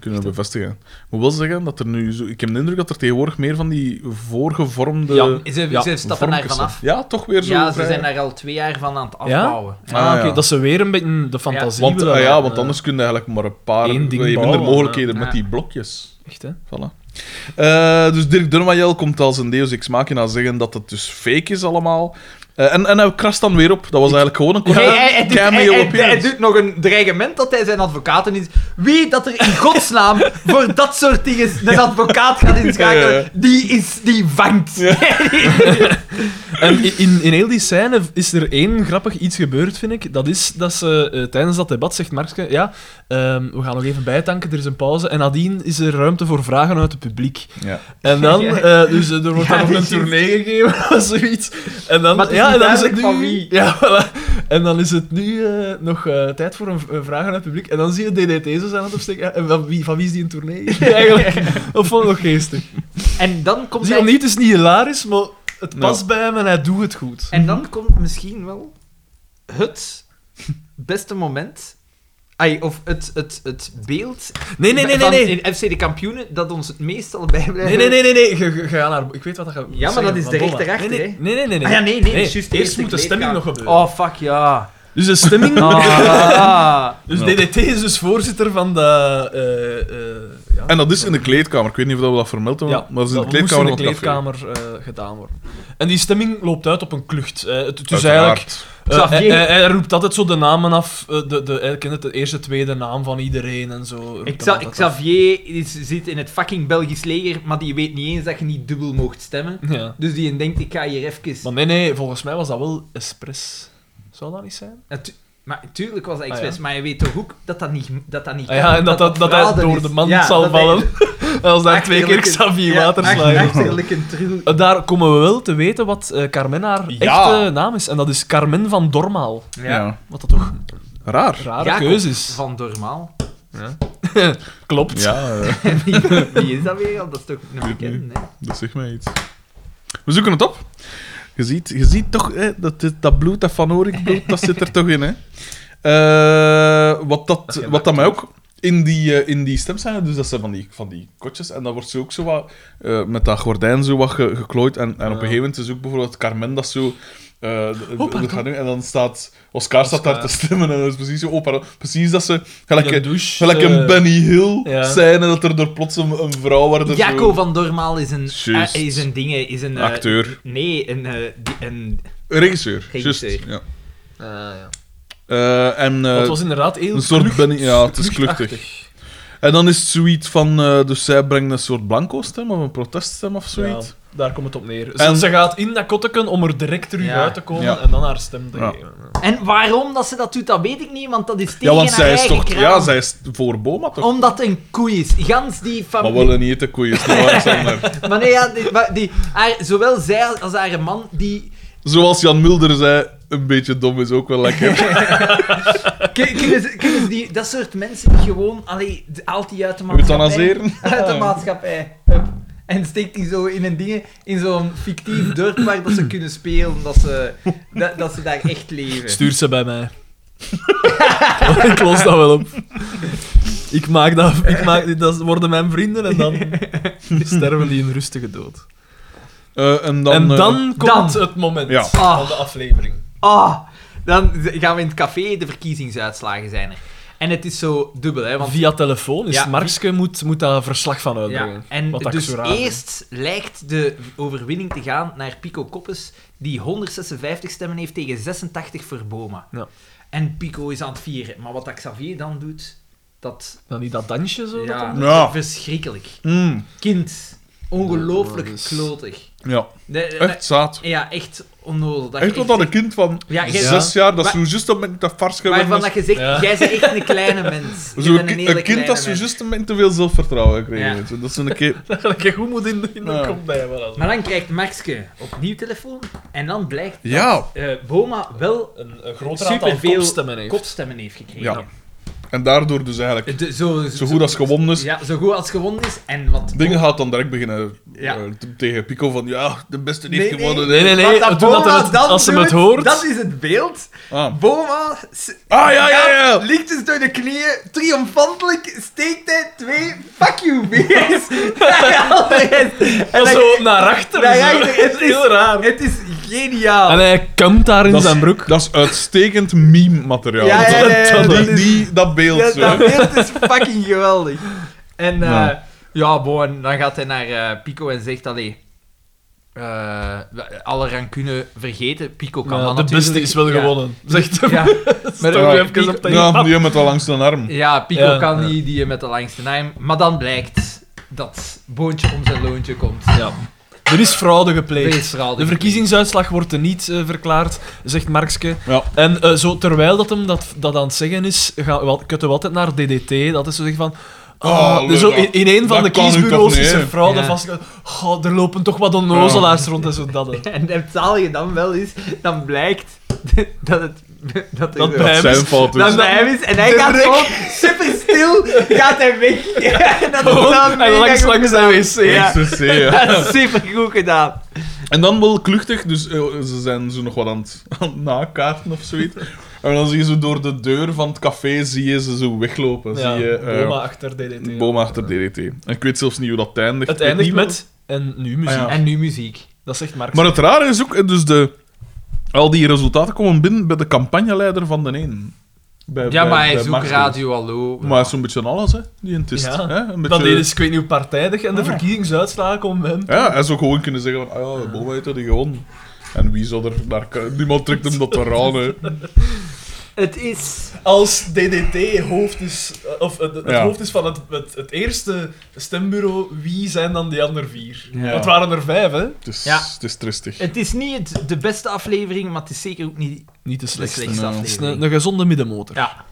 [SPEAKER 2] Kunnen we bevestigen. Ik moet wel zeggen dat er nu zo... Ik heb de indruk dat er tegenwoordig meer van die voorgevormde...
[SPEAKER 3] Ja.
[SPEAKER 5] Ze,
[SPEAKER 3] Ja,
[SPEAKER 5] ze stappen daar
[SPEAKER 2] vormpjes zijn.
[SPEAKER 5] vanaf.
[SPEAKER 2] Ja, toch weer zo
[SPEAKER 5] Ja, ze
[SPEAKER 2] vrij.
[SPEAKER 5] zijn daar al twee jaar van aan het afbouwen.
[SPEAKER 3] Ah,
[SPEAKER 2] Ah,
[SPEAKER 3] oké,
[SPEAKER 2] ja.
[SPEAKER 3] dat ze weer een beetje de fantasie
[SPEAKER 2] Want,
[SPEAKER 3] willen
[SPEAKER 2] ah ja,
[SPEAKER 3] laten,
[SPEAKER 2] want
[SPEAKER 3] eh,
[SPEAKER 2] anders kun je eigenlijk maar een paar...
[SPEAKER 3] Eén ding
[SPEAKER 2] je hebt minder
[SPEAKER 3] bouwen,
[SPEAKER 2] mogelijkheden
[SPEAKER 1] ja.
[SPEAKER 2] met
[SPEAKER 1] Ja.
[SPEAKER 2] die blokjes.
[SPEAKER 3] Echt, hè.
[SPEAKER 2] Voilà. Eh, dus Dirk Durmayel komt als een Deus Ex Machina zeggen dat het dus fake is allemaal. Eh, en, en hij krast dan weer op. Dat was eigenlijk gewoon een
[SPEAKER 1] Hij,
[SPEAKER 2] korte
[SPEAKER 1] hij- hij doet, hij-
[SPEAKER 2] cameo
[SPEAKER 1] hij-
[SPEAKER 2] op
[SPEAKER 1] hij
[SPEAKER 2] je.
[SPEAKER 1] doet nog een dreigement dat hij zijn advocaten is. Wie dat er in godsnaam voor dat soort dingen een advocaat gaat inschakelen,
[SPEAKER 2] Ja, ja, ja.
[SPEAKER 1] die is die vangt.
[SPEAKER 3] En i- in, in heel die scène is er één grappig iets gebeurd, vind ik. Dat is dat ze eh, tijdens dat debat zegt Markske, ja, ehm, we gaan nog even bijtanken, er is een pauze. En nadien is er ruimte voor vragen uit het publiek.
[SPEAKER 2] Ja.
[SPEAKER 3] En dan, eh, dus eh, er wordt
[SPEAKER 1] Ja,
[SPEAKER 3] dan nog
[SPEAKER 1] die
[SPEAKER 3] een
[SPEAKER 1] is-
[SPEAKER 3] tournee gegeven of zoiets. En dan,
[SPEAKER 1] Maar het is
[SPEAKER 3] ja, en
[SPEAKER 1] niet
[SPEAKER 3] dan is het
[SPEAKER 1] duidelijk
[SPEAKER 3] nu,
[SPEAKER 1] van wie.
[SPEAKER 3] Ja, voilà. En dan is het nu eh, nog eh, tijd voor een v- een vraag aan het publiek. En dan zie je DDT zo zijn het opsteken. Ja, en van wie, van wie is die een tournee? Eigenlijk, of vond ik nog geestig.
[SPEAKER 1] En dan komt
[SPEAKER 3] Zie
[SPEAKER 1] hij...
[SPEAKER 3] je, niet, het is niet hilarisch, maar het
[SPEAKER 2] Nou.
[SPEAKER 3] past bij hem en hij doet het goed.
[SPEAKER 1] En dan komt misschien wel het beste moment Ai, of het, het, het beeld
[SPEAKER 3] Nee, nee, nee, nee.
[SPEAKER 1] van
[SPEAKER 3] nee.
[SPEAKER 1] in FC de kampioenen dat ons het meest zal bijblijven.
[SPEAKER 3] Nee, nee, nee, nee, nee. Ge- ge- Ga naar... Ik weet wat dat gaat
[SPEAKER 1] maar dat is de rechterachter,
[SPEAKER 3] nee, nee, nee, nee, nee.
[SPEAKER 1] Ah ja, nee, nee, dat is juist
[SPEAKER 3] Eerst
[SPEAKER 1] de eerste
[SPEAKER 3] moet de stemming nog
[SPEAKER 1] kleedkamer.
[SPEAKER 3] gebeuren.
[SPEAKER 1] Oh, fuck ja.
[SPEAKER 3] Dus de stemming...
[SPEAKER 1] Ah.
[SPEAKER 3] Dus
[SPEAKER 2] Ja.
[SPEAKER 3] DDT is dus voorzitter van de... eh, eh, ja.
[SPEAKER 2] En dat is in de kleedkamer. Ik weet niet of we dat vermeld hebben,
[SPEAKER 3] Ja,
[SPEAKER 2] maar dat is in de
[SPEAKER 3] dat moest in
[SPEAKER 2] kleedkamer
[SPEAKER 3] de
[SPEAKER 2] van het café.
[SPEAKER 3] kleedkamer eh, gedaan worden. En die stemming loopt uit op een klucht. eh, het, het is
[SPEAKER 2] Uiteraard.
[SPEAKER 3] eigenlijk... Eh,
[SPEAKER 1] Xavier.
[SPEAKER 3] hij, hij- hij roept altijd zo de namen af. eh, de, de, hij kent het, de eerste, tweede naam van iedereen en zo. roept
[SPEAKER 1] Ik
[SPEAKER 3] hem
[SPEAKER 1] zal-
[SPEAKER 3] altijd af.
[SPEAKER 1] Xavier is, zit in het fucking Belgisch leger, maar die weet niet eens dat je niet dubbel moogt stemmen.
[SPEAKER 3] Ja.
[SPEAKER 1] Dus die denkt, ik ga hier even...
[SPEAKER 3] Maar nee, nee, volgens mij was dat wel expres. Zou dat niet zijn?
[SPEAKER 1] Natu- maar natuurlijk was dat
[SPEAKER 3] Ah,
[SPEAKER 1] expres,
[SPEAKER 3] ja.
[SPEAKER 1] maar je weet toch ook dat dat niet, dat dat niet
[SPEAKER 3] Ah ja, en dat, dat, dat hij
[SPEAKER 1] fraude
[SPEAKER 3] door
[SPEAKER 1] is.
[SPEAKER 3] de mand
[SPEAKER 1] Ja,
[SPEAKER 3] zal
[SPEAKER 1] dat hij-
[SPEAKER 3] vallen. Als daar twee keer
[SPEAKER 1] Achterlijk een-
[SPEAKER 3] Xavier
[SPEAKER 1] ja,
[SPEAKER 3] water
[SPEAKER 1] ach-
[SPEAKER 3] slaat.
[SPEAKER 1] achterlijk een tril.
[SPEAKER 3] Eh, Daar komen we wel te weten wat eh, Carmen haar
[SPEAKER 2] Ja.
[SPEAKER 3] echte naam is. En dat is Carmen van Dormaal.
[SPEAKER 2] Ja.
[SPEAKER 1] Ja.
[SPEAKER 3] Wat dat toch
[SPEAKER 2] Raar.
[SPEAKER 3] een rare
[SPEAKER 1] Jacob
[SPEAKER 3] keuze is.
[SPEAKER 1] Van Dormaal.
[SPEAKER 3] Klopt.
[SPEAKER 2] Ja, eh,
[SPEAKER 1] Wie wie is dat weer? al? Dat is toch een
[SPEAKER 2] weet
[SPEAKER 1] bekende, hè?
[SPEAKER 2] dat zegt mij iets. We zoeken het op. Je ziet, je ziet toch, hè, dat, dit- dat bloed, dat Van Orik bloed, dat zit er toch in, hè. Eh, wat dat, wat dat mij ook... In die, eh, in die stem zijn, dus dat zijn van die, van die kotjes. En dat wordt zo ook zo wat, eh, met dat gordijn zo wat ge- geklooid. En, en op een gegeven moment is ook bijvoorbeeld Carmen dat zo... eh, de-
[SPEAKER 3] pardon.
[SPEAKER 2] dat gaat nu- en dan staat Oscar, staat daar te
[SPEAKER 3] Oscar.
[SPEAKER 2] stemmen. En dat is precies zo, oh, pardon. precies dat ze... Gelijk,
[SPEAKER 3] In de
[SPEAKER 2] eh,
[SPEAKER 3] douche.
[SPEAKER 2] Gelijk
[SPEAKER 3] eh,
[SPEAKER 2] een Benny Hill
[SPEAKER 3] ja.
[SPEAKER 2] scène dat er door plots een, een vrouw werd.
[SPEAKER 1] Jacco van Dormaal is een...
[SPEAKER 2] Juist.
[SPEAKER 1] eh, is een ding, is een... eh,
[SPEAKER 2] Acteur.
[SPEAKER 1] Nee, een... eh, die- een
[SPEAKER 2] Regisseur. Just,
[SPEAKER 1] Regisseur.
[SPEAKER 2] ja.
[SPEAKER 3] ah, ja.
[SPEAKER 2] Eh, en, eh,
[SPEAKER 3] Dat was inderdaad heel
[SPEAKER 2] een soort
[SPEAKER 3] klucht-
[SPEAKER 2] Benny- ja, het is
[SPEAKER 3] kluchtachtig.
[SPEAKER 2] en dan is het zoiets van. eh, dus zij brengt een soort blanco-stem of een proteststem of zoiets.
[SPEAKER 3] Ja, daar komt het op neer. Ze,
[SPEAKER 2] En-
[SPEAKER 3] ze gaat in dat kotteken om er direct terug
[SPEAKER 1] Ja.
[SPEAKER 3] uit te komen
[SPEAKER 2] Ja.
[SPEAKER 3] en dan haar stem te
[SPEAKER 2] Ja.
[SPEAKER 3] geven.
[SPEAKER 1] En waarom dat ze dat doet, dat weet ik niet, want dat is tegen
[SPEAKER 2] Ja, want
[SPEAKER 1] haar
[SPEAKER 2] zij is
[SPEAKER 1] eigen
[SPEAKER 2] toch.
[SPEAKER 1] kraam.
[SPEAKER 2] Ja, zij is voor Boma toch?
[SPEAKER 1] Omdat het een koe is. Gans die
[SPEAKER 2] Maar
[SPEAKER 1] familie...
[SPEAKER 2] wel een eten koeien, is nou, Alexander.
[SPEAKER 1] Maar nee, ja, die, maar die, haar- zowel zij als haar man, die...
[SPEAKER 2] Zoals Jan Mulder zei, een beetje dom is ook wel lekker.
[SPEAKER 1] Ken- Kennen ze- kennen ze die, dat soort mensen die gewoon... Allee, d- haalt die uit de maatschappij.
[SPEAKER 2] Euthanaseren.
[SPEAKER 1] Uit de maatschappij. Hup. En steekt die zo in een ding, in zo'n fictief dorp waar dat ze kunnen spelen, dat ze, dat, dat ze daar echt leven.
[SPEAKER 3] Stuur ze bij mij. ik los dat wel op. Ik maak dat, ik maak, dat worden mijn vrienden en dan sterven die een rustige dood.
[SPEAKER 2] Eh, en dan.
[SPEAKER 3] en
[SPEAKER 2] eh,
[SPEAKER 3] dan komt
[SPEAKER 1] dan.
[SPEAKER 3] het moment
[SPEAKER 2] Ja.
[SPEAKER 3] van de aflevering.
[SPEAKER 1] Ah, dan z- gaan we in het café, de verkiezingsuitslagen zijn er. En het is zo dubbel, hè, want...
[SPEAKER 3] Via telefoon is
[SPEAKER 1] Ja.
[SPEAKER 3] Markske moet, moet daar verslag van
[SPEAKER 1] Ja,
[SPEAKER 3] uitbrengen.
[SPEAKER 1] en
[SPEAKER 3] Wat ik
[SPEAKER 1] dus
[SPEAKER 3] zo raar vind.
[SPEAKER 1] eerst lijkt de overwinning te gaan naar Pico Koppes, die 156 stemmen heeft tegen 86 voor Boma.
[SPEAKER 3] Ja.
[SPEAKER 1] En Pico is aan het vieren. Maar wat dat Xavier dan doet, dat,
[SPEAKER 3] Dan die dat dansje zo. dat
[SPEAKER 1] ja,
[SPEAKER 3] dan-
[SPEAKER 1] dat
[SPEAKER 2] Ja.
[SPEAKER 1] is verschrikkelijk.
[SPEAKER 2] mm,
[SPEAKER 1] Kind, ongelooflijk
[SPEAKER 3] Ja, dat is-
[SPEAKER 1] klotig.
[SPEAKER 2] ja,
[SPEAKER 1] De- de-
[SPEAKER 2] echt zaad.
[SPEAKER 1] Ja, echt onnodig. Dat
[SPEAKER 2] Echt
[SPEAKER 1] je
[SPEAKER 2] wat dat een kind van
[SPEAKER 1] Ja, jij-
[SPEAKER 2] zes jaar, dat
[SPEAKER 1] Wa-
[SPEAKER 2] zo juist op met dat vars geworden
[SPEAKER 1] Waarvan
[SPEAKER 2] is.
[SPEAKER 1] dat je zegt,
[SPEAKER 3] Ja.
[SPEAKER 1] jij bent echt een kleine mens. Je
[SPEAKER 2] Zo
[SPEAKER 1] bent
[SPEAKER 2] een, ki-
[SPEAKER 1] hele
[SPEAKER 2] een kind
[SPEAKER 1] kleine
[SPEAKER 2] dat zo
[SPEAKER 1] mens.
[SPEAKER 2] juist een beetje te veel zelfvertrouwen gekregen
[SPEAKER 1] Ja.
[SPEAKER 2] heeft. Dat is een keer...
[SPEAKER 3] Dat je goed moet in, in de
[SPEAKER 2] Ja.
[SPEAKER 3] kop blijven. als-
[SPEAKER 1] Maar dan krijgt Maxke opnieuw telefoon. En dan blijkt
[SPEAKER 2] Ja.
[SPEAKER 1] dat eh, Boma wel
[SPEAKER 3] Een, een groter aantal
[SPEAKER 1] superveel
[SPEAKER 3] kopstemmen heeft.
[SPEAKER 1] kopstemmen heeft gekregen. Eh,
[SPEAKER 2] Ja. En daardoor dus eigenlijk,
[SPEAKER 1] De- zo,
[SPEAKER 2] zo goed als gewonnen is,
[SPEAKER 1] Ja, zo goed als gewonnen is. En wat...
[SPEAKER 2] dingen gaat dan direct beginnen
[SPEAKER 1] Ja.
[SPEAKER 2] eh, te- tegen Pico van, ja, de beste heeft
[SPEAKER 1] Nee, nee.
[SPEAKER 2] gewonnen.
[SPEAKER 3] Nee, nee, nee.
[SPEAKER 1] wat dat
[SPEAKER 3] toen dat
[SPEAKER 1] Boma
[SPEAKER 3] hem het-
[SPEAKER 1] dan
[SPEAKER 3] als ze het
[SPEAKER 1] doet,
[SPEAKER 3] hoort.
[SPEAKER 1] Dat is het beeld.
[SPEAKER 2] Ah.
[SPEAKER 1] Boma... s-
[SPEAKER 2] Ah, ja, ja, ja.
[SPEAKER 1] gaat Lichtjes door de knieën, triomfantelijk, steekt hij twee fuck you beers.
[SPEAKER 3] En
[SPEAKER 1] dan-
[SPEAKER 3] zo naar achter.
[SPEAKER 1] naar
[SPEAKER 3] zo.
[SPEAKER 1] achter, het is-
[SPEAKER 3] heel raar.
[SPEAKER 1] Het is geniaal.
[SPEAKER 3] En hij kampt daar in
[SPEAKER 2] Dat is,
[SPEAKER 3] zijn broek.
[SPEAKER 2] dat is uitstekend meme-materiaal.
[SPEAKER 1] Ja, ja, ja, ja,
[SPEAKER 2] Dat-
[SPEAKER 1] dat
[SPEAKER 2] die,
[SPEAKER 1] is-
[SPEAKER 2] die- dat beeld.
[SPEAKER 1] Ja,
[SPEAKER 2] zo.
[SPEAKER 1] dat beeld is fucking geweldig. En eh,
[SPEAKER 2] Ja.
[SPEAKER 1] ja, ja bon, en dan gaat hij naar eh, Pico en zegt, allee, eh, alle rancune vergeten. Pico kan
[SPEAKER 3] Ja,
[SPEAKER 1] dat
[SPEAKER 3] de
[SPEAKER 1] natuurlijk.
[SPEAKER 3] beste is wel
[SPEAKER 1] Ja.
[SPEAKER 3] gewonnen. Zegt hem.
[SPEAKER 1] Ja,
[SPEAKER 3] Maar
[SPEAKER 2] Ja,
[SPEAKER 3] ook even op de
[SPEAKER 2] Ja, die met al langs de arm.
[SPEAKER 1] ja, Pico
[SPEAKER 3] Ja.
[SPEAKER 1] kan niet, die met de langste naam. Maar dan blijkt dat boontje om zijn loontje komt.
[SPEAKER 3] Ja. Er is fraude gepleegd.
[SPEAKER 1] Weesverhaal.
[SPEAKER 3] De verkiezingsuitslag wordt er niet eh, verklaard, zegt Markske.
[SPEAKER 2] Ja.
[SPEAKER 3] En eh, zo, terwijl dat hem dat, dat aan het zeggen is, gaan we, kutten we altijd naar DDT. Dat is zo zeggen van... ah,
[SPEAKER 2] Oh,
[SPEAKER 3] dus zo
[SPEAKER 2] Lera,
[SPEAKER 3] in, in een van
[SPEAKER 2] dat
[SPEAKER 3] de
[SPEAKER 2] kan u toch
[SPEAKER 3] kiesbureaus
[SPEAKER 2] niet,
[SPEAKER 3] is
[SPEAKER 2] hè?
[SPEAKER 3] er fraude
[SPEAKER 1] Ja.
[SPEAKER 3] vast. Oh, er lopen toch wat onnozelaars rond en zo dat. hè.
[SPEAKER 1] En het zalige dan wel is, dan blijkt dat het... Dat,
[SPEAKER 3] Dat
[SPEAKER 1] er-
[SPEAKER 3] bij hem
[SPEAKER 2] Zijn
[SPEAKER 3] is-
[SPEAKER 2] fout dus.
[SPEAKER 1] Dat bij hem is. En hij
[SPEAKER 3] De
[SPEAKER 1] gaat
[SPEAKER 3] rek.
[SPEAKER 1] gewoon super stil, gaat hij weg. En dat is dan
[SPEAKER 3] en
[SPEAKER 1] mega
[SPEAKER 3] langs,
[SPEAKER 1] goed
[SPEAKER 3] langs zijn wc.
[SPEAKER 1] Ja.
[SPEAKER 2] XTC, dus, eh, ja.
[SPEAKER 1] gedaan. Super goed gedaan.
[SPEAKER 2] En dan wel kluchtig, dus eh, ze zijn zo nog wat aan het, aan het nakaarten of zoiets. En dan zie je ze door de deur van het café zie je ze zo weglopen. zie je, eh,
[SPEAKER 3] Boma achter DDT. ja.
[SPEAKER 2] Boma achter DDT. En ik weet zelfs niet hoe dat eindigt.
[SPEAKER 3] Het
[SPEAKER 2] Ik weet
[SPEAKER 3] eindigt
[SPEAKER 2] niet
[SPEAKER 3] met... En nu muziek.
[SPEAKER 2] Ah, ja.
[SPEAKER 1] En nu muziek.
[SPEAKER 3] Dat zegt Mark.
[SPEAKER 2] Maar het rare is ook, eh, dus de, al die resultaten komen binnen bij de campagneleider van de een. Bij-
[SPEAKER 1] Ja,
[SPEAKER 2] bij-
[SPEAKER 1] maar hij
[SPEAKER 2] bij
[SPEAKER 1] is ook
[SPEAKER 2] Marcel.
[SPEAKER 1] radio hallo.
[SPEAKER 2] Maar hij is zo'n beetje aan alles, hè? Die een test.
[SPEAKER 3] Ja.
[SPEAKER 2] Hè? Een
[SPEAKER 3] Dat
[SPEAKER 2] beetje,
[SPEAKER 3] deden ze, ik weet niet hoe partijdig, en de
[SPEAKER 2] Ah, ja.
[SPEAKER 3] verkiezingsuitslagen komen bij hem.
[SPEAKER 2] Ja, hij zou gewoon kunnen zeggen: van, ah ja, de Boma heeft dat gewonnen. En wie zou er naar kijken? Niemand trekt hem dat eraan, hè?
[SPEAKER 1] Het is...
[SPEAKER 3] Als DDT hoofd is, eh, of het, het
[SPEAKER 2] Ja.
[SPEAKER 3] hoofd is van het, het, het eerste stembureau, wie zijn dan die andere vier?
[SPEAKER 2] Ja.
[SPEAKER 3] Het waren er vijf, hè?
[SPEAKER 2] Het is,
[SPEAKER 1] Ja.
[SPEAKER 2] het is tristig.
[SPEAKER 1] Het is niet het- de beste aflevering, maar het is zeker ook niet
[SPEAKER 3] Niet de
[SPEAKER 1] de
[SPEAKER 3] slechtste.
[SPEAKER 1] slechtste
[SPEAKER 2] nou.
[SPEAKER 3] Het is een,
[SPEAKER 1] aflevering.
[SPEAKER 3] een gezonde middenmotor.
[SPEAKER 1] Ja.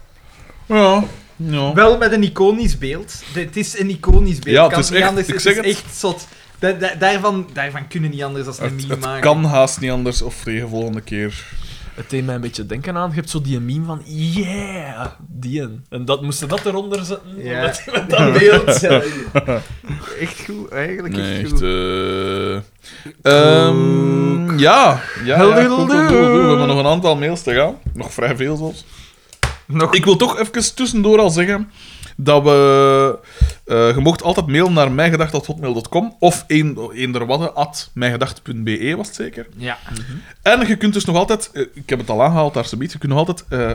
[SPEAKER 2] Ja, ja.
[SPEAKER 1] Wel met een iconisch beeld. De- Het is een iconisch beeld.
[SPEAKER 2] Ja,
[SPEAKER 1] Kan
[SPEAKER 2] het is
[SPEAKER 1] niet
[SPEAKER 2] echt-
[SPEAKER 1] anders.
[SPEAKER 2] ik
[SPEAKER 1] het
[SPEAKER 2] zeg
[SPEAKER 1] is
[SPEAKER 2] het.
[SPEAKER 1] echt zot. Da- da- daarvan, daarvan kunnen niet anders dan een
[SPEAKER 2] Het,
[SPEAKER 1] meme
[SPEAKER 2] het
[SPEAKER 1] maken.
[SPEAKER 2] kan haast niet anders, of tegen volgende keer.
[SPEAKER 3] Het deed mij een beetje denken aan, je hebt zo die meme van, yeah, die een. En dat, moesten dat eronder zetten,
[SPEAKER 1] Ja.
[SPEAKER 3] omdat die met dat beeld... ja.
[SPEAKER 1] Echt goed, eigenlijk
[SPEAKER 2] Nee,
[SPEAKER 1] echt
[SPEAKER 2] echt.
[SPEAKER 1] goed.
[SPEAKER 2] eh Ehm ja, ja, ja goed, goed, goed, goed. we hebben nog een aantal mails te gaan. Nog vrij veel zelfs.
[SPEAKER 1] Nog
[SPEAKER 2] Ik wil toch even tussendoor al zeggen dat we... eh, je mocht altijd mailen naar mijgedacht.hotmail.com of een- eender wat, at mijgedacht.be was het zeker.
[SPEAKER 1] Ja.
[SPEAKER 2] En je kunt dus nog altijd... eh, ik heb het al aangehaald, daar zoiets. Je kunt nog altijd eh,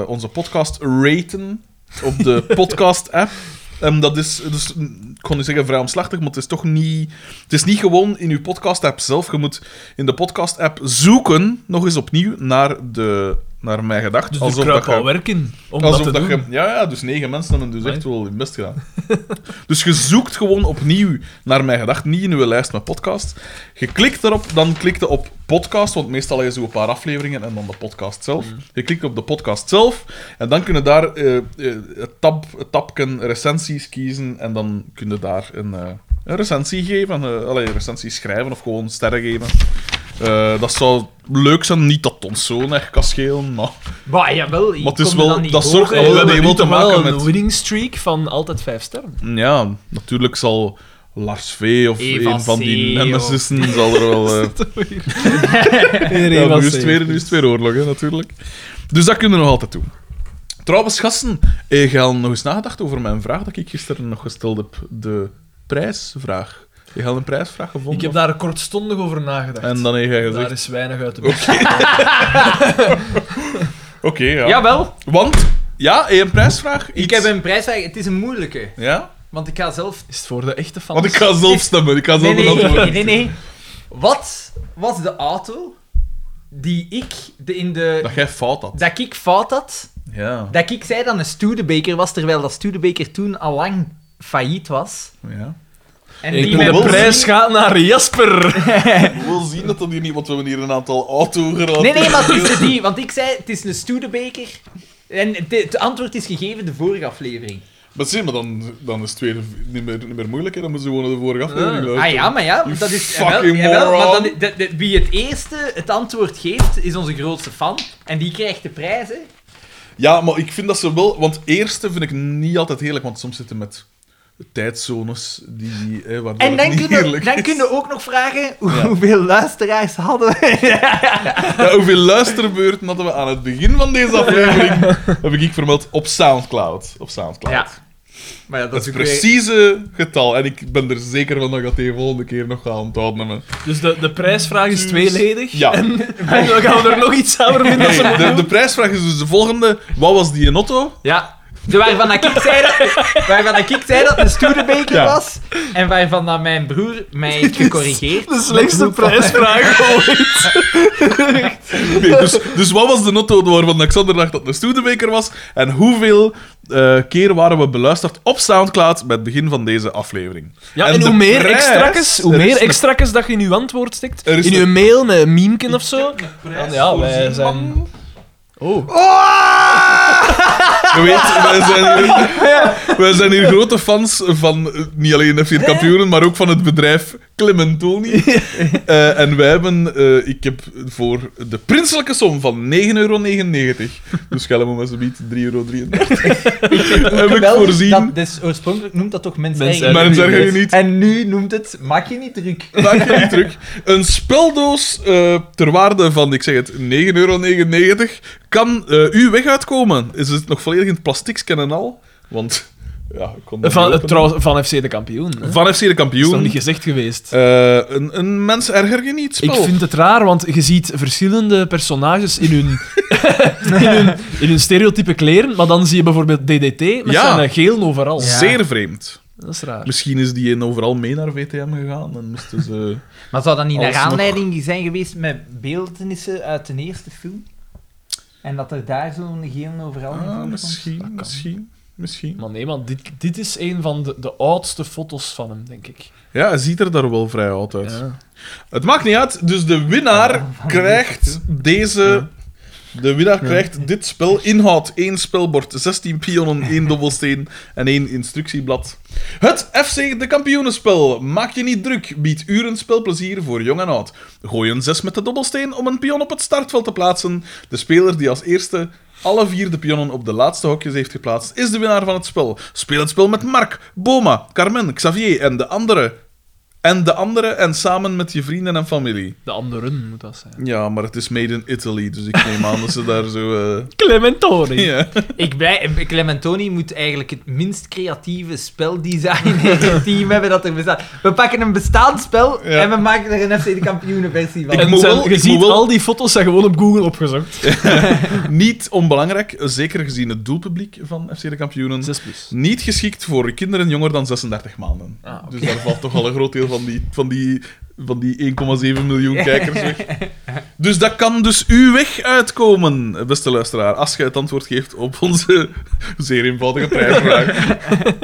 [SPEAKER 2] eh, onze podcast raten op de podcast-app. En dat is, dus, mm, ik kon niet zeggen vrij omslachtig, maar het is toch niet... Het is niet gewoon in je podcast-app zelf. Je moet in de podcast-app zoeken, nog eens opnieuw, naar de... Naar mijn gedacht.
[SPEAKER 3] Dus
[SPEAKER 2] Alsof
[SPEAKER 3] er
[SPEAKER 2] dat
[SPEAKER 3] kruipt
[SPEAKER 2] je-
[SPEAKER 3] wel werken om
[SPEAKER 2] Alsof
[SPEAKER 3] dat te
[SPEAKER 2] dat
[SPEAKER 3] doen.
[SPEAKER 2] je, ja, ja, dus negen mensen hebben dus echt
[SPEAKER 3] Amai.
[SPEAKER 2] wel hun best gedaan. dus je zoekt gewoon opnieuw naar mijn gedacht, niet in uw lijst met podcast. Je klikt erop, dan klikt je op podcast, want meestal heb je zo een paar afleveringen en dan de podcast zelf.
[SPEAKER 3] Mm.
[SPEAKER 2] Je klikt op de podcast zelf en dan kun je daar eh, eh, het, tab, het tabken recensies kiezen en dan kun je daar een, eh, een recensie geven. eh allee, een recensie schrijven of gewoon sterren geven. Eh, dat zou leuk zijn, niet dat het ons zo erg kan schelen, maar...
[SPEAKER 1] Maar jawel, je
[SPEAKER 2] Maar het is
[SPEAKER 1] komt
[SPEAKER 2] wel-
[SPEAKER 1] dan niet
[SPEAKER 2] dat
[SPEAKER 1] voor,
[SPEAKER 2] zorgt
[SPEAKER 1] hè.
[SPEAKER 2] al-
[SPEAKER 3] En we
[SPEAKER 2] dat
[SPEAKER 3] hebben
[SPEAKER 2] heeft
[SPEAKER 3] nu
[SPEAKER 2] wel te
[SPEAKER 3] toch wel
[SPEAKER 2] maken
[SPEAKER 3] een
[SPEAKER 2] met-
[SPEAKER 3] winning streak van altijd vijf sterren.
[SPEAKER 2] Ja, natuurlijk zal Lars V of
[SPEAKER 1] Eva
[SPEAKER 2] een van die
[SPEAKER 1] C, of-
[SPEAKER 2] nemesissen zal er wel... eh, ja, nu, is het weer, nu is het weer oorlog, hè, natuurlijk. Dus dat kunnen we nog altijd doen. Trouwens, gasten, ik heb nog eens nagedacht over mijn vraag dat ik gisteren nog gesteld heb. De prijsvraag. Je had een prijsvraag gevonden.
[SPEAKER 3] Ik heb daar kortstondig over nagedacht.
[SPEAKER 2] En dan heb je
[SPEAKER 3] daar
[SPEAKER 2] gezegd...
[SPEAKER 3] is weinig uit te maken.
[SPEAKER 2] Oké, ja.
[SPEAKER 1] Jawel,
[SPEAKER 2] Want, ja, eh, een prijsvraag.
[SPEAKER 1] ik
[SPEAKER 2] iets-
[SPEAKER 1] heb een prijsvraag. Het is een moeilijke.
[SPEAKER 2] Ja?
[SPEAKER 1] Want ik ga zelf...
[SPEAKER 3] Is het voor de echte fans?
[SPEAKER 2] Want ik ga zelf stemmen. Ik ga zelf
[SPEAKER 1] Nee,
[SPEAKER 2] een
[SPEAKER 1] nee,
[SPEAKER 2] antwoord
[SPEAKER 1] nee, nee, nee. Wat was de auto die ik de, in de...
[SPEAKER 2] Dat jij fout had.
[SPEAKER 1] Dat ik fout had,
[SPEAKER 2] Ja.
[SPEAKER 1] dat ik zei dat een Studebaker was, terwijl dat Studebaker toen al lang failliet was.
[SPEAKER 2] ja.
[SPEAKER 1] En
[SPEAKER 3] Ik
[SPEAKER 2] wil
[SPEAKER 1] mijn
[SPEAKER 3] de
[SPEAKER 2] wel
[SPEAKER 3] prijs gaat naar Jasper.
[SPEAKER 2] We wil zien dat dat hier niet... Want we hebben hier een aantal auto-gerelateerde...
[SPEAKER 1] Nee, nee, maar het is de die, want ik zei het is een Studebaker. En het- het antwoord is gegeven de vorige aflevering.
[SPEAKER 2] Maar zie, maar dan, dan is het weer niet meer, niet meer moeilijk, hè? Dan moeten ze gewoon naar de vorige aflevering luisteren.
[SPEAKER 1] Ah ja, maar ja,
[SPEAKER 2] You
[SPEAKER 1] dat is...
[SPEAKER 2] fucking
[SPEAKER 1] jawel, jawel, maar
[SPEAKER 2] moron.
[SPEAKER 1] dan, dat- dat- wie het eerste het antwoord geeft, is onze grootste fan. En die krijgt de prijzen.
[SPEAKER 2] Ja, maar ik vind dat ze wel... Want eerste vind ik niet altijd heerlijk, want soms zitten met tijdzones die... Hè,
[SPEAKER 1] En
[SPEAKER 2] waardoor het
[SPEAKER 1] dan
[SPEAKER 2] niet
[SPEAKER 1] kunnen we
[SPEAKER 2] heerlijk
[SPEAKER 1] dan
[SPEAKER 2] is.
[SPEAKER 1] kun je ook nog vragen hoe-
[SPEAKER 2] Ja.
[SPEAKER 1] hoeveel luisteraars hadden we.
[SPEAKER 2] Ja, hoeveel luisterbeurten hadden we aan het begin van deze aflevering? heb ik vermeld op Soundcloud. Op Soundcloud.
[SPEAKER 1] Ja. Maar ja, dat,
[SPEAKER 2] Dat
[SPEAKER 1] is
[SPEAKER 2] is het
[SPEAKER 1] ook weer-
[SPEAKER 2] precieze getal. En ik ben er zeker van dat ik dat de volgende keer nog ga onthouden. hè.
[SPEAKER 3] Dus de, de prijsvraag is tweeledig.
[SPEAKER 2] Ja.
[SPEAKER 3] En, en dan gaan we er nog iets aan vinden. als we-
[SPEAKER 2] Hey, de, de prijsvraag is dus de volgende. Wat was die in Otto?
[SPEAKER 1] Ja. De waarvan, dat ik zei dat, waarvan dat ik zei dat het een Studebaker
[SPEAKER 2] Ja.
[SPEAKER 1] was. En waarvan dat mijn broer mij heeft gecorrigeerd.
[SPEAKER 3] De slechtste prijsvraag ooit.
[SPEAKER 2] Nee, dus, dus wat was de notto waarvan Alexander dacht dat het een Studebaker was? En hoeveel eh, keer waren we beluisterd op Soundcloud bij het begin van deze aflevering?
[SPEAKER 3] Ja,
[SPEAKER 2] En
[SPEAKER 3] en,
[SPEAKER 2] de
[SPEAKER 3] hoe meer
[SPEAKER 2] prijs,
[SPEAKER 3] extra's, hoe
[SPEAKER 2] er is
[SPEAKER 3] meer
[SPEAKER 2] een-
[SPEAKER 3] extra's dat je in uw antwoord stikt,
[SPEAKER 2] Er is
[SPEAKER 3] in uw
[SPEAKER 2] een-
[SPEAKER 3] mail met een memeken of zo. Ja, wij zijn... Oh.
[SPEAKER 2] Oh! Je weet, wij zijn, hier, wij zijn hier grote fans van eh, niet alleen F4 Kampioenen, maar ook van het bedrijf Clementoni. Eh, en wij hebben, eh, ik heb voor de prinselijke som van 9,99 euro, dus ga hem maar zo biedt 3,33 euro, heb ik
[SPEAKER 1] Wel,
[SPEAKER 2] voorzien.
[SPEAKER 1] Dat, dus oorspronkelijk noemt dat toch mensen
[SPEAKER 3] Mens
[SPEAKER 2] Maar dat zeg je niet.
[SPEAKER 1] En nu noemt het maak je niet druk.
[SPEAKER 2] Maak je niet druk. Een speldoos eh, ter waarde van, ik zeg het, 9,99 euro kan eh uw weg uitkomen. Is het nog volledig in het plastic en al? Want, ja, ik kon dat niet
[SPEAKER 3] Eh, Van,
[SPEAKER 2] openen.
[SPEAKER 3] trouwens, van FC de kampioen. hè.
[SPEAKER 2] Van FC de
[SPEAKER 3] is nog
[SPEAKER 2] kampioen.
[SPEAKER 3] niet gezegd geweest.
[SPEAKER 2] Eh, een, een mens erger je niet, spel.
[SPEAKER 3] Ik vind het raar, want je ziet verschillende personages in hun, in hun, in hun stereotype kleren, maar dan zie je bijvoorbeeld DDT met
[SPEAKER 2] Ja.
[SPEAKER 3] zijn eh, geel overal.
[SPEAKER 2] Zeer vreemd.
[SPEAKER 3] Dat is raar.
[SPEAKER 2] Misschien is die een overal mee naar VTM gegaan en moesten ze...
[SPEAKER 1] Maar zou dat niet naar
[SPEAKER 2] Alsnog.
[SPEAKER 1] aanleiding zijn geweest met beeldenissen uit de eerste film? En dat er daar zo'n geel overal in
[SPEAKER 2] Ah,
[SPEAKER 1] voorkomt?
[SPEAKER 2] misschien, misschien, misschien.
[SPEAKER 3] Maar nee, man, dit, dit is een van de, de oudste foto's van hem, denk ik.
[SPEAKER 2] Ja, hij ziet er daar wel vrij oud uit.
[SPEAKER 3] Ja.
[SPEAKER 2] Het maakt niet uit, dus de winnaar krijgt deze. De winnaar krijgt dit spel inhoud: één spelbord, 16 pionnen, één dobbelsteen en één instructieblad. Het FC de kampioenenspel. Maak je niet druk, biedt uren spelplezier voor jong en oud. Gooi een zes met de dobbelsteen om een pion op het startveld te plaatsen. De speler die als eerste alle vier de pionnen op de laatste hokjes heeft geplaatst, is de winnaar van het spel. Speel het spel met Mark, Boma, Carmen, Xavier en de andere en de andere en samen met je vrienden en familie.
[SPEAKER 3] De anderen moet dat zijn.
[SPEAKER 2] Ja, maar het is made in Italy, dus ik neem aan dat ze daar zo. eh,
[SPEAKER 3] Clementoni.
[SPEAKER 2] Ja.
[SPEAKER 1] Ik blij, Clementoni moet eigenlijk het minst creatieve speldesign in het team hebben dat er bestaat. We pakken een bestaand spel
[SPEAKER 2] Ja.
[SPEAKER 1] en we maken er een FC de kampioenen versie van.
[SPEAKER 2] Ik
[SPEAKER 3] En
[SPEAKER 2] moet
[SPEAKER 3] zijn-
[SPEAKER 2] wel-
[SPEAKER 3] je
[SPEAKER 2] ik
[SPEAKER 3] ziet
[SPEAKER 2] moet wel-
[SPEAKER 3] al die foto's zijn gewoon op Google opgezocht.
[SPEAKER 2] Niet onbelangrijk, zeker gezien het doelpubliek van FC de Kampioenen.
[SPEAKER 3] 6 plus.
[SPEAKER 2] Niet geschikt voor kinderen jonger dan 36 maanden.
[SPEAKER 3] Ah, oké.
[SPEAKER 2] Dus daar valt toch al een groot deel van die, van die, van die 1,7 miljoen kijkers weg. Dus dat kan dus uw weg uitkomen, beste luisteraar, als je het antwoord geeft op onze zeer eenvoudige prijsvraag.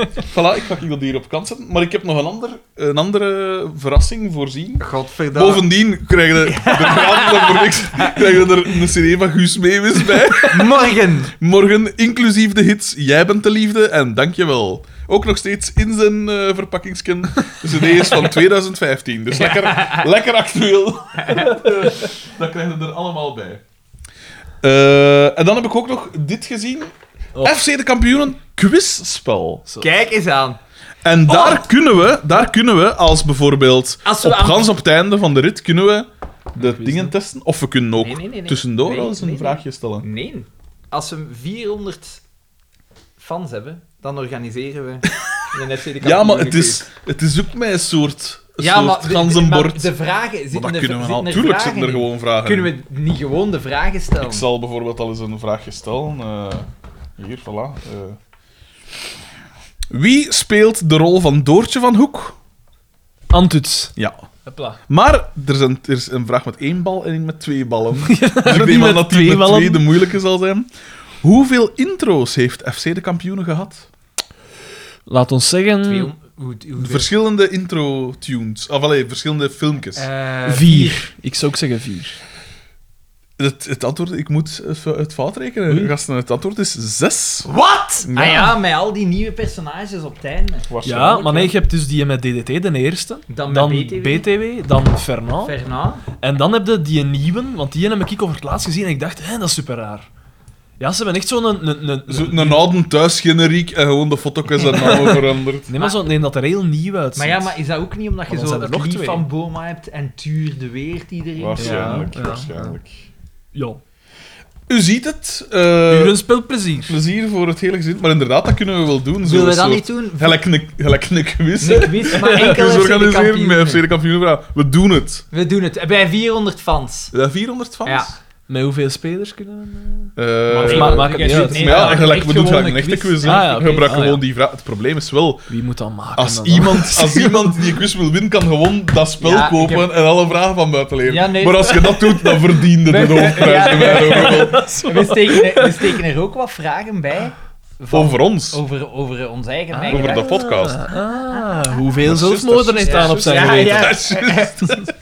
[SPEAKER 2] voilà, ik ga ik dat hier op kant zetten. Maar ik heb nog een, ander, een andere verrassing voorzien.
[SPEAKER 6] Godverdamme.
[SPEAKER 2] Bovendien krijgen de, de verhalen voor niks krijgen er een CD van Guus Meeuwis bij.
[SPEAKER 6] Morgen.
[SPEAKER 2] Morgen, inclusief de hits Jij bent de liefde en Dankjewel. Ook nog steeds in zijn eh verpakkingsken. De CD is van 2015, dus lekker, lekker actueel. Dat krijgen we er allemaal bij. Eh, en dan heb ik ook nog dit gezien.
[SPEAKER 3] Oh.
[SPEAKER 2] FC de kampioenen quizspel.
[SPEAKER 1] Kijk eens aan.
[SPEAKER 2] En daar, kunnen we, daar kunnen we, als bijvoorbeeld
[SPEAKER 1] Oh. Als we
[SPEAKER 2] op,
[SPEAKER 1] aan-
[SPEAKER 2] gans op het einde van de rit, kunnen we de
[SPEAKER 3] Quiz,
[SPEAKER 2] dingen
[SPEAKER 3] hè?
[SPEAKER 2] testen. Of we kunnen ook
[SPEAKER 1] Nee, nee, nee, nee.
[SPEAKER 2] tussendoor
[SPEAKER 1] Nee,
[SPEAKER 2] wel eens een
[SPEAKER 1] nee, nee.
[SPEAKER 2] vraagje stellen.
[SPEAKER 1] Nee. Als we 400 fans hebben, dan organiseren we een FC de kampioenen.
[SPEAKER 2] Ja, maar het is, het is ook mijn soort,
[SPEAKER 1] Ja,
[SPEAKER 2] soort
[SPEAKER 1] maar de- de-
[SPEAKER 2] ganzenbord.
[SPEAKER 1] maar De vragen
[SPEAKER 2] Maar
[SPEAKER 1] zitten
[SPEAKER 2] dat
[SPEAKER 1] er,
[SPEAKER 2] kunnen we
[SPEAKER 1] zitten
[SPEAKER 2] al.
[SPEAKER 1] er
[SPEAKER 2] Natuurlijk
[SPEAKER 1] vragen
[SPEAKER 2] zitten
[SPEAKER 1] in.
[SPEAKER 2] er gewoon vragen.
[SPEAKER 1] Kunnen we niet gewoon de vragen stellen?
[SPEAKER 2] Ik zal bijvoorbeeld al eens een vraagje stellen. Eh, hier, voilà. eh. Wie speelt de rol van Doortje van Hoek?
[SPEAKER 3] Antuts.
[SPEAKER 2] Ja.
[SPEAKER 3] Hopla.
[SPEAKER 2] Maar er, zijn, er is een vraag met één bal en een met twee ballen. dus ik
[SPEAKER 3] die
[SPEAKER 2] neem aan
[SPEAKER 3] met
[SPEAKER 2] dat die
[SPEAKER 3] twee
[SPEAKER 2] met
[SPEAKER 3] ballen.
[SPEAKER 2] twee de moeilijke zal zijn. Hoeveel intro's heeft FC de kampioenen gehad?
[SPEAKER 3] Laat ons zeggen...
[SPEAKER 1] Twee om- hoe- hoe-
[SPEAKER 2] Verschillende intro-tunes. Of allee, verschillende filmpjes.
[SPEAKER 1] Eh,
[SPEAKER 3] Vier. Ik zou ook zeggen vier.
[SPEAKER 2] Het, het antwoord, ik moet het, het fout rekenen,
[SPEAKER 3] Oei.
[SPEAKER 2] gasten. Het antwoord is zes.
[SPEAKER 6] Wat?
[SPEAKER 1] Ah ja, met al die nieuwe personages op het einde.
[SPEAKER 3] Ja, maar nee, je hebt dus die met DDT, de eerste.
[SPEAKER 1] Dan met
[SPEAKER 3] Dan
[SPEAKER 1] BTW.
[SPEAKER 3] BTW, dan Fernand.
[SPEAKER 1] Fernand.
[SPEAKER 3] En dan heb je die nieuwe, want die heb ik over het laatst gezien en ik dacht, hé, dat is super raar. Ja, ze hebben echt zo'n... Een, een, een,
[SPEAKER 2] Zo, een oude thuisgeneriek en gewoon de foto's en namen veranderd.
[SPEAKER 3] Nee, maar zo, nee, dat er heel nieuw uitziet.
[SPEAKER 1] Maar ja, maar is dat ook niet omdat je
[SPEAKER 3] Maar dan
[SPEAKER 1] zo
[SPEAKER 3] zijn
[SPEAKER 1] het
[SPEAKER 3] er nog
[SPEAKER 1] lief
[SPEAKER 3] twee.
[SPEAKER 1] van Boma hebt en Tuur de Weert die erin zit?
[SPEAKER 2] Waarschijnlijk,
[SPEAKER 3] Ja, ja.
[SPEAKER 2] waarschijnlijk.
[SPEAKER 3] Ja,
[SPEAKER 2] U ziet het. eh,
[SPEAKER 3] puur een speelplezier.
[SPEAKER 2] plezier voor het hele gezin. Maar inderdaad, dat kunnen we wel doen. Zo
[SPEAKER 1] Zullen we dat
[SPEAKER 2] een soort-
[SPEAKER 1] niet doen?
[SPEAKER 2] Gelijk een, gelijk een quiz. hè.
[SPEAKER 1] Nee, quiz, maar enkel
[SPEAKER 2] Quiz
[SPEAKER 1] FC de
[SPEAKER 2] organiseren met FC
[SPEAKER 1] kampioenen.
[SPEAKER 2] de kampioenenvraag. We doen het.
[SPEAKER 1] We doen het. Bij 400 fans.
[SPEAKER 2] Is dat 400 fans?
[SPEAKER 1] Ja.
[SPEAKER 3] Met hoeveel spelers kunnen we...
[SPEAKER 2] Eh,
[SPEAKER 3] Maar-
[SPEAKER 2] eh,
[SPEAKER 3] maar- maakt het niet uit.
[SPEAKER 2] maar ja, gelijk, we doen
[SPEAKER 1] gewoon
[SPEAKER 2] gelijk een echte quiz.
[SPEAKER 3] Ah, ja, oké.
[SPEAKER 2] Gebruik
[SPEAKER 3] Ah,
[SPEAKER 2] gewoon
[SPEAKER 3] ja.
[SPEAKER 2] die vraag. Het probleem is wel,
[SPEAKER 3] Wie moet dat maken?
[SPEAKER 2] Als
[SPEAKER 3] dan?
[SPEAKER 2] iemand, als iemand die een quiz wil winnen, kan gewoon dat spel
[SPEAKER 1] Ja, ik
[SPEAKER 2] kopen
[SPEAKER 1] heb-
[SPEAKER 2] en alle vragen van buiten leren.
[SPEAKER 1] Ja, nee.
[SPEAKER 2] Maar als je dat doet, dan verdiende de hoofdprijs.
[SPEAKER 1] Ja.
[SPEAKER 2] in mijn ogen.
[SPEAKER 1] We steken, er, we steken er ook wat vragen bij. van-
[SPEAKER 2] Over ons.
[SPEAKER 1] over, over ons eigen eigen
[SPEAKER 2] Over de
[SPEAKER 1] dag.
[SPEAKER 2] podcast.
[SPEAKER 3] Ah, hoeveel
[SPEAKER 2] Dat is juist,
[SPEAKER 3] zelfmoorden
[SPEAKER 2] dat is
[SPEAKER 3] heeft aan op zijn
[SPEAKER 1] juist.
[SPEAKER 3] geweten?
[SPEAKER 1] Ja,
[SPEAKER 2] Dat is juist.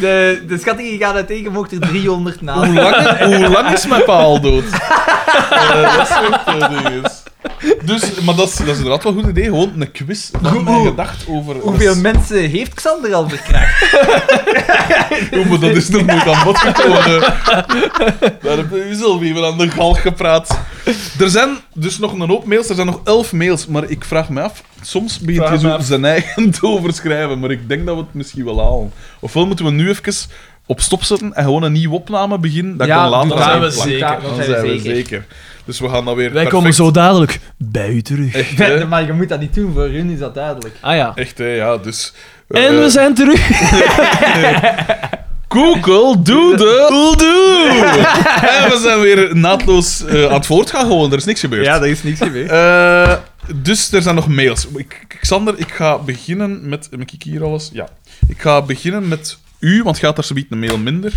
[SPEAKER 1] De, de schattingen gaan uit tegen, mocht er 300 na.
[SPEAKER 2] Hoe lang, hoe lang is mijn paal dood? Eh, dat soort eh, dingen. Dus, maar dat is, dat is inderdaad wel een goed idee. Gewoon een quiz van mijn gedacht over...
[SPEAKER 1] Hoeveel mensen heeft Xander al verkracht?
[SPEAKER 2] Ja, maar dat is nog nooit aan bod gekomen. Daar heb je zelf even aan de galg gepraat. Er zijn dus nog een hoop mails. Er zijn nog elf mails. Maar ik vraag me af... Soms begint
[SPEAKER 3] Vraag
[SPEAKER 2] je
[SPEAKER 3] me
[SPEAKER 2] zo
[SPEAKER 3] af.
[SPEAKER 2] zijn eigen te overschrijven. Maar ik denk dat we het misschien wel halen. Ofwel moeten we nu even op stop zetten en gewoon een nieuwe opname beginnen. Dat kan later
[SPEAKER 3] dat
[SPEAKER 2] zijn
[SPEAKER 3] zijn we
[SPEAKER 2] plan.
[SPEAKER 3] zeker.
[SPEAKER 1] Dat, dat
[SPEAKER 2] Dan zijn we zeker. Dus we gaan dan weer
[SPEAKER 3] Wij
[SPEAKER 2] perfect-
[SPEAKER 3] komen zo dadelijk bij u terug.
[SPEAKER 2] Echt, hè?
[SPEAKER 1] Maar je moet dat niet doen, voor hun is dat duidelijk.
[SPEAKER 3] Ah ja.
[SPEAKER 2] Echt, hè? Ja, dus... eh,
[SPEAKER 3] En we zijn terug.
[SPEAKER 2] Google, doe de... en we zijn weer naadloos eh, aan het voortgaan gewoon. Er is niks gebeurd.
[SPEAKER 7] Ja, er is niks gebeurd.
[SPEAKER 2] Eh, dus er zijn nog mails. Ik, Xander, ik ga beginnen met. Heb ik hier alles? Ja. Ik ga beginnen met u, want gaat er zoiets een mail minder.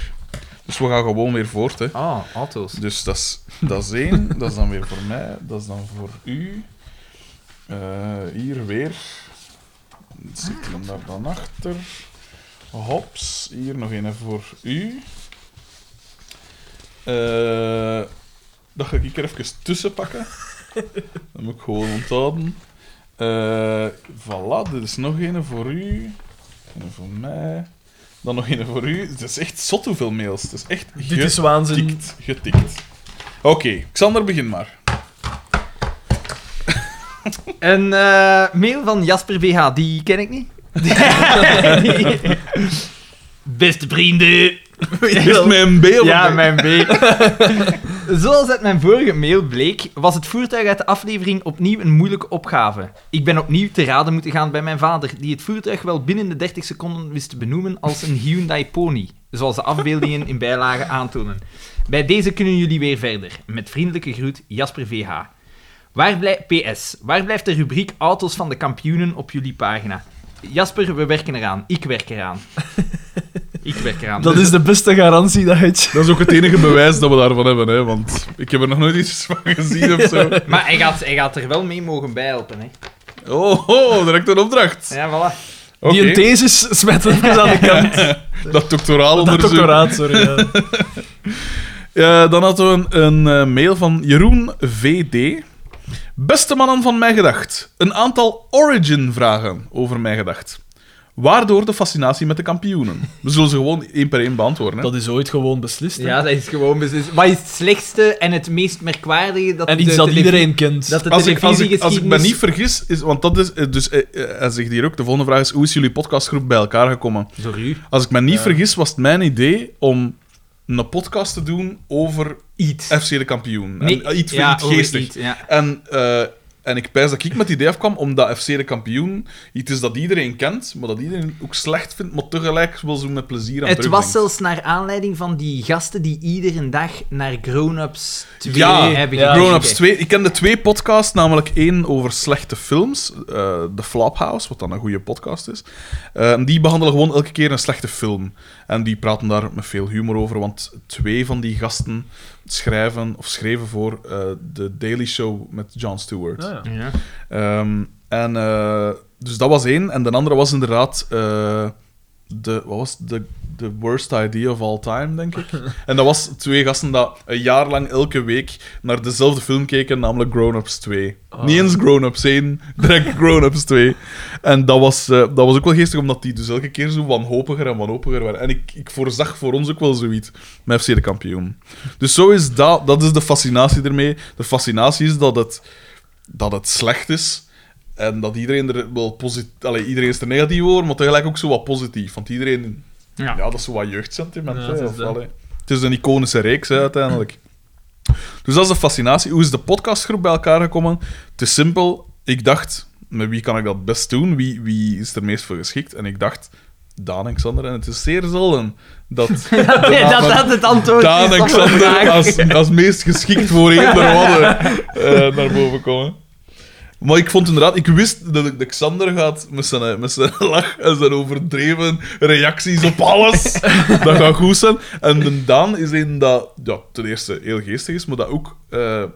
[SPEAKER 2] Dus we gaan gewoon weer voort. Hè.
[SPEAKER 1] Ah, auto's.
[SPEAKER 2] Dus dat is, dat is één. dat is dan weer voor mij. Dat is dan voor u. Eh, hier weer. Zit hem daar dan achter. Hops. Hier nog een voor u. Eh, dat ga ik er even tussen pakken. Dat moet ik gewoon onthouden. Eh voilà, dit is nog een voor u. Een voor mij. Dan nog een voor u. Het is echt zot hoeveel mails. Het is echt
[SPEAKER 3] Dit is waanzin.
[SPEAKER 2] Getikt, getikt. Oké, Xander, begin maar.
[SPEAKER 1] Een eh, mail van Jasper VH, die ken ik niet. Die- Beste vrienden.
[SPEAKER 2] Is mijn beeld?
[SPEAKER 1] Ja, mijn B. Zoals uit mijn vorige mail bleek, was het voertuig uit de aflevering opnieuw een moeilijke opgave. Ik ben opnieuw te raden moeten gaan bij mijn vader, die het voertuig wel binnen de 30 seconden wist te benoemen als een Hyundai Pony, zoals de afbeeldingen in bijlagen aantonen. Bij deze kunnen jullie weer verder. Met vriendelijke groet, Jasper VH. Waar blijft PS, waar blijft de rubriek Auto's van de Kampioenen op jullie pagina? Jasper, we werken eraan. Ik werk eraan. Ik werk eraan.
[SPEAKER 3] Dat is de beste garantie dat het...
[SPEAKER 2] Dat is ook het enige bewijs dat we daarvan hebben, hè, want ik heb er nog nooit iets van gezien of zo.
[SPEAKER 1] Maar hij gaat, hij gaat er wel mee mogen bijhelpen, hè.
[SPEAKER 2] Oh, oh direct een opdracht.
[SPEAKER 1] Ja, voilà.
[SPEAKER 2] Oké,
[SPEAKER 3] Die een thesis smet even aan de kant.
[SPEAKER 2] dat doctoraal
[SPEAKER 3] Dat
[SPEAKER 2] onderzoek.
[SPEAKER 3] doctoraat, sorry. ja.
[SPEAKER 2] Eh, dan hadden we een, een, eh, mail van Jeroen VD. Beste mannen van Mij Gedacht. Een aantal origin-vragen over Mij Gedacht. Waardoor de fascinatie met de kampioenen? We zullen ze gewoon één per één beantwoorden. Hè?
[SPEAKER 3] Dat is ooit gewoon beslist. hè.
[SPEAKER 1] Ja, dat is gewoon beslist. Wat is het slechtste en het meest merkwaardige dat
[SPEAKER 3] En
[SPEAKER 1] de
[SPEAKER 3] iets dat
[SPEAKER 1] televi-
[SPEAKER 3] iedereen kent.
[SPEAKER 1] Dat de
[SPEAKER 2] als ik, als, ik, als ik me
[SPEAKER 1] televisiegeschiedenis...
[SPEAKER 2] niet vergis, is, want dat is. eh, Dus, eh, eh, hij zegt hier ook: de volgende vraag is: hoe is jullie podcastgroep bij elkaar gekomen?
[SPEAKER 1] Door u.
[SPEAKER 2] Als ik me niet vergis, was het mijn idee om een podcast te doen over
[SPEAKER 1] Iets.
[SPEAKER 2] FC de kampioen. en, eh, iets,
[SPEAKER 1] ja,
[SPEAKER 2] iets
[SPEAKER 1] over
[SPEAKER 2] geestig.
[SPEAKER 1] iets, ja.
[SPEAKER 2] En, eh, en ik pijs dat ik met het idee afkwam omdat FC de kampioen iets is dat iedereen kent, maar dat iedereen ook slecht vindt, maar tegelijk wel zo met plezier aan
[SPEAKER 1] Het was
[SPEAKER 2] terugdenkt.
[SPEAKER 1] zelfs naar aanleiding van die gasten die iedere dag naar Grown-Ups 2
[SPEAKER 2] Ja,
[SPEAKER 1] hebben
[SPEAKER 3] ja.
[SPEAKER 1] gekeken.
[SPEAKER 2] Grown-ups 2. Ik kende twee podcasts, namelijk één over slechte films, eh The Flophouse, wat dan een goede podcast is. Eh, die behandelen gewoon elke keer een slechte film. En die praten daar met veel humor over, want twee van die gasten schrijven of schreven voor eh, The Daily Show met Jon Stewart.
[SPEAKER 3] Ah, ja.
[SPEAKER 1] Ja.
[SPEAKER 2] Ehm, en, eh, dus dat was één. En de andere was inderdaad eh, de, wat was het? de, de worst idea of all time, denk ik. en dat was twee gasten dat een jaar lang elke week naar dezelfde film keken, namelijk Grown-Ups 2. Niet eens Grown-Ups 1, direct Grown-Ups 2. En dat was, eh, dat was ook wel geestig, omdat die dus elke keer zo wanhopiger en wanhopiger werden. En ik, ik voorzag voor ons ook wel zoiets met FC de kampioen. Dus zo is dat, dat is de fascinatie ermee. De fascinatie is dat het dat het slecht is. En dat iedereen er wel positief... Allee, iedereen is er negatief over, maar tegelijk ook zo wat positief. Want iedereen... Ja,
[SPEAKER 1] Ja.
[SPEAKER 2] dat is zo wat jeugdsentiment.
[SPEAKER 3] Ja,
[SPEAKER 2] hè,
[SPEAKER 3] het is
[SPEAKER 2] of,
[SPEAKER 3] dat.
[SPEAKER 2] allee. het is een iconische reeks, hè, uiteindelijk. Dus dat is de fascinatie. Hoe is de podcastgroep bij elkaar gekomen? Het is simpel. Ik dacht, met wie kan ik dat best doen? Wie, wie is er meest voor geschikt? En ik dacht, Daan en Xander. En het is zeer zelden dat...
[SPEAKER 1] Nee, dat dat het antwoord
[SPEAKER 2] Daan
[SPEAKER 1] is
[SPEAKER 2] en
[SPEAKER 1] op de
[SPEAKER 2] Xander
[SPEAKER 1] vraag.
[SPEAKER 2] als, als meest geschikt voor eender hadden eh, naar boven komen. Maar ik vond inderdaad, ik wist dat ik de Xander gaat met zijn, eh, met zijn lach en zijn overdreven reacties op alles. dat gaat goed zijn. En de Daan is een dat ja, ten eerste heel geestig is, maar dat ook eh, eh,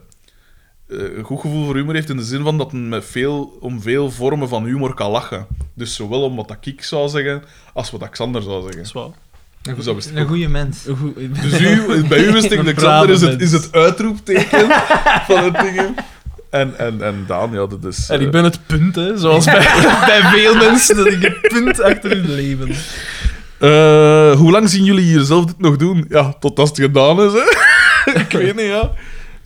[SPEAKER 2] een goed gevoel voor humor heeft in de zin van dat men met veel, om veel vormen van humor kan lachen. Dus zowel om wat dat ik zou zeggen, als wat dat Xander zou zeggen.
[SPEAKER 3] is wel.
[SPEAKER 2] Dus dat wist ik
[SPEAKER 4] Een goede mens.
[SPEAKER 2] Dus u, bij u wist ik,
[SPEAKER 3] Een
[SPEAKER 2] Xander is het,
[SPEAKER 3] brave
[SPEAKER 2] is het uitroepteken van het ding. En, en, en Daan, ja, dat is...
[SPEAKER 3] En
[SPEAKER 2] eh,
[SPEAKER 3] ik ben het punt, hè, zoals bij, bij veel mensen, dat ik het punt achter hun leven.
[SPEAKER 2] eh, hoe lang zien jullie jezelf dit nog doen? Ja, totdat het gedaan is, hè? ik weet niet, ja.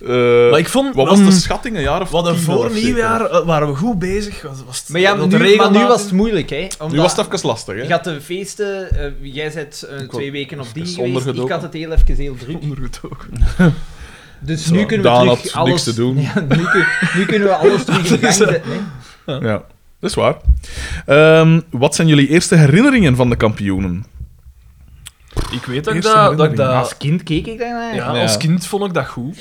[SPEAKER 2] Eh,
[SPEAKER 3] Maar ik vond...
[SPEAKER 2] wat was de
[SPEAKER 3] mm,
[SPEAKER 2] schatting? Een jaar of
[SPEAKER 3] Wat een
[SPEAKER 2] tien
[SPEAKER 3] voor
[SPEAKER 2] of zeker?
[SPEAKER 3] nieuwjaar eh, waren we goed bezig. Was, was het-
[SPEAKER 4] Maar, ja,
[SPEAKER 3] dat
[SPEAKER 4] nu,
[SPEAKER 3] de regel
[SPEAKER 4] maar nu was
[SPEAKER 3] laten-
[SPEAKER 4] het moeilijk, hè? Omdat
[SPEAKER 2] Nu was het even lastig, hè?
[SPEAKER 4] Je had de feesten, eh, jij zit eh, twee weken op die
[SPEAKER 2] is
[SPEAKER 4] geweest. Ik
[SPEAKER 2] ondergedoken.
[SPEAKER 4] had het heel even heel druk.
[SPEAKER 3] ondergedoken.
[SPEAKER 4] Dus
[SPEAKER 2] Zo,
[SPEAKER 4] nu kunnen we
[SPEAKER 2] Daan
[SPEAKER 4] terug
[SPEAKER 2] had
[SPEAKER 4] alles...
[SPEAKER 2] niks te doen.
[SPEAKER 4] Ja, nu, kun- nu kunnen we alles terug in gang
[SPEAKER 3] is, eh,
[SPEAKER 4] zetten, hè?
[SPEAKER 2] Ja, dat is waar. Ehm, wat zijn jullie eerste herinneringen van de kampioenen?
[SPEAKER 3] Ik weet dat ik
[SPEAKER 2] Eerste
[SPEAKER 3] dat... dat, ik
[SPEAKER 2] herinnering.
[SPEAKER 4] Als
[SPEAKER 3] dat
[SPEAKER 4] kind keek ik daarnaar.
[SPEAKER 3] ja,
[SPEAKER 4] Ja.
[SPEAKER 3] als kind vond ik dat goed.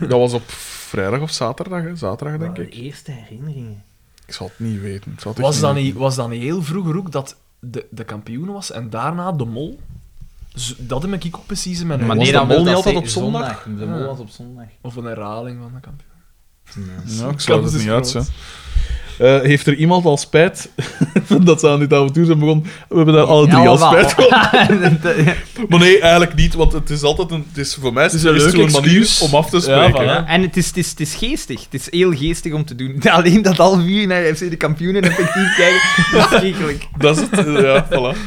[SPEAKER 2] Dat was op vrijdag of zaterdag, hè? Zaterdag, denk
[SPEAKER 4] De
[SPEAKER 2] ik.
[SPEAKER 4] eerste herinneringen.
[SPEAKER 2] Ik zal het niet weten. Ik zal het echt
[SPEAKER 3] Was dat
[SPEAKER 2] weten.
[SPEAKER 3] niet, was dat niet heel vroeger ook dat de, de kampioen was en daarna de mol? Zo- Dat heb ik ook precies in mijn
[SPEAKER 2] Maar
[SPEAKER 3] hoofd.
[SPEAKER 2] nee, de mol
[SPEAKER 4] wil
[SPEAKER 2] niet
[SPEAKER 4] dat
[SPEAKER 2] altijd
[SPEAKER 4] ze-
[SPEAKER 2] op zondag?
[SPEAKER 4] De
[SPEAKER 3] Ja.
[SPEAKER 4] mol was op zondag.
[SPEAKER 3] Of een herhaling van de kampioen.
[SPEAKER 2] Ja, ik sluit
[SPEAKER 3] Kans
[SPEAKER 2] het
[SPEAKER 3] is
[SPEAKER 2] niet uit,
[SPEAKER 3] groot.
[SPEAKER 2] hè. Eh, heeft er iemand al spijt dat ze aan dit avontuur zijn begonnen? We hebben daar alle drie al
[SPEAKER 4] Allemaal.
[SPEAKER 2] spijt van. Maar nee, eigenlijk niet, want het is altijd een... Het is voor mij is
[SPEAKER 3] is
[SPEAKER 2] het
[SPEAKER 3] een
[SPEAKER 2] een,
[SPEAKER 3] leuke
[SPEAKER 2] manier
[SPEAKER 3] excuus.
[SPEAKER 2] om af te
[SPEAKER 3] Ja,
[SPEAKER 2] spreken.
[SPEAKER 3] voilà.
[SPEAKER 2] hè.
[SPEAKER 4] En het is, het, is, het is geestig. Het is heel geestig om te doen. Alleen dat half uur naar FC de kampioenen effectief kijken, dat is schrikkelijk.
[SPEAKER 2] Dat is het. eh, Ja, voilà.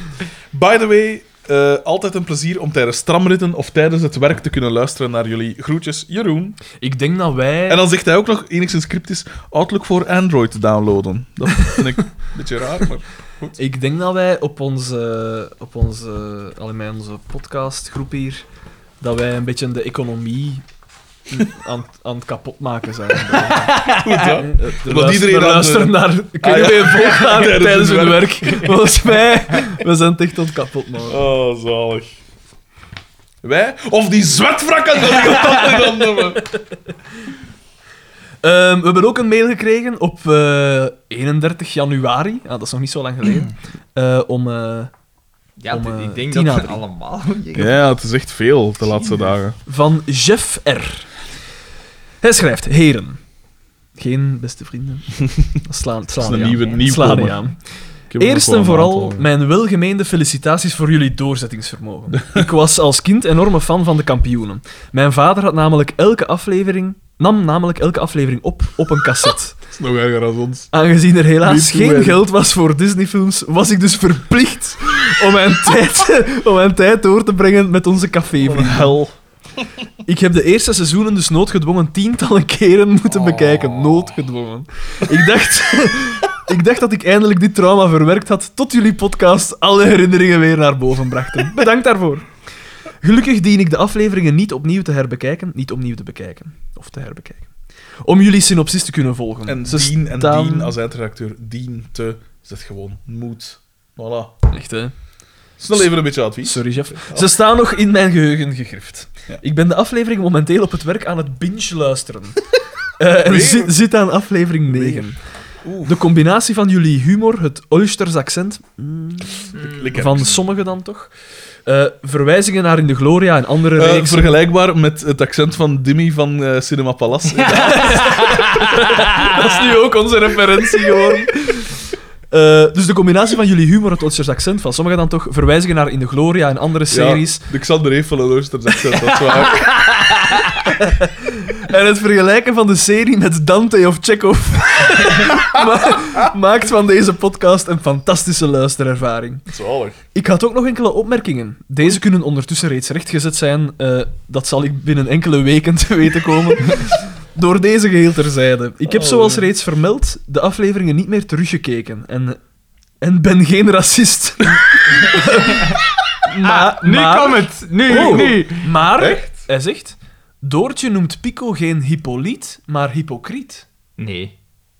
[SPEAKER 2] By the way, eh, altijd een plezier om tijdens tramritten of tijdens het werk te kunnen luisteren naar jullie. Groetjes, Jeroen.
[SPEAKER 3] Ik denk dat wij...
[SPEAKER 2] En dan zegt hij ook nog enigszins cryptisch Outlook voor Android te downloaden. Dat vind ik een beetje raar, maar...
[SPEAKER 3] Ik denk dat wij op onze, op onze, allee, mijn- onze podcastgroep hier, dat wij een beetje de economie aan, het- aan het kapotmaken zijn.
[SPEAKER 2] Goed, Ah, ja.
[SPEAKER 3] eh, De
[SPEAKER 2] Omdat iedereen aan de-
[SPEAKER 3] luisteren naar kunnen
[SPEAKER 2] Ah,
[SPEAKER 3] we volgaan
[SPEAKER 2] Tijdens
[SPEAKER 3] tijdens
[SPEAKER 2] hun
[SPEAKER 3] hun werk. Volgens mij, we zijn het echt tot kapot maken.
[SPEAKER 2] Oh, zalig. Wij? Of die zwetwrakken, dat ik het altijd dan noemen.
[SPEAKER 3] Ehm, we hebben ook een mail gekregen op eh, 31 januari, ah, dat is nog niet zo lang geleden, eh, om eh,
[SPEAKER 4] Ja,
[SPEAKER 3] Om,
[SPEAKER 4] dit-
[SPEAKER 3] eh,
[SPEAKER 4] ik denk
[SPEAKER 3] tien na
[SPEAKER 4] dat we
[SPEAKER 3] drie.
[SPEAKER 4] allemaal...
[SPEAKER 2] Ja, het is echt veel de laatste dagen.
[SPEAKER 3] van Jeff R. Hij schrijft, heren. Geen beste vrienden. Slaan, slaan
[SPEAKER 2] een
[SPEAKER 3] niet aan.
[SPEAKER 2] nieuwe- nieuw
[SPEAKER 3] Slaan
[SPEAKER 2] komen.
[SPEAKER 3] niet aan. Eerst en vooral mijn welgemeende felicitaties voor jullie doorzettingsvermogen. Ik was als kind enorme fan van de kampioenen. Mijn vader had namelijk elke aflevering, nam namelijk elke aflevering op op een cassette.
[SPEAKER 2] Het is nog erger dan ons.
[SPEAKER 3] Aangezien er helaas
[SPEAKER 2] Niet doen,
[SPEAKER 3] geen
[SPEAKER 2] hè.
[SPEAKER 3] geld was voor Disneyfilms, was ik dus verplicht om mijn tijd, om mijn tijd door te brengen met onze cafévrienden. hel. Ik heb de eerste seizoenen dus noodgedwongen tientallen keren moeten bekijken. Noodgedwongen. Ik dacht, ik dacht dat ik eindelijk dit trauma verwerkt had, tot jullie podcast alle herinneringen weer naar boven brachten. Bedankt daarvoor. Gelukkig dien ik de afleveringen niet opnieuw te herbekijken. Niet opnieuw te bekijken. Of te herbekijken. Om jullie synopsis te kunnen volgen.
[SPEAKER 2] En
[SPEAKER 3] Ze
[SPEAKER 2] Dien en
[SPEAKER 3] staan-
[SPEAKER 2] Dien als eindredacteur. Dien te... Zet gewoon moed. Voilà.
[SPEAKER 3] Echt, hè?
[SPEAKER 2] Snel even een beetje advies.
[SPEAKER 3] Sorry, Jeff. Ze staan nog in mijn geheugen gegrift.
[SPEAKER 2] Ja.
[SPEAKER 3] Ik ben de aflevering momenteel op het werk aan het binge luisteren. Eh, en
[SPEAKER 2] Weer?
[SPEAKER 3] zi- zit aan aflevering 9.
[SPEAKER 2] Oeh.
[SPEAKER 3] De combinatie van jullie humor, het Oysters accent, mm,
[SPEAKER 2] Lekker.
[SPEAKER 3] van sommigen dan toch, eh, verwijzingen naar In de Gloria en andere
[SPEAKER 2] Eh,
[SPEAKER 3] reeksen.
[SPEAKER 2] vergelijkbaar met het accent van Dimmy van eh, Cinema Palace.
[SPEAKER 3] Dat is nu ook onze referentie geworden. Eh, dus de combinatie van jullie humor, het Oosters accent, van sommigen dan toch, verwijzingen naar In de Gloria en andere series,
[SPEAKER 2] Ja, de Xander heeft wel een Oosters accent, dat is waar.
[SPEAKER 3] En het vergelijken van de serie met Dante of Chekhov ma- maakt van deze podcast een fantastische luisterervaring.
[SPEAKER 2] Zalig.
[SPEAKER 3] Ik had ook nog enkele opmerkingen. Deze kunnen ondertussen reeds rechtgezet zijn. Eh, dat zal ik binnen enkele weken te weten komen. Door deze geheel terzijde. Ik heb
[SPEAKER 2] Oh.
[SPEAKER 3] zoals reeds vermeld de afleveringen niet meer teruggekeken. En, en ben geen racist.
[SPEAKER 2] Ah,
[SPEAKER 3] maar,
[SPEAKER 1] Ah,
[SPEAKER 4] Nu
[SPEAKER 3] maar-
[SPEAKER 4] komt het! Nu,
[SPEAKER 3] Oh.
[SPEAKER 4] nu!
[SPEAKER 3] maar
[SPEAKER 2] Echt?
[SPEAKER 3] hij zegt: Doortje noemt Pico geen Hippolyt, maar hypocriet.
[SPEAKER 4] Nee.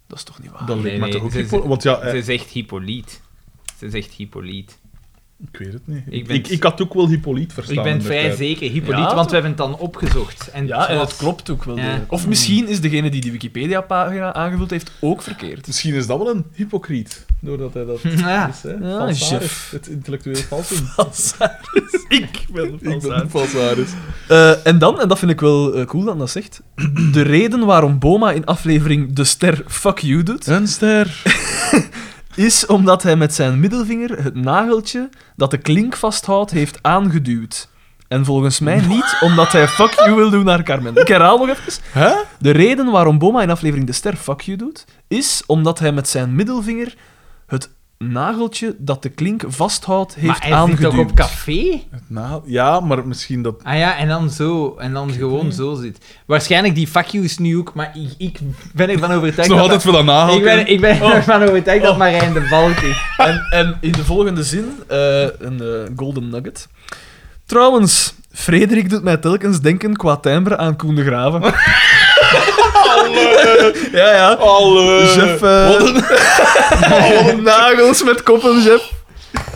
[SPEAKER 3] Dat is toch niet waar?
[SPEAKER 2] Dat
[SPEAKER 4] Nee,
[SPEAKER 2] leek me
[SPEAKER 4] nee,
[SPEAKER 2] toch ook
[SPEAKER 4] ze-
[SPEAKER 2] Hippo- Want ja, eh,
[SPEAKER 4] Ze zegt Hippolyte. Ze zegt Hippolyte.
[SPEAKER 2] Ik weet het niet.
[SPEAKER 1] Ik
[SPEAKER 2] Ik,
[SPEAKER 1] ben-
[SPEAKER 2] ik, ik had ook wel Hippolyte verstaan.
[SPEAKER 1] Ik ben vrij
[SPEAKER 2] inderdaad.
[SPEAKER 1] zeker, Hippolyte,
[SPEAKER 3] Ja.
[SPEAKER 1] want we hebben het dan opgezocht. En
[SPEAKER 3] Ja, en
[SPEAKER 1] was-
[SPEAKER 3] dat klopt ook wel.
[SPEAKER 1] Ja.
[SPEAKER 3] degelijk. Of misschien is degene die die Wikipedia-pagina aangevuld heeft ook verkeerd.
[SPEAKER 2] Misschien is dat wel een hypocriet, doordat hij dat
[SPEAKER 1] Ja.
[SPEAKER 2] is. Hè?
[SPEAKER 3] Ja,
[SPEAKER 2] Falsaris.
[SPEAKER 3] Ah, chef.
[SPEAKER 2] Het intellectuele falsum.
[SPEAKER 3] Dus ik ben
[SPEAKER 2] ik ben een dus. falsaris.
[SPEAKER 3] Eh, en dan, en dat vind ik wel eh, cool dat dat zegt, de reden waarom Boma in aflevering De Ster Fuck You doet,
[SPEAKER 2] Een ster.
[SPEAKER 3] is omdat hij met zijn middelvinger het nageltje dat de klink vasthoudt heeft aangeduwd. En volgens mij niet omdat hij fuck you wil doen naar Carmen. Ik herhaal nog even.
[SPEAKER 2] Hè?
[SPEAKER 3] De reden waarom Boma in aflevering De Ster fuck you doet, is omdat hij met zijn middelvinger het nageltje dat de klink vasthoudt heeft
[SPEAKER 1] Maar hij zit
[SPEAKER 3] aangeduwd.
[SPEAKER 1] toch op café?
[SPEAKER 2] Nou, ja, maar misschien dat...
[SPEAKER 1] Ah ja, en dan zo. En dan gewoon zo zit. Waarschijnlijk die fuck you is nu ook, maar ik, ik ben ervan
[SPEAKER 2] Het
[SPEAKER 1] overtuigd...
[SPEAKER 2] is nog
[SPEAKER 1] dat
[SPEAKER 2] altijd veel aan nagel.
[SPEAKER 1] ik ben, ik ben
[SPEAKER 3] Oh.
[SPEAKER 1] ervan overtuigd dat Marijn de Valk is.
[SPEAKER 3] en, en in de volgende zin eh, een eh, golden nugget. Trouwens, Frederik doet mij telkens denken qua timbre aan Koen de Graven. ja, ja.
[SPEAKER 2] Alle...
[SPEAKER 3] Jeff, eh,
[SPEAKER 2] Wat een...
[SPEAKER 3] nagels met koppen, Jeff.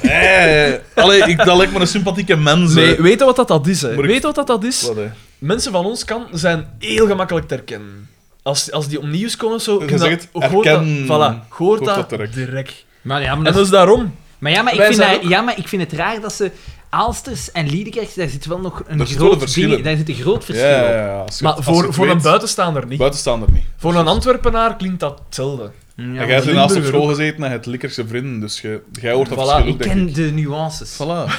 [SPEAKER 2] Eh, Allee, ik, dat lijkt me een sympathieke mens. hè.
[SPEAKER 3] Nee, weet je wat dat, dat is? Hè?
[SPEAKER 2] Moet ik-
[SPEAKER 3] Weet je wat dat, dat is?
[SPEAKER 2] Wat, hè?
[SPEAKER 3] Mensen van ons kan zijn heel gemakkelijk te herkennen. Als, als die opnieuw komen, zo...
[SPEAKER 2] Je
[SPEAKER 3] kun
[SPEAKER 2] zegt het,
[SPEAKER 3] dat, hoort dat,
[SPEAKER 2] herken-
[SPEAKER 3] voilà, hoort dat,
[SPEAKER 2] direct.
[SPEAKER 3] direct.
[SPEAKER 1] Maar ja, maar,
[SPEAKER 3] En
[SPEAKER 1] dat-
[SPEAKER 3] dat is daarom.
[SPEAKER 1] maar, ja, maar, ik,
[SPEAKER 3] wij
[SPEAKER 1] vind
[SPEAKER 3] zijn
[SPEAKER 1] dat-
[SPEAKER 3] ook-
[SPEAKER 1] ja, maar ik vind het raar dat ze... Aalsters en Liedekerk, daar zit wel nog een
[SPEAKER 2] Daar zit wel een
[SPEAKER 1] groot
[SPEAKER 2] verschil in.
[SPEAKER 1] ding, Daar zit een groot
[SPEAKER 2] Ja,
[SPEAKER 1] verschil
[SPEAKER 2] ja,
[SPEAKER 1] op.
[SPEAKER 2] ja. Als je
[SPEAKER 3] Maar
[SPEAKER 2] het- als je
[SPEAKER 3] voor,
[SPEAKER 2] het
[SPEAKER 3] voor een
[SPEAKER 2] weet,
[SPEAKER 3] buitenstaander niet.
[SPEAKER 2] buitenstaander niet.
[SPEAKER 3] Voor een Antwerpenaar klinkt dat hetzelfde.
[SPEAKER 1] Ja,
[SPEAKER 2] en jij hebt naast op
[SPEAKER 3] Limburger
[SPEAKER 2] school gezeten en je hebt likkerse vrienden, dus je- jij hoort dat
[SPEAKER 3] Voilà,
[SPEAKER 2] verschil
[SPEAKER 1] ik
[SPEAKER 2] ook, denk
[SPEAKER 1] ken
[SPEAKER 2] ik.
[SPEAKER 1] de nuances.
[SPEAKER 2] Voilà.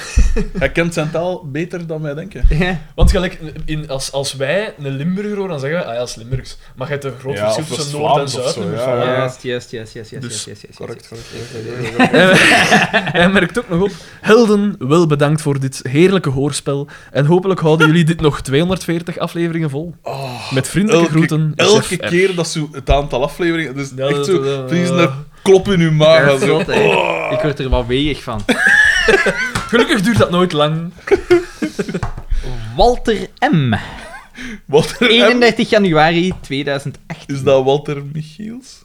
[SPEAKER 2] Hij kent zijn taal beter dan wij denken.
[SPEAKER 1] Ja.
[SPEAKER 3] Want gelijk, in, als, als wij een Limburger horen, dan zeggen we, ah ja, dat is Limburgs. Maar je hebt een groot
[SPEAKER 2] Ja,
[SPEAKER 3] verschil
[SPEAKER 2] of dat is
[SPEAKER 3] tussen Noord- en
[SPEAKER 2] Vlaams of zo,
[SPEAKER 3] Zuid.
[SPEAKER 2] ja, ja.
[SPEAKER 1] Juist, juist, juist, juist, juist,
[SPEAKER 2] Dus,
[SPEAKER 1] juist, juist, juist,
[SPEAKER 2] correct,
[SPEAKER 1] juist,
[SPEAKER 2] correct,
[SPEAKER 1] juist,
[SPEAKER 2] correct,
[SPEAKER 1] juist,
[SPEAKER 3] En hij merkt ook nog op. Helden, wel bedankt voor dit heerlijke hoorspel. En hopelijk houden jullie dit nog 240 afleveringen vol.
[SPEAKER 2] Oh,
[SPEAKER 3] Met vriendelijke groeten.
[SPEAKER 2] elke
[SPEAKER 3] Chef R.
[SPEAKER 2] keer dat ze het aantal afleveringen... Dus
[SPEAKER 3] Ja,
[SPEAKER 2] echt
[SPEAKER 3] dat-
[SPEAKER 2] zo...
[SPEAKER 3] dat-
[SPEAKER 2] Vries een klop in uw maag. en
[SPEAKER 1] juist.
[SPEAKER 2] zo. Oh,
[SPEAKER 1] Zot, hè. Ik word er wel weeg van.
[SPEAKER 3] Gelukkig duurt dat nooit lang.
[SPEAKER 1] Walter M.
[SPEAKER 2] Walter M.
[SPEAKER 1] 31 januari 2008.
[SPEAKER 2] Is dat Walter Michiels?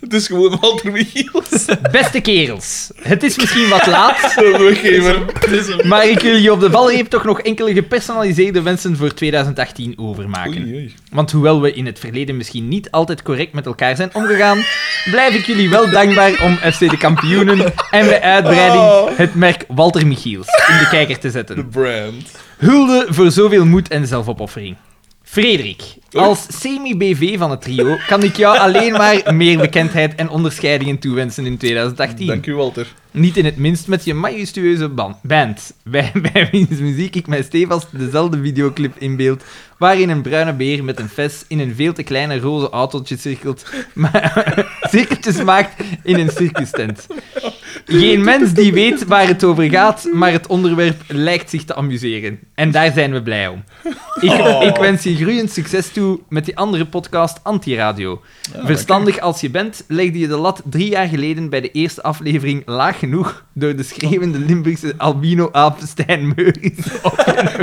[SPEAKER 2] Het is gewoon Walter Michiels.
[SPEAKER 1] Beste kerels, het is misschien wat laat,
[SPEAKER 2] De weggever.
[SPEAKER 1] maar ik wil jullie op de valreep toch nog enkele gepersonaliseerde wensen voor 2018 overmaken.
[SPEAKER 2] Oei, oei.
[SPEAKER 1] Want hoewel we in het verleden misschien niet altijd correct met elkaar zijn omgegaan, blijf ik jullie wel dankbaar om FC de kampioenen en bij
[SPEAKER 2] Oh.
[SPEAKER 1] uitbreiding het merk Walter Michiels in de kijker te zetten.
[SPEAKER 2] De brand.
[SPEAKER 1] Hulde voor zoveel moed en zelfopoffering. Frederik, als semi-BV van het trio kan ik jou alleen maar meer bekendheid en onderscheidingen toewensen in 2018.
[SPEAKER 2] Dank u, Walter.
[SPEAKER 1] Niet in het minst met je majestueuze ban- band, bij, bij wiens muziek ik mij stevast dezelfde videoclip inbeeld, waarin een bruine beer met een vest in een veel te kleine roze autootje cirkelt, maar cirkeltjes maakt in een circus tent. Geen mens die weet waar het over gaat, maar het onderwerp lijkt zich te amuseren. En daar zijn we blij om. Ik,
[SPEAKER 2] Oh.
[SPEAKER 1] ik wens je groeiend succes toe met die andere podcast Antiradio. Verstandig als je bent, legde je de lat drie jaar geleden bij de eerste aflevering laag genoeg door de schreeuwende Limburgse albino-aap Stijn Meuris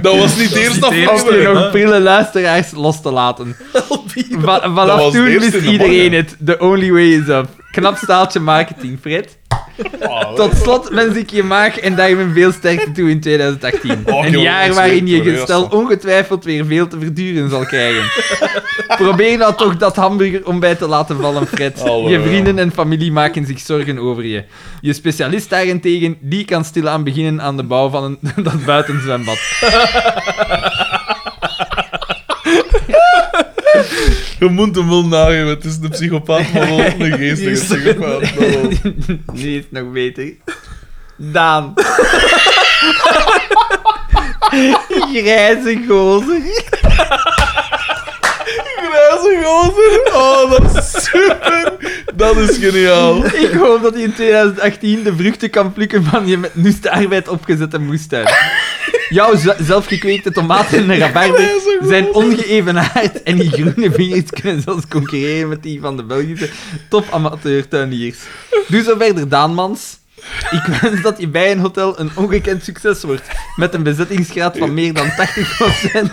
[SPEAKER 2] Dat was niet de eerste
[SPEAKER 3] niet de
[SPEAKER 1] om je
[SPEAKER 2] aflevering.
[SPEAKER 1] nog prille luisteraars los te laten. Va- vanaf
[SPEAKER 2] was de
[SPEAKER 1] toen
[SPEAKER 2] eerste
[SPEAKER 1] wist
[SPEAKER 2] in de
[SPEAKER 1] iedereen
[SPEAKER 2] morgen.
[SPEAKER 1] het. The only way is up. Knap staaltje marketing, Fred.
[SPEAKER 2] Oh,
[SPEAKER 1] Tot slot wens ik je maag en daarmee veel sterkte toe in 2018.
[SPEAKER 2] Oh,
[SPEAKER 1] een
[SPEAKER 2] joh,
[SPEAKER 1] jaar
[SPEAKER 2] dat
[SPEAKER 1] waarin
[SPEAKER 2] is
[SPEAKER 1] je
[SPEAKER 2] leuk, hoor,
[SPEAKER 1] gestel
[SPEAKER 2] ja, zo.
[SPEAKER 1] ongetwijfeld weer veel te verduren zal krijgen. Probeer nou toch dat hamburger ontbijt te laten vallen, Fred.
[SPEAKER 2] Hallo,
[SPEAKER 1] Je vrienden en familie maken zich zorgen over je. Je specialist daarentegen, die kan stilaan beginnen aan de bouw van een, dat buitenzwembad.
[SPEAKER 2] Je moet hem wel nageven. Het is een psychopaat, maar wel een geestige psychopaat. Dat wel.
[SPEAKER 1] Nu is het nog beter. Daan. Grijze gozer.
[SPEAKER 2] Grijze gozer. Oh, dat is super. Dat is geniaal.
[SPEAKER 1] Ik hoop dat hij in 2018 de vruchten kan plukken van je met noeste arbeid opgezette moestuin. Jouw z- zelfgekweekte tomaten en rabarber zijn ongeëvenaard en die groene vingers kunnen zelfs concurreren met die van de Belgische topamateurtuiniers. Doe zo verder, Daanmans. Ik wens dat je bij een hotel een ongekend succes wordt, met een bezettingsgraad van meer dan 80%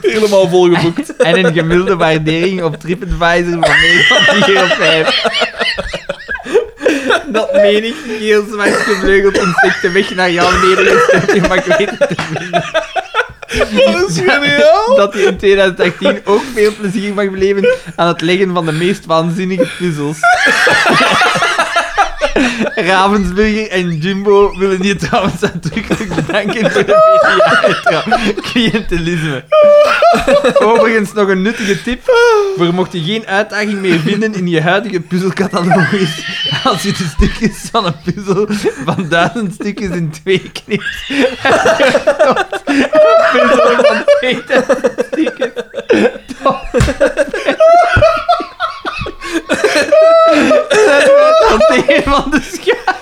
[SPEAKER 2] Helemaal volgeboekt.
[SPEAKER 1] en een gemiddelde waardering op TripAdvisor van meer dan 4 op 5. Dat meen ik, die heel zwaar gevleugeld insect de weg naar jouw nederlandse maar ik weet het
[SPEAKER 2] Dat is geniaal.
[SPEAKER 1] dat hij in 2018 ook veel plezier mag beleven aan het leggen van de meest waanzinnige puzzels. Ravensburger en Jimbo willen je trouwens uitdrukkelijk bedanken voor de media cliëntelisme. Overigens nog een nuttige tip, voor mocht je geen uitdaging meer vinden in je huidige puzzelcatalogus, als je de stukjes van een puzzel van duizend stukjes in twee knipt, een puzzel van 2000 stukjes. Dat is een van de schaar.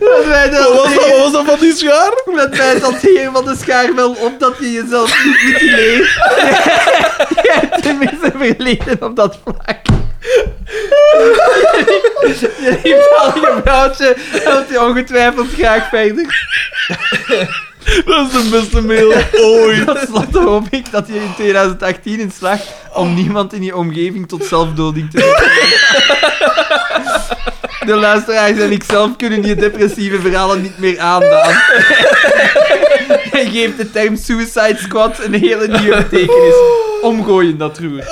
[SPEAKER 1] Dat wij dat
[SPEAKER 2] Wat was dat, wat was dat van die schaar?
[SPEAKER 1] dat wijst als heer van de schaar wel op dat je jezelf niet mutileert. Jij hebt tenminste verleden op dat vlak. Je liep al je broodje en dat je ongetwijfeld graag verder.
[SPEAKER 2] Dat is de beste mail ooit.
[SPEAKER 1] Tot slot hoop ik dat je in 2018 in slaagt om niemand in je omgeving tot zelfdoding te brengen. De luisteraars en ikzelf kunnen je depressieve verhalen niet meer aandaan. En geeft de term Suicide Squad een hele nieuwe betekenis. Omgooien dat roer.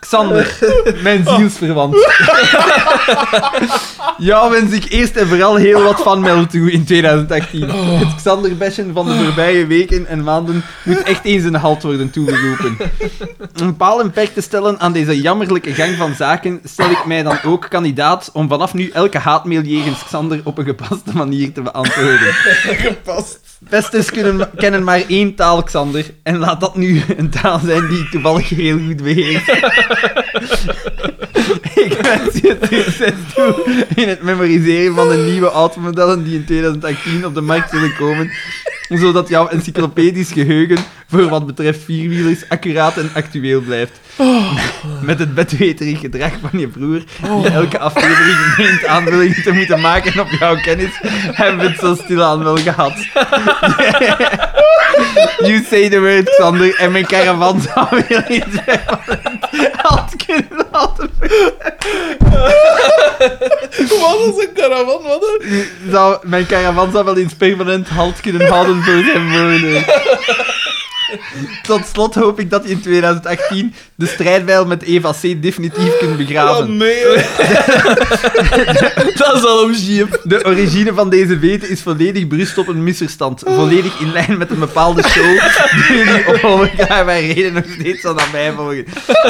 [SPEAKER 1] Xander, mijn zielsverwant. Jou wens ik eerst en vooral heel wat van Mel toe in 2018. Het Xander Besjen van de voorbije weken en maanden moet echt eens een halt worden toegeroepen. Om een paal en perk te stellen aan deze jammerlijke gang van zaken, stel ik mij dan ook kandidaat om vanaf nu elke haatmail jegens Xander op een gepaste manier te beantwoorden.
[SPEAKER 2] Past.
[SPEAKER 1] Pesters kunnen, kennen maar één taal, Xander. En laat dat nu een taal zijn die ik toevallig heel goed beheers. ik wens je succes toe in het memoriseren van de nieuwe automodellen die in 2018 op de markt zullen komen. Zodat jouw encyclopedisch geheugen voor wat betreft vierwielers accuraat en actueel blijft. Met het bedweterig gedrag van je broer, die elke aflevering meent aanbiedingen te moeten maken op jouw kennis, hebben we het zo stilaan wel gehad. You say the word, Xander, en mijn caravan zou weer iets hebben. Had kunnen laten.
[SPEAKER 2] Wat is een caravan? Wat een...
[SPEAKER 1] Zou, mijn caravan zou wel iets permanent halt kunnen houden voor zijn wonen. Tot slot hoop ik dat je in 2018 de strijdbijl met Eva C. definitief kunt
[SPEAKER 2] Wat
[SPEAKER 1] begraven.
[SPEAKER 2] mail.
[SPEAKER 3] Dat is al om jeep.
[SPEAKER 1] De origine van deze weten is volledig berust op een misverstand. Volledig in lijn met een bepaalde show die jullie op onverklaarbare reden nog steeds aan mij volgen.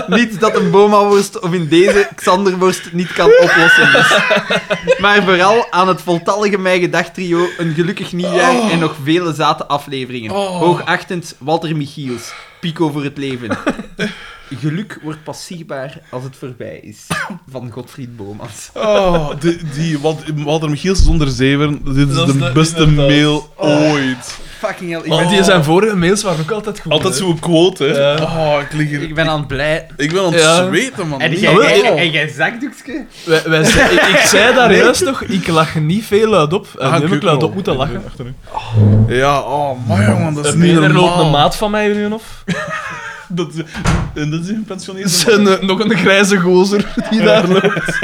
[SPEAKER 1] Niets dat een Boma-worst of in deze Xanderworst niet kan oplossen is. Maar vooral aan het voltallige Mijn Gedacht trio een gelukkig nieuwjaar en nog vele zate afleveringen. Hoogachtend Walter Michiels, Pico voor het leven. Geluk wordt pas zichtbaar als het voorbij is. Van Godfried Bomans.
[SPEAKER 2] Oh, die, die Wal- Walter Michiels zonder zeven. Dit is
[SPEAKER 3] Dat is
[SPEAKER 2] de
[SPEAKER 3] de-
[SPEAKER 2] beste
[SPEAKER 3] inderdaad. Oh.
[SPEAKER 2] mail ooit.
[SPEAKER 1] Fucking hell, ik ben
[SPEAKER 3] Want die zijn vorige mails waren ook altijd
[SPEAKER 2] Oh.
[SPEAKER 3] goed.
[SPEAKER 2] Altijd
[SPEAKER 3] hè.
[SPEAKER 2] zo'n quote, hè.
[SPEAKER 3] Ja.
[SPEAKER 2] Oh, ik lig hier...
[SPEAKER 1] Ik ben aan het blij.
[SPEAKER 4] Ah,
[SPEAKER 2] Ik ben aan het
[SPEAKER 3] Ja.
[SPEAKER 2] zweten, man.
[SPEAKER 1] En
[SPEAKER 3] Ah,
[SPEAKER 1] jij,
[SPEAKER 3] wel,
[SPEAKER 1] jij-
[SPEAKER 3] ja.
[SPEAKER 1] en jij zakdoekje?
[SPEAKER 3] Wij, wij ze- ik, ik zei daar juist nog, ik lach niet veel luid op. En
[SPEAKER 2] Ah,
[SPEAKER 3] nu heb ik
[SPEAKER 2] kut,
[SPEAKER 3] luid
[SPEAKER 2] man.
[SPEAKER 3] op moeten lachen.
[SPEAKER 2] Ja, oh, man, jongen, dat is
[SPEAKER 3] En
[SPEAKER 2] niet
[SPEAKER 3] er loopt
[SPEAKER 2] normaal.
[SPEAKER 3] een maat van mij nu of.
[SPEAKER 2] Dat, is- en dat is een pensioneerde
[SPEAKER 3] Dus een, eh, nog een grijze gozer die daar loopt.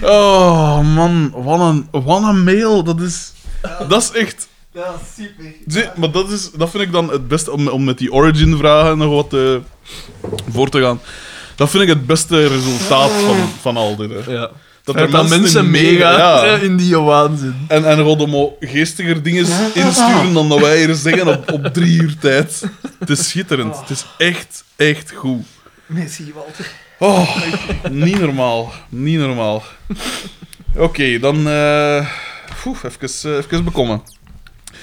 [SPEAKER 2] man. Oh, man, wat een, wat een mail. Dat is... Dat is echt...
[SPEAKER 1] Dat is super.
[SPEAKER 2] Zie, maar dat, is, dat vind ik dan het beste, om, om met die origin-vragen nog wat eh, voor te gaan. Dat vind ik het beste resultaat van, van al dit. hè.
[SPEAKER 3] Ja.
[SPEAKER 2] Dat
[SPEAKER 3] Dat mensen, mensen meegaan
[SPEAKER 2] ja.
[SPEAKER 3] eh, in die waanzin.
[SPEAKER 2] En, en Rodomo geestiger dingen insturen dan dat wij hier zeggen op, op drie uur tijd. Het is schitterend. Het is echt, echt goed.
[SPEAKER 1] Messi, Walter.
[SPEAKER 2] Oh, niet normaal. Niet normaal. Oké, dan... eh poeh, even, eh, even bekommen.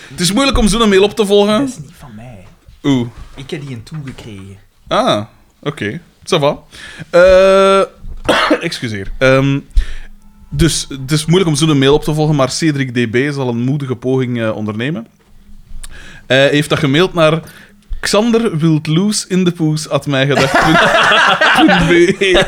[SPEAKER 2] Het is moeilijk om zo'n mail op te
[SPEAKER 4] Dat
[SPEAKER 2] volgen.
[SPEAKER 4] is niet van mij.
[SPEAKER 2] Oeh.
[SPEAKER 4] Ik heb die een toegekregen.
[SPEAKER 2] Ah, oké. Ça va. Eh, excuseer. Ehm, dus het is moeilijk om zo'n mail op te volgen, maar Cedric DB zal een moedige poging eh, ondernemen. Hij heeft dat gemaild naar Xander wilt loose in de poes at mijgedacht.be.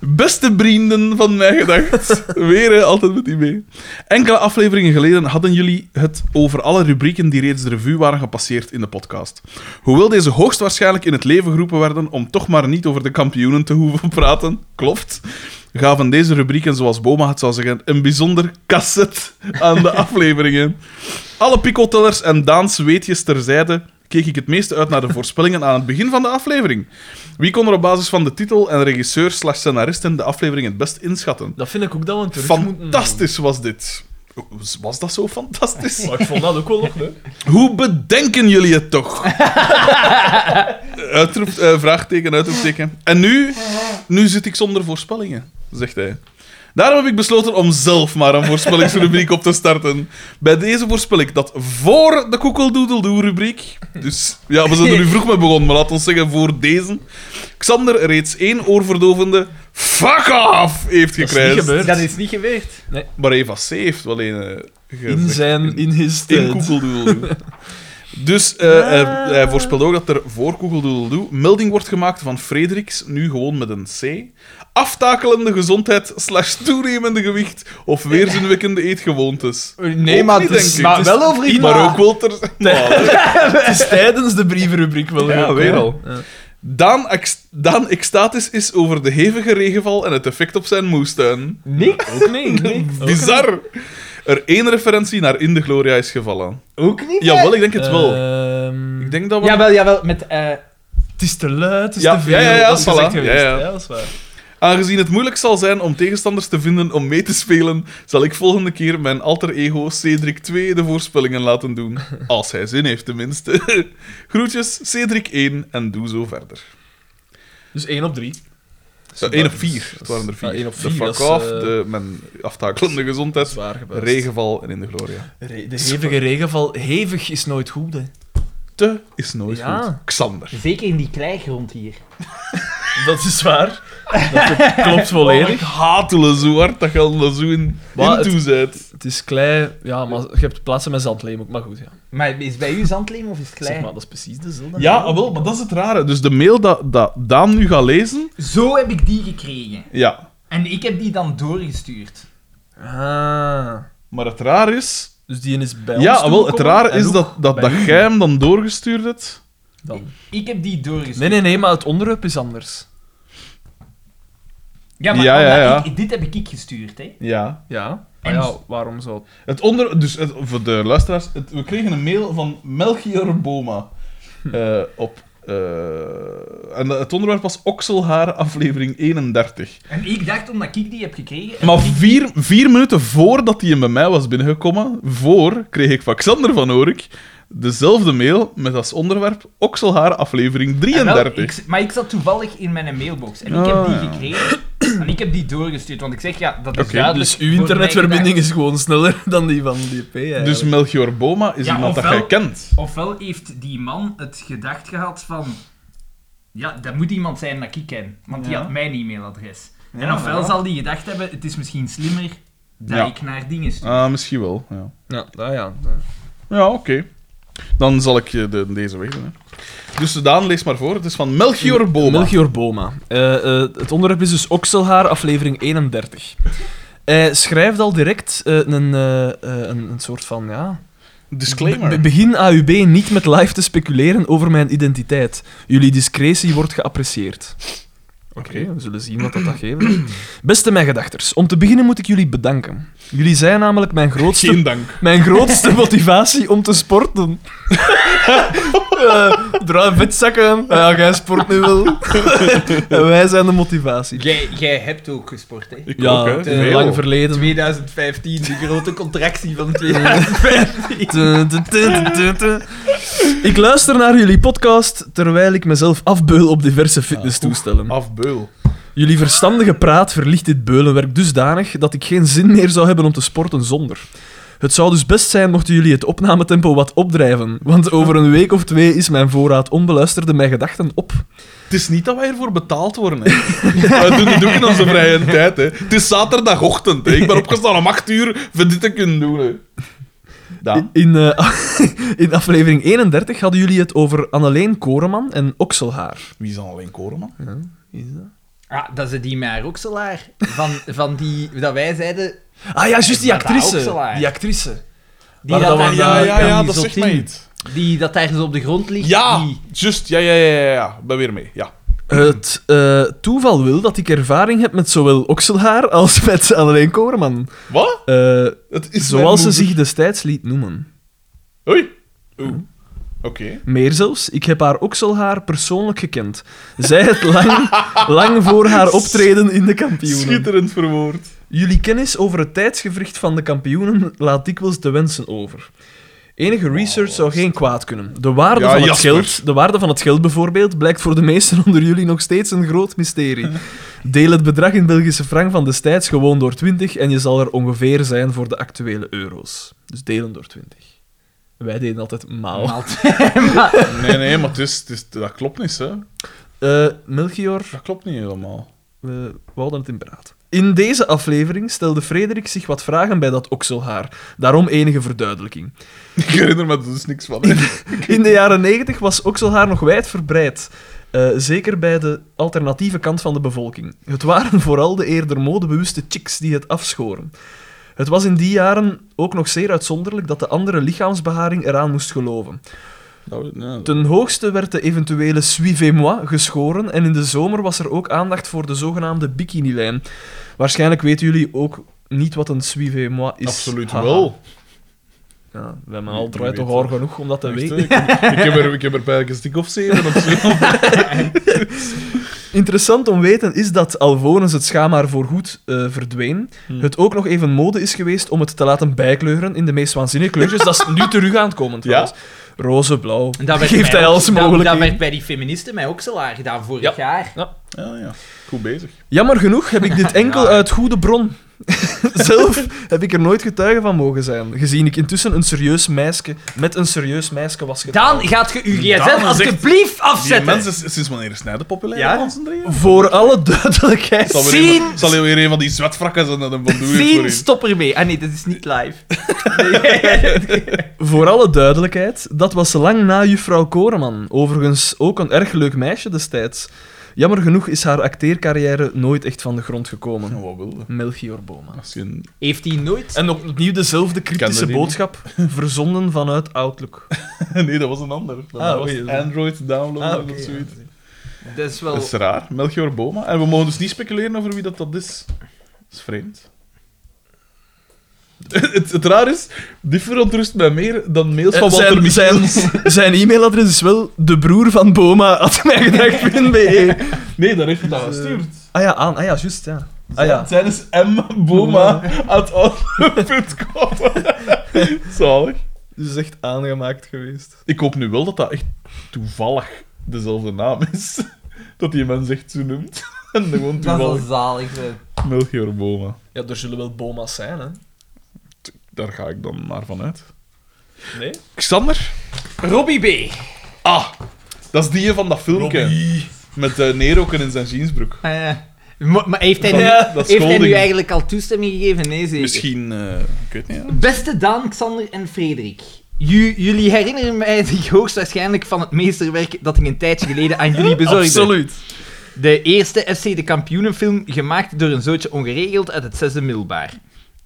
[SPEAKER 2] Beste vrienden van mij gedacht. Weer hè, altijd met die mee. Enkele afleveringen geleden hadden jullie het over alle rubrieken die reeds de revue waren gepasseerd in de podcast. Hoewel deze hoogstwaarschijnlijk in het leven geroepen werden om toch maar niet over de kampioenen te hoeven praten, klopt, gaven deze rubrieken, zoals Boma het zou zeggen, een bijzonder kasset aan de afleveringen. Alle picotellers en Daans weetjes terzijde keek ik het meeste uit naar de voorspellingen aan het begin van de aflevering. Wie kon er op basis van de titel en regisseur slash scenaristen de aflevering het best inschatten?
[SPEAKER 3] Dat vind ik ook dat we een terug moeten doen.
[SPEAKER 2] Fantastisch was dit. Was dat zo fantastisch?
[SPEAKER 3] Maar ik vond dat ook wel nog leuk.
[SPEAKER 2] Hoe bedenken jullie het toch? Uitroep, eh, vraagteken, uitroepteken. En nu, nu zit ik zonder voorspellingen, zegt hij. Daarom heb ik besloten om zelf maar een voorspellingsrubriek op te starten. Bij deze voorspel ik dat voor de koekeldoedeldoe-rubriek... Dus ja, we zijn er nu vroeg mee begonnen, maar laten we zeggen voor deze... Xander reeds één oorverdovende fuck off heeft
[SPEAKER 3] Dat is niet
[SPEAKER 2] gekregen.
[SPEAKER 3] gebeurd.
[SPEAKER 4] Dat is niet gebeurd.
[SPEAKER 2] Maar Eva C. heeft wel een... eh,
[SPEAKER 3] In
[SPEAKER 2] gezegd.
[SPEAKER 3] zijn... In his
[SPEAKER 2] In
[SPEAKER 3] tijd.
[SPEAKER 2] Koekeldoedeldoe. Dus eh, eh, hij voorspelde ook dat er voor Koekeldoedeldoe melding wordt gemaakt van Frederiks, nu gewoon met een C. Aftakelende gezondheid slash toenemende gewicht of weerzinwekkende eetgewoontes.
[SPEAKER 1] Nee,
[SPEAKER 2] Ook
[SPEAKER 1] maar,
[SPEAKER 2] niet,
[SPEAKER 1] het is-
[SPEAKER 2] denk ik.
[SPEAKER 1] maar wel over iets.
[SPEAKER 2] Maar ook wel ter...
[SPEAKER 3] Het is tijdens de brievenrubriek wel
[SPEAKER 2] Ja,
[SPEAKER 3] leuk,
[SPEAKER 2] weer
[SPEAKER 3] hè.
[SPEAKER 2] al.
[SPEAKER 3] Ja.
[SPEAKER 2] Daan, ex- Daan extatisch is over de hevige regenval en het effect op zijn moestuin.
[SPEAKER 4] Niks. Ook niet.
[SPEAKER 2] Bizar! Er één referentie naar In de Gloria is gevallen.
[SPEAKER 4] Ook niet.
[SPEAKER 2] Jawel, ik denk het
[SPEAKER 1] Eh,
[SPEAKER 2] wel.
[SPEAKER 3] Ehm,
[SPEAKER 2] Ik denk dat we...
[SPEAKER 4] Jawel, jawel. Met, eh,
[SPEAKER 3] Het is te luid, het is
[SPEAKER 2] Ja,
[SPEAKER 3] te veel.
[SPEAKER 2] ja, ja, ja,
[SPEAKER 3] dat is
[SPEAKER 2] voilà.
[SPEAKER 3] gezegd geweest.
[SPEAKER 2] Ja, ja.
[SPEAKER 3] dat is waar.
[SPEAKER 2] Aangezien het moeilijk zal zijn om tegenstanders te vinden om mee te spelen, zal ik volgende keer mijn alter ego Cedric 2 de voorspellingen laten doen. Als hij zin heeft, tenminste. Groetjes, Cedric 1 en doe zo verder.
[SPEAKER 3] Dus 1 op 3.
[SPEAKER 2] Ja, 1 op 4. Het waren er 4.
[SPEAKER 3] Ja, ah, één op
[SPEAKER 2] de
[SPEAKER 3] vier,
[SPEAKER 2] fuck
[SPEAKER 3] dat is,
[SPEAKER 2] off,
[SPEAKER 3] eh,
[SPEAKER 2] de, mijn aftakelende gezondheid,
[SPEAKER 3] Zwaar gebeurd.
[SPEAKER 2] regenval en in de gloria.
[SPEAKER 3] Re- de hevige regenval. Hevig is nooit goed, hè.
[SPEAKER 2] Te is nooit
[SPEAKER 3] Ja.
[SPEAKER 2] goed. Xander.
[SPEAKER 4] zeker in die kleigrond hier.
[SPEAKER 3] Dat is waar. Dat klopt
[SPEAKER 2] Ik
[SPEAKER 3] volledig.
[SPEAKER 2] haat hulle zo hard dat je al zo in,
[SPEAKER 3] Maar
[SPEAKER 2] in toe bent.
[SPEAKER 3] Het is klei, ja, maar je hebt plaatsen met zandleem ook. Maar goed, ja.
[SPEAKER 4] Maar is bij u zandleem of is het klei?
[SPEAKER 3] Zeg maar, dat is precies dezelfde.
[SPEAKER 2] Ja, ah, wel, maar dat is het rare. Dus de mail dat, dat Daan nu gaat lezen,
[SPEAKER 4] Zo heb ik die gekregen.
[SPEAKER 2] ja,
[SPEAKER 4] En ik heb die dan doorgestuurd.
[SPEAKER 3] Ah.
[SPEAKER 2] Maar het raar is.
[SPEAKER 3] Dus die is bij ons
[SPEAKER 2] Ja, wel, het
[SPEAKER 3] toegekomen
[SPEAKER 2] raar
[SPEAKER 3] en
[SPEAKER 2] is
[SPEAKER 3] ook
[SPEAKER 2] dat, dat,
[SPEAKER 3] bij
[SPEAKER 2] dat
[SPEAKER 3] u.
[SPEAKER 2] jij hem dan doorgestuurd hebt.
[SPEAKER 3] Dan.
[SPEAKER 4] Ik heb die doorgestuurd.
[SPEAKER 3] Nee, nee, nee, maar het onderwerp is anders.
[SPEAKER 4] Ja, maar
[SPEAKER 2] Ja, ja,
[SPEAKER 4] omdat
[SPEAKER 2] ja.
[SPEAKER 4] ik- dit heb ik ik gestuurd, hè.
[SPEAKER 2] Ja.
[SPEAKER 3] Ja.
[SPEAKER 4] En-
[SPEAKER 3] Maar ja, waarom zou...
[SPEAKER 2] Het onder, dus het- voor de luisteraars, het- we kregen een mail van Melchior Boma.
[SPEAKER 3] Hm.
[SPEAKER 2] eh, op, eh, en het onderwerp was Okselhaar, aflevering 31.
[SPEAKER 4] En ik dacht, omdat ik die heb gekregen...
[SPEAKER 2] Maar vier, vier minuten voordat hij bij mij was binnengekomen, voor, kreeg ik van Xander van Orik dezelfde mail met als onderwerp Okselhaar, aflevering
[SPEAKER 4] En wel,
[SPEAKER 2] 33.
[SPEAKER 4] ik- maar ik zat toevallig in mijn mailbox. En ik
[SPEAKER 2] Ah,
[SPEAKER 4] heb die
[SPEAKER 2] ja.
[SPEAKER 4] gekregen. En ik heb die doorgestuurd. Want ik zeg, ja, dat is
[SPEAKER 2] Oké,
[SPEAKER 4] duidelijk...
[SPEAKER 3] Dus uw
[SPEAKER 4] voor mij
[SPEAKER 3] internetverbinding
[SPEAKER 4] gedacht.
[SPEAKER 3] is gewoon sneller dan die van die P, eigenlijk.
[SPEAKER 2] dus Melchior Boma is
[SPEAKER 4] Ja,
[SPEAKER 2] iemand dat
[SPEAKER 4] ofwel-
[SPEAKER 2] jij kent.
[SPEAKER 4] Ofwel heeft die man het gedacht gehad van... Ja, dat moet iemand zijn dat ik ken. Want die
[SPEAKER 2] Ja.
[SPEAKER 4] had mijn e-mailadres. en
[SPEAKER 2] Ja,
[SPEAKER 4] ofwel
[SPEAKER 2] ja.
[SPEAKER 4] zal die gedacht hebben, het is misschien slimmer dat
[SPEAKER 2] Ja.
[SPEAKER 4] ik naar dingen stuur.
[SPEAKER 2] Ah, misschien wel, ja.
[SPEAKER 3] Ja, nou ja.
[SPEAKER 2] Ja, oké. Dan zal ik je de, deze weg doen. Hè. Dus Daan, lees maar voor. Het is van Melchior Boma.
[SPEAKER 3] Melchior Boma. Eh, eh, het onderwerp is dus Okselhaar, aflevering 31. Hij schrijft al direct eh, een, eh, eh, een, een soort van, ja...
[SPEAKER 2] Disclaimer.
[SPEAKER 3] Be- begin AUB niet met live te speculeren over mijn identiteit. Jullie discretie wordt geapprecieerd. Oké, we zullen zien wat dat, dat geeft. Beste mijn gedachters, om te beginnen moet ik jullie bedanken. Jullie zijn namelijk mijn grootste
[SPEAKER 2] Geen dank.
[SPEAKER 3] mijn grootste motivatie om te sporten. Eh, Draai vetzakken. Ah Ja, jij sport nu wel. en wij zijn de motivatie.
[SPEAKER 1] Jij, jij hebt ook gesport, hè?
[SPEAKER 2] Ik
[SPEAKER 3] Ja,
[SPEAKER 2] ook, hè.
[SPEAKER 3] het is
[SPEAKER 2] Veel.
[SPEAKER 3] lang verleden.
[SPEAKER 1] 2015, de grote contractie van 2015.
[SPEAKER 3] Tu, tu, tu, tu, tu. Ik luister naar jullie podcast terwijl ik mezelf afbeul op diverse fitnesstoestellen.
[SPEAKER 2] Ah. Afbeul.
[SPEAKER 3] Jullie verstandige praat verlicht dit beulenwerk dusdanig dat ik geen zin meer zou hebben om te sporten zonder. Het zou dus best zijn mochten jullie het opnametempo wat opdrijven, want over een week of twee is mijn voorraad onbeluisterde mijn gedachten op.
[SPEAKER 2] Het is niet dat wij ervoor betaald worden. Hè. wij doen het ook in onze vrije tijd. Hè. Het is zaterdagochtend. Hè. Ik ben opgestaan om 8 uur voor dit te kunnen doen. Hè. Daan.
[SPEAKER 3] In, eh, in aflevering 31 hadden jullie het over Anneleen Koreman en Okselhaar.
[SPEAKER 2] Wie is dan alleen Koreman?
[SPEAKER 3] Is dat?
[SPEAKER 4] Ah, dat ze die met Roxelaar, van, van die, dat wij zeiden,
[SPEAKER 3] Ah ja, juist die
[SPEAKER 4] Maar dat
[SPEAKER 3] actrice.
[SPEAKER 4] Okselaar.
[SPEAKER 3] Die actrice.
[SPEAKER 4] die
[SPEAKER 3] Maar dat
[SPEAKER 4] dat,
[SPEAKER 3] was-
[SPEAKER 4] daar zo-
[SPEAKER 2] Ja, ja, ja,
[SPEAKER 4] die
[SPEAKER 2] dat
[SPEAKER 4] zot
[SPEAKER 2] zegt
[SPEAKER 4] in-
[SPEAKER 2] mij iets.
[SPEAKER 4] Die dat daar zo op de grond ligt.
[SPEAKER 2] Ja,
[SPEAKER 4] Die,
[SPEAKER 2] juist. Ja, ja, ja, ja, ja. Ben weer mee. Ja.
[SPEAKER 3] Het eh, toeval wil dat ik ervaring heb met zowel okselhaar als met Adeline Koorman.
[SPEAKER 2] Wat?
[SPEAKER 3] Eh,
[SPEAKER 2] Het is mijn
[SPEAKER 3] zoals ze
[SPEAKER 2] moeder.
[SPEAKER 3] zich destijds liet noemen.
[SPEAKER 2] Oei. Oeh. Oké.
[SPEAKER 3] Meer zelfs, ik heb haar okselhaar persoonlijk gekend. Zij het lang, lang voor haar optreden in de kampioenen.
[SPEAKER 2] Schitterend verwoord.
[SPEAKER 3] Jullie kennis over het tijdsgevricht van de kampioenen laat dikwijls te wensen over. Enige research zou geen kwaad kunnen. De waarde,
[SPEAKER 2] Ja,
[SPEAKER 3] van het
[SPEAKER 2] Jasper.
[SPEAKER 3] geld, de waarde van het geld bijvoorbeeld blijkt voor de meesten onder jullie nog steeds een groot mysterie. Deel het bedrag in Belgische frank van destijds gewoon door 20 en je zal er ongeveer zijn voor de actuele euro's. Dus delen door 20. Wij deden altijd maal.
[SPEAKER 2] Nee, nee, maar het is, het is, dat klopt niet, hè.
[SPEAKER 3] Eh, Melchior,
[SPEAKER 2] Dat klopt niet helemaal.
[SPEAKER 3] We houden het in beraad. In deze aflevering stelde Frederik zich wat vragen bij dat okselhaar. Daarom enige verduidelijking.
[SPEAKER 2] Ik herinner me er dus niks van. hè.
[SPEAKER 3] In de jaren 90 was okselhaar nog wijdverbreid. Eh, zeker bij de alternatieve kant van de bevolking. Het waren vooral de eerder modebewuste chicks die het afschoren. Het was in die jaren ook nog zeer uitzonderlijk dat de andere lichaamsbeharing eraan moest geloven.
[SPEAKER 2] Nou, nee.
[SPEAKER 3] Ten hoogste werd de eventuele suivez-moi geschoren en in de zomer was er ook aandacht voor de zogenaamde bikinilijn. Waarschijnlijk weten jullie ook niet wat een suivez-moi is.
[SPEAKER 2] Absoluut
[SPEAKER 3] Haha.
[SPEAKER 2] wel.
[SPEAKER 3] Ja, we hebben
[SPEAKER 2] Wie
[SPEAKER 3] al draait
[SPEAKER 2] weet
[SPEAKER 3] toch hard
[SPEAKER 2] dat.
[SPEAKER 3] genoeg om dat te
[SPEAKER 2] Echt, hè.
[SPEAKER 3] weten.
[SPEAKER 2] Ik heb- ik heb er- Ik heb er bijna een stuk of zeven of zo.
[SPEAKER 3] Interessant om weten is dat alvorens het schaamhaar voorgoed eh verdween,
[SPEAKER 2] Hmm.
[SPEAKER 3] het ook nog even mode is geweest om het te laten bijkleuren in de meest waanzinnige kleurtjes. dat is nu terug aan het komen trouwens. Roze, blauw.
[SPEAKER 4] En dat werd
[SPEAKER 3] Geeft
[SPEAKER 4] bij
[SPEAKER 3] hij
[SPEAKER 4] ook-
[SPEAKER 3] alles
[SPEAKER 4] dat-
[SPEAKER 3] mogelijk.
[SPEAKER 4] Dat
[SPEAKER 3] in.
[SPEAKER 4] werd bij die feministen met Okselaar gedaan
[SPEAKER 3] Ja.
[SPEAKER 4] vorig jaar.
[SPEAKER 2] Ja, ja. Goed bezig.
[SPEAKER 3] Jammer genoeg heb ik dit enkel uit goede bron. Zelf heb ik er nooit getuige van mogen zijn, gezien ik intussen een serieus meisje met een serieus meisje was getrouwd.
[SPEAKER 4] Daan, gaat je uw
[SPEAKER 2] Daan
[SPEAKER 4] gsm
[SPEAKER 2] is
[SPEAKER 4] alsjeblieft
[SPEAKER 2] Die
[SPEAKER 4] afzetten.
[SPEAKER 2] mensen s- sinds wanneer is snijden populair
[SPEAKER 4] Ja.
[SPEAKER 2] op ons drieën?
[SPEAKER 3] Voor alle
[SPEAKER 2] Zal
[SPEAKER 3] duidelijkheid.
[SPEAKER 2] weer een-
[SPEAKER 4] Zien-
[SPEAKER 2] Zal je weer een van die zwetfrakken zijn dat hem van doen is voor
[SPEAKER 4] Zien,
[SPEAKER 2] u?
[SPEAKER 4] stop ermee. Ah nee, dat is niet live.
[SPEAKER 3] Voor alle duidelijkheid, dat was lang na juffrouw Koreman. Overigens ook een erg leuk meisje destijds. Jammer genoeg is haar acteercarrière nooit echt van de grond gekomen.
[SPEAKER 2] Nou, wat wilde?
[SPEAKER 3] Melchior Boma.
[SPEAKER 2] Als je een...
[SPEAKER 4] Heeft hij nooit...
[SPEAKER 3] En opnieuw dezelfde
[SPEAKER 2] Kende
[SPEAKER 3] kritische
[SPEAKER 2] die
[SPEAKER 3] boodschap, verzonden vanuit Outlook.
[SPEAKER 2] Nee, dat was een ander. Dat
[SPEAKER 3] Ah,
[SPEAKER 2] was
[SPEAKER 3] oei, dat-
[SPEAKER 2] Android downloaden
[SPEAKER 3] Ah, oké,
[SPEAKER 2] of zoiets.
[SPEAKER 4] Dat is Dus wel...
[SPEAKER 2] Dat is raar. Melchior Boma. En we mogen dus niet speculeren over wie dat, dat is. Dat is vreemd. het, het raar is, die verontrust mij meer dan mails van
[SPEAKER 3] Eh,
[SPEAKER 2] Walter
[SPEAKER 3] zijn,
[SPEAKER 2] Michiels.
[SPEAKER 3] zijn, zijn e-mailadres is wel de broer van Boma, had mij
[SPEAKER 2] Nee, daar heeft hij dat gestuurd.
[SPEAKER 3] Ah ja, aan. Ah ja, juist, ja. Ah ja.
[SPEAKER 2] Zijn is M. Boma at outlook.com. Zalig.
[SPEAKER 3] Dus echt aangemaakt geweest.
[SPEAKER 2] Ik hoop nu wel dat dat echt toevallig dezelfde naam is. Dat die mens echt zo noemt. En gewoon
[SPEAKER 4] Dat zal
[SPEAKER 2] toevallig
[SPEAKER 4] zalig zijn.
[SPEAKER 2] Melchior Boma.
[SPEAKER 3] Ja, er zullen wel Boma's zijn, hè.
[SPEAKER 2] Daar ga ik dan maar van uit.
[SPEAKER 3] Nee?
[SPEAKER 2] Xander?
[SPEAKER 4] Robbie B.
[SPEAKER 2] Ah, dat is die van dat filmpje.
[SPEAKER 3] Robbie.
[SPEAKER 2] Met eh neerroken in zijn jeansbroek.
[SPEAKER 4] Ah, ja. Ma- maar heeft hij, nu,
[SPEAKER 2] Ja, Eh. dat is
[SPEAKER 4] heeft hij nu
[SPEAKER 2] Golding.
[SPEAKER 4] eigenlijk al toestemming gegeven? Nee, zeker.
[SPEAKER 2] Misschien, eh, ik weet niet. ja.
[SPEAKER 4] Beste Daan, Xander en Frederik. Ju- jullie herinneren mij zich hoogstwaarschijnlijk van het meesterwerk dat ik een tijdje geleden aan jullie bezorgde.
[SPEAKER 3] Absoluut.
[SPEAKER 4] De eerste FC de Kampioenenfilm gemaakt door een zootje ongeregeld uit het zesde middelbaar.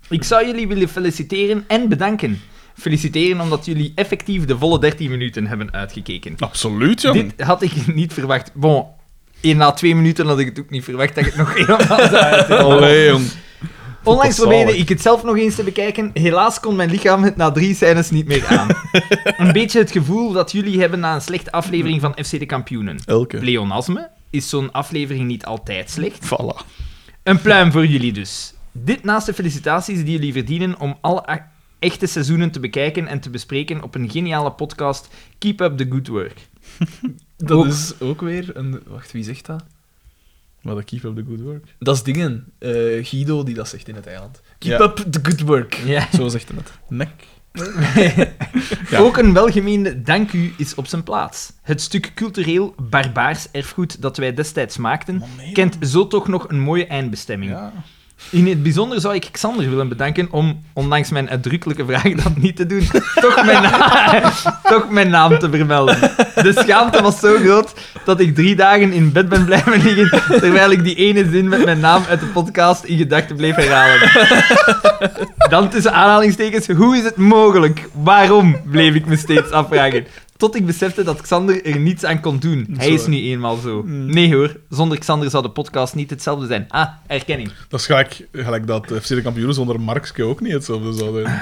[SPEAKER 4] Ik zou jullie willen feliciteren en bedanken. Feliciteren omdat jullie effectief de volle 13 minuten hebben uitgekeken.
[SPEAKER 2] Absoluut, jong.
[SPEAKER 4] Dit had ik niet verwacht. Bon, één na twee minuten had ik het ook niet verwacht dat ik het nog helemaal zou uitzenden.
[SPEAKER 2] Allee, jong.
[SPEAKER 4] Onlangs
[SPEAKER 2] Tot zalig.
[SPEAKER 4] probeerde ik het zelf nog eens te bekijken. Helaas kon mijn lichaam het na drie scènes niet meer aan. een beetje het gevoel dat jullie hebben na een slechte aflevering van FC de Kampioenen.
[SPEAKER 2] Elke.
[SPEAKER 4] Pleonasme is zo'n aflevering niet altijd slecht.
[SPEAKER 2] Voilà.
[SPEAKER 4] Een pluim voor jullie dus. Dit naast de felicitaties die jullie verdienen om alle a- echte seizoenen te bekijken en te bespreken op een geniale podcast. Keep up the good work.
[SPEAKER 3] Dat
[SPEAKER 4] Ook-
[SPEAKER 3] is ook weer een... Wacht, wie zegt dat?
[SPEAKER 2] Maar dat keep up the good work.
[SPEAKER 3] Dat is dingen. Eh, Guido die dat zegt in het eiland. Keep
[SPEAKER 2] Ja.
[SPEAKER 3] up the good work.
[SPEAKER 4] Ja.
[SPEAKER 3] Zo zegt hij dat.
[SPEAKER 2] Nek. Ja.
[SPEAKER 4] Ook een welgemeende dank u is op zijn plaats. Het stuk cultureel barbaars erfgoed dat wij destijds maakten,
[SPEAKER 2] Man, nee.
[SPEAKER 4] kent zo toch nog een mooie eindbestemming.
[SPEAKER 2] Ja.
[SPEAKER 4] In het bijzonder zou ik Xander willen bedanken om, ondanks mijn uitdrukkelijke vraag dat niet te doen, toch mijn, na- toch mijn naam te vermelden. De schaamte was zo groot dat ik drie dagen in bed ben blijven liggen, terwijl ik die ene zin met mijn naam uit de podcast in gedachten bleef herhalen. Dan tussen aanhalingstekens, hoe is het mogelijk? Waarom? bleef ik me steeds afvragen. Tot ik besefte dat Xander er niets aan kon doen. Hij is nu eenmaal zo. Nee hoor, zonder Xander zou de podcast niet hetzelfde zijn. Ah, erkenning.
[SPEAKER 2] Dat is gelijk, gelijk dat FC de kampioenen zonder Markske ook niet hetzelfde zou zijn.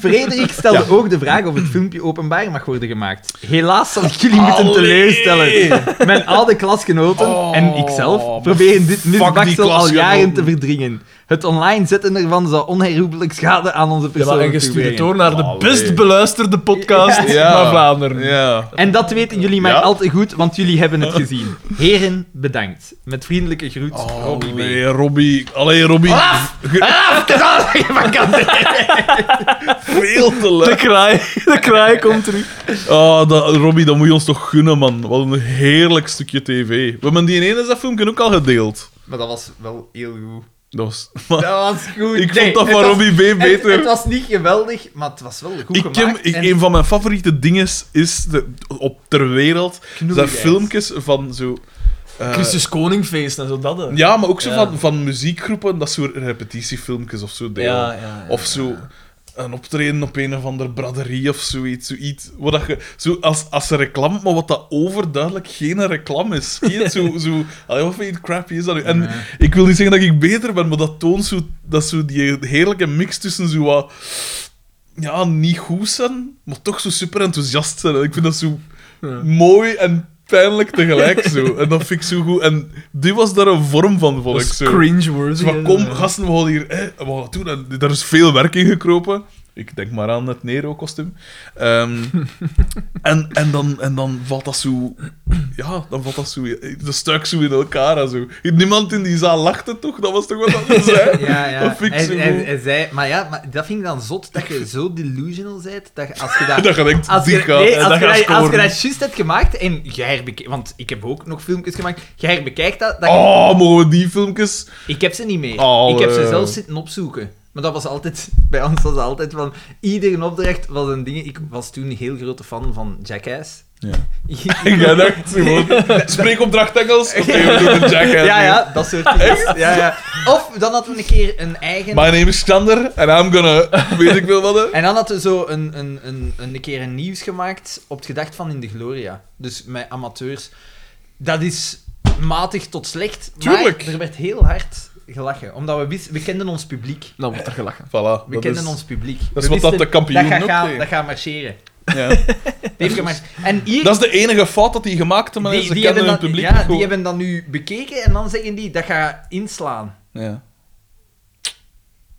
[SPEAKER 4] Frederik stelde ook de vraag of het filmpje openbaar mag worden gemaakt. Helaas zal ik jullie moeten
[SPEAKER 2] Allee.
[SPEAKER 4] teleurstellen. Mijn oude klasgenoten
[SPEAKER 2] Oh,
[SPEAKER 4] en ikzelf proberen dit
[SPEAKER 2] die
[SPEAKER 4] misbaksel al
[SPEAKER 2] klasgenoten.
[SPEAKER 4] jaren te verdringen. Het online zetten ervan zou onherroepelijk schade aan onze
[SPEAKER 3] Ja, maar en
[SPEAKER 4] persoonlijke
[SPEAKER 3] je
[SPEAKER 4] ja,
[SPEAKER 3] stuurt het door naar de
[SPEAKER 2] Allee.
[SPEAKER 3] best beluisterde podcast
[SPEAKER 2] Ja.
[SPEAKER 3] van Vlaanderen.
[SPEAKER 2] Ja.
[SPEAKER 4] En dat weten jullie maar
[SPEAKER 2] Ja?
[SPEAKER 4] al te goed, want jullie hebben het gezien. Heren, bedankt. Met vriendelijke groet,
[SPEAKER 2] Oh.
[SPEAKER 4] Robbie B.
[SPEAKER 2] Allee, Robbie. Allee, Robbie. Veel te
[SPEAKER 3] De
[SPEAKER 2] leuk.
[SPEAKER 3] kraai, de kraai komt terug.
[SPEAKER 2] Oh, dat, Robbie, dat moet je ons toch gunnen, man. Wat een heerlijk stukje tv. We hebben die ene dat filmpje ook al gedeeld.
[SPEAKER 4] Maar dat was wel heel goed.
[SPEAKER 2] Dat was... maar
[SPEAKER 4] Dat was goed.
[SPEAKER 2] ik
[SPEAKER 4] Nee,
[SPEAKER 2] vond dat
[SPEAKER 4] het
[SPEAKER 2] van
[SPEAKER 4] was-
[SPEAKER 2] Robbie B
[SPEAKER 4] het,
[SPEAKER 2] beter.
[SPEAKER 4] het was niet geweldig, maar het was wel goed
[SPEAKER 2] ik ken,
[SPEAKER 4] gemaakt.
[SPEAKER 2] ik,
[SPEAKER 4] en-
[SPEAKER 2] Een van mijn favoriete dingen is de, op ter wereld zijn
[SPEAKER 4] Knoeigheid.
[SPEAKER 2] filmpjes van zo. eh,
[SPEAKER 3] Christus Koningfeest en zo dat. hè.
[SPEAKER 2] ja, maar ook zo
[SPEAKER 3] Ja.
[SPEAKER 2] Van, van muziekgroepen, dat soort repetitiefilmpjes of zo. Deel.
[SPEAKER 3] Ja, ja, ja.
[SPEAKER 2] Of zo een optreden op een of andere braderie of zoiets. zoiets wat dat je, zo als, als een reclame, maar wat dat overduidelijk geen reclame is. Zie je het? Zo, zo, allee, wat vind je het crappy is dat nu? En ik wil niet zeggen dat ik beter ben, maar dat toont zo, dat zo die heerlijke mix tussen zo wat... Ja, niet goed zijn, maar toch zo super enthousiast zijn. En ik vind dat zo mooi en pijnlijk tegelijk zo. En dat vind ik zo goed. En dit was daar een vorm van, vond
[SPEAKER 3] Dat
[SPEAKER 2] ik
[SPEAKER 3] is
[SPEAKER 2] zo.
[SPEAKER 3] cringe-worthy.
[SPEAKER 2] Dus van,
[SPEAKER 3] hè.
[SPEAKER 2] kom, gasten, we gaan hier... Hè, we gaan dat doen. En daar is veel werk in gekropen. Ik denk maar aan het Nero-kostuum. Ehm, en, en, dan, en dan valt dat zo... Ja, dan valt dat zo... De stuk zo in elkaar en zo. Niemand in die zaal lachte toch? Dat was toch wat dat ze zei?
[SPEAKER 4] Ja, ja.
[SPEAKER 2] Dat vind ik
[SPEAKER 4] Hij-
[SPEAKER 2] zo
[SPEAKER 4] hij-
[SPEAKER 2] goed.
[SPEAKER 4] hij zei, maar ja, maar dat vind ik dan zot dat je zo delusional bent dat je, als je dat.
[SPEAKER 2] Dat je denkt,
[SPEAKER 4] als
[SPEAKER 2] die
[SPEAKER 4] je,
[SPEAKER 2] gaat...
[SPEAKER 4] nee,
[SPEAKER 2] en
[SPEAKER 4] als,
[SPEAKER 2] Eh, dat
[SPEAKER 4] je,
[SPEAKER 2] gaat
[SPEAKER 4] dat- als je
[SPEAKER 2] scoren.
[SPEAKER 4] dat juist hebt gemaakt en jij herbekijkt, want ik heb ook nog filmpjes gemaakt, jij herbekijkt dat, dat
[SPEAKER 2] Oh, mogen we die filmpjes...
[SPEAKER 4] ik heb ze niet meer.
[SPEAKER 2] Oh,
[SPEAKER 4] ik heb ze
[SPEAKER 2] eh.
[SPEAKER 4] zelf zitten opzoeken. Maar dat was altijd, bij ons was dat altijd van, iedere opdracht was een ding. Ik was toen een heel grote fan van Jackass.
[SPEAKER 2] Ja. En jij dacht gewoon... Spreekopdracht Engels? Oké, we doen een jackass.
[SPEAKER 4] ja, ja, dat soort dingen. Ja, ja. Of dan hadden we een keer een eigen...
[SPEAKER 2] My name is Xander en I'm gonna... Weet ik veel wat, hè?
[SPEAKER 4] En dan hadden we zo een, een, een, een keer een nieuws gemaakt op het gedacht van In de Gloria. Dus met amateurs. Dat is matig tot slecht.
[SPEAKER 2] Tuurlijk.
[SPEAKER 4] Maar er werd heel hard gelachen. Omdat we wisten, we kenden ons publiek.
[SPEAKER 3] Dan wordt er gelachen.
[SPEAKER 2] Voilà.
[SPEAKER 4] We
[SPEAKER 2] Nou, dat
[SPEAKER 4] kenden
[SPEAKER 2] is-
[SPEAKER 4] ons publiek.
[SPEAKER 2] dat
[SPEAKER 4] we
[SPEAKER 2] is wat dat
[SPEAKER 4] wisten,
[SPEAKER 2] de kampioen
[SPEAKER 4] dat gaat
[SPEAKER 2] ook
[SPEAKER 4] gaan,
[SPEAKER 2] deed.
[SPEAKER 4] Dat gaat marcheren.
[SPEAKER 2] Ja.
[SPEAKER 4] Dat heeft gemarcheerd. En hier...
[SPEAKER 2] Dat is de enige fout dat die gemaakt hebben.
[SPEAKER 4] die,
[SPEAKER 2] is ze
[SPEAKER 4] die
[SPEAKER 2] kennen hun
[SPEAKER 4] hebben dan,
[SPEAKER 2] publiek
[SPEAKER 4] ja,
[SPEAKER 2] niet
[SPEAKER 4] die
[SPEAKER 2] goed.
[SPEAKER 4] hebben dan nu bekeken en dan zeggen die dat gaat inslaan.
[SPEAKER 2] Ja.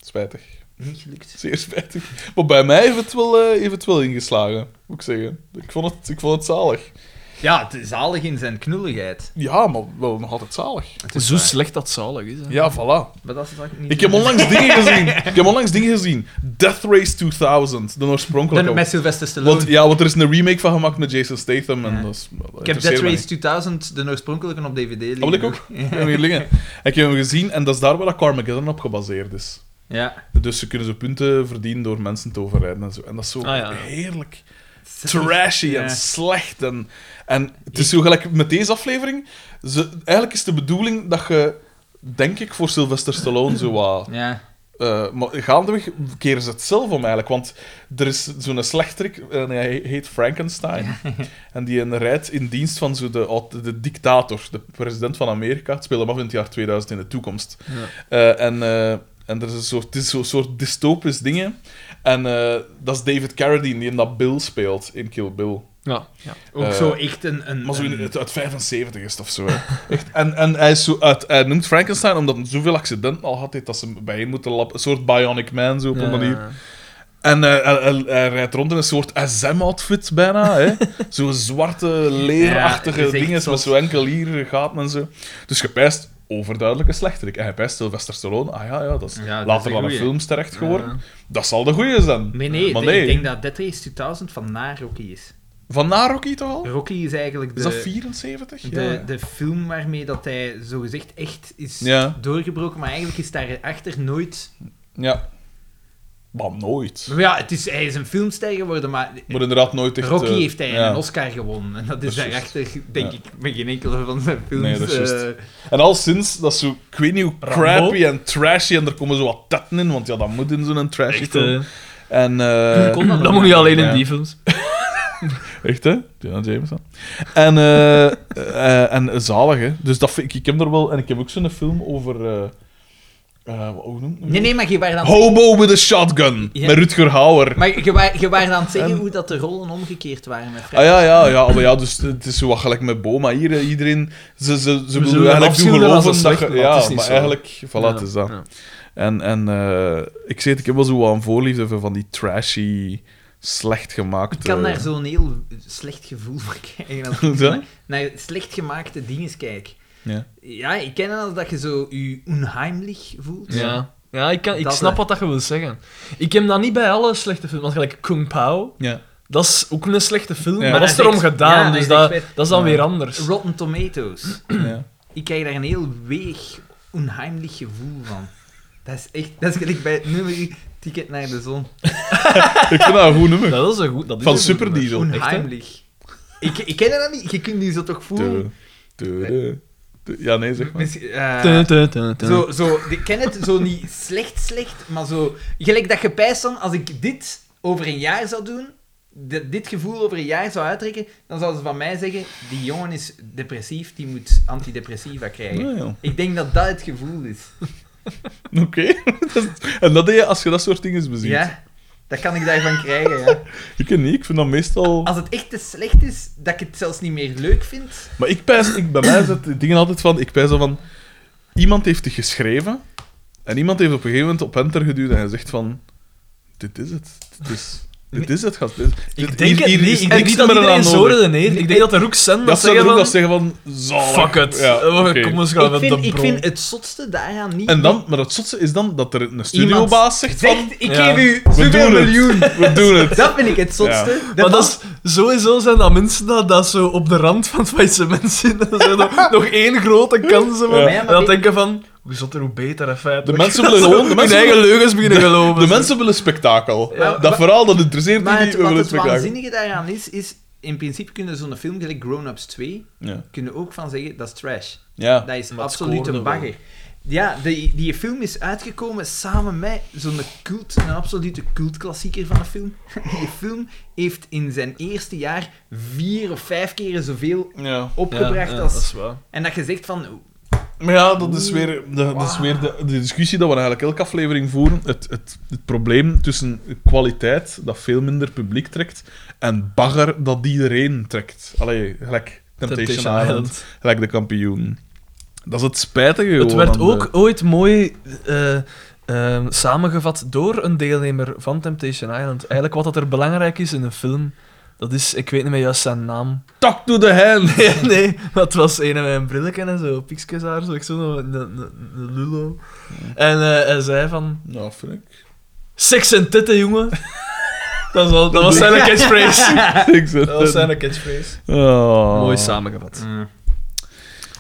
[SPEAKER 2] Spijtig.
[SPEAKER 4] Niet gelukt.
[SPEAKER 2] Zeer spijtig. Maar bij mij heeft het wel, eh, heeft het wel ingeslagen, moet ik zeggen. Ik vond het, ik vond het zalig.
[SPEAKER 4] Ja, het is zalig in zijn knulligheid.
[SPEAKER 2] Ja, maar wel nog altijd zalig.
[SPEAKER 3] Zo slecht dat zalig is. Hè.
[SPEAKER 2] Ja, voilà.
[SPEAKER 4] Maar dat is toch niet...
[SPEAKER 2] Ik heb onlangs dingen gezien. Ik heb onlangs dingen gezien. Death Race 2000, de oorspronkelijke.
[SPEAKER 4] Dan met Sylvester Stallone.
[SPEAKER 2] want, ja, want er is een remake van gemaakt met Jason Statham. En
[SPEAKER 4] Ja.
[SPEAKER 2] dat is, dat
[SPEAKER 4] Ik heb Dead
[SPEAKER 2] interesseert mij niet.
[SPEAKER 4] Race 2000, de oorspronkelijke, op DVD liggen.
[SPEAKER 2] Dat wil ik ook. Ik heb hem hier liggen. Ik heb hem gezien en dat is daar waar dat Carmageddon op gebaseerd is.
[SPEAKER 4] Ja.
[SPEAKER 2] Dus ze kunnen zo punten verdienen door mensen te overrijden en zo. En dat is zo
[SPEAKER 3] Ah, ja.
[SPEAKER 2] heerlijk
[SPEAKER 4] Trash.
[SPEAKER 2] trashy
[SPEAKER 4] Ja.
[SPEAKER 2] en slecht. En, en het is zo gelijk met deze aflevering. Ze, eigenlijk is de bedoeling dat je, denk ik, voor Sylvester Stallone zo wat...
[SPEAKER 4] Ja.
[SPEAKER 2] eh, maar gaandeweg keren ze het zelf om eigenlijk. Want er is zo'n slechterik, en hij heet Frankenstein. En die een rijdt in dienst van zo de, oud- de dictator, de president van Amerika. Het speelt hem af in het jaar 2000 in de toekomst. Eh, en, eh, en er is een soort, het is zo'n soort dystopisch dingen. En eh, dat is David Carradine, die in dat Bill speelt, in Kill Bill.
[SPEAKER 3] Ja. ja.
[SPEAKER 4] Ook
[SPEAKER 2] Eh,
[SPEAKER 4] zo echt een... een
[SPEAKER 2] Maar zo in
[SPEAKER 4] een-
[SPEAKER 2] het, uit 75 is het of zo. hè. Echt. En, en hij, is zo uit, hij noemt Frankenstein omdat hij zoveel accidenten al had, heeft dat ze bijeen moeten lappen. Een soort Bionic Man, zo op een manier. En eh, hij, hij- hij rijdt rond in een soort SM-outfit bijna. hè. Zo'n zwarte, leerachtige
[SPEAKER 4] Ja, dat is echt
[SPEAKER 2] dingen met
[SPEAKER 4] zot.
[SPEAKER 2] zo enkel hier gaten en zo. Dus je pijst overduidelijk een slechterik. En je pijst Sylvester Stallone. Ah ja, ja dat is
[SPEAKER 4] Ja, dat is
[SPEAKER 2] later
[SPEAKER 4] een
[SPEAKER 2] van een
[SPEAKER 4] goeie.
[SPEAKER 2] films terecht geworden. Dat zal de goeie zijn.
[SPEAKER 4] Nee, nee,
[SPEAKER 2] maar
[SPEAKER 4] ik
[SPEAKER 2] nee.
[SPEAKER 4] denk dat Dead Race 2000 van na Rocky is.
[SPEAKER 2] Van na Rocky toch al?
[SPEAKER 4] Rocky is eigenlijk de,
[SPEAKER 2] Is dat 74? Ja.
[SPEAKER 4] de, de film waarmee dat hij zogezegd echt is
[SPEAKER 2] Ja.
[SPEAKER 4] doorgebroken, maar eigenlijk is daarachter nooit...
[SPEAKER 2] ja. Maar nooit.
[SPEAKER 4] Maar ja, het is, hij is een filmster geworden, maar
[SPEAKER 2] Maar inderdaad nooit echt...
[SPEAKER 4] Rocky
[SPEAKER 2] eh,
[SPEAKER 4] heeft hij
[SPEAKER 2] ja.
[SPEAKER 4] een Oscar gewonnen. En dat is
[SPEAKER 2] Dat is
[SPEAKER 4] daarachter, denk
[SPEAKER 2] Ja.
[SPEAKER 4] ik, met geen enkele van zijn films.
[SPEAKER 2] Nee, dat is juist.
[SPEAKER 4] eh,
[SPEAKER 2] En al sinds, dat is zo, ik weet niet hoe
[SPEAKER 3] Rambo.
[SPEAKER 2] crappy en trashy, en er komen zo wat tetten in, want ja, dat moet in zo'n trashy
[SPEAKER 3] Echt,
[SPEAKER 2] film.
[SPEAKER 3] eh,
[SPEAKER 2] En, eh,
[SPEAKER 4] kon dat
[SPEAKER 3] dat
[SPEAKER 4] nog
[SPEAKER 3] moet niet alleen
[SPEAKER 2] Ja.
[SPEAKER 3] in die films.
[SPEAKER 2] Echt, hè? Diana Jameson. En, eh, eh, en zalig, hè? Dus dat vind ik, ik heb er wel... En ik heb ook zo'n film over... eh, eh, wat- hoe noemt het?
[SPEAKER 4] Nee, nee, maar je waren aan,
[SPEAKER 2] Hobo with a Shotgun,
[SPEAKER 4] Ja.
[SPEAKER 2] met Rutger Hauer.
[SPEAKER 4] maar je wa- je waren aan het zeggen
[SPEAKER 2] En-
[SPEAKER 4] hoe dat de rollen omgekeerd waren met Fred.
[SPEAKER 2] Ah ja, ja, ja, maar ja, dus het is zo wat gelijk met Boma hier. hè. Iedereen, ze, ze, ze willen
[SPEAKER 3] zullen
[SPEAKER 2] eigenlijk doen
[SPEAKER 3] afschilderen
[SPEAKER 2] geloven
[SPEAKER 3] als dat
[SPEAKER 2] dat
[SPEAKER 3] slecht,
[SPEAKER 2] je-
[SPEAKER 3] maar het is
[SPEAKER 2] Ja,
[SPEAKER 3] niet
[SPEAKER 2] maar
[SPEAKER 3] zo.
[SPEAKER 2] eigenlijk, voilà,
[SPEAKER 3] Ja,
[SPEAKER 2] het is dat.
[SPEAKER 3] ja.
[SPEAKER 2] En, en eh, ik zeg het, ik heb wel zo wat een voorliefde voor van die trashy, slecht gemaakte...
[SPEAKER 4] Ik kan daar zo'n heel slecht gevoel voor krijgen. Als ik
[SPEAKER 2] Ja?
[SPEAKER 4] naar, naar slecht gemaakte dingen kijk.
[SPEAKER 2] Ja.
[SPEAKER 4] Ja, ik ken het als dat je zo je onheimlich voelt.
[SPEAKER 3] Ja. Ja, ik, kan, ik
[SPEAKER 4] Dat,
[SPEAKER 3] snap
[SPEAKER 4] eh.
[SPEAKER 3] wat dat je wil zeggen. Ik heb dat niet bij alle slechte films. Want gelijk Kung Pao,
[SPEAKER 2] Ja.
[SPEAKER 3] dat is ook een slechte film,
[SPEAKER 2] Ja.
[SPEAKER 3] maar dat is
[SPEAKER 4] Maar dat
[SPEAKER 3] erom
[SPEAKER 4] is echt-
[SPEAKER 3] gedaan,
[SPEAKER 4] ja, dat
[SPEAKER 3] dus
[SPEAKER 4] is
[SPEAKER 3] dat,
[SPEAKER 4] echt wet.
[SPEAKER 3] dat is dan
[SPEAKER 2] Ja.
[SPEAKER 3] weer anders.
[SPEAKER 4] Rotten Tomatoes.
[SPEAKER 2] ja.
[SPEAKER 4] Ik krijg daar een heel weeg onheimlich gevoel van. Dat is echt... Dat is gelijk bij het nummer Ticket naar de Zon.
[SPEAKER 2] Ik vind dat een goed nummer.
[SPEAKER 3] Dat is een goed... Dat is
[SPEAKER 2] Van
[SPEAKER 3] een goed
[SPEAKER 2] Super
[SPEAKER 3] nummer.
[SPEAKER 2] Diesel.
[SPEAKER 4] Onheimlich. Ik, ik ken dat niet. Je kunt die zo toch voelen?
[SPEAKER 2] Tudu, tudu, tudu. Ja, nee, zeg maar.
[SPEAKER 4] Misschien, eh,
[SPEAKER 3] Tun, tun, tun, tun.
[SPEAKER 4] Zo, zo, ik ken het zo niet slecht, slecht, maar zo. Gelijk dat je pijst dan, als ik dit over een jaar zou doen, di- dit gevoel over een jaar zou uittrekken, dan zouden ze van mij zeggen: die jongen is depressief, die moet antidepressiva krijgen.
[SPEAKER 2] Ah, ja.
[SPEAKER 4] Ik denk dat dat het gevoel is.
[SPEAKER 2] Oké. Dat is- en dat deed je als je dat soort dingen beziet.
[SPEAKER 4] Ja, dat kan ik daarvan krijgen. Ja.
[SPEAKER 2] Ik weet niet, ik vind dat meestal...
[SPEAKER 4] Als het echt te slecht is, dat ik het zelfs niet meer leuk vind.
[SPEAKER 2] Maar ik pijs, ik, bij mij zit die dingen altijd van... Ik pijs dan van... Iemand heeft het geschreven. En iemand heeft op een gegeven moment op enter geduwd en hij zegt van... Dit is het. Dit is, dit is het, gast. Dit- dit-
[SPEAKER 3] Ik denk
[SPEAKER 2] hier-
[SPEAKER 3] het
[SPEAKER 2] hier
[SPEAKER 3] niet.
[SPEAKER 2] is
[SPEAKER 3] Ik denk
[SPEAKER 2] niks
[SPEAKER 3] niet dat
[SPEAKER 2] meer aan
[SPEAKER 3] iedereen zo
[SPEAKER 2] nodig.
[SPEAKER 3] redeneert. Ik denk dat er ook zijn dat
[SPEAKER 2] Dat zou er
[SPEAKER 3] zeggen
[SPEAKER 2] ook
[SPEAKER 3] van...
[SPEAKER 2] dat zeggen van... Zalig.
[SPEAKER 3] Fuck it.
[SPEAKER 2] Ja,
[SPEAKER 3] Oh,
[SPEAKER 2] oké.
[SPEAKER 3] Kom eens gaan
[SPEAKER 4] Ik
[SPEAKER 3] met de
[SPEAKER 4] vind, ik
[SPEAKER 3] bron.
[SPEAKER 4] vind het zotste daaraan niet.
[SPEAKER 2] En dan, maar het zotste is dan dat er een studiobaas zegt van...
[SPEAKER 4] Zegt, ik
[SPEAKER 3] Ja.
[SPEAKER 4] geef u
[SPEAKER 2] We
[SPEAKER 4] zoveel
[SPEAKER 2] doen het.
[SPEAKER 4] miljoen.
[SPEAKER 2] We doen het.
[SPEAKER 4] Dat vind ik het zotste.
[SPEAKER 3] Maar dat is, sowieso zijn dat mensen dat, dat zo op de rand van het faillissement zitten. Dat zijn nog, nog één grote kans hebben.
[SPEAKER 4] Ja.
[SPEAKER 3] En dan denken van... Hoe zotter, hoe beter, en
[SPEAKER 2] De
[SPEAKER 3] feitelijk.
[SPEAKER 2] mensen
[SPEAKER 3] Dat
[SPEAKER 2] willen
[SPEAKER 3] ze
[SPEAKER 2] gewoon- de
[SPEAKER 3] hun
[SPEAKER 2] mensen
[SPEAKER 3] eigen
[SPEAKER 2] willen-
[SPEAKER 3] leugens beginnen geloven.
[SPEAKER 2] De mensen willen spektakel.
[SPEAKER 4] Ja.
[SPEAKER 2] dat verhaal, dat interesseert die
[SPEAKER 4] Maar
[SPEAKER 2] niet.
[SPEAKER 4] het,
[SPEAKER 2] We
[SPEAKER 4] wat
[SPEAKER 2] willen
[SPEAKER 4] het
[SPEAKER 2] spektakel.
[SPEAKER 4] waanzinnige daaraan is, is in principe kunnen zo'n film, gelijk Grown Ups 2,
[SPEAKER 2] Ja.
[SPEAKER 4] kunnen ook van zeggen dat is trash.
[SPEAKER 2] Ja.
[SPEAKER 4] Dat is
[SPEAKER 3] Maar het
[SPEAKER 4] absoluut
[SPEAKER 3] scoorde
[SPEAKER 4] een bagger. Ja, die, die film is uitgekomen samen met zo'n cult, een absolute cultklassieker van de film. Die film heeft in zijn eerste jaar vier of vijf keren zoveel
[SPEAKER 2] Ja.
[SPEAKER 4] opgebracht
[SPEAKER 3] Ja, ja, dat
[SPEAKER 4] als...
[SPEAKER 3] is waar.
[SPEAKER 4] En dat je zegt van... "Oh,
[SPEAKER 2] Maar ja, dat is weer, de, dat is weer de, de discussie dat we eigenlijk elke aflevering voeren. Het, het, het probleem tussen kwaliteit, dat veel minder publiek trekt, en bagger, dat iedereen trekt. Allee, gelijk Temptation,
[SPEAKER 3] Temptation
[SPEAKER 2] Island,
[SPEAKER 3] Island.
[SPEAKER 2] gelijk de kampioen. Dat is het spijtige
[SPEAKER 3] Het
[SPEAKER 2] gewoon
[SPEAKER 3] werd
[SPEAKER 2] aan
[SPEAKER 3] ook
[SPEAKER 2] de-
[SPEAKER 3] ooit mooi eh, eh, samengevat door een deelnemer van Temptation Island. Eigenlijk wat dat er belangrijk is in een film, dat is, ik weet niet meer juist zijn naam.
[SPEAKER 2] Talk to the hand!
[SPEAKER 3] Nee, nee, dat was een met een brilletje en zo, piksjes haar, zo, ik zo, een, een, een lullo. En eh, hij zei van,
[SPEAKER 2] Nou, vind ik.
[SPEAKER 3] seks en titten, jongen. Dat was, al- dat was zijn catchphrase.
[SPEAKER 2] Ik zet
[SPEAKER 3] Dat was
[SPEAKER 2] het.
[SPEAKER 3] zijn catchphrase.
[SPEAKER 2] Oh.
[SPEAKER 3] Mooi samengevat.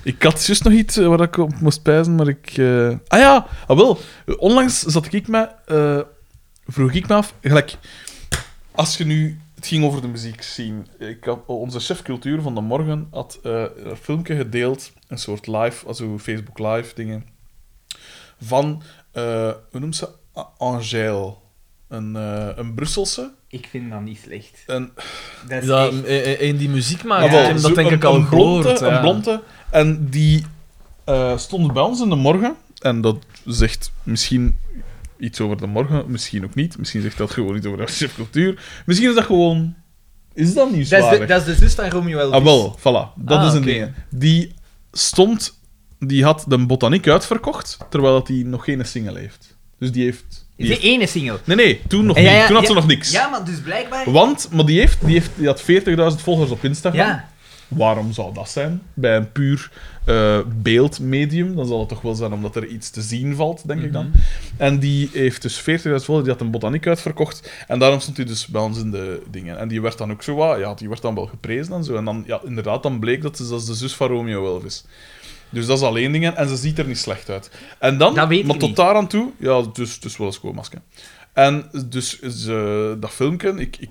[SPEAKER 2] Ik had juist nog iets eh, waar ik op moest pijzen, maar ik... eh, Ah ja, ah wel. Onlangs zat ik me... eh, vroeg ik me af... Gelijk, als je nu... Het ging over de muziek zien. Ik had, eh, onze chef cultuur van de morgen had eh, een filmpje gedeeld, een soort live, also Facebook live dingen, van, eh, hoe noemt ze? A- Angèle. Een, eh, een Brusselse.
[SPEAKER 4] Ik vind dat niet slecht.
[SPEAKER 2] Een,
[SPEAKER 4] Dat is
[SPEAKER 3] Ja,
[SPEAKER 4] echt-
[SPEAKER 3] een die muziek
[SPEAKER 2] Ah,
[SPEAKER 3] maakt,
[SPEAKER 2] wel,
[SPEAKER 3] ik heb
[SPEAKER 2] zo-
[SPEAKER 3] dat denk
[SPEAKER 2] een-
[SPEAKER 3] ik al
[SPEAKER 2] een blonde,
[SPEAKER 3] gehoord. ja.
[SPEAKER 2] Een blonde. En die eh, stond bij ons in de morgen. En dat zegt misschien iets over de morgen, misschien ook niet. Misschien zegt dat gewoon iets over de chefcultuur. Misschien is dat gewoon... Is dat
[SPEAKER 4] dat, is
[SPEAKER 2] nieuwswaardig?
[SPEAKER 4] de, dat is de zus van Romeo Elvis.
[SPEAKER 2] Ah, wel, voilà. Dat
[SPEAKER 3] Ah,
[SPEAKER 2] is een
[SPEAKER 3] oké.
[SPEAKER 2] ding. Die stond... Die had de botaniek uitverkocht, terwijl dat die nog geen single heeft. Dus die heeft... die
[SPEAKER 4] Is de
[SPEAKER 2] heeft-
[SPEAKER 4] ene single.
[SPEAKER 2] Nee, nee, toen nog
[SPEAKER 4] Ja, ja,
[SPEAKER 2] niet. Toen had
[SPEAKER 4] ja.
[SPEAKER 2] ze nog niks.
[SPEAKER 4] Ja, maar dus blijkbaar...
[SPEAKER 2] Oh, Want, maar die, heeft, die, heeft, die had 40.000 volgers op Instagram.
[SPEAKER 4] Ja.
[SPEAKER 2] Waarom zou dat zijn? Bij een puur eh, beeldmedium, dan zal het toch wel zijn omdat er iets te zien valt, denk ik
[SPEAKER 4] Mhm.
[SPEAKER 2] dan. En die heeft dus 40.000 volgers, die had een botaniek uitverkocht. En daarom stond hij dus bij ons in de dingen. En die werd dan ook zo, wat- ja, die werd dan wel geprezen en zo. En dan, ja, inderdaad, dan bleek dat ze, dat ze de zus van Romeo Elvis is. Dus dat is alleen dingen en ze ziet er niet slecht uit. En dan,
[SPEAKER 4] Dat weet ik
[SPEAKER 2] maar tot
[SPEAKER 4] niet.
[SPEAKER 2] daar aan toe, ja, dus, dus wel een schoonmasker. En dus ze, dat filmpje, ik, ik,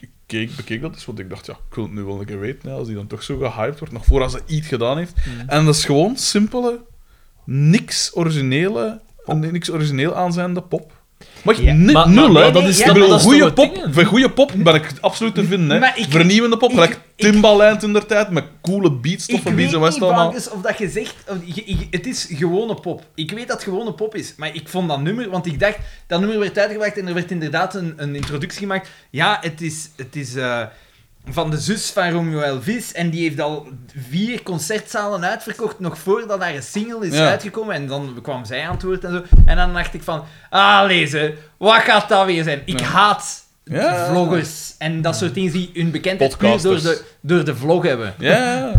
[SPEAKER 2] ik keek, bekeek dat dus, want ik dacht, ja, ik wil het nu wel een keer weten, hè, als die dan toch zo gehyped wordt, nog voordat ze iets gedaan heeft. En dat is gewoon simpele, niks originele, niks origineel aanzijnde pop. Maar echt
[SPEAKER 4] Ja,
[SPEAKER 2] ni-
[SPEAKER 3] maar-
[SPEAKER 2] nul,
[SPEAKER 4] maar
[SPEAKER 2] hè.
[SPEAKER 4] nee, nee, ja,
[SPEAKER 2] ik
[SPEAKER 4] maar
[SPEAKER 2] bedoel,
[SPEAKER 3] dat is
[SPEAKER 2] goede
[SPEAKER 3] toch het
[SPEAKER 2] pop,
[SPEAKER 3] ding, hè?
[SPEAKER 2] voor goede pop ben ik absoluut te vinden, hè.
[SPEAKER 4] Maar ik-
[SPEAKER 2] Vernieuwende pop,
[SPEAKER 4] ik-
[SPEAKER 2] gelijk
[SPEAKER 4] ik-
[SPEAKER 2] Timbaland inderdaad, met coole beats,
[SPEAKER 4] Ik
[SPEAKER 2] toffe
[SPEAKER 4] weet
[SPEAKER 2] beats en wat is
[SPEAKER 4] niet,
[SPEAKER 2] het allemaal.
[SPEAKER 4] Bankers, of dat je zegt... of je- je- het is gewone pop. Ik weet dat het gewone pop is. Maar ik vond dat nummer... Want ik dacht... Dat nummer werd uitgebracht en er werd inderdaad een, een introductie gemaakt. Ja, het is... Het is eh, van de zus van Romeo Elvis. En die heeft al vier concertzalen uitverkocht. Nog voordat haar single is
[SPEAKER 2] Ja.
[SPEAKER 4] uitgekomen. En dan kwam zij aan het woord en zo. En dan dacht ik van... Ah, lezen. Wat gaat dat weer zijn? Ik
[SPEAKER 2] Ja.
[SPEAKER 4] haat...
[SPEAKER 2] Ja.
[SPEAKER 4] Vloggers en dat soort dingen die hun bekendheid puur door
[SPEAKER 2] Podcasters.
[SPEAKER 4] de, door de vlog hebben.
[SPEAKER 2] Ja,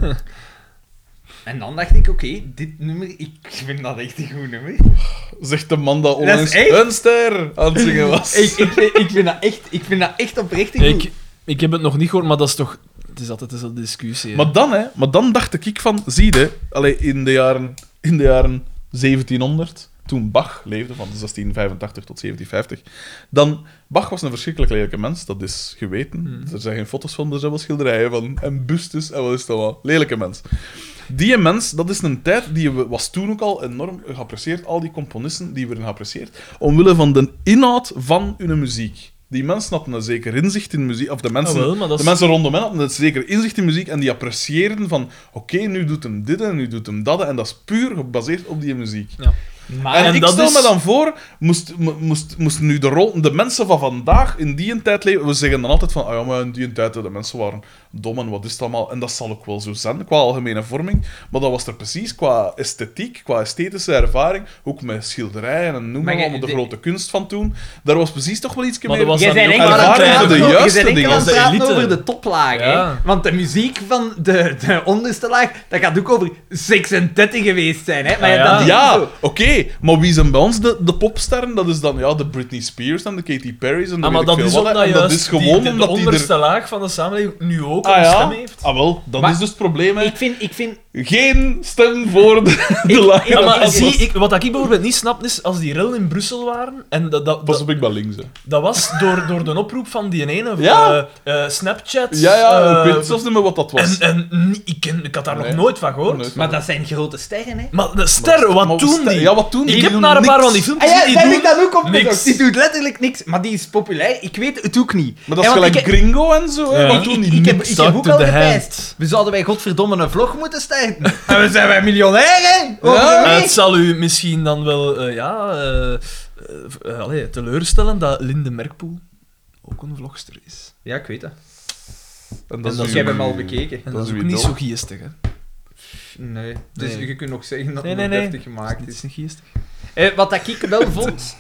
[SPEAKER 4] En dan dacht ik, oké, dit nummer, ik vind dat echt een goed nummer.
[SPEAKER 2] zegt de man dat
[SPEAKER 4] is
[SPEAKER 2] onlangs
[SPEAKER 4] echt-
[SPEAKER 2] een ster aan het zingen was.
[SPEAKER 4] Ik, ik, ik, vind, dat echt, ik vind dat echt oprecht een goed.
[SPEAKER 3] Ik, ik heb het nog niet gehoord, maar dat is toch... Het is altijd een discussie. hè.
[SPEAKER 2] Maar dan, hè, maar dan dacht ik ik van, zie je, allee, in, de jaren, in de jaren 1700, toen Bach leefde, van 1685 tot 1750, dan, Bach was een verschrikkelijk lelijke mens, dat is geweten.
[SPEAKER 3] Hmm.
[SPEAKER 2] Er zijn geen foto's van, er zijn wel schilderijen van, en bustes, en wat is dat wel, lelijke mens. Die mens, dat is een tijd die we- was toen ook al enorm geapprecieerd. Al die componisten die werden geapprecieerd. Omwille van de inhoud van hun muziek. Die mensen hadden een zeker inzicht in muziek. Of de mensen,
[SPEAKER 3] Ah, wel, maar dat
[SPEAKER 2] de
[SPEAKER 3] is-
[SPEAKER 2] mensen rondom hen hadden een zeker inzicht in muziek. En die apprecieerden van: oké, nu doet hem dit en nu doet hem dat. En dat is puur gebaseerd op die muziek.
[SPEAKER 4] Maar
[SPEAKER 2] En,
[SPEAKER 3] Ah, en
[SPEAKER 2] ik
[SPEAKER 3] dat
[SPEAKER 2] stel
[SPEAKER 3] is-
[SPEAKER 2] me dan voor, moest, mo- moest, moest nu de, rol, de mensen van vandaag in die tijd leven... We zeggen dan altijd van, ah ja, maar in die tijd, de mensen waren dom en wat is het allemaal. En dat zal ook wel zo zijn, qua algemene vorming. Maar dat was er precies qua esthetiek, qua esthetische ervaring, ook met schilderijen en noem
[SPEAKER 4] Maar
[SPEAKER 2] maar
[SPEAKER 4] jij-
[SPEAKER 2] op, de
[SPEAKER 4] de-
[SPEAKER 2] grote kunst van toen. Daar was precies toch wel iets
[SPEAKER 3] Maar
[SPEAKER 2] meer...
[SPEAKER 3] dat was
[SPEAKER 4] jij
[SPEAKER 3] dan
[SPEAKER 4] bent
[SPEAKER 3] ook
[SPEAKER 4] enkel aan het
[SPEAKER 2] ervaring voor
[SPEAKER 4] praten
[SPEAKER 2] de
[SPEAKER 4] over- jij
[SPEAKER 2] juiste
[SPEAKER 4] bent enkel
[SPEAKER 2] dingen,
[SPEAKER 4] aan het
[SPEAKER 3] dat is de
[SPEAKER 4] praten
[SPEAKER 3] elite.
[SPEAKER 4] over de toplaag.
[SPEAKER 3] Ja.
[SPEAKER 4] Hè? Want de muziek van de, de onderste laag, dat gaat ook over 36 geweest zijn. Hè? Maar
[SPEAKER 3] Ah,
[SPEAKER 4] ja,
[SPEAKER 3] ja.
[SPEAKER 4] dat is
[SPEAKER 2] Ja,
[SPEAKER 4] zo.
[SPEAKER 2] oké. Maar wie zijn bij ons de, de popsterren? Dat is dan ja, de Britney Spears en de Katy Perry's en de
[SPEAKER 3] Ah, maar
[SPEAKER 2] weet ik
[SPEAKER 3] dat
[SPEAKER 2] veel
[SPEAKER 3] is
[SPEAKER 2] wat, hè.
[SPEAKER 3] omdat
[SPEAKER 2] En
[SPEAKER 3] juist
[SPEAKER 2] dat is gewoon
[SPEAKER 3] die, de
[SPEAKER 2] omdat die
[SPEAKER 3] onderste
[SPEAKER 2] er...
[SPEAKER 3] laag van de samenleving nu ook
[SPEAKER 2] Ah
[SPEAKER 3] een
[SPEAKER 2] ja,
[SPEAKER 3] stem heeft.
[SPEAKER 2] ah, wel, dat
[SPEAKER 4] Maar-
[SPEAKER 2] is dus het probleem, hè.
[SPEAKER 4] Ik vind, ik vind...
[SPEAKER 2] Geen stem voor de, de laag.
[SPEAKER 3] Ja, Ah, maar
[SPEAKER 4] ik-
[SPEAKER 3] zie, ik, wat ik bijvoorbeeld niet snap, is als die rellen in Brussel waren, en dat, dat,
[SPEAKER 2] Pas
[SPEAKER 3] dat,
[SPEAKER 2] op, ik ben links. Hè.
[SPEAKER 3] dat was door, door de oproep van die ene
[SPEAKER 2] Ja.
[SPEAKER 3] eh, eh, Snapchat.
[SPEAKER 2] Ja, ja,
[SPEAKER 3] eh,
[SPEAKER 2] ik weet zelfs niet meer wat dat was.
[SPEAKER 3] en, eh, en n- ik, ken, ik had daar
[SPEAKER 2] Nee.
[SPEAKER 3] nog nooit van gehoord.
[SPEAKER 2] Nooit.
[SPEAKER 4] Maar dat zijn grote sterren, hè.
[SPEAKER 3] Maar de ster, wat
[SPEAKER 2] Maar we
[SPEAKER 3] doen
[SPEAKER 2] sta-
[SPEAKER 3] die?
[SPEAKER 2] Ja, wat doen die?
[SPEAKER 3] ik
[SPEAKER 2] Die
[SPEAKER 3] heb
[SPEAKER 2] doen
[SPEAKER 3] naar een paar
[SPEAKER 2] niks.
[SPEAKER 3] van die filmpjes
[SPEAKER 4] Ah ja,
[SPEAKER 3] die
[SPEAKER 4] daar heb
[SPEAKER 3] doen...
[SPEAKER 4] ik dat ook op
[SPEAKER 3] niks.
[SPEAKER 4] bezocht. Die doet letterlijk niks, maar die is populair. Ik weet het ook niet.
[SPEAKER 2] Maar dat
[SPEAKER 4] Hè,
[SPEAKER 2] is
[SPEAKER 4] want
[SPEAKER 2] gelijk
[SPEAKER 4] ik-
[SPEAKER 2] gringo en zo. Hè.
[SPEAKER 3] Ja.
[SPEAKER 2] Wat doen
[SPEAKER 4] Ik,
[SPEAKER 2] die?
[SPEAKER 4] ik, heb,
[SPEAKER 2] Niks.
[SPEAKER 4] ik
[SPEAKER 3] Start
[SPEAKER 4] heb ook
[SPEAKER 3] to
[SPEAKER 4] al
[SPEAKER 3] the
[SPEAKER 4] gepijst.
[SPEAKER 3] hand.
[SPEAKER 4] We zouden wij godverdomme een vlog moeten starten. en we zijn wij miljonairen.
[SPEAKER 2] Ja.
[SPEAKER 3] Eh, het zal u misschien dan wel eh, ja, eh, eh, eh, allee, teleurstellen dat Linde Merkpoel ook een vlogster is.
[SPEAKER 4] ja, ik weet dat.
[SPEAKER 2] En
[SPEAKER 3] dat
[SPEAKER 2] uw-
[SPEAKER 4] ik heb hem al bekeken.
[SPEAKER 3] En
[SPEAKER 2] Dat
[SPEAKER 3] dat,
[SPEAKER 2] is
[SPEAKER 3] is ook
[SPEAKER 2] wie
[SPEAKER 3] niet
[SPEAKER 2] dan?
[SPEAKER 3] zo geestig, hè?
[SPEAKER 4] Nee. Dus
[SPEAKER 3] Nee.
[SPEAKER 4] je kunt nog zeggen dat
[SPEAKER 3] Nee,
[SPEAKER 4] het
[SPEAKER 3] nee, nee.
[SPEAKER 4] deftig gemaakt
[SPEAKER 3] Het
[SPEAKER 4] is.
[SPEAKER 3] is niet geestig.
[SPEAKER 4] Eh, wat dat ik wel vond,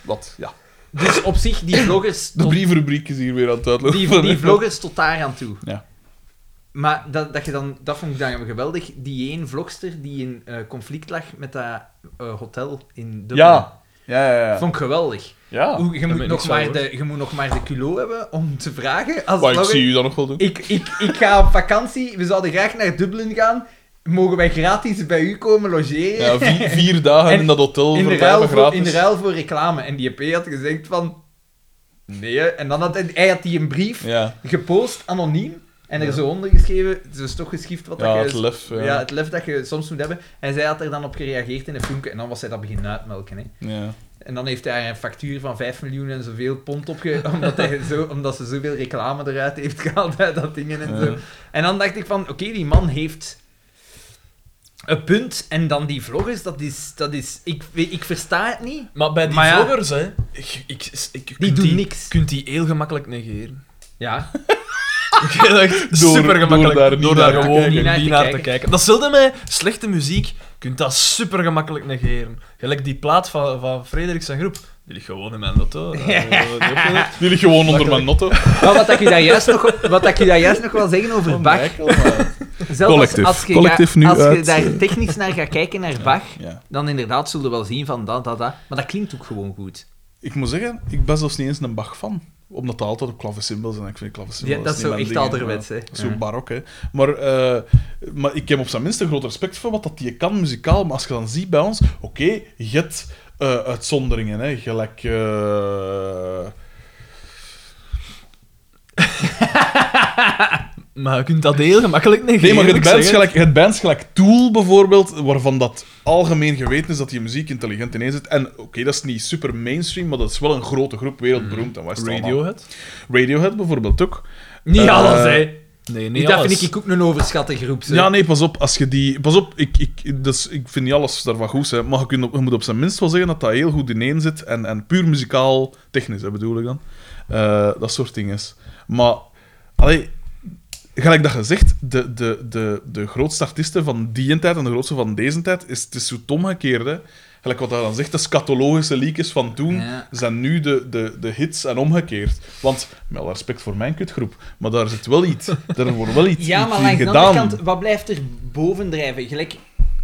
[SPEAKER 2] Wat? Ja.
[SPEAKER 4] dus op zich die vloggers
[SPEAKER 2] De
[SPEAKER 4] tot,
[SPEAKER 2] brievenrubriek is hier weer aan het uitlopen.
[SPEAKER 4] die, die vloggers tot daar aan toe.
[SPEAKER 2] Ja.
[SPEAKER 4] Maar dat, dat, je dan, dat vond ik dan geweldig. Die één vlogster die in eh, conflict lag met dat eh, hotel in Dublin.
[SPEAKER 2] Ja. Ja, ja, ja.
[SPEAKER 4] Vond ik geweldig.
[SPEAKER 2] ja.
[SPEAKER 4] Hoe- je,
[SPEAKER 3] ben
[SPEAKER 4] moet
[SPEAKER 3] ik
[SPEAKER 4] nog
[SPEAKER 3] niks van
[SPEAKER 4] maar de, je moet nog maar de culo hebben om te vragen. Als
[SPEAKER 2] Maar ik
[SPEAKER 4] vlogger-
[SPEAKER 2] zie u dat nog wel doen.
[SPEAKER 4] Ik, ik, ik ga op vakantie, we zouden graag naar Dublin gaan. Mogen wij gratis bij u komen logeren?
[SPEAKER 2] Ja, vier, vier dagen
[SPEAKER 4] En
[SPEAKER 2] in dat hotel
[SPEAKER 4] in,
[SPEAKER 2] voor
[SPEAKER 4] de
[SPEAKER 2] vijf
[SPEAKER 4] ruil voor,
[SPEAKER 2] gratis.
[SPEAKER 4] in de ruil voor reclame. En die EP had gezegd van... Nee, hè. en dan had hij, hij had die een brief
[SPEAKER 2] Ja.
[SPEAKER 4] gepost, anoniem. En er zo onder geschreven, het is dus toch geschift wat
[SPEAKER 2] Ja,
[SPEAKER 4] dat
[SPEAKER 2] het
[SPEAKER 4] je...
[SPEAKER 2] lef. Ja.
[SPEAKER 4] ja, het lef dat je soms moet hebben. En zij had er dan op gereageerd in een filmpje. En dan was hij dat beginnen uitmelken. Hè.
[SPEAKER 2] Ja.
[SPEAKER 4] En dan heeft hij haar een factuur van 5 miljoen en zoveel pond opge... Omdat, hij zo, omdat ze zoveel reclame eruit heeft gehaald uit dat dingen en zo.
[SPEAKER 2] Ja.
[SPEAKER 4] En dan dacht ik van, oké, die man heeft een punt. En dan die vloggers, dat is... Dat is ik, weet- ik versta het niet.
[SPEAKER 3] Maar bij die
[SPEAKER 4] Maar ja.
[SPEAKER 3] vloggers, hè, ik, ik, ik,
[SPEAKER 4] Die
[SPEAKER 3] kunt
[SPEAKER 4] doen niks.
[SPEAKER 3] kunt die heel gemakkelijk negeren.
[SPEAKER 4] Ja.
[SPEAKER 3] Ik dacht,
[SPEAKER 2] Door-
[SPEAKER 3] super
[SPEAKER 2] door
[SPEAKER 3] gemakkelijk
[SPEAKER 2] daar niet naar te
[SPEAKER 3] gewoon
[SPEAKER 2] kijken.
[SPEAKER 3] niet naar,
[SPEAKER 4] Niet
[SPEAKER 3] te kijken. Dat zulde mij slechte muziek, je kunt dat super gemakkelijk negeren. Gelijk die plaat van, van Frederik zijn groep. Die ligt gewoon in mijn Eh, lotto.
[SPEAKER 2] Die ligt gewoon onder mijn notto.
[SPEAKER 4] Maar wat ik je daar juist nog, wat ik je daar juist nog wil zeggen over Bach, zelfs
[SPEAKER 2] Collectief.
[SPEAKER 4] als je,
[SPEAKER 2] Collectief
[SPEAKER 4] ga-
[SPEAKER 2] nu
[SPEAKER 4] als je
[SPEAKER 2] uit. eh.
[SPEAKER 4] daar technisch naar gaat kijken, naar Bach,
[SPEAKER 2] Ja.
[SPEAKER 4] dan inderdaad zullen we wel zien van dat, dat, dat. Maar dat klinkt ook gewoon goed.
[SPEAKER 2] Ik moet zeggen, ik ben zelfs niet eens een Bach fan. Omdat dat altijd op klavecimbels en ik vind klavecimbels
[SPEAKER 4] Ja, dat is
[SPEAKER 2] niet
[SPEAKER 4] zo
[SPEAKER 2] mijn
[SPEAKER 4] echt
[SPEAKER 2] ding,
[SPEAKER 4] ouderwets,
[SPEAKER 2] ja.
[SPEAKER 4] hè.
[SPEAKER 2] Dat is zo barok, hè. Maar, eh, maar ik heb op zijn minst een groot respect voor wat dat je kan muzikaal. Maar als je dan ziet bij ons, oké, je hebt eh, uitzonderingen, hè. Gelijk... eh,
[SPEAKER 3] Maar je kunt dat heel gemakkelijk negeren.
[SPEAKER 2] Nee, maar het
[SPEAKER 3] ik
[SPEAKER 2] bands,
[SPEAKER 3] zeg het.
[SPEAKER 2] gelijk, het bands gelijk Tool bijvoorbeeld, waarvan dat algemeen geweten is dat die muziek intelligent in zit. En oké, dat is niet super mainstream, maar dat is wel een grote groep wereldberoemd. En wat is het allemaal?
[SPEAKER 3] Radiohead?
[SPEAKER 2] Radiohead bijvoorbeeld ook.
[SPEAKER 4] Niet
[SPEAKER 2] Eh,
[SPEAKER 4] alles, hè.
[SPEAKER 3] Nee,
[SPEAKER 4] Niet
[SPEAKER 3] niet
[SPEAKER 4] dat
[SPEAKER 3] alles.
[SPEAKER 4] vind ik ook een overschatte groep. zeg.
[SPEAKER 2] Ja, nee, pas op. Als je die... Pas op, ik, ik, dus, ik vind niet alles daarvan goed, hè, maar je, kunt op- je moet op zijn minst wel zeggen dat dat heel goed ineen zit. En, en puur muzikaal technisch, hè, bedoel ik dan. Eh, dat soort dingen. Maar, allee, gelijk dat gezegd, de, de, de, de grootste artiesten van die tijd en de grootste van deze tijd, is, het is zo het omgekeerde. Gelijk wat hij dan zegt, de scatologische leakjes van toen
[SPEAKER 4] Ja.
[SPEAKER 2] zijn nu de, de, de hits en omgekeerd. Want, met alle respect voor mijn kutgroep, maar daar zit wel iets. Er wordt wel iets,
[SPEAKER 4] Ja,
[SPEAKER 2] iets
[SPEAKER 4] maar
[SPEAKER 2] in
[SPEAKER 4] langs de
[SPEAKER 2] gedaan.
[SPEAKER 4] andere kant, wat blijft er bovendrijven? Gelijk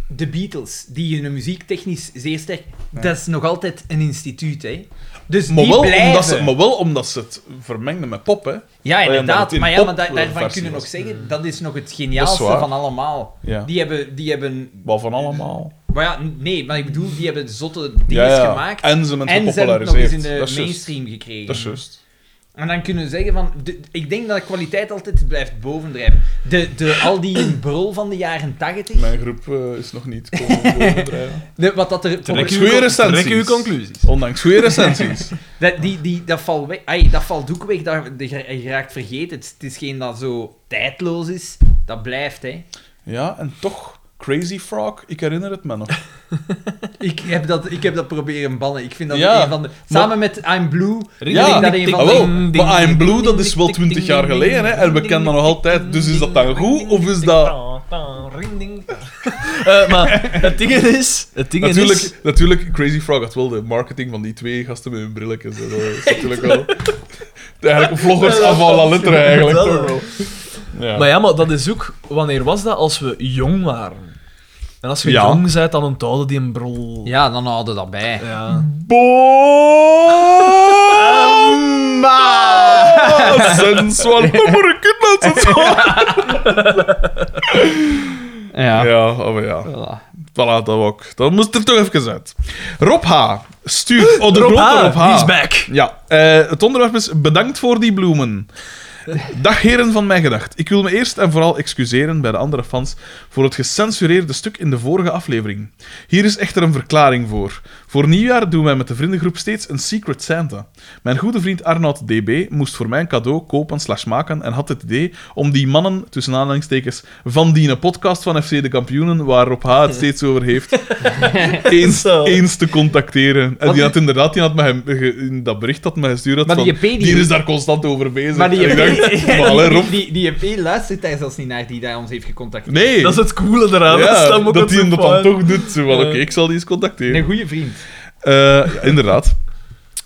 [SPEAKER 4] de Beatles, die hun muziek technisch zeer sterk... Dat is nog altijd een instituut, hè. Dus
[SPEAKER 2] Maar
[SPEAKER 4] die
[SPEAKER 2] wel,
[SPEAKER 4] blijven...
[SPEAKER 2] omdat ze, maar wel omdat ze het vermengden met pop, hè?
[SPEAKER 4] Ja,
[SPEAKER 2] Alleen dat
[SPEAKER 4] inderdaad.
[SPEAKER 2] Oh het in
[SPEAKER 4] Maar ja, maar da-
[SPEAKER 2] popversie
[SPEAKER 4] daarvan kunnen we nog
[SPEAKER 2] was. dus, eh,
[SPEAKER 4] zeggen, dat is nog het
[SPEAKER 2] Dat
[SPEAKER 4] geniaalste
[SPEAKER 2] is waar.
[SPEAKER 4] van allemaal.
[SPEAKER 2] Ja.
[SPEAKER 4] Die hebben... Die hebben
[SPEAKER 2] Wat van allemaal.
[SPEAKER 4] maar ja, nee, maar ik bedoel, die hebben zotte dingen
[SPEAKER 2] Ja, ja.
[SPEAKER 4] gemaakt.
[SPEAKER 2] En ze hebben het
[SPEAKER 4] En ze hebben het nog
[SPEAKER 2] gepopulariseerd.
[SPEAKER 4] eens in de
[SPEAKER 2] dat is juist.
[SPEAKER 4] mainstream gekregen.
[SPEAKER 2] Dat is juist.
[SPEAKER 4] En dan kunnen we zeggen van, de- ik denk dat de kwaliteit altijd blijft bovendrijven. De, de, al die brul van de jaren tachtig,
[SPEAKER 2] Mijn groep eh, is nog niet komen bovendrijven.
[SPEAKER 4] de- wat dat er...
[SPEAKER 2] Ondanks goede recensies.
[SPEAKER 3] trek uw conclusies.
[SPEAKER 2] Ondanks goede recensies.
[SPEAKER 4] Dat, die, die, dat, valt weg, ai, dat valt ook weg, dat, de, je raakt vergeten. Het, het is geen dat zo tijdloos is, dat blijft, hè.
[SPEAKER 2] Ja, en toch, Crazy Frog, ik herinner het me nog.
[SPEAKER 4] Ik heb dat, ik heb dat proberen bannen. Ik vind dat
[SPEAKER 2] Ja,
[SPEAKER 4] een van de... Samen met I'm Blue vind
[SPEAKER 2] Ja,
[SPEAKER 4] ik dat een van
[SPEAKER 2] ah, wel,
[SPEAKER 4] de...
[SPEAKER 2] maar I'm Blue, dat is wel 20 jaar geleden, hè? En we kennen dat nog altijd. Dus is dat dan goed of is dat.
[SPEAKER 3] Eh, maar het ding is... Het ding is...
[SPEAKER 2] Natuurlijk, natuurlijk, Crazy Frog had wel de marketing van die twee gasten met hun brilletjes. hè. Dat is natuurlijk wel. Eigenlijk vloggers af à la letter, eigenlijk.
[SPEAKER 3] Dat
[SPEAKER 2] toch
[SPEAKER 3] wel.
[SPEAKER 2] wel. Ja.
[SPEAKER 3] Maar ja, maar dat is ook... Wanneer was dat? Als we jong waren. En als je
[SPEAKER 2] Ja.
[SPEAKER 3] jong bent, dan onthouden die een brol.
[SPEAKER 4] Ja, dan houden we dat bij.
[SPEAKER 3] Ja.
[SPEAKER 2] Bomba! Sensual.
[SPEAKER 4] Ja.
[SPEAKER 2] Ja, oh maar ja.
[SPEAKER 4] Voilà.
[SPEAKER 2] Voilà, dat ook. Dat moest er toch even uit. Rob H. Stuur. Oh, de grote Rob H.
[SPEAKER 3] ah, he's back.
[SPEAKER 2] Ja, eh, het onderwerp is bedankt voor die bloemen. Dag heren van mijn gedacht. Ik wil me eerst en vooral excuseren bij de andere fans voor het gecensureerde stuk in de vorige aflevering. Hier is echter een verklaring voor. Voor nieuwjaar doen wij met de vriendengroep steeds een Secret Santa. Mijn goede vriend Arnoud DB moest voor mij een cadeau kopen slash maken en had het idee om die mannen, tussen aanhalingstekens, van die podcast van FC De Kampioenen, waar Rob H. het steeds over heeft, eens,
[SPEAKER 3] Zo.
[SPEAKER 2] eens te contacteren. En
[SPEAKER 4] Want
[SPEAKER 2] die
[SPEAKER 4] die-
[SPEAKER 2] had inderdaad, die had mij hem, ge- in dat bericht dat mij gestuurd had,
[SPEAKER 4] Maar
[SPEAKER 2] van,
[SPEAKER 4] die EP die-
[SPEAKER 2] is daar constant over bezig.
[SPEAKER 4] Maar die
[SPEAKER 2] En ik dacht,
[SPEAKER 4] EP,
[SPEAKER 2] maar allee, Rob.
[SPEAKER 4] die, die, die EP luistert daar zelfs niet naar die daar ons heeft gecontacteerd.
[SPEAKER 2] Nee,
[SPEAKER 3] Dat is het coole eraan.
[SPEAKER 2] ja,
[SPEAKER 3] dat is
[SPEAKER 2] dat hij hem dat dan
[SPEAKER 3] toch...
[SPEAKER 2] toch doet. Zo van,
[SPEAKER 3] Ja.
[SPEAKER 2] Oké, ik zal die eens contacteren.
[SPEAKER 4] Een goede vriend.
[SPEAKER 2] Eh, ja, inderdaad.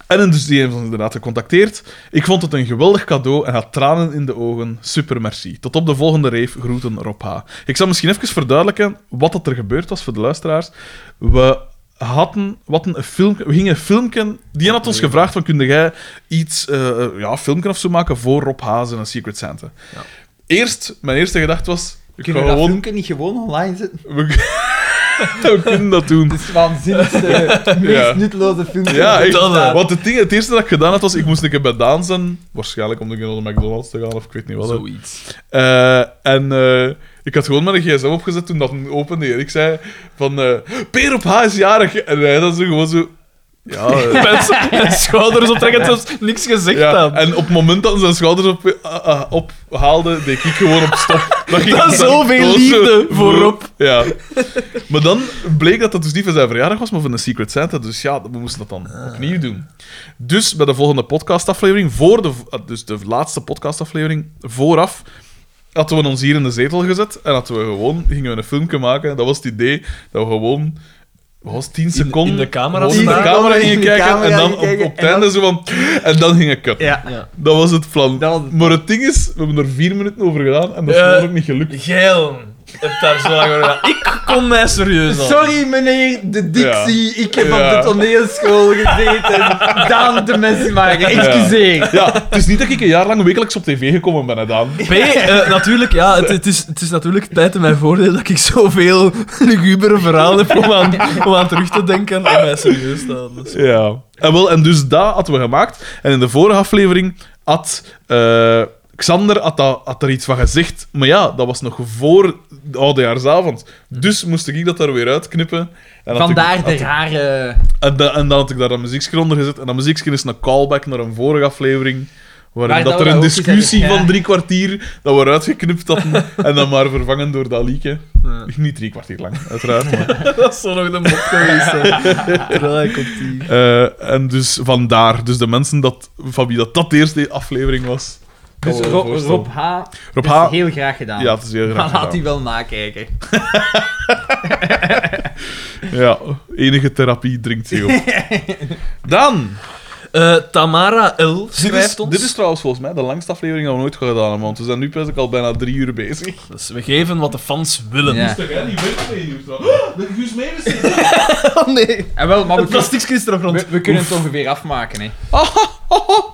[SPEAKER 2] En dus die heeft ons inderdaad gecontacteerd. Ik vond het een geweldig cadeau en had tranen in de ogen. Super merci. Tot op de volgende reef. Groeten Rob H. Ik zal misschien even verduidelijken wat dat er gebeurd was voor de luisteraars. We hadden wat een filmpje, we gingen een filmpje. Die had ons gevraagd: van, kun jij iets, eh eh, ja, een filmpje of zo maken voor Rob H. en Secret Santa?
[SPEAKER 3] Ja.
[SPEAKER 2] Eerst, mijn eerste gedachte was: ik ga
[SPEAKER 4] Kunnen we dat
[SPEAKER 2] gewoon,
[SPEAKER 4] filmpje niet gewoon online zetten?
[SPEAKER 2] we, we kunnen dat doen.
[SPEAKER 4] Het is waanzinnig, de meest
[SPEAKER 2] Ja.
[SPEAKER 4] nutteloze filmpje.
[SPEAKER 2] Ja, echt.
[SPEAKER 3] Dat, eh. hè.
[SPEAKER 2] Want het, ding, het eerste dat ik gedaan had, was ik moest een keer bij Daan zijn. Waarschijnlijk om een keer naar de McDonald's te gaan, of ik weet niet wat. hè.
[SPEAKER 3] Zoiets.
[SPEAKER 2] Eh, en eh, ik had gewoon mijn gsm opgezet toen dat opende. En ik zei van, eh Peer op H is jarig. En hij dan zo gewoon zo... Ja, eh,
[SPEAKER 3] Mensen met schouders optrekken, zelfs niks gezegd
[SPEAKER 2] ja.
[SPEAKER 3] aan.
[SPEAKER 2] En op het moment dat hij zijn schouders op, ah, ah, ophaalde, deed ik gewoon op stop. Dat ging
[SPEAKER 3] Dat is zoveel
[SPEAKER 2] doosje
[SPEAKER 3] liefde voorop.
[SPEAKER 2] Ja. Maar dan bleek dat dat dus niet van zijn verjaardag was, maar van de Secret Santa. Dus ja, we moesten dat dan
[SPEAKER 3] Ah.
[SPEAKER 2] opnieuw doen. Dus bij de volgende podcastaflevering, voor de, v- dus de laatste podcastaflevering, vooraf, hadden we ons hier in de zetel gezet en hadden we gewoon, gingen we een filmpje maken. Dat was het idee dat we gewoon... Wat was het, 10 seconden?
[SPEAKER 3] in de camera
[SPEAKER 2] gewoon in de
[SPEAKER 1] staan.
[SPEAKER 2] camera gingen
[SPEAKER 1] In de
[SPEAKER 2] kijken
[SPEAKER 1] camera
[SPEAKER 2] en dan
[SPEAKER 1] gingen
[SPEAKER 2] op,
[SPEAKER 1] kijken
[SPEAKER 2] op het
[SPEAKER 1] en dan-
[SPEAKER 2] einde zo van... En dan ging ik cut.
[SPEAKER 1] Ja.
[SPEAKER 3] Ja.
[SPEAKER 2] Dat was het plan.
[SPEAKER 1] Dat was het
[SPEAKER 2] Maar het ding is, we hebben er vier minuten over gedaan en dat is
[SPEAKER 3] Ja.
[SPEAKER 2] gewoon ook niet gelukt.
[SPEAKER 3] Geil. Ik heb daar zo lang over gedaan. Ik kom mij serieus aan.
[SPEAKER 1] Sorry meneer de Dixie, ik heb
[SPEAKER 2] Ja.
[SPEAKER 1] op de toneelschool gezeten. Daan de mensen maken, excuseer.
[SPEAKER 2] Ja, het is niet dat ik een jaar lang wekelijks op tv gekomen ben, hè, Daan.
[SPEAKER 3] B, eh, natuurlijk, ja, het, het, is, het is natuurlijk tijd in mijn voordeel dat ik zoveel lugubere verhalen heb om aan, om aan terug te denken en mij serieus te houden. Dus-
[SPEAKER 2] Ja. En, wel, en dus dat hadden we gemaakt. En in de vorige aflevering had eh, Xander had, dat- had er iets van gezegd. Maar ja, dat was nog voor de oudejaarsavond. Dus moest ik dat daar weer uitknippen. En had ik-
[SPEAKER 4] Vandaar de
[SPEAKER 2] had-
[SPEAKER 4] rare...
[SPEAKER 2] en, da- en dan had ik daar een muziekje onder gezet. En dat muziekje is een callback naar een vorige aflevering. Waarin
[SPEAKER 4] Waar
[SPEAKER 2] dat
[SPEAKER 4] dat
[SPEAKER 2] er
[SPEAKER 4] we
[SPEAKER 2] een
[SPEAKER 4] dat ook eens
[SPEAKER 2] discussie
[SPEAKER 4] hebben, ja.
[SPEAKER 2] van drie kwartier dat we eruit geknipt hadden. en dan maar vervangen door dat liedje.
[SPEAKER 3] Ja.
[SPEAKER 2] Niet drie kwartier lang, uiteraard. Maar
[SPEAKER 3] Dat is zo nog de mop geweest. hè. Terwijl hij komt hier.
[SPEAKER 2] Eh, en dus vandaar. Dus de mensen dat, van wie dat, dat de eerste aflevering was. kan
[SPEAKER 4] Dus
[SPEAKER 2] me
[SPEAKER 4] Ro-
[SPEAKER 2] wel voorstellen.
[SPEAKER 4] Rob H.
[SPEAKER 2] Rob
[SPEAKER 4] is
[SPEAKER 2] H.
[SPEAKER 4] heel graag gedaan.
[SPEAKER 2] Ja, het is heel
[SPEAKER 1] Maar
[SPEAKER 2] graag.
[SPEAKER 1] laat hij
[SPEAKER 2] gedaan.
[SPEAKER 1] wel nakijken.
[SPEAKER 2] Ja, enige therapie drinkt hij op. Dan,
[SPEAKER 3] Eh, Tamara L.
[SPEAKER 2] dit is,
[SPEAKER 3] schrijft ons.
[SPEAKER 2] dit is trouwens volgens mij de langste aflevering dat we nooit gedaan hebben. Want we zijn nu pas ik al bijna drie uur bezig.
[SPEAKER 3] Dus we geven wat de fans willen.
[SPEAKER 1] Ja.
[SPEAKER 2] Dat jij niet weet mee nu Dat Guus
[SPEAKER 3] Oh nee.
[SPEAKER 4] En Ah, wel, maar we,
[SPEAKER 3] Het plasticje is er op rond.
[SPEAKER 4] we- we kunnen het ongeveer afmaken, hè.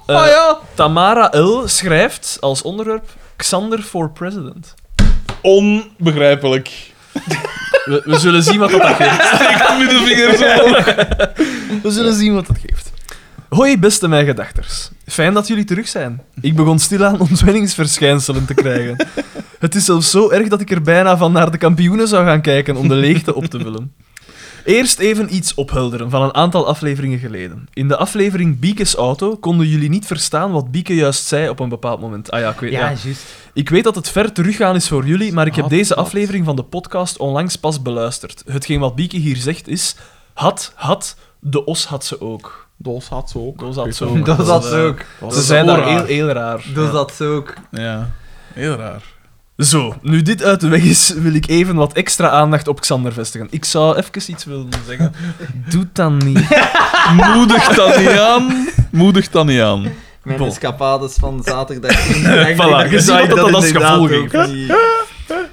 [SPEAKER 3] Eh, Tamara L. schrijft als onderwerp Xander for President.
[SPEAKER 2] Onbegrijpelijk.
[SPEAKER 3] We, we zullen zien wat dat geeft.
[SPEAKER 2] Ik kom met de vingers omhoog.
[SPEAKER 3] We zullen zien wat dat geeft. Hoi, beste mijn gedachters. Fijn dat jullie terug zijn. Ik begon stilaan ontwenningsverschijnselen te krijgen. Het is zelfs zo erg dat ik er bijna van naar de kampioenen zou gaan kijken om de leegte op te vullen. Eerst even iets ophelderen van een aantal afleveringen geleden. In de aflevering Bieke's Auto konden jullie niet verstaan wat Bieke juist zei op een bepaald moment. Ah ja, ik weet ja.
[SPEAKER 4] juist.
[SPEAKER 3] Ik weet dat het ver teruggaan is voor jullie, maar ik heb deze aflevering van de podcast onlangs pas beluisterd. Hetgeen wat Bieke hier zegt is... Had, had, de os had ze ook.
[SPEAKER 2] Dos had ze ook.
[SPEAKER 3] Dos had ze ook.
[SPEAKER 1] Dat
[SPEAKER 3] Dat
[SPEAKER 1] zat
[SPEAKER 3] is,
[SPEAKER 1] ze
[SPEAKER 3] eh,
[SPEAKER 1] ook.
[SPEAKER 3] Ze zijn daar heel, heel raar.
[SPEAKER 1] Dat
[SPEAKER 3] Ja.
[SPEAKER 1] zat ze ook.
[SPEAKER 2] Ja, heel raar.
[SPEAKER 3] Zo, nu dit uit de weg is, wil ik even wat extra aandacht op Xander vestigen. Ik zou even iets willen zeggen. Doe dat niet.
[SPEAKER 2] Moedig dat niet aan. Moedig dat niet aan.
[SPEAKER 1] Mijn
[SPEAKER 3] Bon.
[SPEAKER 1] escapades van zaterdag.
[SPEAKER 3] Voilà, je ziet wat dat dan als gevolg heeft.
[SPEAKER 1] heeft.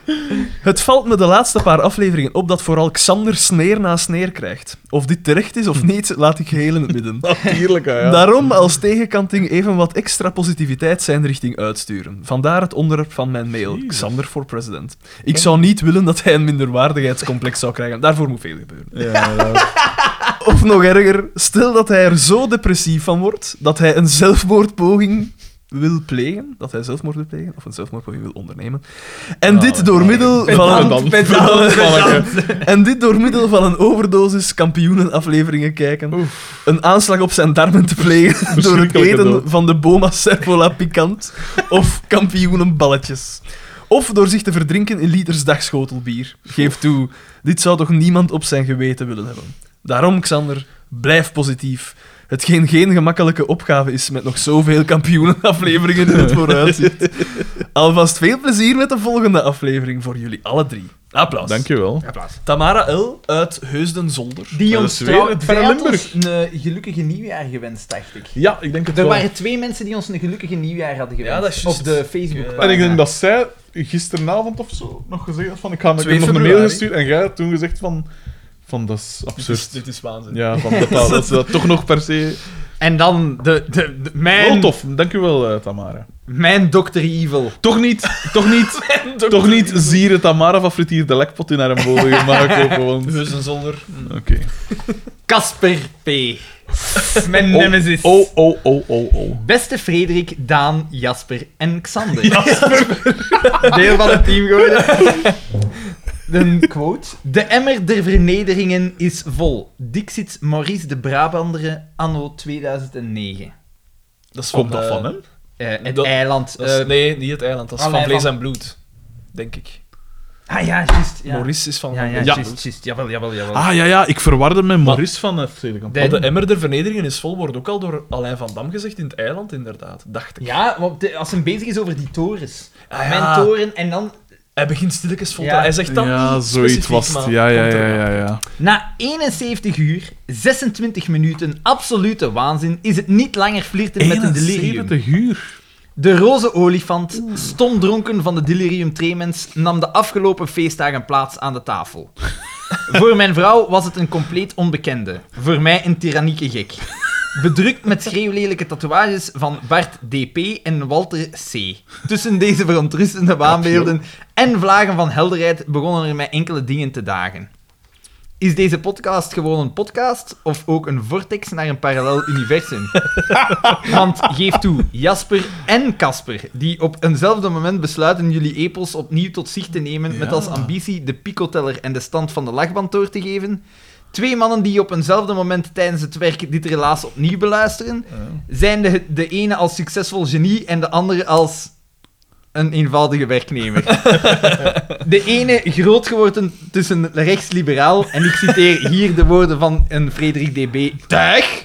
[SPEAKER 3] Het valt me de laatste paar afleveringen op dat vooral Xander sneer na sneer krijgt. Of dit terecht is of niet, laat ik geheel in het midden.
[SPEAKER 2] Natuurlijk, hè, ja.
[SPEAKER 3] Daarom als tegenkanting even wat extra positiviteit zijn richting uitsturen. Vandaar het onderwerp van mijn mail.
[SPEAKER 2] Jezus.
[SPEAKER 3] Xander voor president. Ik zou niet willen dat hij een minderwaardigheidscomplex zou krijgen. Daarvoor moet veel gebeuren.
[SPEAKER 2] Ja, ja.
[SPEAKER 3] Of nog erger, stel dat hij er zo depressief van wordt dat hij een zelfmoordpoging wil plegen, dat hij zelfmoord wil plegen, of een zelfmoordpoging wil ondernemen. En
[SPEAKER 2] Ja,
[SPEAKER 3] dit
[SPEAKER 2] dat
[SPEAKER 3] door
[SPEAKER 2] is
[SPEAKER 3] middel van
[SPEAKER 2] En
[SPEAKER 3] een
[SPEAKER 2] dan-
[SPEAKER 1] pedant,
[SPEAKER 2] dan- dan-
[SPEAKER 3] en dit door middel van een overdosis kampioenenafleveringen kijken. Een aanslag op zijn darmen te plegen door het
[SPEAKER 2] Verschrikkelijke
[SPEAKER 3] eten
[SPEAKER 2] dood.
[SPEAKER 3] van de Boma Servola Pikant of kampioenenballetjes. Of door zich te verdrinken in liters dagschotel bier. Geef toe, dit zou toch niemand op zijn geweten willen hebben. Daarom, Xander, blijf positief. Hetgeen geen gemakkelijke opgave is met nog zoveel kampioenenafleveringen in het vooruitzicht. Alvast veel plezier met de volgende aflevering voor jullie alle drie. Applaus.
[SPEAKER 2] Dankjewel.
[SPEAKER 4] Applaus.
[SPEAKER 3] Tamara L. uit Heusden-Zolder.
[SPEAKER 4] Die
[SPEAKER 2] Dat
[SPEAKER 4] ons
[SPEAKER 2] is weer
[SPEAKER 4] trouw-
[SPEAKER 2] het
[SPEAKER 4] zij had
[SPEAKER 2] Limburg.
[SPEAKER 4] ons een eh, gelukkige nieuwjaar gewenst, dacht ik.
[SPEAKER 2] Ja, ik denk het
[SPEAKER 4] Er
[SPEAKER 2] wel.
[SPEAKER 4] waren twee mensen die ons een gelukkige nieuwjaar hadden gewenst.
[SPEAKER 3] Ja, dat is juist.
[SPEAKER 4] Op de Facebook.
[SPEAKER 3] Eh,
[SPEAKER 2] En ik denk dat zij gisteravond of zo nog gezegd had van ik, ga, ik heb
[SPEAKER 3] 2
[SPEAKER 2] nog een mail
[SPEAKER 3] februari.
[SPEAKER 2] gestuurd en jij had toen gezegd van, van dat is absurd.
[SPEAKER 3] waanzin.
[SPEAKER 2] Ja, van dat, dat, dat, dat toch nog per se...
[SPEAKER 4] En dan de, de, de-
[SPEAKER 2] Wel
[SPEAKER 4] mijn,
[SPEAKER 2] tof, dankjewel eh Tamara.
[SPEAKER 4] mijn Dr. Evil.
[SPEAKER 2] Toch niet, toch niet, toch niet zieren Tamara van Fritier de Lekpot in haar bodem gemaakt ook gewoon. Oké.
[SPEAKER 3] Heusden-Zolder. Mm.
[SPEAKER 4] Casper P. mijn
[SPEAKER 2] Oh,
[SPEAKER 4] nemesis.
[SPEAKER 2] Oh, oh, oh, oh, oh.
[SPEAKER 4] Beste Frederik, Daan, Jasper en Xander. Deel van het team geworden. Een quote. De emmer der vernederingen is vol. Dixit Maurice de Brabanderen anno 2009.
[SPEAKER 3] Dat is
[SPEAKER 2] Komt
[SPEAKER 3] van,
[SPEAKER 2] dat
[SPEAKER 3] eh,
[SPEAKER 2] van hem?
[SPEAKER 4] Eh, het
[SPEAKER 3] Dat-
[SPEAKER 4] eiland.
[SPEAKER 3] dat is-
[SPEAKER 4] eh,
[SPEAKER 3] nee, niet het eiland. Dat is van
[SPEAKER 4] Allerlei
[SPEAKER 3] vlees en
[SPEAKER 4] van-
[SPEAKER 3] bloed. Denk ik.
[SPEAKER 4] Ah ja, juist. Ja.
[SPEAKER 3] Maurice is van...
[SPEAKER 4] Ja, ja,
[SPEAKER 2] Ja.
[SPEAKER 4] juist, juist. Jawel, jawel, jawel.
[SPEAKER 2] Ah ja, ja, ik verwarde met Maurice van eh, FC de Kampioen.
[SPEAKER 3] Maar de
[SPEAKER 4] de-
[SPEAKER 3] emmer der vernederingen is vol, wordt ook al door Alain van Dam gezegd in het eiland, inderdaad. Dacht ik.
[SPEAKER 4] Ja, want de- als hij bezig is over die torens.
[SPEAKER 3] Ah,
[SPEAKER 4] Mijn
[SPEAKER 3] ja.
[SPEAKER 4] toren en dan...
[SPEAKER 3] Hij begint stilletjes vol te...
[SPEAKER 4] Ja.
[SPEAKER 3] Hij zegt dan
[SPEAKER 2] Ja, Ah.
[SPEAKER 3] niet
[SPEAKER 2] zoiets
[SPEAKER 3] specifiek,
[SPEAKER 2] was het.
[SPEAKER 3] maar
[SPEAKER 2] Ja, ja,
[SPEAKER 3] komt
[SPEAKER 2] ja,
[SPEAKER 3] eraan.
[SPEAKER 2] ja, ja.
[SPEAKER 4] Na 71 uur, 26 minuten absolute waanzin, is het niet langer flirten met een delirium.
[SPEAKER 2] 71 uur.
[SPEAKER 4] De roze olifant, stomdronken van de delirium tremens, nam de afgelopen feestdagen plaats aan de tafel. Voor mijn vrouw was het een compleet onbekende. Voor mij een tyrannieke gek. Bedrukt met schreeuwlelijke tatoeages van Bart DP en Walter C. Tussen deze verontrustende waanbeelden en vlagen van helderheid begonnen er mij enkele dingen te dagen. Is deze podcast gewoon een podcast of ook een vortex naar een parallel universum? Want geef toe, Jasper en Casper, die op eenzelfde moment besluiten jullie epos opnieuw tot zich te nemen, met
[SPEAKER 2] Ja.
[SPEAKER 4] als ambitie de picoteller en de stand van de lachband door te geven. Twee mannen die op eenzelfde moment tijdens het werk dit relaas opnieuw beluisteren, zijn de, de ene als succesvol genie en de andere als een eenvoudige werknemer. De ene groot geworden tussen rechtsliberaal, en ik citeer hier de woorden van een Frederik DB, tuig.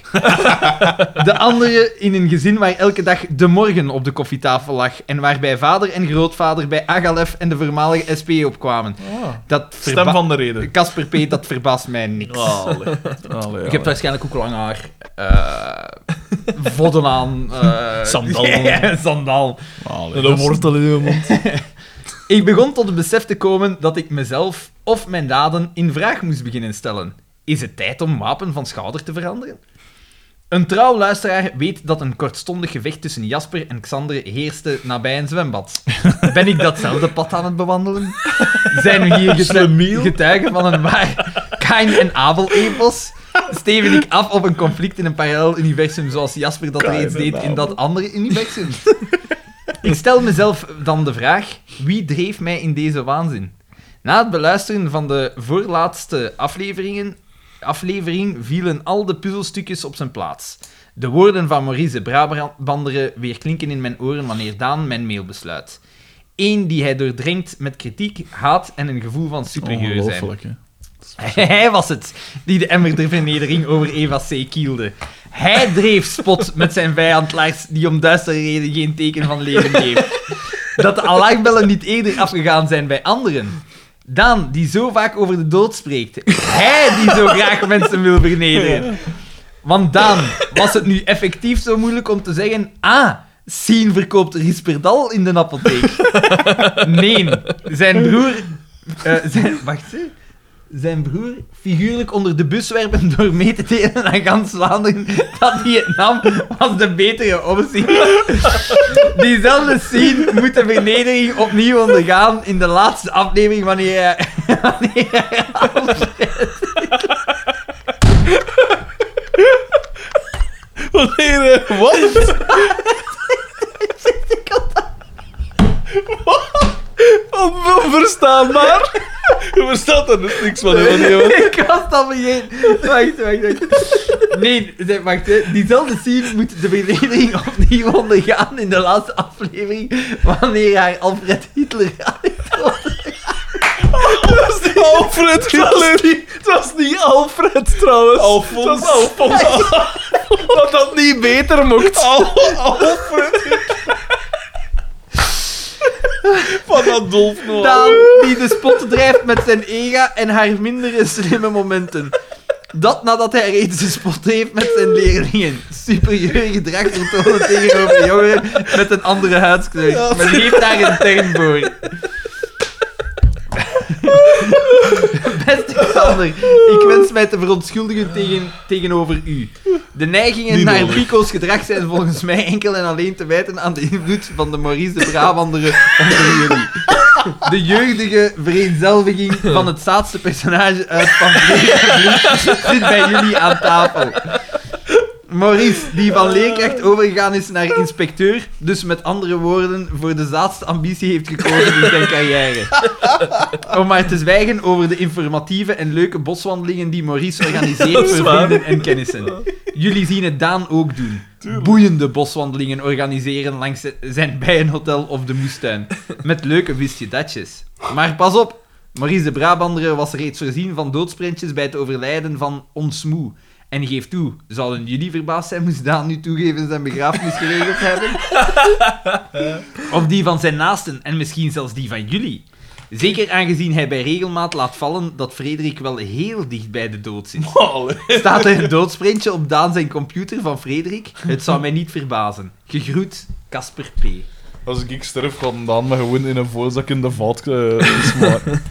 [SPEAKER 4] De andere in een gezin waar elke dag de morgen op de koffietafel lag en waarbij vader en grootvader bij Agalef en de voormalige SP opkwamen. Dat
[SPEAKER 2] Stem van Oh. de reden.
[SPEAKER 4] Casper P., dat verbaast mij niks.
[SPEAKER 2] Allee.
[SPEAKER 4] Je hebt waarschijnlijk ook lang haar. eh vodden aan. eh,
[SPEAKER 3] Sandaal.
[SPEAKER 4] ja, sandaal.
[SPEAKER 2] Allee.
[SPEAKER 3] Met een wortel in je mond.
[SPEAKER 4] Ik begon tot het besef te komen dat ik mezelf of mijn daden in vraag moest beginnen stellen. Is het tijd om wapen van schouder te veranderen? Een trouw luisteraar weet dat een kortstondig gevecht tussen Jasper en Xander heerste nabij een zwembad. Ben ik datzelfde pad aan het bewandelen? Zijn we hier getu- getuigen van een waar Kain en Abel-epos? Steven ik af op een conflict in een parallel universum zoals Jasper dat
[SPEAKER 2] Kain
[SPEAKER 4] reeds
[SPEAKER 2] en
[SPEAKER 4] deed in
[SPEAKER 2] Abel.
[SPEAKER 4] dat andere universum? Ik stel mezelf dan de vraag: wie dreef mij in deze waanzin? Na het beluisteren van de voorlaatste afleveringen, aflevering vielen al de puzzelstukjes op zijn plaats. De woorden van Maurice de Brabanderen weer klinken in mijn oren wanneer Daan mijn mail besluit. Eén die hij doordringt met kritiek, haat en een gevoel van superieur zijn.
[SPEAKER 2] Ongelooflijk, hè.
[SPEAKER 4] Hij was het die de emmer der vernedering over Eva C. kielde. Hij dreef spot met zijn vijand Lars, die om duistere reden geen teken van leven geeft. Dat de alarmbellen niet eerder afgegaan zijn bij anderen. Daan, die zo vaak over de dood spreekt. Hij die zo graag mensen wil vernederen. Want Daan, was het nu effectief zo moeilijk om te zeggen... Ah, Sien verkoopt Risperdal in de apotheek. Nee, zijn broer... eh, zijn, wacht, hè zijn broer figuurlijk onder de bus werpen door mee te delen aan gans Vlaanderen dat Vietnam was de betere optie. Diezelfde scene moet de vernedering opnieuw ondergaan in de laatste aflevering wanneer hij... Wanneer hij
[SPEAKER 2] Wanneer, eh, wat? Oh,
[SPEAKER 3] Onverstaanbaar.
[SPEAKER 2] Je verstaat er dus niks van. hè, van die-
[SPEAKER 4] Ik was dat vergeten. Wacht, wacht, wacht. Nee, zeg, wacht. Hè. Diezelfde scene moet de vernedering opnieuw ondergaan in de laatste aflevering wanneer haar Alfred Hitler
[SPEAKER 2] Alfred Hitler.
[SPEAKER 3] Het was niet Alfred, trouwens.
[SPEAKER 2] Alfons.
[SPEAKER 3] Het was Alfons. Dat dat niet beter mocht.
[SPEAKER 2] Al- Alfred Hitler. Van Adolf Noir.
[SPEAKER 4] Daan die de spot drijft met zijn ega en haar mindere slimme momenten. Dat nadat hij reeds de spot heeft met zijn leerlingen. Superieur gedrag vertonen tegenover jongeren met een andere huidskleur. Men heeft daar een term voor. Beste Xander, ik wens mij te verontschuldigen tegen, tegenover u. De neigingen
[SPEAKER 2] Niet
[SPEAKER 4] naar
[SPEAKER 2] nodig.
[SPEAKER 4] Pico's gedrag zijn volgens mij enkel en alleen te wijten aan de invloed van de Maurice de Brabanderen onder jullie. De jeugdige vereenzelviging van het zaadste personage uit Van Vlees en Bloed zit bij jullie aan tafel.
[SPEAKER 1] Maurice, die van Leek echt overgegaan is naar inspecteur, dus met andere woorden, voor de zaadste ambitie heeft gekozen in zijn carrière. Om maar te zwijgen over de informatieve en leuke boswandelingen die Maurice organiseert voor vrienden en kennissen. Jullie zien het Daan ook doen. Boeiende boswandelingen organiseren langs z- zijn bijenhotel of de moestuin. Met leuke wistjedatjes. Maar pas op, Maurice de Brabander was reeds voorzien van doodsprintjes bij het overlijden van ons moe. En geef toe, zouden jullie verbaasd zijn moest Daan nu toegeven zijn begrafenis geregeld hebben? Of die van zijn naasten en misschien zelfs die van jullie? Zeker aangezien hij bij regelmaat laat vallen dat Frederik wel heel dicht bij de dood zit. Staat er een doodsprintje op Daan zijn computer van Frederik? Het zou mij niet verbazen. Gegroet, Casper P.
[SPEAKER 2] Als ik sterf, gaat Daan me gewoon in een voorzak in de vat eh, smaken.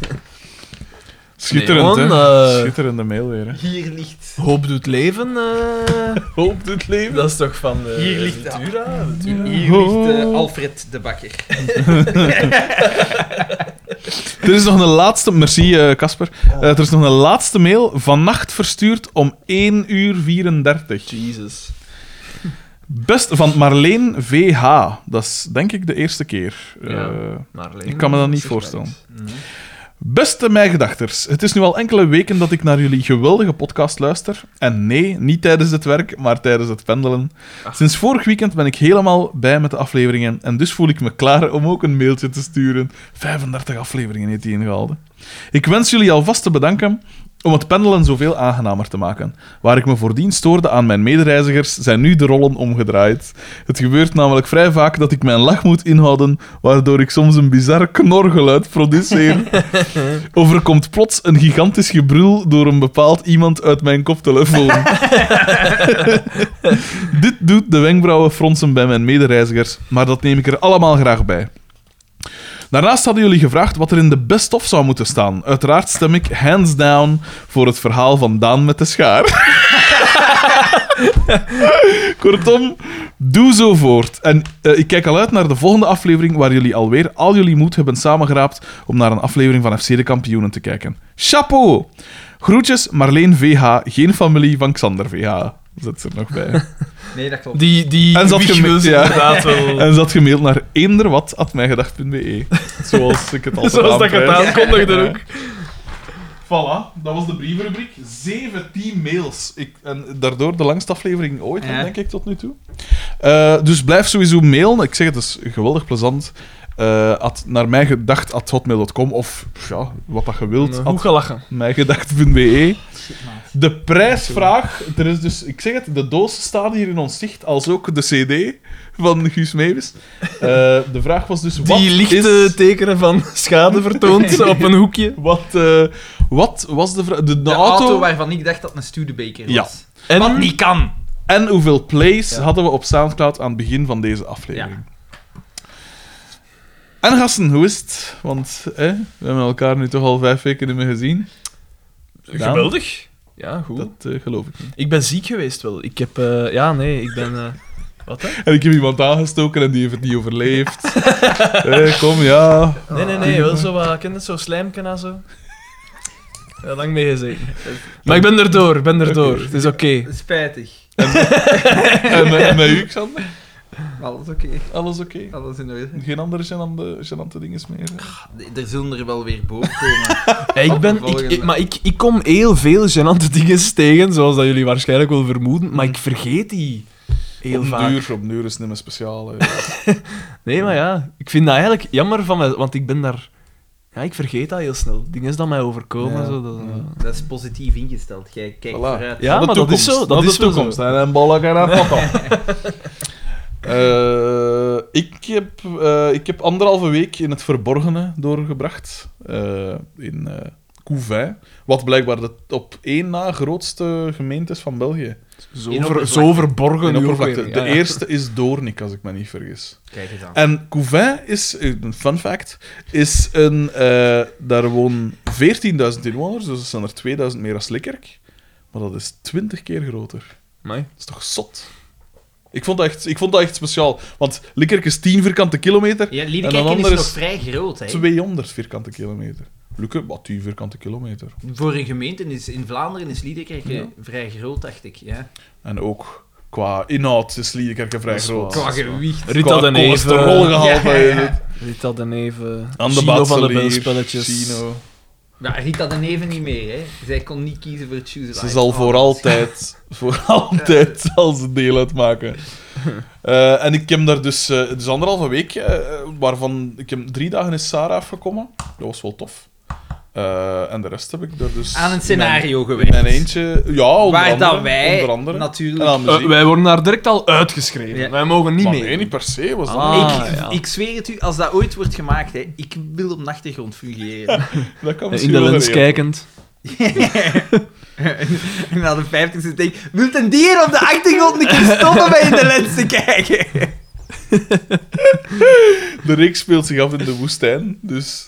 [SPEAKER 2] Schitterend,
[SPEAKER 3] Nee, man,
[SPEAKER 2] hè?
[SPEAKER 3] eh.
[SPEAKER 2] Schitterende mail weer, hè?
[SPEAKER 1] Hier ligt.
[SPEAKER 3] Hoop doet leven. eh,
[SPEAKER 2] Hoop dit leven.
[SPEAKER 3] dat is toch van. eh,
[SPEAKER 1] Hier ligt de-
[SPEAKER 3] Ventura? Ventura?
[SPEAKER 1] Hier ligt
[SPEAKER 2] Oh.
[SPEAKER 1] eh, Alfred de Bakker.
[SPEAKER 2] Er is nog een laatste... Merci, eh, Casper. Eh, er is nog een laatste mail. Vannacht verstuurd om 1 uur 34.
[SPEAKER 3] Jesus.
[SPEAKER 2] Best van Marleen VH. Dat is denk ik de eerste keer.
[SPEAKER 3] Ja.
[SPEAKER 2] Eh,
[SPEAKER 3] Marleen,
[SPEAKER 2] Ik kan me dat niet
[SPEAKER 3] surprise.
[SPEAKER 2] voorstellen. Beste mijgedachters, het is nu al enkele weken dat ik naar jullie geweldige podcast luister. En nee, niet tijdens het werk, maar tijdens het pendelen. Sinds vorig weekend ben ik helemaal bij met de afleveringen en dus voel ik me klaar om ook een mailtje te sturen. 35 afleveringen heeft hij ingehouden. Ik wens jullie alvast te bedanken om het pendelen zoveel aangenamer te maken. Waar ik me voordien stoorde aan mijn medereizigers, zijn nu de rollen omgedraaid. Het gebeurt namelijk vrij vaak dat ik mijn lach moet inhouden, waardoor ik soms een bizar knorgeluid produceer. Overkomt plots een gigantisch gebrul door een bepaald iemand uit mijn koptelefoon. Dit doet de wenkbrauwen fronsen bij mijn medereizigers, maar dat neem ik er allemaal graag bij. Daarnaast hadden jullie gevraagd wat er in de best of zou moeten staan. Uiteraard stem ik hands down voor het verhaal van Daan met de schaar. Kortom, doe zo voort. En eh, ik kijk al uit naar de volgende aflevering waar jullie alweer al jullie moed hebben samengeraapt om naar een aflevering van FC de Kampioenen te kijken. Chapeau! Groetjes, Marleen VH, geen familie van Xander VH. Zet ze er nog bij.
[SPEAKER 1] Nee, dat klopt.
[SPEAKER 3] Die, die
[SPEAKER 2] En zat
[SPEAKER 3] wieg
[SPEAKER 2] gemi-
[SPEAKER 3] wil ze
[SPEAKER 2] ja.
[SPEAKER 3] inderdaad wel.
[SPEAKER 2] En zat gemaild naar eenderwat.mijgedacht.be. E. Zoals ik het altijd
[SPEAKER 3] Zoals dat ik het
[SPEAKER 2] aanprijs.
[SPEAKER 3] aankondigde
[SPEAKER 2] Ja.
[SPEAKER 3] ook.
[SPEAKER 2] Voilà, dat was de brievenrubriek. 17 mails. Ik, en daardoor de langste aflevering ooit,
[SPEAKER 1] Ja.
[SPEAKER 2] denk ik, tot nu toe. Eh, dus blijf sowieso mailen. Ik zeg het, het is geweldig plezant. Eh at, naar mijgedacht.hotmail.com of ja, wat dat je wilt.
[SPEAKER 3] Goed
[SPEAKER 2] at
[SPEAKER 3] gelachen.
[SPEAKER 2] mijgedacht.be. E. De prijsvraag, er is dus, ik zeg het, de doos staat hier in ons zicht, als ook de CD van Guus Meeuwis. Eh, de vraag was dus: wat
[SPEAKER 3] Die lichte
[SPEAKER 2] is,
[SPEAKER 3] tekenen van schade vertoont op een hoekje.
[SPEAKER 2] wat, eh, wat was de vraag? De, de
[SPEAKER 1] De auto...
[SPEAKER 2] auto.
[SPEAKER 1] waarvan ik dacht dat het een Studebaker was.
[SPEAKER 2] Ja.
[SPEAKER 3] En
[SPEAKER 4] Wat niet kan.
[SPEAKER 2] En hoeveel plays
[SPEAKER 3] Ja.
[SPEAKER 2] hadden we op Soundcloud aan het begin van deze aflevering? En gasten, hoe is het? Want hè, we hebben elkaar nu toch al vijf weken niet meer gezien. Gedaan.
[SPEAKER 3] geweldig. Ja, goed.
[SPEAKER 2] Dat eh, geloof ik niet.
[SPEAKER 3] Ik ben ziek geweest wel. Ik heb... eh, ja, nee, ik ben... eh, wat hè?
[SPEAKER 2] En ik heb iemand aangestoken en die heeft het niet overleefd. Eh, kom, ja.
[SPEAKER 3] Nee, nee, nee. Wel zo wat... Ken je het? Zo slijmken en zo. Ja, lang mee gezeten. Maar ik ben erdoor. Ik ben erdoor. Het is oké.
[SPEAKER 1] Spijtig.
[SPEAKER 2] En, eh, en met u, Xander?
[SPEAKER 1] Alles oké.
[SPEAKER 2] Alles oké?
[SPEAKER 1] Alles in orde.
[SPEAKER 2] Geen andere gênante, gênante dingen meer? hè?
[SPEAKER 1] D- Er zullen er wel weer boven komen.
[SPEAKER 3] Ja, ik ben, ik, ik- maar ik, ik kom heel veel gênante dingen tegen, zoals dat jullie waarschijnlijk wel vermoeden, maar ik vergeet die heel
[SPEAKER 2] op
[SPEAKER 3] vaak.
[SPEAKER 2] duur, op duur is het niet meer speciaal. hè.
[SPEAKER 3] Nee, maar ja, ik vind dat eigenlijk jammer van mij, want ik ben daar... Ja, ik vergeet dat heel snel. Dingen is dat mij overkomen.
[SPEAKER 2] Ja,
[SPEAKER 3] Zo, dat,
[SPEAKER 2] ja.
[SPEAKER 1] Dat is positief ingesteld. Jij kijkt
[SPEAKER 2] Voilà.
[SPEAKER 1] vooruit.
[SPEAKER 3] Ja,
[SPEAKER 2] Naar
[SPEAKER 3] maar dat is zo, dat
[SPEAKER 2] Naar
[SPEAKER 3] is
[SPEAKER 2] de
[SPEAKER 3] wel
[SPEAKER 2] toekomst.
[SPEAKER 3] zo.
[SPEAKER 2] En een bollen en een foto. Eh, ik, heb, eh, ik heb anderhalve week in het verborgene doorgebracht. eh, in eh Couvain. Wat blijkbaar de op één na grootste gemeente is van België.
[SPEAKER 3] zo,
[SPEAKER 1] In
[SPEAKER 3] ver-
[SPEAKER 1] oppervlakte.
[SPEAKER 3] zo verborgen.
[SPEAKER 2] In
[SPEAKER 3] uw
[SPEAKER 2] oppervlakte.
[SPEAKER 3] opmerking,
[SPEAKER 2] De
[SPEAKER 3] ja, ja.
[SPEAKER 2] eerste is Doornik, als ik me niet vergis.
[SPEAKER 1] Kijk eens aan.
[SPEAKER 2] En Couvain is, eh, een fun fact, is een, eh, daar wonen 14.000 inwoners, dus er zijn er 2000 meer als Likkerk. Maar dat is 20 keer groter.
[SPEAKER 3] Amai.
[SPEAKER 2] Dat is toch zot? Ik vond dat echt, ik vond dat echt speciaal, want Likkerk is 10 vierkante kilometer,
[SPEAKER 4] Ja,
[SPEAKER 2] En een
[SPEAKER 4] Liedekerken is,
[SPEAKER 2] ander
[SPEAKER 4] nog
[SPEAKER 2] is
[SPEAKER 4] vrij groot, hè.
[SPEAKER 2] 200 vierkante kilometer. Lukke, wat 10 vierkante kilometer.
[SPEAKER 4] eh, Voor een gemeente is, in Vlaanderen is Liedekerken vrij groot, dacht ik. Ja.
[SPEAKER 2] En ook Qua inhoud is Liedekerken vrij
[SPEAKER 3] Dat is
[SPEAKER 2] groot.
[SPEAKER 3] waar.
[SPEAKER 4] Qua gewicht.
[SPEAKER 3] Rita
[SPEAKER 2] Qua
[SPEAKER 3] de Neve.
[SPEAKER 2] cholesterolgehalte.
[SPEAKER 4] Ja, ja, ja.
[SPEAKER 3] Rita de Neve.
[SPEAKER 2] Aan de
[SPEAKER 3] Chino van de
[SPEAKER 2] Batselier,
[SPEAKER 3] Belspelletjes.
[SPEAKER 2] Chino.
[SPEAKER 4] Ja, Rita de Neven niet meer, hè. Zij kon niet kiezen voor Choose
[SPEAKER 2] Ze
[SPEAKER 4] Life.
[SPEAKER 2] zal
[SPEAKER 4] Oh,
[SPEAKER 2] voor
[SPEAKER 4] dat is-
[SPEAKER 2] altijd, voor altijd zal ze deel uitmaken. Eh, en ik heb daar dus, eh, dus anderhalve week, eh, waarvan ik heb drie dagen is Sarah afgekomen. Dat was wel tof. Eh, en de rest heb ik daar dus...
[SPEAKER 4] Aan een scenario
[SPEAKER 2] in
[SPEAKER 4] geweest.
[SPEAKER 2] Mijn, in mijn eentje... Ja, onder
[SPEAKER 4] waar
[SPEAKER 2] andere.
[SPEAKER 4] dat wij
[SPEAKER 2] onder andere.
[SPEAKER 4] natuurlijk...
[SPEAKER 2] En aan
[SPEAKER 3] Eh,
[SPEAKER 2] muziek.
[SPEAKER 3] wij worden daar direct al uitgeschreven.
[SPEAKER 4] Ja. Eh,
[SPEAKER 3] Wij mogen niet
[SPEAKER 2] maar
[SPEAKER 3] mee.
[SPEAKER 2] nee, niet per se. Was dat
[SPEAKER 3] Ah.
[SPEAKER 4] ik,
[SPEAKER 3] ja.
[SPEAKER 4] ik zweer het u, als dat ooit wordt gemaakt, hè, ik wil op de achtergrond fungeren.
[SPEAKER 2] Dat kan
[SPEAKER 3] In
[SPEAKER 2] misschien
[SPEAKER 3] de
[SPEAKER 2] wel
[SPEAKER 3] lens
[SPEAKER 2] geregeld.
[SPEAKER 3] kijkend.
[SPEAKER 4] en na de vijftigste denk ik, wilt een dier op de achtergrond een keer stoppen bij in de lens te kijken?
[SPEAKER 2] De reeks speelt zich af in de woestijn, dus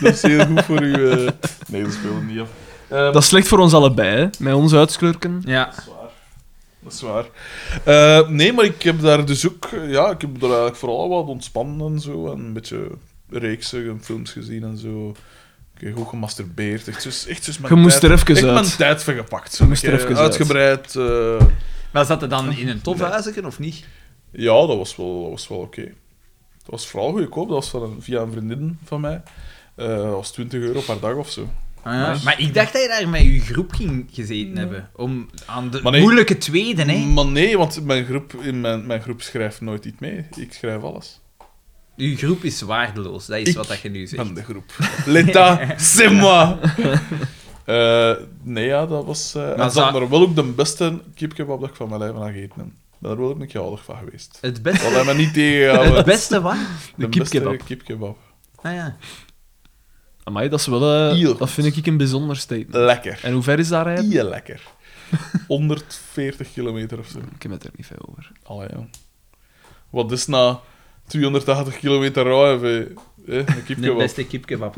[SPEAKER 2] dat is heel goed voor u. eh. Nee, dat speelt niet af.
[SPEAKER 3] Dat is slecht voor ons allebei, hè. Met ons uitsklurken.
[SPEAKER 4] Ja.
[SPEAKER 2] Dat is waar. Eh, nee, maar ik heb daar dus ook... eh, Ja, ik heb daar eigenlijk vooral wat ontspannen en zo. En een beetje reeksen en films gezien en zo. Ik heb goed gemasturbeerd. Echt dus, echt dus mijn
[SPEAKER 3] Je moest
[SPEAKER 2] tijd,
[SPEAKER 3] er even
[SPEAKER 2] echt mijn
[SPEAKER 3] uit.
[SPEAKER 2] tijd van gepakt. Zo.
[SPEAKER 3] Je moest
[SPEAKER 2] Ik,
[SPEAKER 3] er
[SPEAKER 2] eh,
[SPEAKER 3] even uit.
[SPEAKER 2] Uitgebreid. eh,
[SPEAKER 4] Maar zat het dan in een tophuizen of niet?
[SPEAKER 2] ja, dat was wel, dat was wel oké. Dat was vooral goedkoop. Dat was van een, via een vriendin van mij. Eh, dat was 20 euro per dag of zo.
[SPEAKER 4] Ah, ja. Maar ik dacht dat je daar met je groep ging gezeten hebben. Om aan de
[SPEAKER 2] Maar nee.
[SPEAKER 4] moeilijke tweede, hè.
[SPEAKER 2] Maar nee, want mijn groep, in mijn, mijn groep schrijft nooit iets mee. Ik schrijf alles.
[SPEAKER 4] Je groep is waardeloos, dat is
[SPEAKER 2] Ik
[SPEAKER 4] wat dat je nu zegt.
[SPEAKER 2] Van de groep. Leta, c'est moi! Eh, nee, ja, dat was... eh en
[SPEAKER 4] Maar
[SPEAKER 2] ze hadden
[SPEAKER 4] zou-
[SPEAKER 2] er wel ook de beste kipkebab dat ik van mijn leven aan gegeten heb. Daar ben ik wel jaloers van geweest.
[SPEAKER 4] Het
[SPEAKER 2] Dat
[SPEAKER 4] beste,
[SPEAKER 2] hebben me niet
[SPEAKER 4] het
[SPEAKER 2] tegengehouden.
[SPEAKER 4] beste wat?
[SPEAKER 2] De
[SPEAKER 3] kipkebab.
[SPEAKER 2] beste kipkebab.
[SPEAKER 4] Ah ja.
[SPEAKER 3] Amai, dat is wel... eh,
[SPEAKER 2] Heel goed.
[SPEAKER 3] dat vind ik een bijzonder statement.
[SPEAKER 2] Lekker.
[SPEAKER 3] En hoe ver is daar rijden?
[SPEAKER 2] Ie lekker. 140 kilometer of zo.
[SPEAKER 3] Ik heb het er niet veel over.
[SPEAKER 2] Allee, ja. Wat is na 280 kilometer rijden? eh, Een
[SPEAKER 4] De
[SPEAKER 2] kipkebab.
[SPEAKER 4] beste kipkebab.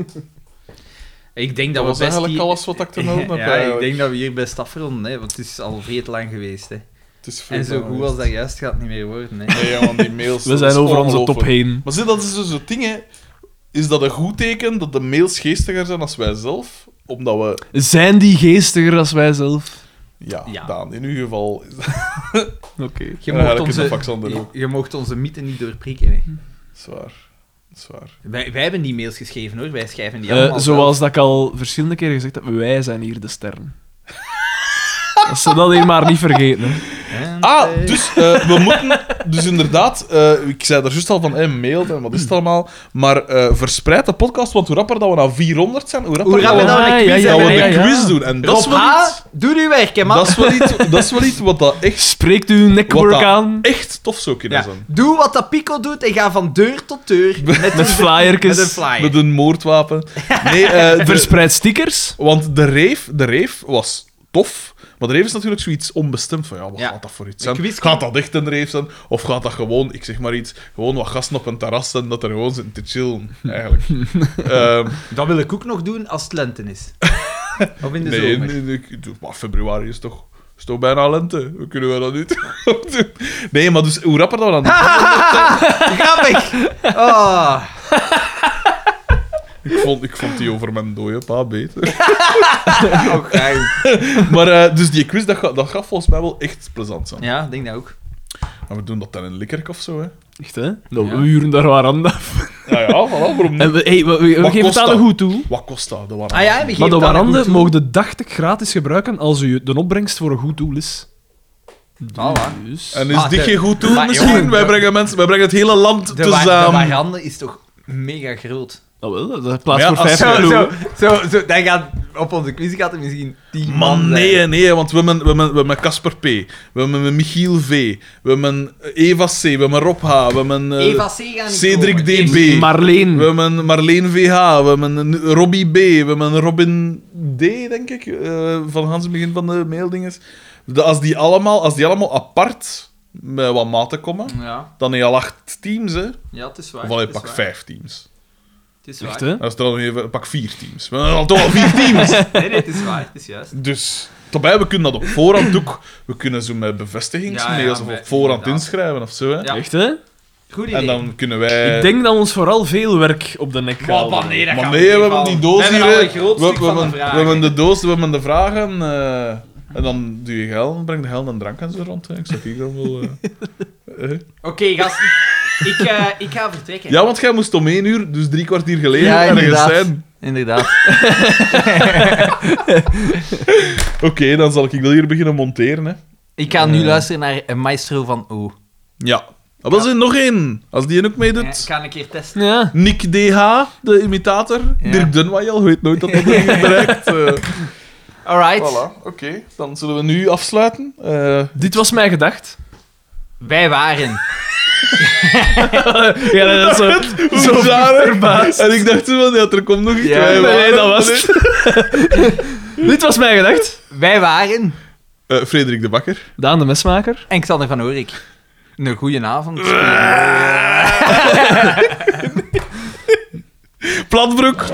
[SPEAKER 4] Ik denk dat,
[SPEAKER 2] Dat
[SPEAKER 4] we
[SPEAKER 2] was
[SPEAKER 4] best
[SPEAKER 2] eigenlijk
[SPEAKER 4] hier-
[SPEAKER 2] alles wat ik te melden heb.
[SPEAKER 4] Ja, ik
[SPEAKER 2] eigenlijk.
[SPEAKER 4] denk dat we hier best afronden, hè, want het is al veel te lang geweest. Hè.
[SPEAKER 2] Het is veel
[SPEAKER 4] En zo
[SPEAKER 2] belangrijk.
[SPEAKER 4] goed als dat juist gaat het niet meer worden. Hè.
[SPEAKER 2] Nee, ja, want die mails...
[SPEAKER 3] We
[SPEAKER 2] dat
[SPEAKER 3] zijn
[SPEAKER 2] is
[SPEAKER 3] over onze top
[SPEAKER 2] ongelooflijk.
[SPEAKER 3] heen.
[SPEAKER 2] Maar zie, dat is dus het ding, hè. Is dat een goed teken dat de mails geestiger zijn als wij zelf? Omdat we...
[SPEAKER 3] Zijn die geestiger als wij zelf?
[SPEAKER 2] Ja,
[SPEAKER 4] Ja.
[SPEAKER 2] Daan, in uw geval... is dat-
[SPEAKER 3] Oké.
[SPEAKER 4] Je
[SPEAKER 2] Ja,
[SPEAKER 4] mocht
[SPEAKER 2] dat
[SPEAKER 4] onze,
[SPEAKER 2] kunnen Alexander ook.
[SPEAKER 4] je, je mocht onze mythe niet doorprikken. Hè.
[SPEAKER 2] Zwaar. Zwaar.
[SPEAKER 4] Wij, wij hebben die mails geschreven hoor, wij schrijven die
[SPEAKER 3] Eh,
[SPEAKER 4] allemaal.
[SPEAKER 3] zoals dat ik al verschillende keren gezegd heb, wij zijn hier de sterren. Als ze dat hier maar niet vergeten. hè.
[SPEAKER 2] Ah, dus eh, we moeten... Dus inderdaad, eh, ik zei er juist al van, hey, mail en wat is het allemaal? Maar eh, verspreid de podcast, want hoe rapper dat we naar 400 zijn, hoe rapper
[SPEAKER 4] Hoe gaan we
[SPEAKER 2] dat we,
[SPEAKER 4] dan
[SPEAKER 3] Ja,
[SPEAKER 4] een quiz
[SPEAKER 3] ja,
[SPEAKER 2] dat
[SPEAKER 4] hebben,
[SPEAKER 2] we
[SPEAKER 4] hè?
[SPEAKER 2] een
[SPEAKER 3] ja, ja.
[SPEAKER 2] quiz doen. En dat is,
[SPEAKER 4] Rob
[SPEAKER 2] wel
[SPEAKER 4] H,
[SPEAKER 2] iets,
[SPEAKER 4] Ah, doe nu werk, hè, man.
[SPEAKER 2] dat, is wel iets, dat is wel iets wat dat echt,
[SPEAKER 3] Spreekt uw
[SPEAKER 2] Wat
[SPEAKER 3] neckwork
[SPEAKER 2] dat-
[SPEAKER 3] aan
[SPEAKER 2] echt tof zou kunnen
[SPEAKER 4] Ja.
[SPEAKER 2] zijn.
[SPEAKER 4] Doe wat dat Pico doet en ga van deur tot deur met,
[SPEAKER 3] met flyertjes.
[SPEAKER 4] met een flyer.
[SPEAKER 2] Met een moordwapen. Nee, eh, de-
[SPEAKER 3] Verspreid stickers.
[SPEAKER 2] want de rave, de rave was tof. Maar de rave is natuurlijk zoiets onbestemd. Van, ja, wat
[SPEAKER 4] Ja.
[SPEAKER 2] gaat dat voor iets
[SPEAKER 4] Een
[SPEAKER 2] zijn?
[SPEAKER 4] quiz-
[SPEAKER 2] Gaat dat echt een rave zijn? Of gaat dat gewoon, ik zeg maar iets, gewoon wat gasten op een terras zijn dat er gewoon zitten te chillen, eigenlijk. Ehm,
[SPEAKER 4] Dat wil ik ook nog doen als het lente is. of in de
[SPEAKER 2] nee,
[SPEAKER 4] zomer.
[SPEAKER 2] nee, nee, ik- maar februari is toch, is toch bijna lente. Hoe kunnen we dat nu toch doen? Nee, maar dus hoe rapper dat we dan...
[SPEAKER 4] Grappig! Oh.
[SPEAKER 1] Ah.
[SPEAKER 2] Ik vond, ik vond die over mijn dode pa beter. Oh,
[SPEAKER 4] Oké.
[SPEAKER 2] Maar eh, dus die quiz, dat, ga- dat gaf volgens mij wel echt plezant zijn.
[SPEAKER 4] Ja, ik denk dat ook.
[SPEAKER 2] Maar we doen dat dan in Likkerk of zo, hè?
[SPEAKER 3] Echt, hè? Mm. Nou, we huren daar waar aan af.
[SPEAKER 2] Ja, ja, voilà, waarom niet?
[SPEAKER 3] En we, hey, we, we- we
[SPEAKER 2] Wat
[SPEAKER 3] geven
[SPEAKER 2] kost
[SPEAKER 3] het alle
[SPEAKER 2] dat?
[SPEAKER 3] goed toe.
[SPEAKER 2] Wat kost dat? De warande?
[SPEAKER 4] Ah ja, we
[SPEAKER 3] Maar de
[SPEAKER 4] geven het aan
[SPEAKER 3] waranden
[SPEAKER 4] goed toe.
[SPEAKER 3] mogen de 80 gratis gebruiken als u de opbrengst voor een goed doel is.
[SPEAKER 4] Voilà.
[SPEAKER 3] Dus...
[SPEAKER 2] En is
[SPEAKER 4] Ah,
[SPEAKER 2] dit
[SPEAKER 4] de-
[SPEAKER 2] geen goed doel
[SPEAKER 4] maar
[SPEAKER 2] misschien?
[SPEAKER 4] jongen,
[SPEAKER 2] wij,
[SPEAKER 4] de-
[SPEAKER 2] brengen mensen, wij brengen het ehm, hele land
[SPEAKER 4] De, wa- de
[SPEAKER 2] tezamen.
[SPEAKER 4] warande is toch mega groot.
[SPEAKER 3] Nou wel, dat plaats
[SPEAKER 2] Ja,
[SPEAKER 3] voor
[SPEAKER 2] als-
[SPEAKER 3] 5
[SPEAKER 2] zo-
[SPEAKER 4] Zo,
[SPEAKER 3] euro.
[SPEAKER 4] zo, zo, zo, dan gaat op onze quiz gaat er misschien 10 man.
[SPEAKER 2] Man,
[SPEAKER 4] zijn.
[SPEAKER 2] nee, nee, want we hebben, we hebben, we hebben Casper P. We hebben Michiel V. We hebben eh, Eva C. We hebben Rob H. We hebben eh,
[SPEAKER 4] Eva C. gaan niet
[SPEAKER 2] Cedric
[SPEAKER 4] komen.
[SPEAKER 2] DB.
[SPEAKER 4] Eerst-
[SPEAKER 3] Marleen.
[SPEAKER 2] We hebben Marleen VH, we hebben eh, Robbie B, we hebben Robin D, denk ik, eh, van Hans het begin van de maildinges. De- Als die allemaal, als die allemaal apart met wat maten komen,
[SPEAKER 4] Ja,
[SPEAKER 2] dan heb je al acht teams, hè.
[SPEAKER 4] ja, het is waar.
[SPEAKER 2] Of allee,
[SPEAKER 4] het is
[SPEAKER 2] pak
[SPEAKER 4] waar.
[SPEAKER 2] vijf teams.
[SPEAKER 4] Het is
[SPEAKER 3] Echt,
[SPEAKER 4] waar.
[SPEAKER 3] hè?
[SPEAKER 2] Dan is er dan nog even, pak vier teams. We hebben al toch al vier teams.
[SPEAKER 4] Nee, nee, het is waar. Het is juist.
[SPEAKER 2] Dus, daarbij, we kunnen dat op voorhand ook. We kunnen zo met bevestigingsmails
[SPEAKER 4] Ja, ja,
[SPEAKER 2] of
[SPEAKER 4] met-
[SPEAKER 2] op voorhand
[SPEAKER 4] inderdaad.
[SPEAKER 2] inschrijven of zo, hè.
[SPEAKER 4] Ja.
[SPEAKER 3] Echt, hè?
[SPEAKER 4] Goed idee.
[SPEAKER 2] En dan kunnen wij...
[SPEAKER 3] Ik denk dat ons vooral veel werk op de nek
[SPEAKER 4] Maar
[SPEAKER 3] gaat.
[SPEAKER 4] wanneer dat
[SPEAKER 2] Maar
[SPEAKER 4] gaat
[SPEAKER 2] nee, we
[SPEAKER 4] meevallen.
[SPEAKER 2] hebben die doos
[SPEAKER 4] We
[SPEAKER 2] hier.
[SPEAKER 4] hebben al
[SPEAKER 2] hè.
[SPEAKER 4] een groot
[SPEAKER 2] we,
[SPEAKER 4] stuk
[SPEAKER 2] we
[SPEAKER 4] van de
[SPEAKER 2] hebben- we
[SPEAKER 4] vragen.
[SPEAKER 2] hebben de doos, we hebben de vragen. eh, En dan doe je geld en breng de geld en drank en zo rond. Hè. Ik zeg hier dan wel... eh, eh.
[SPEAKER 4] Oké, gasten. ik, eh, ik ga vertrekken.
[SPEAKER 2] Ja, want jij moest om één uur, dus drie kwartier geleden,
[SPEAKER 1] Ja,
[SPEAKER 2] ergens
[SPEAKER 1] inderdaad.
[SPEAKER 2] zijn.
[SPEAKER 1] Inderdaad.
[SPEAKER 2] Oké, dan zal ik wel hier beginnen monteren. Hè.
[SPEAKER 1] Ik ga
[SPEAKER 2] Eh.
[SPEAKER 1] nu luisteren naar een maestro van O.
[SPEAKER 2] Ja. Maar er is er nog één, als die ook
[SPEAKER 4] Ja,
[SPEAKER 2] meedoet.
[SPEAKER 4] ik ga een keer testen.
[SPEAKER 1] Ja.
[SPEAKER 2] Nick DH, de imitator.
[SPEAKER 1] Ja.
[SPEAKER 2] Dirk Dunwajel, weet nooit dat hij erin bereikt. eh.
[SPEAKER 1] Alright.
[SPEAKER 2] voilà, oké. Dan zullen we nu afsluiten. Eh,
[SPEAKER 3] Dit was mijn gedacht.
[SPEAKER 1] Wij waren.
[SPEAKER 3] Ja, dat is zo.
[SPEAKER 2] zo verbaasd. En ik dacht zo van, ja, er komt nog iets.
[SPEAKER 1] Ja.
[SPEAKER 2] Wij
[SPEAKER 3] Nee,
[SPEAKER 2] waren-
[SPEAKER 3] dat was het. Dit was mijn gedacht.
[SPEAKER 1] Wij waren.
[SPEAKER 2] Eh, Frederik de Bakker.
[SPEAKER 3] Daan de mesmaker.
[SPEAKER 1] En Xander van Oorik. Een goeie avond.
[SPEAKER 2] Platbroek.